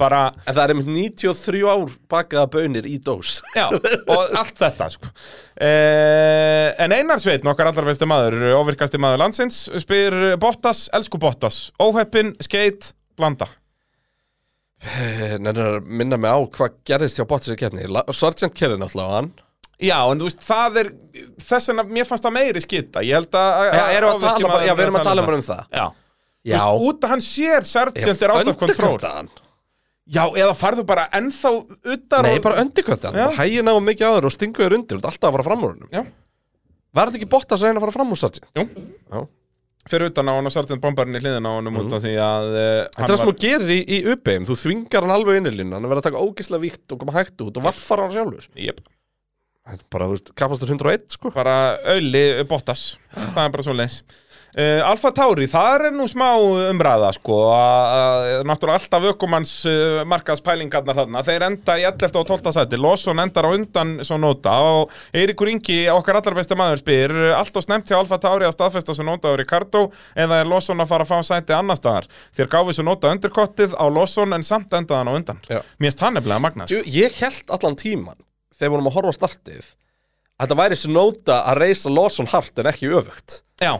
[SPEAKER 3] bara
[SPEAKER 2] En það er einmitt 93 ár bakaða bönir í dós
[SPEAKER 3] Já, og allt þetta sko. eh, En Einar Sveitn, okkar allar besti maður Ofirkasti maður landsins Spyr Bottas, elsku Bottas Óheppin, skeit, blanda
[SPEAKER 2] Eh, Nennir að minna mig á hvað gerðist hjá Bottas í kefni Sargent Kerry náttúrulega hann
[SPEAKER 3] Já, en þú veist, það er Þess vegna, mér fannst það meiri skita Ég held að
[SPEAKER 2] Já, erum við Eh, að tala bara, já, við erum að tala bara um það
[SPEAKER 3] Já,
[SPEAKER 2] Já,
[SPEAKER 3] Þú veist, út að hann sér Sargent er out of control
[SPEAKER 2] Undercut hann.
[SPEAKER 3] Já, eða farðu bara ennþá utar
[SPEAKER 2] Nei,
[SPEAKER 3] og-
[SPEAKER 2] bara undirkvæmt hann
[SPEAKER 3] Já.
[SPEAKER 2] Bara Hægir náðu mikið á þér og stingu þér undir Þú ert alltaf að fara fram úr hennum
[SPEAKER 3] Já.
[SPEAKER 2] Var þetta ekki Bottas að reyna að fara fram úr Sargent?
[SPEAKER 3] Jú.
[SPEAKER 2] Já.
[SPEAKER 3] Fyrir utan á hann og Sargent bombarinn í hliðin á hann mm. Út af því að uh,
[SPEAKER 2] Þetta er það sem þú gerir í, í uppeyjum, þú þvingar hann alveg inn í línu, hann verður að taka ógislega víkt og koma hægt út og vaffar hann sjálfur.
[SPEAKER 3] Jep
[SPEAKER 2] Þetta er bara, þú veist, kapastur 101, sko.
[SPEAKER 3] bara Ölli Bottas það er bara svo leins uh, Alfa Tauri, það er nú smá umræða sko, að- að- náttúrulega alltaf ökumanns uh, markaðspælingarnar þarna þeir enda í 11. og 12. sæti Lawson endar á undan svo nota og Eirikur Ingi, okkar allar besti maður spyr uh, allt og snemt hjá Alfa Tauri að staðfesta svo nota á Ricardo eða er Lawson að fara að fá sæti annar staðar þér gáfi svo nota undirkottið á Lawson en samt endaði hann á undan
[SPEAKER 2] Já.
[SPEAKER 3] mér erst hann nefnilega magnað sko.
[SPEAKER 2] Jú, Ég held allan tíman, þegar við vorum að horfa á startið, að þetta væri þessi nóta að reysa Lawson hart en ekki öfugt.
[SPEAKER 3] Já,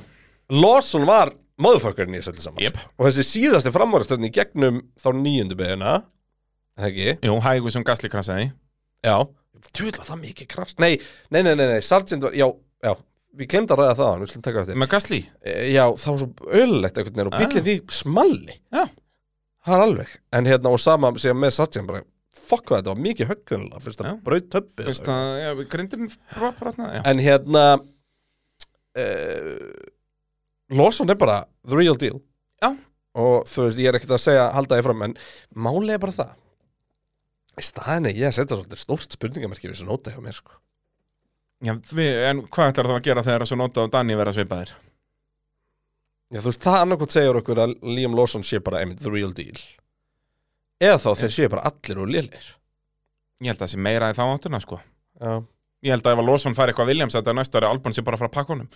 [SPEAKER 2] Lawson var motherfuckerinn í þessu öllu saman.
[SPEAKER 3] Jep.
[SPEAKER 2] sko. Og þessi síðasti framvarastöðin í gegnum þá nýjundu beðina, ekki?
[SPEAKER 3] jú, hægu sem Gasly krassaði
[SPEAKER 2] Já. Tjúðla það mikið krast. Nei, nei, nei, nei, nei, Sargent var, já, já, við glemd að ræða það á hann, við slum taka eftir.
[SPEAKER 3] með Gasly
[SPEAKER 2] E, Já, það var svo öllulegt einhvern veginn og bíllinn í smalli
[SPEAKER 3] Ah. Já.
[SPEAKER 2] Það er alveg En hérna og sama sem með Sargent bara Fuck hvað þetta var mikið höggrinlega Fyrst
[SPEAKER 3] Já.
[SPEAKER 2] að braut töppið
[SPEAKER 3] Fyrst að, já, grindin brotnaði, já.
[SPEAKER 2] En hérna uh, Lawson er bara the real deal
[SPEAKER 3] Já.
[SPEAKER 2] Og þú veist, ég er ekkert að segja halda ég fram En málið er bara það Í staðinni ég að setja svolítið stórt spurningamerki Við þessu nóta hjá mér sko
[SPEAKER 3] Eh, já því, en hvað ætlar það að gera þegar þessu nota og Dani verða svipaðir?
[SPEAKER 2] Já, þú veist, það annarkot segir okkur að Liam Lawson sé bara einmitt the real deal Eða þá þeir séu bara allir og lélir
[SPEAKER 3] Ég held að það sé meira í þá áttuna, sko.
[SPEAKER 2] Já
[SPEAKER 3] Ég held að ef að Lawson fær eitthvað Williams þetta næsta ári, Albon sé bara að fara að pakka honum.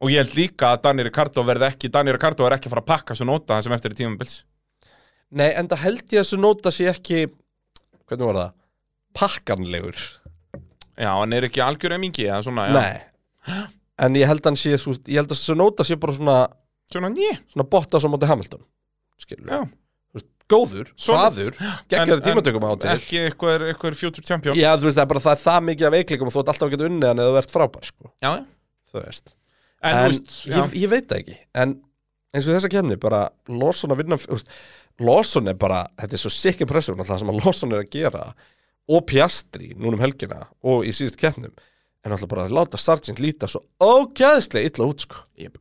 [SPEAKER 3] Og ég held líka að Dani Ricardo verði ekki, Dani Ricardo er ekki að fara að pakka þessu nota það sem eftir í tímabils.
[SPEAKER 2] Nei, en það held ég að þessu nota sé ekki Hvernig var það? Pakkanlegur
[SPEAKER 3] Já, hann er ekki algjör emingi, eða svona, já.
[SPEAKER 2] Nei <gasps> En ég held, að hann sé, svo, ég held að þessu nota sé bara svona
[SPEAKER 3] Svona, njö.
[SPEAKER 2] Svona botta svo móti Hamilton Skilur
[SPEAKER 3] Já.
[SPEAKER 2] Þú veist, Góður,
[SPEAKER 3] Solid.
[SPEAKER 2] hraður Gekkjaður
[SPEAKER 3] En-
[SPEAKER 2] tímatökum á til
[SPEAKER 3] Ekki eitthvað, eitthvað future champion.
[SPEAKER 2] Já, þú veist, það er bara það, er það mikið af veikleikum og Þú ert alltaf að geta unnið hann eða þú ert frábær sko.
[SPEAKER 3] Já, já.
[SPEAKER 2] Þú veist
[SPEAKER 3] En, þú veist, já.
[SPEAKER 2] ég, ég veit það ekki En eins og þessa kemni bara Lawson að vinna þú veist, Lawson er bara, þetta er svo sikki pressur Það sem að Lawson er að gera Og Piastri núna um helgina Og í síðust kemnum En alltaf bara að láta Sargent líta svo ógæðslega illa út sko.
[SPEAKER 3] Jep.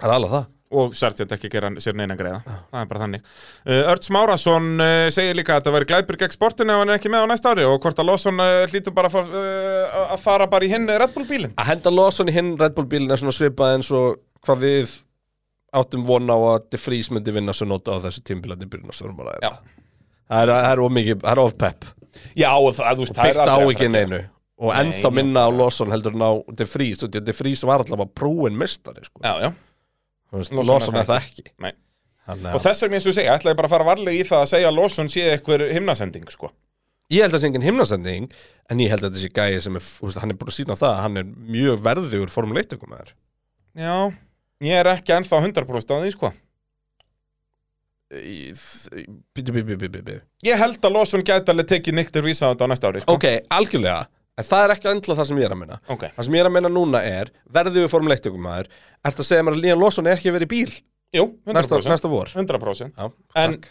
[SPEAKER 2] Það er alveg það
[SPEAKER 3] og Sargent ekki gera sér neina greiða það er bara þannig uh, Örts Márasson uh, segir líka að þetta væri glæpur gegn sportinu ef hann er ekki með á næsta ári og hvort að Lawson uh, hlýtur bara að fá- uh, að fara bara í hinn Red Bull bílinn
[SPEAKER 2] Að henda Lawson í hinn Red Bull bílinn er svona svipað eins og Hvað við áttum von á að De Vries myndi vinna svo nota á þessu tímbilandi byrjun og svo erum að
[SPEAKER 3] Já.
[SPEAKER 2] ræða það er, það er of mikið, það er of pepp
[SPEAKER 3] Já, og það, þú veist, það
[SPEAKER 2] byrta á
[SPEAKER 3] aldrei að
[SPEAKER 2] ekki
[SPEAKER 3] fara-
[SPEAKER 2] neinu og ennþá minna á Lawson heldur en á De Vries og De Vries var allavega prúin mistari sko.
[SPEAKER 3] Já, já
[SPEAKER 2] Þú veist,
[SPEAKER 3] Lawson er
[SPEAKER 2] Lawson
[SPEAKER 3] það
[SPEAKER 2] er það ekki
[SPEAKER 3] Nei.
[SPEAKER 2] Þannig,
[SPEAKER 3] Og
[SPEAKER 2] að-
[SPEAKER 3] þess vegna eins og ég segja, ætla ég bara að fara varlega í það að segja að Lawson sé eitthvað himnasending, sko
[SPEAKER 2] ég held að það sé engin himnasending en ég held að þetta sé gæi sem er, þú veist, hann er búin að sína það að hann er mjög verðugur sko, formuleittökum með þér
[SPEAKER 3] Já, ég er ekki ennþá 100% á því, sko
[SPEAKER 2] bíti, bíti, bíti, bíti
[SPEAKER 3] Ég held að Lawson gæti alveg tekið Nick de Vries á þetta á næsta ári, sko
[SPEAKER 2] ok, algjörlega, en það er ekki endla það sem ég er að minna
[SPEAKER 3] Ok,
[SPEAKER 2] það sem ég er að minna núna er verðugur formuleittökum með þér ert að segja mér að Líðan Lawson er ekki að vera í bíl
[SPEAKER 3] jú, 100%,
[SPEAKER 2] næsta, næsta vor
[SPEAKER 3] 100%.
[SPEAKER 2] Já,
[SPEAKER 3] En,
[SPEAKER 2] takk.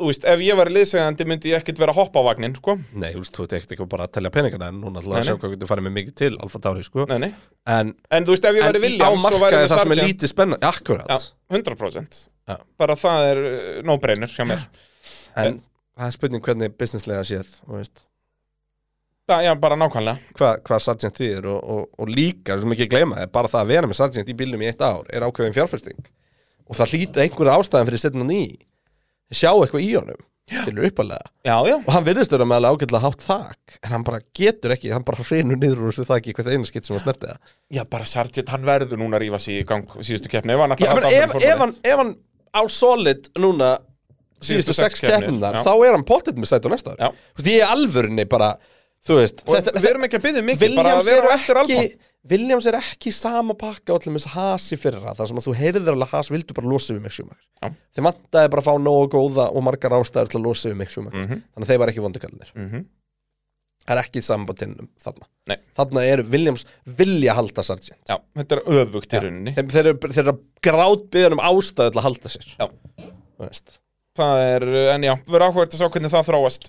[SPEAKER 3] þú veist, ef ég var liðsegandi myndi ég ekkit vera að hoppa á vagnin, sko
[SPEAKER 2] Nei, þú veist, þú ert ekkert ekki bara að telja peningana en núna ætlaði
[SPEAKER 3] Nei,
[SPEAKER 2] að sjá hvað getur farið með mikið til Alfa Tauri, sko
[SPEAKER 3] Nei, nei
[SPEAKER 2] En,
[SPEAKER 3] En þú veist, ef ég
[SPEAKER 2] en
[SPEAKER 3] væri
[SPEAKER 2] í- á
[SPEAKER 3] Williams, svo væri
[SPEAKER 2] markaði
[SPEAKER 3] ég
[SPEAKER 2] það sem er
[SPEAKER 3] Sargent
[SPEAKER 2] lítið spennandi Akkurat,
[SPEAKER 3] Já, 100%
[SPEAKER 2] Já.
[SPEAKER 3] Bara það er uh, no-brainer hjá mér
[SPEAKER 2] en það er spurning hvernig businesslega séð þú veist.
[SPEAKER 3] Það, já, bara nákvæmlega
[SPEAKER 2] Hva, hvað Sargent þýðir og, og, og líka, sem ekki að gleyma það, er bara það að vera með Sargent í bílnum í eitt ár er ákveðin fjárfesting og það hlýta einhverja ástæðan fyrir setna ný sjá eitthvað í honum, skilur uppalega
[SPEAKER 3] Já, já
[SPEAKER 2] og hann virðist vera með alveg ágætlega hátt þak en hann bara getur ekki, hann bara hreinur niður úr þessu þaki í hvert einu skitt sem hann snerti það
[SPEAKER 3] Já, bara Sargent, hann verður núna að rífa sig í gang síðustu keppni ef hann
[SPEAKER 2] Já,
[SPEAKER 3] ætlar
[SPEAKER 2] menn,
[SPEAKER 3] halda áfram
[SPEAKER 2] ef,
[SPEAKER 3] í formúlunni.
[SPEAKER 2] ef, hann, ef hann á solid núna síðustu
[SPEAKER 3] Síðustu
[SPEAKER 2] sex
[SPEAKER 3] sex keppnir,
[SPEAKER 2] keppnar
[SPEAKER 3] já.
[SPEAKER 2] þá er hann pottet með sæti á næsta
[SPEAKER 3] Já.
[SPEAKER 2] ári Þú veist, ég er alvörinni bara þú veist,
[SPEAKER 3] Og Við erum ekki að byggja mikið, bara að vera á eftir
[SPEAKER 2] ekki,
[SPEAKER 3] Albon
[SPEAKER 2] Williams er ekki í sama pakka allir með þessi hasi fyrra þar sem að þú heyrðir alveg að has vildu bara losa við mig
[SPEAKER 3] Já.
[SPEAKER 2] sjúmakar þeir vantaði bara að fá nógu góða og margar ástæður til að losa við mig
[SPEAKER 3] Mm.
[SPEAKER 2] sjúmakar þannig að þeir var ekki vondukallinir
[SPEAKER 3] Mhm.
[SPEAKER 2] það er ekki í sambandinum þarna
[SPEAKER 3] Nei.
[SPEAKER 2] þarna eru Williams vilja halda Sargent
[SPEAKER 3] Já, þetta er öfugt í rauninni
[SPEAKER 2] þeir, þeir, eru- þeir eru grátbyðan um ástæðu til að halda sér
[SPEAKER 3] Já.
[SPEAKER 2] Þú veist.
[SPEAKER 3] Það er, uh, en já, verður áhverjast að sjá hvernig það þróast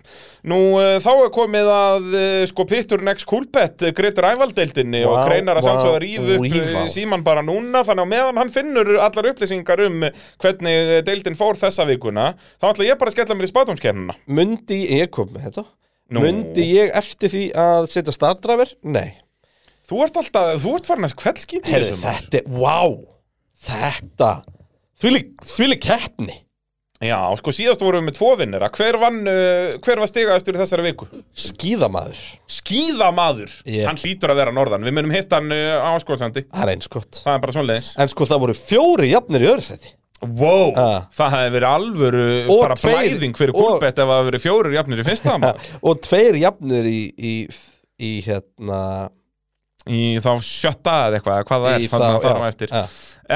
[SPEAKER 3] Nú, uh, þá er komið að uh, sko Pitturinn X Coolpet uh, greitir ævaldeildinni
[SPEAKER 2] Vá,
[SPEAKER 3] og greinar að
[SPEAKER 2] vá,
[SPEAKER 3] sjálfsögða ríf upp
[SPEAKER 2] rífa.
[SPEAKER 3] uh, síman bara núna þannig að meðan hann finnur allar upplýsingar um uh, hvernig uh, deildin fór þessa vikuna þá ætla ég bara að skella mér í spátumskernina
[SPEAKER 2] myndi ég kom með þetta
[SPEAKER 3] Nú.
[SPEAKER 2] myndi ég eftir því að setja startdrafir nei
[SPEAKER 3] Þú ert alltaf, þú ert farin að kveldskýndi
[SPEAKER 2] Heru, þetta, wow þetta þvíli keppni
[SPEAKER 3] Já, sko síðast vorum við með tvo vinnera Hver, vann, uh, hver var stigaðastur í þessari viku?
[SPEAKER 2] skíðamaður
[SPEAKER 3] Skíðamaður
[SPEAKER 2] Ég-
[SPEAKER 3] Hann hlýtur að vera norðan Við munum hitta hann uh, á skólsandi
[SPEAKER 2] það er eins gott
[SPEAKER 3] Það er bara svoleiðis
[SPEAKER 2] en sko það voru fjóri jafnir í öðru seti
[SPEAKER 3] Wow,
[SPEAKER 2] Ah.
[SPEAKER 3] það hefði verið alvöru
[SPEAKER 2] Og
[SPEAKER 3] bara
[SPEAKER 2] tveir-
[SPEAKER 3] blæðing fyrir
[SPEAKER 2] og-
[SPEAKER 3] kúlbett ef það hefði verið fjórir jafnir í fyrsta maður.
[SPEAKER 2] og tveir jafnir í, í, í hérna
[SPEAKER 3] í þá sjötta eða eitthvað eða hvað það er,
[SPEAKER 2] í
[SPEAKER 3] þannig að fara á
[SPEAKER 2] já,
[SPEAKER 3] eftir
[SPEAKER 2] ja.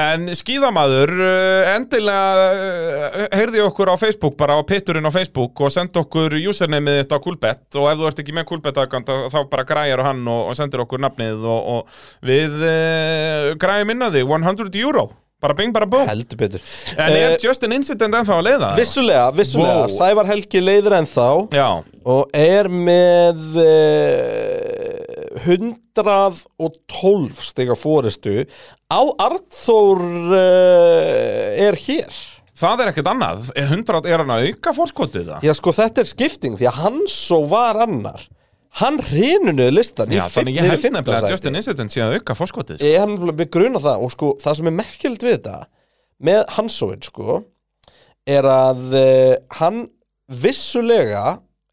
[SPEAKER 3] en skíðamaður uh, endilega uh, heyrði okkur á Facebook bara á pitturinn á Facebook og sendi okkur usernameið þetta á kúlbett og ef þú ert ekki með kúlbett aðgang þá bara græjar á hann og, og sendir okkur nafnið og, og við uh, græjum inn að því 100 euro, bara bing bara bú
[SPEAKER 2] heldur betur
[SPEAKER 3] en er
[SPEAKER 2] Eh,
[SPEAKER 3] Justin Incident ennþá að leiða?
[SPEAKER 2] vissulega, vissulega
[SPEAKER 3] Wow.
[SPEAKER 2] Sævar Helgi leiðir ennþá
[SPEAKER 3] Já,
[SPEAKER 2] og er með eh, 112 stiga fóristu á Arþór eh, er hér
[SPEAKER 3] það er ekkert annað 100 er hann að auka fórskotið það?
[SPEAKER 2] já sko þetta er skipting því að hann svo var annar hann hrinunuði listan í
[SPEAKER 3] Já,
[SPEAKER 2] fimm-
[SPEAKER 3] þannig ég
[SPEAKER 2] niður í
[SPEAKER 3] held
[SPEAKER 2] fimmta
[SPEAKER 3] nefnilega að
[SPEAKER 2] sæti.
[SPEAKER 3] Justin Incident sé að auka fórskotið sko.
[SPEAKER 2] ég hef nefnilega mig gruna það og sko það sem er merkjöld við þetta með Hansóin sko er að uh, hann vissulega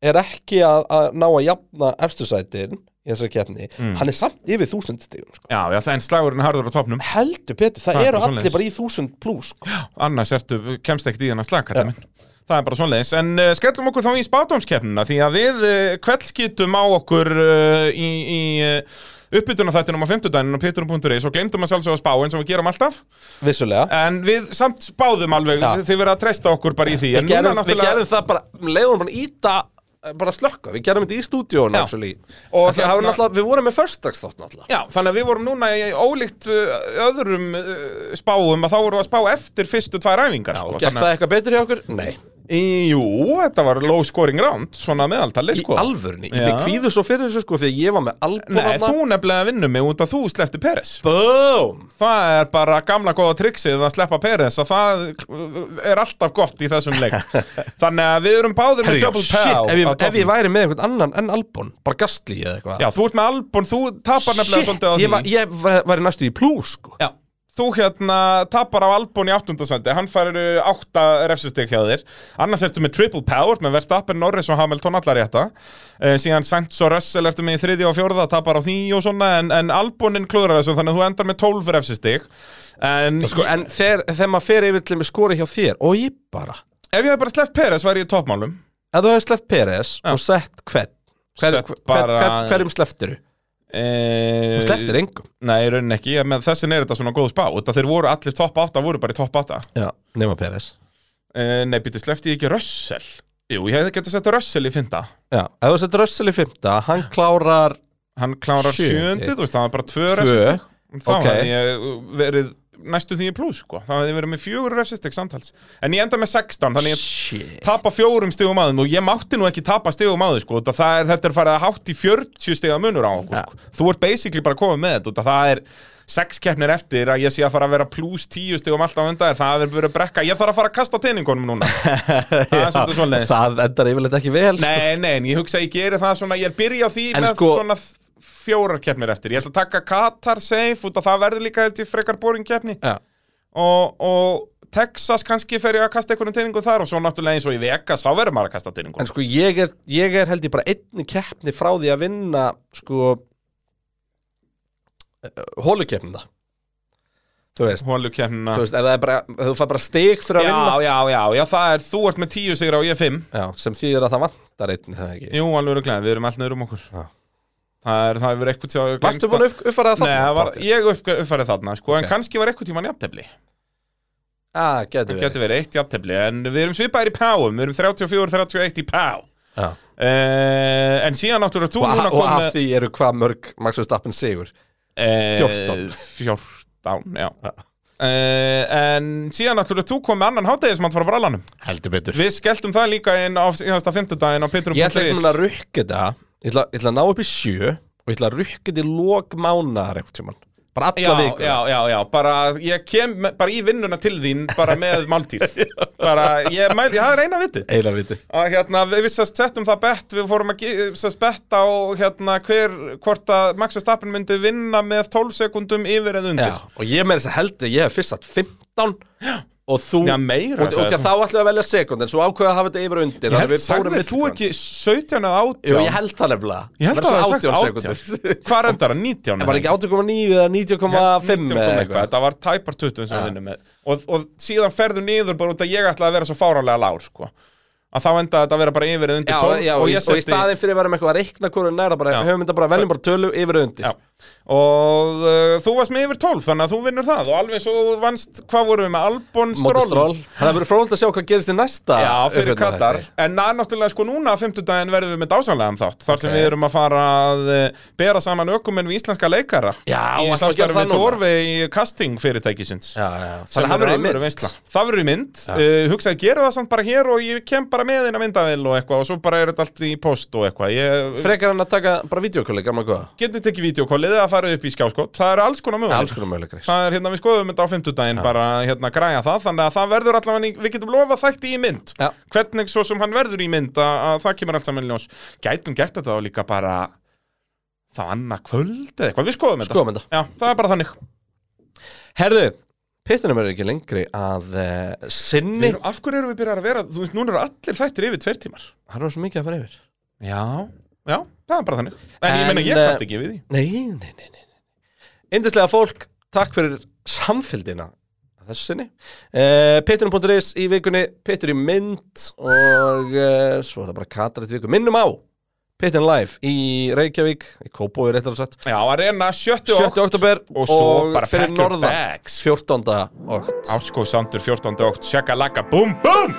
[SPEAKER 2] er ekki að, að ná að jafna efstu sætin í þessari keppni
[SPEAKER 3] Mm.
[SPEAKER 2] hann er samt yfir þúsund stigum sko.
[SPEAKER 3] Já, já, það er slagurinn harður á topnum
[SPEAKER 2] heldur betur, það
[SPEAKER 3] Það er
[SPEAKER 2] eru
[SPEAKER 3] bara
[SPEAKER 2] allir
[SPEAKER 3] svoleiðis.
[SPEAKER 2] bara í þúsund pluss sko.
[SPEAKER 3] annars ertu, kemst ekkert í hennar slag kallar minn Það er bara svoleiðis, en uh, skellum okkur þá í spátumskeppnina því að við uh, kveldskýtum á okkur uh, í, í uh, uppbytuna þættinum á 50 daginn og péturum.is og glemdum að sjálfsögða spá eins og við gerum alltaf
[SPEAKER 2] vissulega
[SPEAKER 3] en við samt spáðum alveg,
[SPEAKER 2] Já.
[SPEAKER 3] þið verða að treysta okkur bara í því en
[SPEAKER 2] við
[SPEAKER 3] núna
[SPEAKER 2] gerum, við gerum það bara, leiðum bara íta eh, bara slökka, við gerum þetta í stúdíón
[SPEAKER 3] Já.
[SPEAKER 2] actually,
[SPEAKER 3] Og
[SPEAKER 2] Af því að það var
[SPEAKER 3] hérna-
[SPEAKER 2] náttúrulega- við vorum með förstagsþátt náttúrulega
[SPEAKER 3] Já, þannig að við vorum núna í ólíkt uh, öðrum uh, spáum að þá vorum við að spá eftir fyrstu tvær æfingar
[SPEAKER 2] Já,
[SPEAKER 3] sko,
[SPEAKER 2] gekk það eitthvað betur hjá okkur? Nei,
[SPEAKER 3] Í- Jú, þetta var low scoring round Svona meðaltali,
[SPEAKER 2] í
[SPEAKER 3] sko
[SPEAKER 2] alvörni, ég
[SPEAKER 3] Já.
[SPEAKER 2] með kvíðu svo fyrir þessu sko því að ég var með albúna
[SPEAKER 3] Nei, þú nefnilega vinnur mig út að þú slefti Peres
[SPEAKER 2] Bóm
[SPEAKER 3] Það er bara gamla góða tryggsið að sleppa Peres að það uh, er alltaf gott í þessum <laughs> leik Þannig að við erum báðir með double
[SPEAKER 2] Shit,
[SPEAKER 3] pow
[SPEAKER 2] ef ég,
[SPEAKER 3] á
[SPEAKER 2] ef ég
[SPEAKER 3] toppnum.
[SPEAKER 2] væri með eitthvað annan en albún Bara gastli eða eitthvað
[SPEAKER 3] Já, þú ert með Albon, þú tapar nefnilega
[SPEAKER 2] Shit,
[SPEAKER 3] svolítið á því
[SPEAKER 2] ég, var, ég var, væri næstu í plús sko
[SPEAKER 3] Já, þú hérna tapar á Albon í áttundasændi hann fær uh, átta refsistig hjá þér annars ertu með triple power með Verstappen, Norris og Hamilton allar rétta uh, síðan Sainz og Russell ertu með í þriði og fjórða tapar á því og svona en, en Albonin klúðrar þessu þannig að þú endar með 12 refsistig en
[SPEAKER 2] sko, En þegar, þegar maður fer yfir til með skori hjá þér Og ég bara
[SPEAKER 3] ef ég hef bara sleppt Peres væri ég í toppmálum
[SPEAKER 2] Ef þú hefði sleppt Peres og sett hvern hver,
[SPEAKER 3] Sett
[SPEAKER 2] hver,
[SPEAKER 3] bara-
[SPEAKER 2] hver, Hverjum slepptiru?
[SPEAKER 3] e...
[SPEAKER 2] Þú slepptir engum
[SPEAKER 3] Nei, í rauninni ekki, en með þessin er þetta svona góð spá Þetta þeir voru allir topp 8, voru bara í topp 8
[SPEAKER 2] Já, nema Peres
[SPEAKER 3] uh, Nei, býttu, slefti ég ekki Russell Jú, ég hefði gett að setja Russell í fynda
[SPEAKER 2] Já, ef þú sett Russell í fymta Hann klárar
[SPEAKER 3] Hann klárar
[SPEAKER 2] Sjö.
[SPEAKER 3] sjöndi, þú veist, það var bara tvö
[SPEAKER 2] Tvö.
[SPEAKER 3] refsistig Þá
[SPEAKER 2] Ok.
[SPEAKER 3] hefði ég uh, verið næstu því í plus, sko Þá hefði ég verið með fjögur refsistig samtals En ég enda með 16, þannig ég
[SPEAKER 2] Shit
[SPEAKER 3] tapa fjórum stigum aðum og ég mátti nú ekki tapa stigum aðum sko, út af það er, þetta er farið að hátt í 40 stiga munur á okkur sko. þú ert basically bara komið með þetta út af það er sex keppnir eftir að ég sé að fara að vera plus 10 stigum alltaf undan þér það er verið að brekka, ég þarf að fara að kasta
[SPEAKER 2] <laughs>
[SPEAKER 3] teiningunum núna það er svolítið
[SPEAKER 2] Já,
[SPEAKER 3] svoleiðis
[SPEAKER 2] Það endar yfirleitt ekki vel <laughs> sko.
[SPEAKER 3] nei, nei, en ég hugsa að ég geri það svona ég er byrja á því
[SPEAKER 2] En
[SPEAKER 3] með
[SPEAKER 2] sko-
[SPEAKER 3] svona þ- fjórar keppnir eftir, ég ætla að taka Katar safe út af það verður líka held ég frekar boring keppni
[SPEAKER 2] Já,
[SPEAKER 3] og, og Texas kannski fer ég að kasta einhvern teiningu þar og svo náttúrulega eins og í Vegas þá verður maður að kasta teiningu
[SPEAKER 2] En sko ég er, ég er held ég bara einni keppni frá því að vinna sko hólukeppnina Þú veist,
[SPEAKER 3] hólu kemna
[SPEAKER 2] þú veist, ef það er bara ef þú fær bara stig fyrir sko- að
[SPEAKER 3] já,
[SPEAKER 2] vinna
[SPEAKER 3] já, já, já, það er, þú ert með tíu sigra og ég fimm
[SPEAKER 2] Já, sem þýðir að það vantar einn það ekki
[SPEAKER 3] Jú, alveg eru glæðið, við erum allt niður um okkur
[SPEAKER 2] Já.
[SPEAKER 3] Það er, það hefur eitthvað tíma
[SPEAKER 2] Varstu búin að upp, uppfara það
[SPEAKER 3] Nei, það var, ég upp, uppfærið þarna, sko,
[SPEAKER 2] Ok.
[SPEAKER 3] en kannski var eitthvað tíma jafntefli
[SPEAKER 2] Já, getur Ah,
[SPEAKER 3] Það
[SPEAKER 2] verið
[SPEAKER 3] getur verið eitt jafntefli, en við erum svipaðir í páum, við erum 34-31 í pá
[SPEAKER 2] Já.
[SPEAKER 3] Uh, en síðan náttúrulega þú
[SPEAKER 2] Og,
[SPEAKER 3] núna
[SPEAKER 2] og af
[SPEAKER 3] komið
[SPEAKER 2] því eru hvað mörg Max Verstappen sigur
[SPEAKER 3] uh,
[SPEAKER 2] 14.
[SPEAKER 3] 14, já uh, En síðan náttúrulega þú komið annan hátegismann frá brallanum
[SPEAKER 2] Heldur betur
[SPEAKER 3] Við skelltum það líka inn á síðasta fimmtudaginn á Petrum
[SPEAKER 2] Ég ætla ekki að rukka þetta Ég ætla, ég ætla að ná upp í sjö og ég ætla að rukka þetta í lók mánar einhvern tímann Bara alla
[SPEAKER 3] já,
[SPEAKER 2] vikur
[SPEAKER 3] já, já, já, bara ég kem me- bara í vinnuna til þín bara með máltíð
[SPEAKER 2] <laughs>
[SPEAKER 3] bara, ég mæli, það er eina viti
[SPEAKER 2] Eila viti
[SPEAKER 3] að hérna, við við sérst settum það bett við fórum að ge- sérst bett á hérna, hver, hvort að Max Verstappen myndi vinna með 12 sekundum yfir eða undir
[SPEAKER 2] Já, og ég með þess að held að ég hef fyrst satt 15 og þú
[SPEAKER 3] Já, meira,
[SPEAKER 2] og, og
[SPEAKER 3] sagði
[SPEAKER 2] þá ætlum við að velja sekund en svo ákveða að hafa þetta yfir og undir
[SPEAKER 3] Ég
[SPEAKER 2] þannig
[SPEAKER 3] held,
[SPEAKER 2] við fórum
[SPEAKER 3] sagðir þú
[SPEAKER 2] milligönn.
[SPEAKER 3] ekki 17 eða 18?
[SPEAKER 2] Jú, ég held það nefnilega
[SPEAKER 3] Ég held að
[SPEAKER 2] það var
[SPEAKER 3] það sagt
[SPEAKER 2] svona <laughs>
[SPEAKER 3] 18
[SPEAKER 2] sekúndur.
[SPEAKER 3] <laughs> Hvað endar það? 19?
[SPEAKER 2] En var ekki 18,9 eða 90,5 eða eitthvað
[SPEAKER 3] Þetta var tæpar 20 sem við vinnum með og, og síðan ferðu niður bara út að ég ætla að vera svo fáralega lár sko. að þá enda þetta að vera bara yfir eða
[SPEAKER 2] Já,
[SPEAKER 3] undir 12
[SPEAKER 2] já, og, ég, og í staðin fyrir að vera með eitthvað að reikna hverju næra bara,
[SPEAKER 3] Já.
[SPEAKER 2] höfum þetta bara, veljum bara tölu yfir og undir
[SPEAKER 3] Já. Og uh, þú varst með yfir 12 þannig að þú vinnur það og alveg svo þú vannst, hvað vorum við með Albon
[SPEAKER 2] Móti
[SPEAKER 3] Stroll?
[SPEAKER 2] stról Það verður fróld að sjá hvað gerist í næsta
[SPEAKER 3] Já, fyrir
[SPEAKER 2] upphitna
[SPEAKER 3] Katar
[SPEAKER 2] þætti.
[SPEAKER 3] En það er náttúrulega sko núna á fimmtudaginn verðum við með dásanlegan þátt þar sem
[SPEAKER 2] Ok.
[SPEAKER 3] við erum að fara að uh, bera saman ökumenn við íslenska leikara
[SPEAKER 2] Já, ætlum
[SPEAKER 3] í
[SPEAKER 2] við að gera það
[SPEAKER 3] samstarfi við
[SPEAKER 2] núna?
[SPEAKER 3] Dorve í casting fyrirtækisins
[SPEAKER 2] Já, já,
[SPEAKER 3] sem
[SPEAKER 2] þannig að hann
[SPEAKER 3] er
[SPEAKER 2] verður í
[SPEAKER 3] alvöru
[SPEAKER 2] mynd.
[SPEAKER 3] veisla. Það verður í mynd, uh, hugsaði að gera það samt bara hér og ég kem bara með inn að myndavél og eitthvað og svo bara er þetta allt í post og eitthvað ég,
[SPEAKER 2] Frekar hann að taka bara vídeokolli, gamla góða
[SPEAKER 3] Getum tekið videokollið eða farið upp í skjáskot það eru alls konar möguleikar.
[SPEAKER 2] Alls konar möguleikar
[SPEAKER 3] Það er hérna, við skoðum þetta á fimmtudaginn bara hérna að græja það, þannig að það verður allavega, í- við getum lofað þætti í mynd
[SPEAKER 2] Já.
[SPEAKER 3] hvernig svo sem hann verður í mynd að, að það kemur allt saman í ljós. Gætum gert þetta þá líka bara þá annað kvöld eða eitthvað, við skoðum þetta.
[SPEAKER 2] Skoðum þetta.
[SPEAKER 3] Já, það er bara þannig.
[SPEAKER 2] Herðu, pittinum verður ekki lengri að uh,
[SPEAKER 3] Við
[SPEAKER 2] sinni
[SPEAKER 3] Erum, af hverju erum við byrjar að vera, þú veist, núna eru allir þættir yfir tveir tímar.
[SPEAKER 2] Það er svo mikið að fara yfir
[SPEAKER 3] Já. Já, það er bara þannig. En,
[SPEAKER 2] En,
[SPEAKER 3] ég meina, ég
[SPEAKER 2] eh,
[SPEAKER 3] kvært ekki við því.
[SPEAKER 2] Nei, nei, nei, nei, nei. Indislega fólk, takk fyrir samfélgina að þessu sinni uh, Pittinum.is í vikunni, Pittur í mynd og uh, svo er það bara katrætt viku Minnum á Pittin Live í Reykjavík, í Kópói réttar og sett
[SPEAKER 3] Já, Arena 70
[SPEAKER 2] 7. oktober
[SPEAKER 3] og svo bara
[SPEAKER 2] fyrir
[SPEAKER 3] pack your
[SPEAKER 2] norðan
[SPEAKER 3] bags.
[SPEAKER 2] 14. okt
[SPEAKER 3] Áskóðsandur 14. ótt, shaka laka, búm, búm!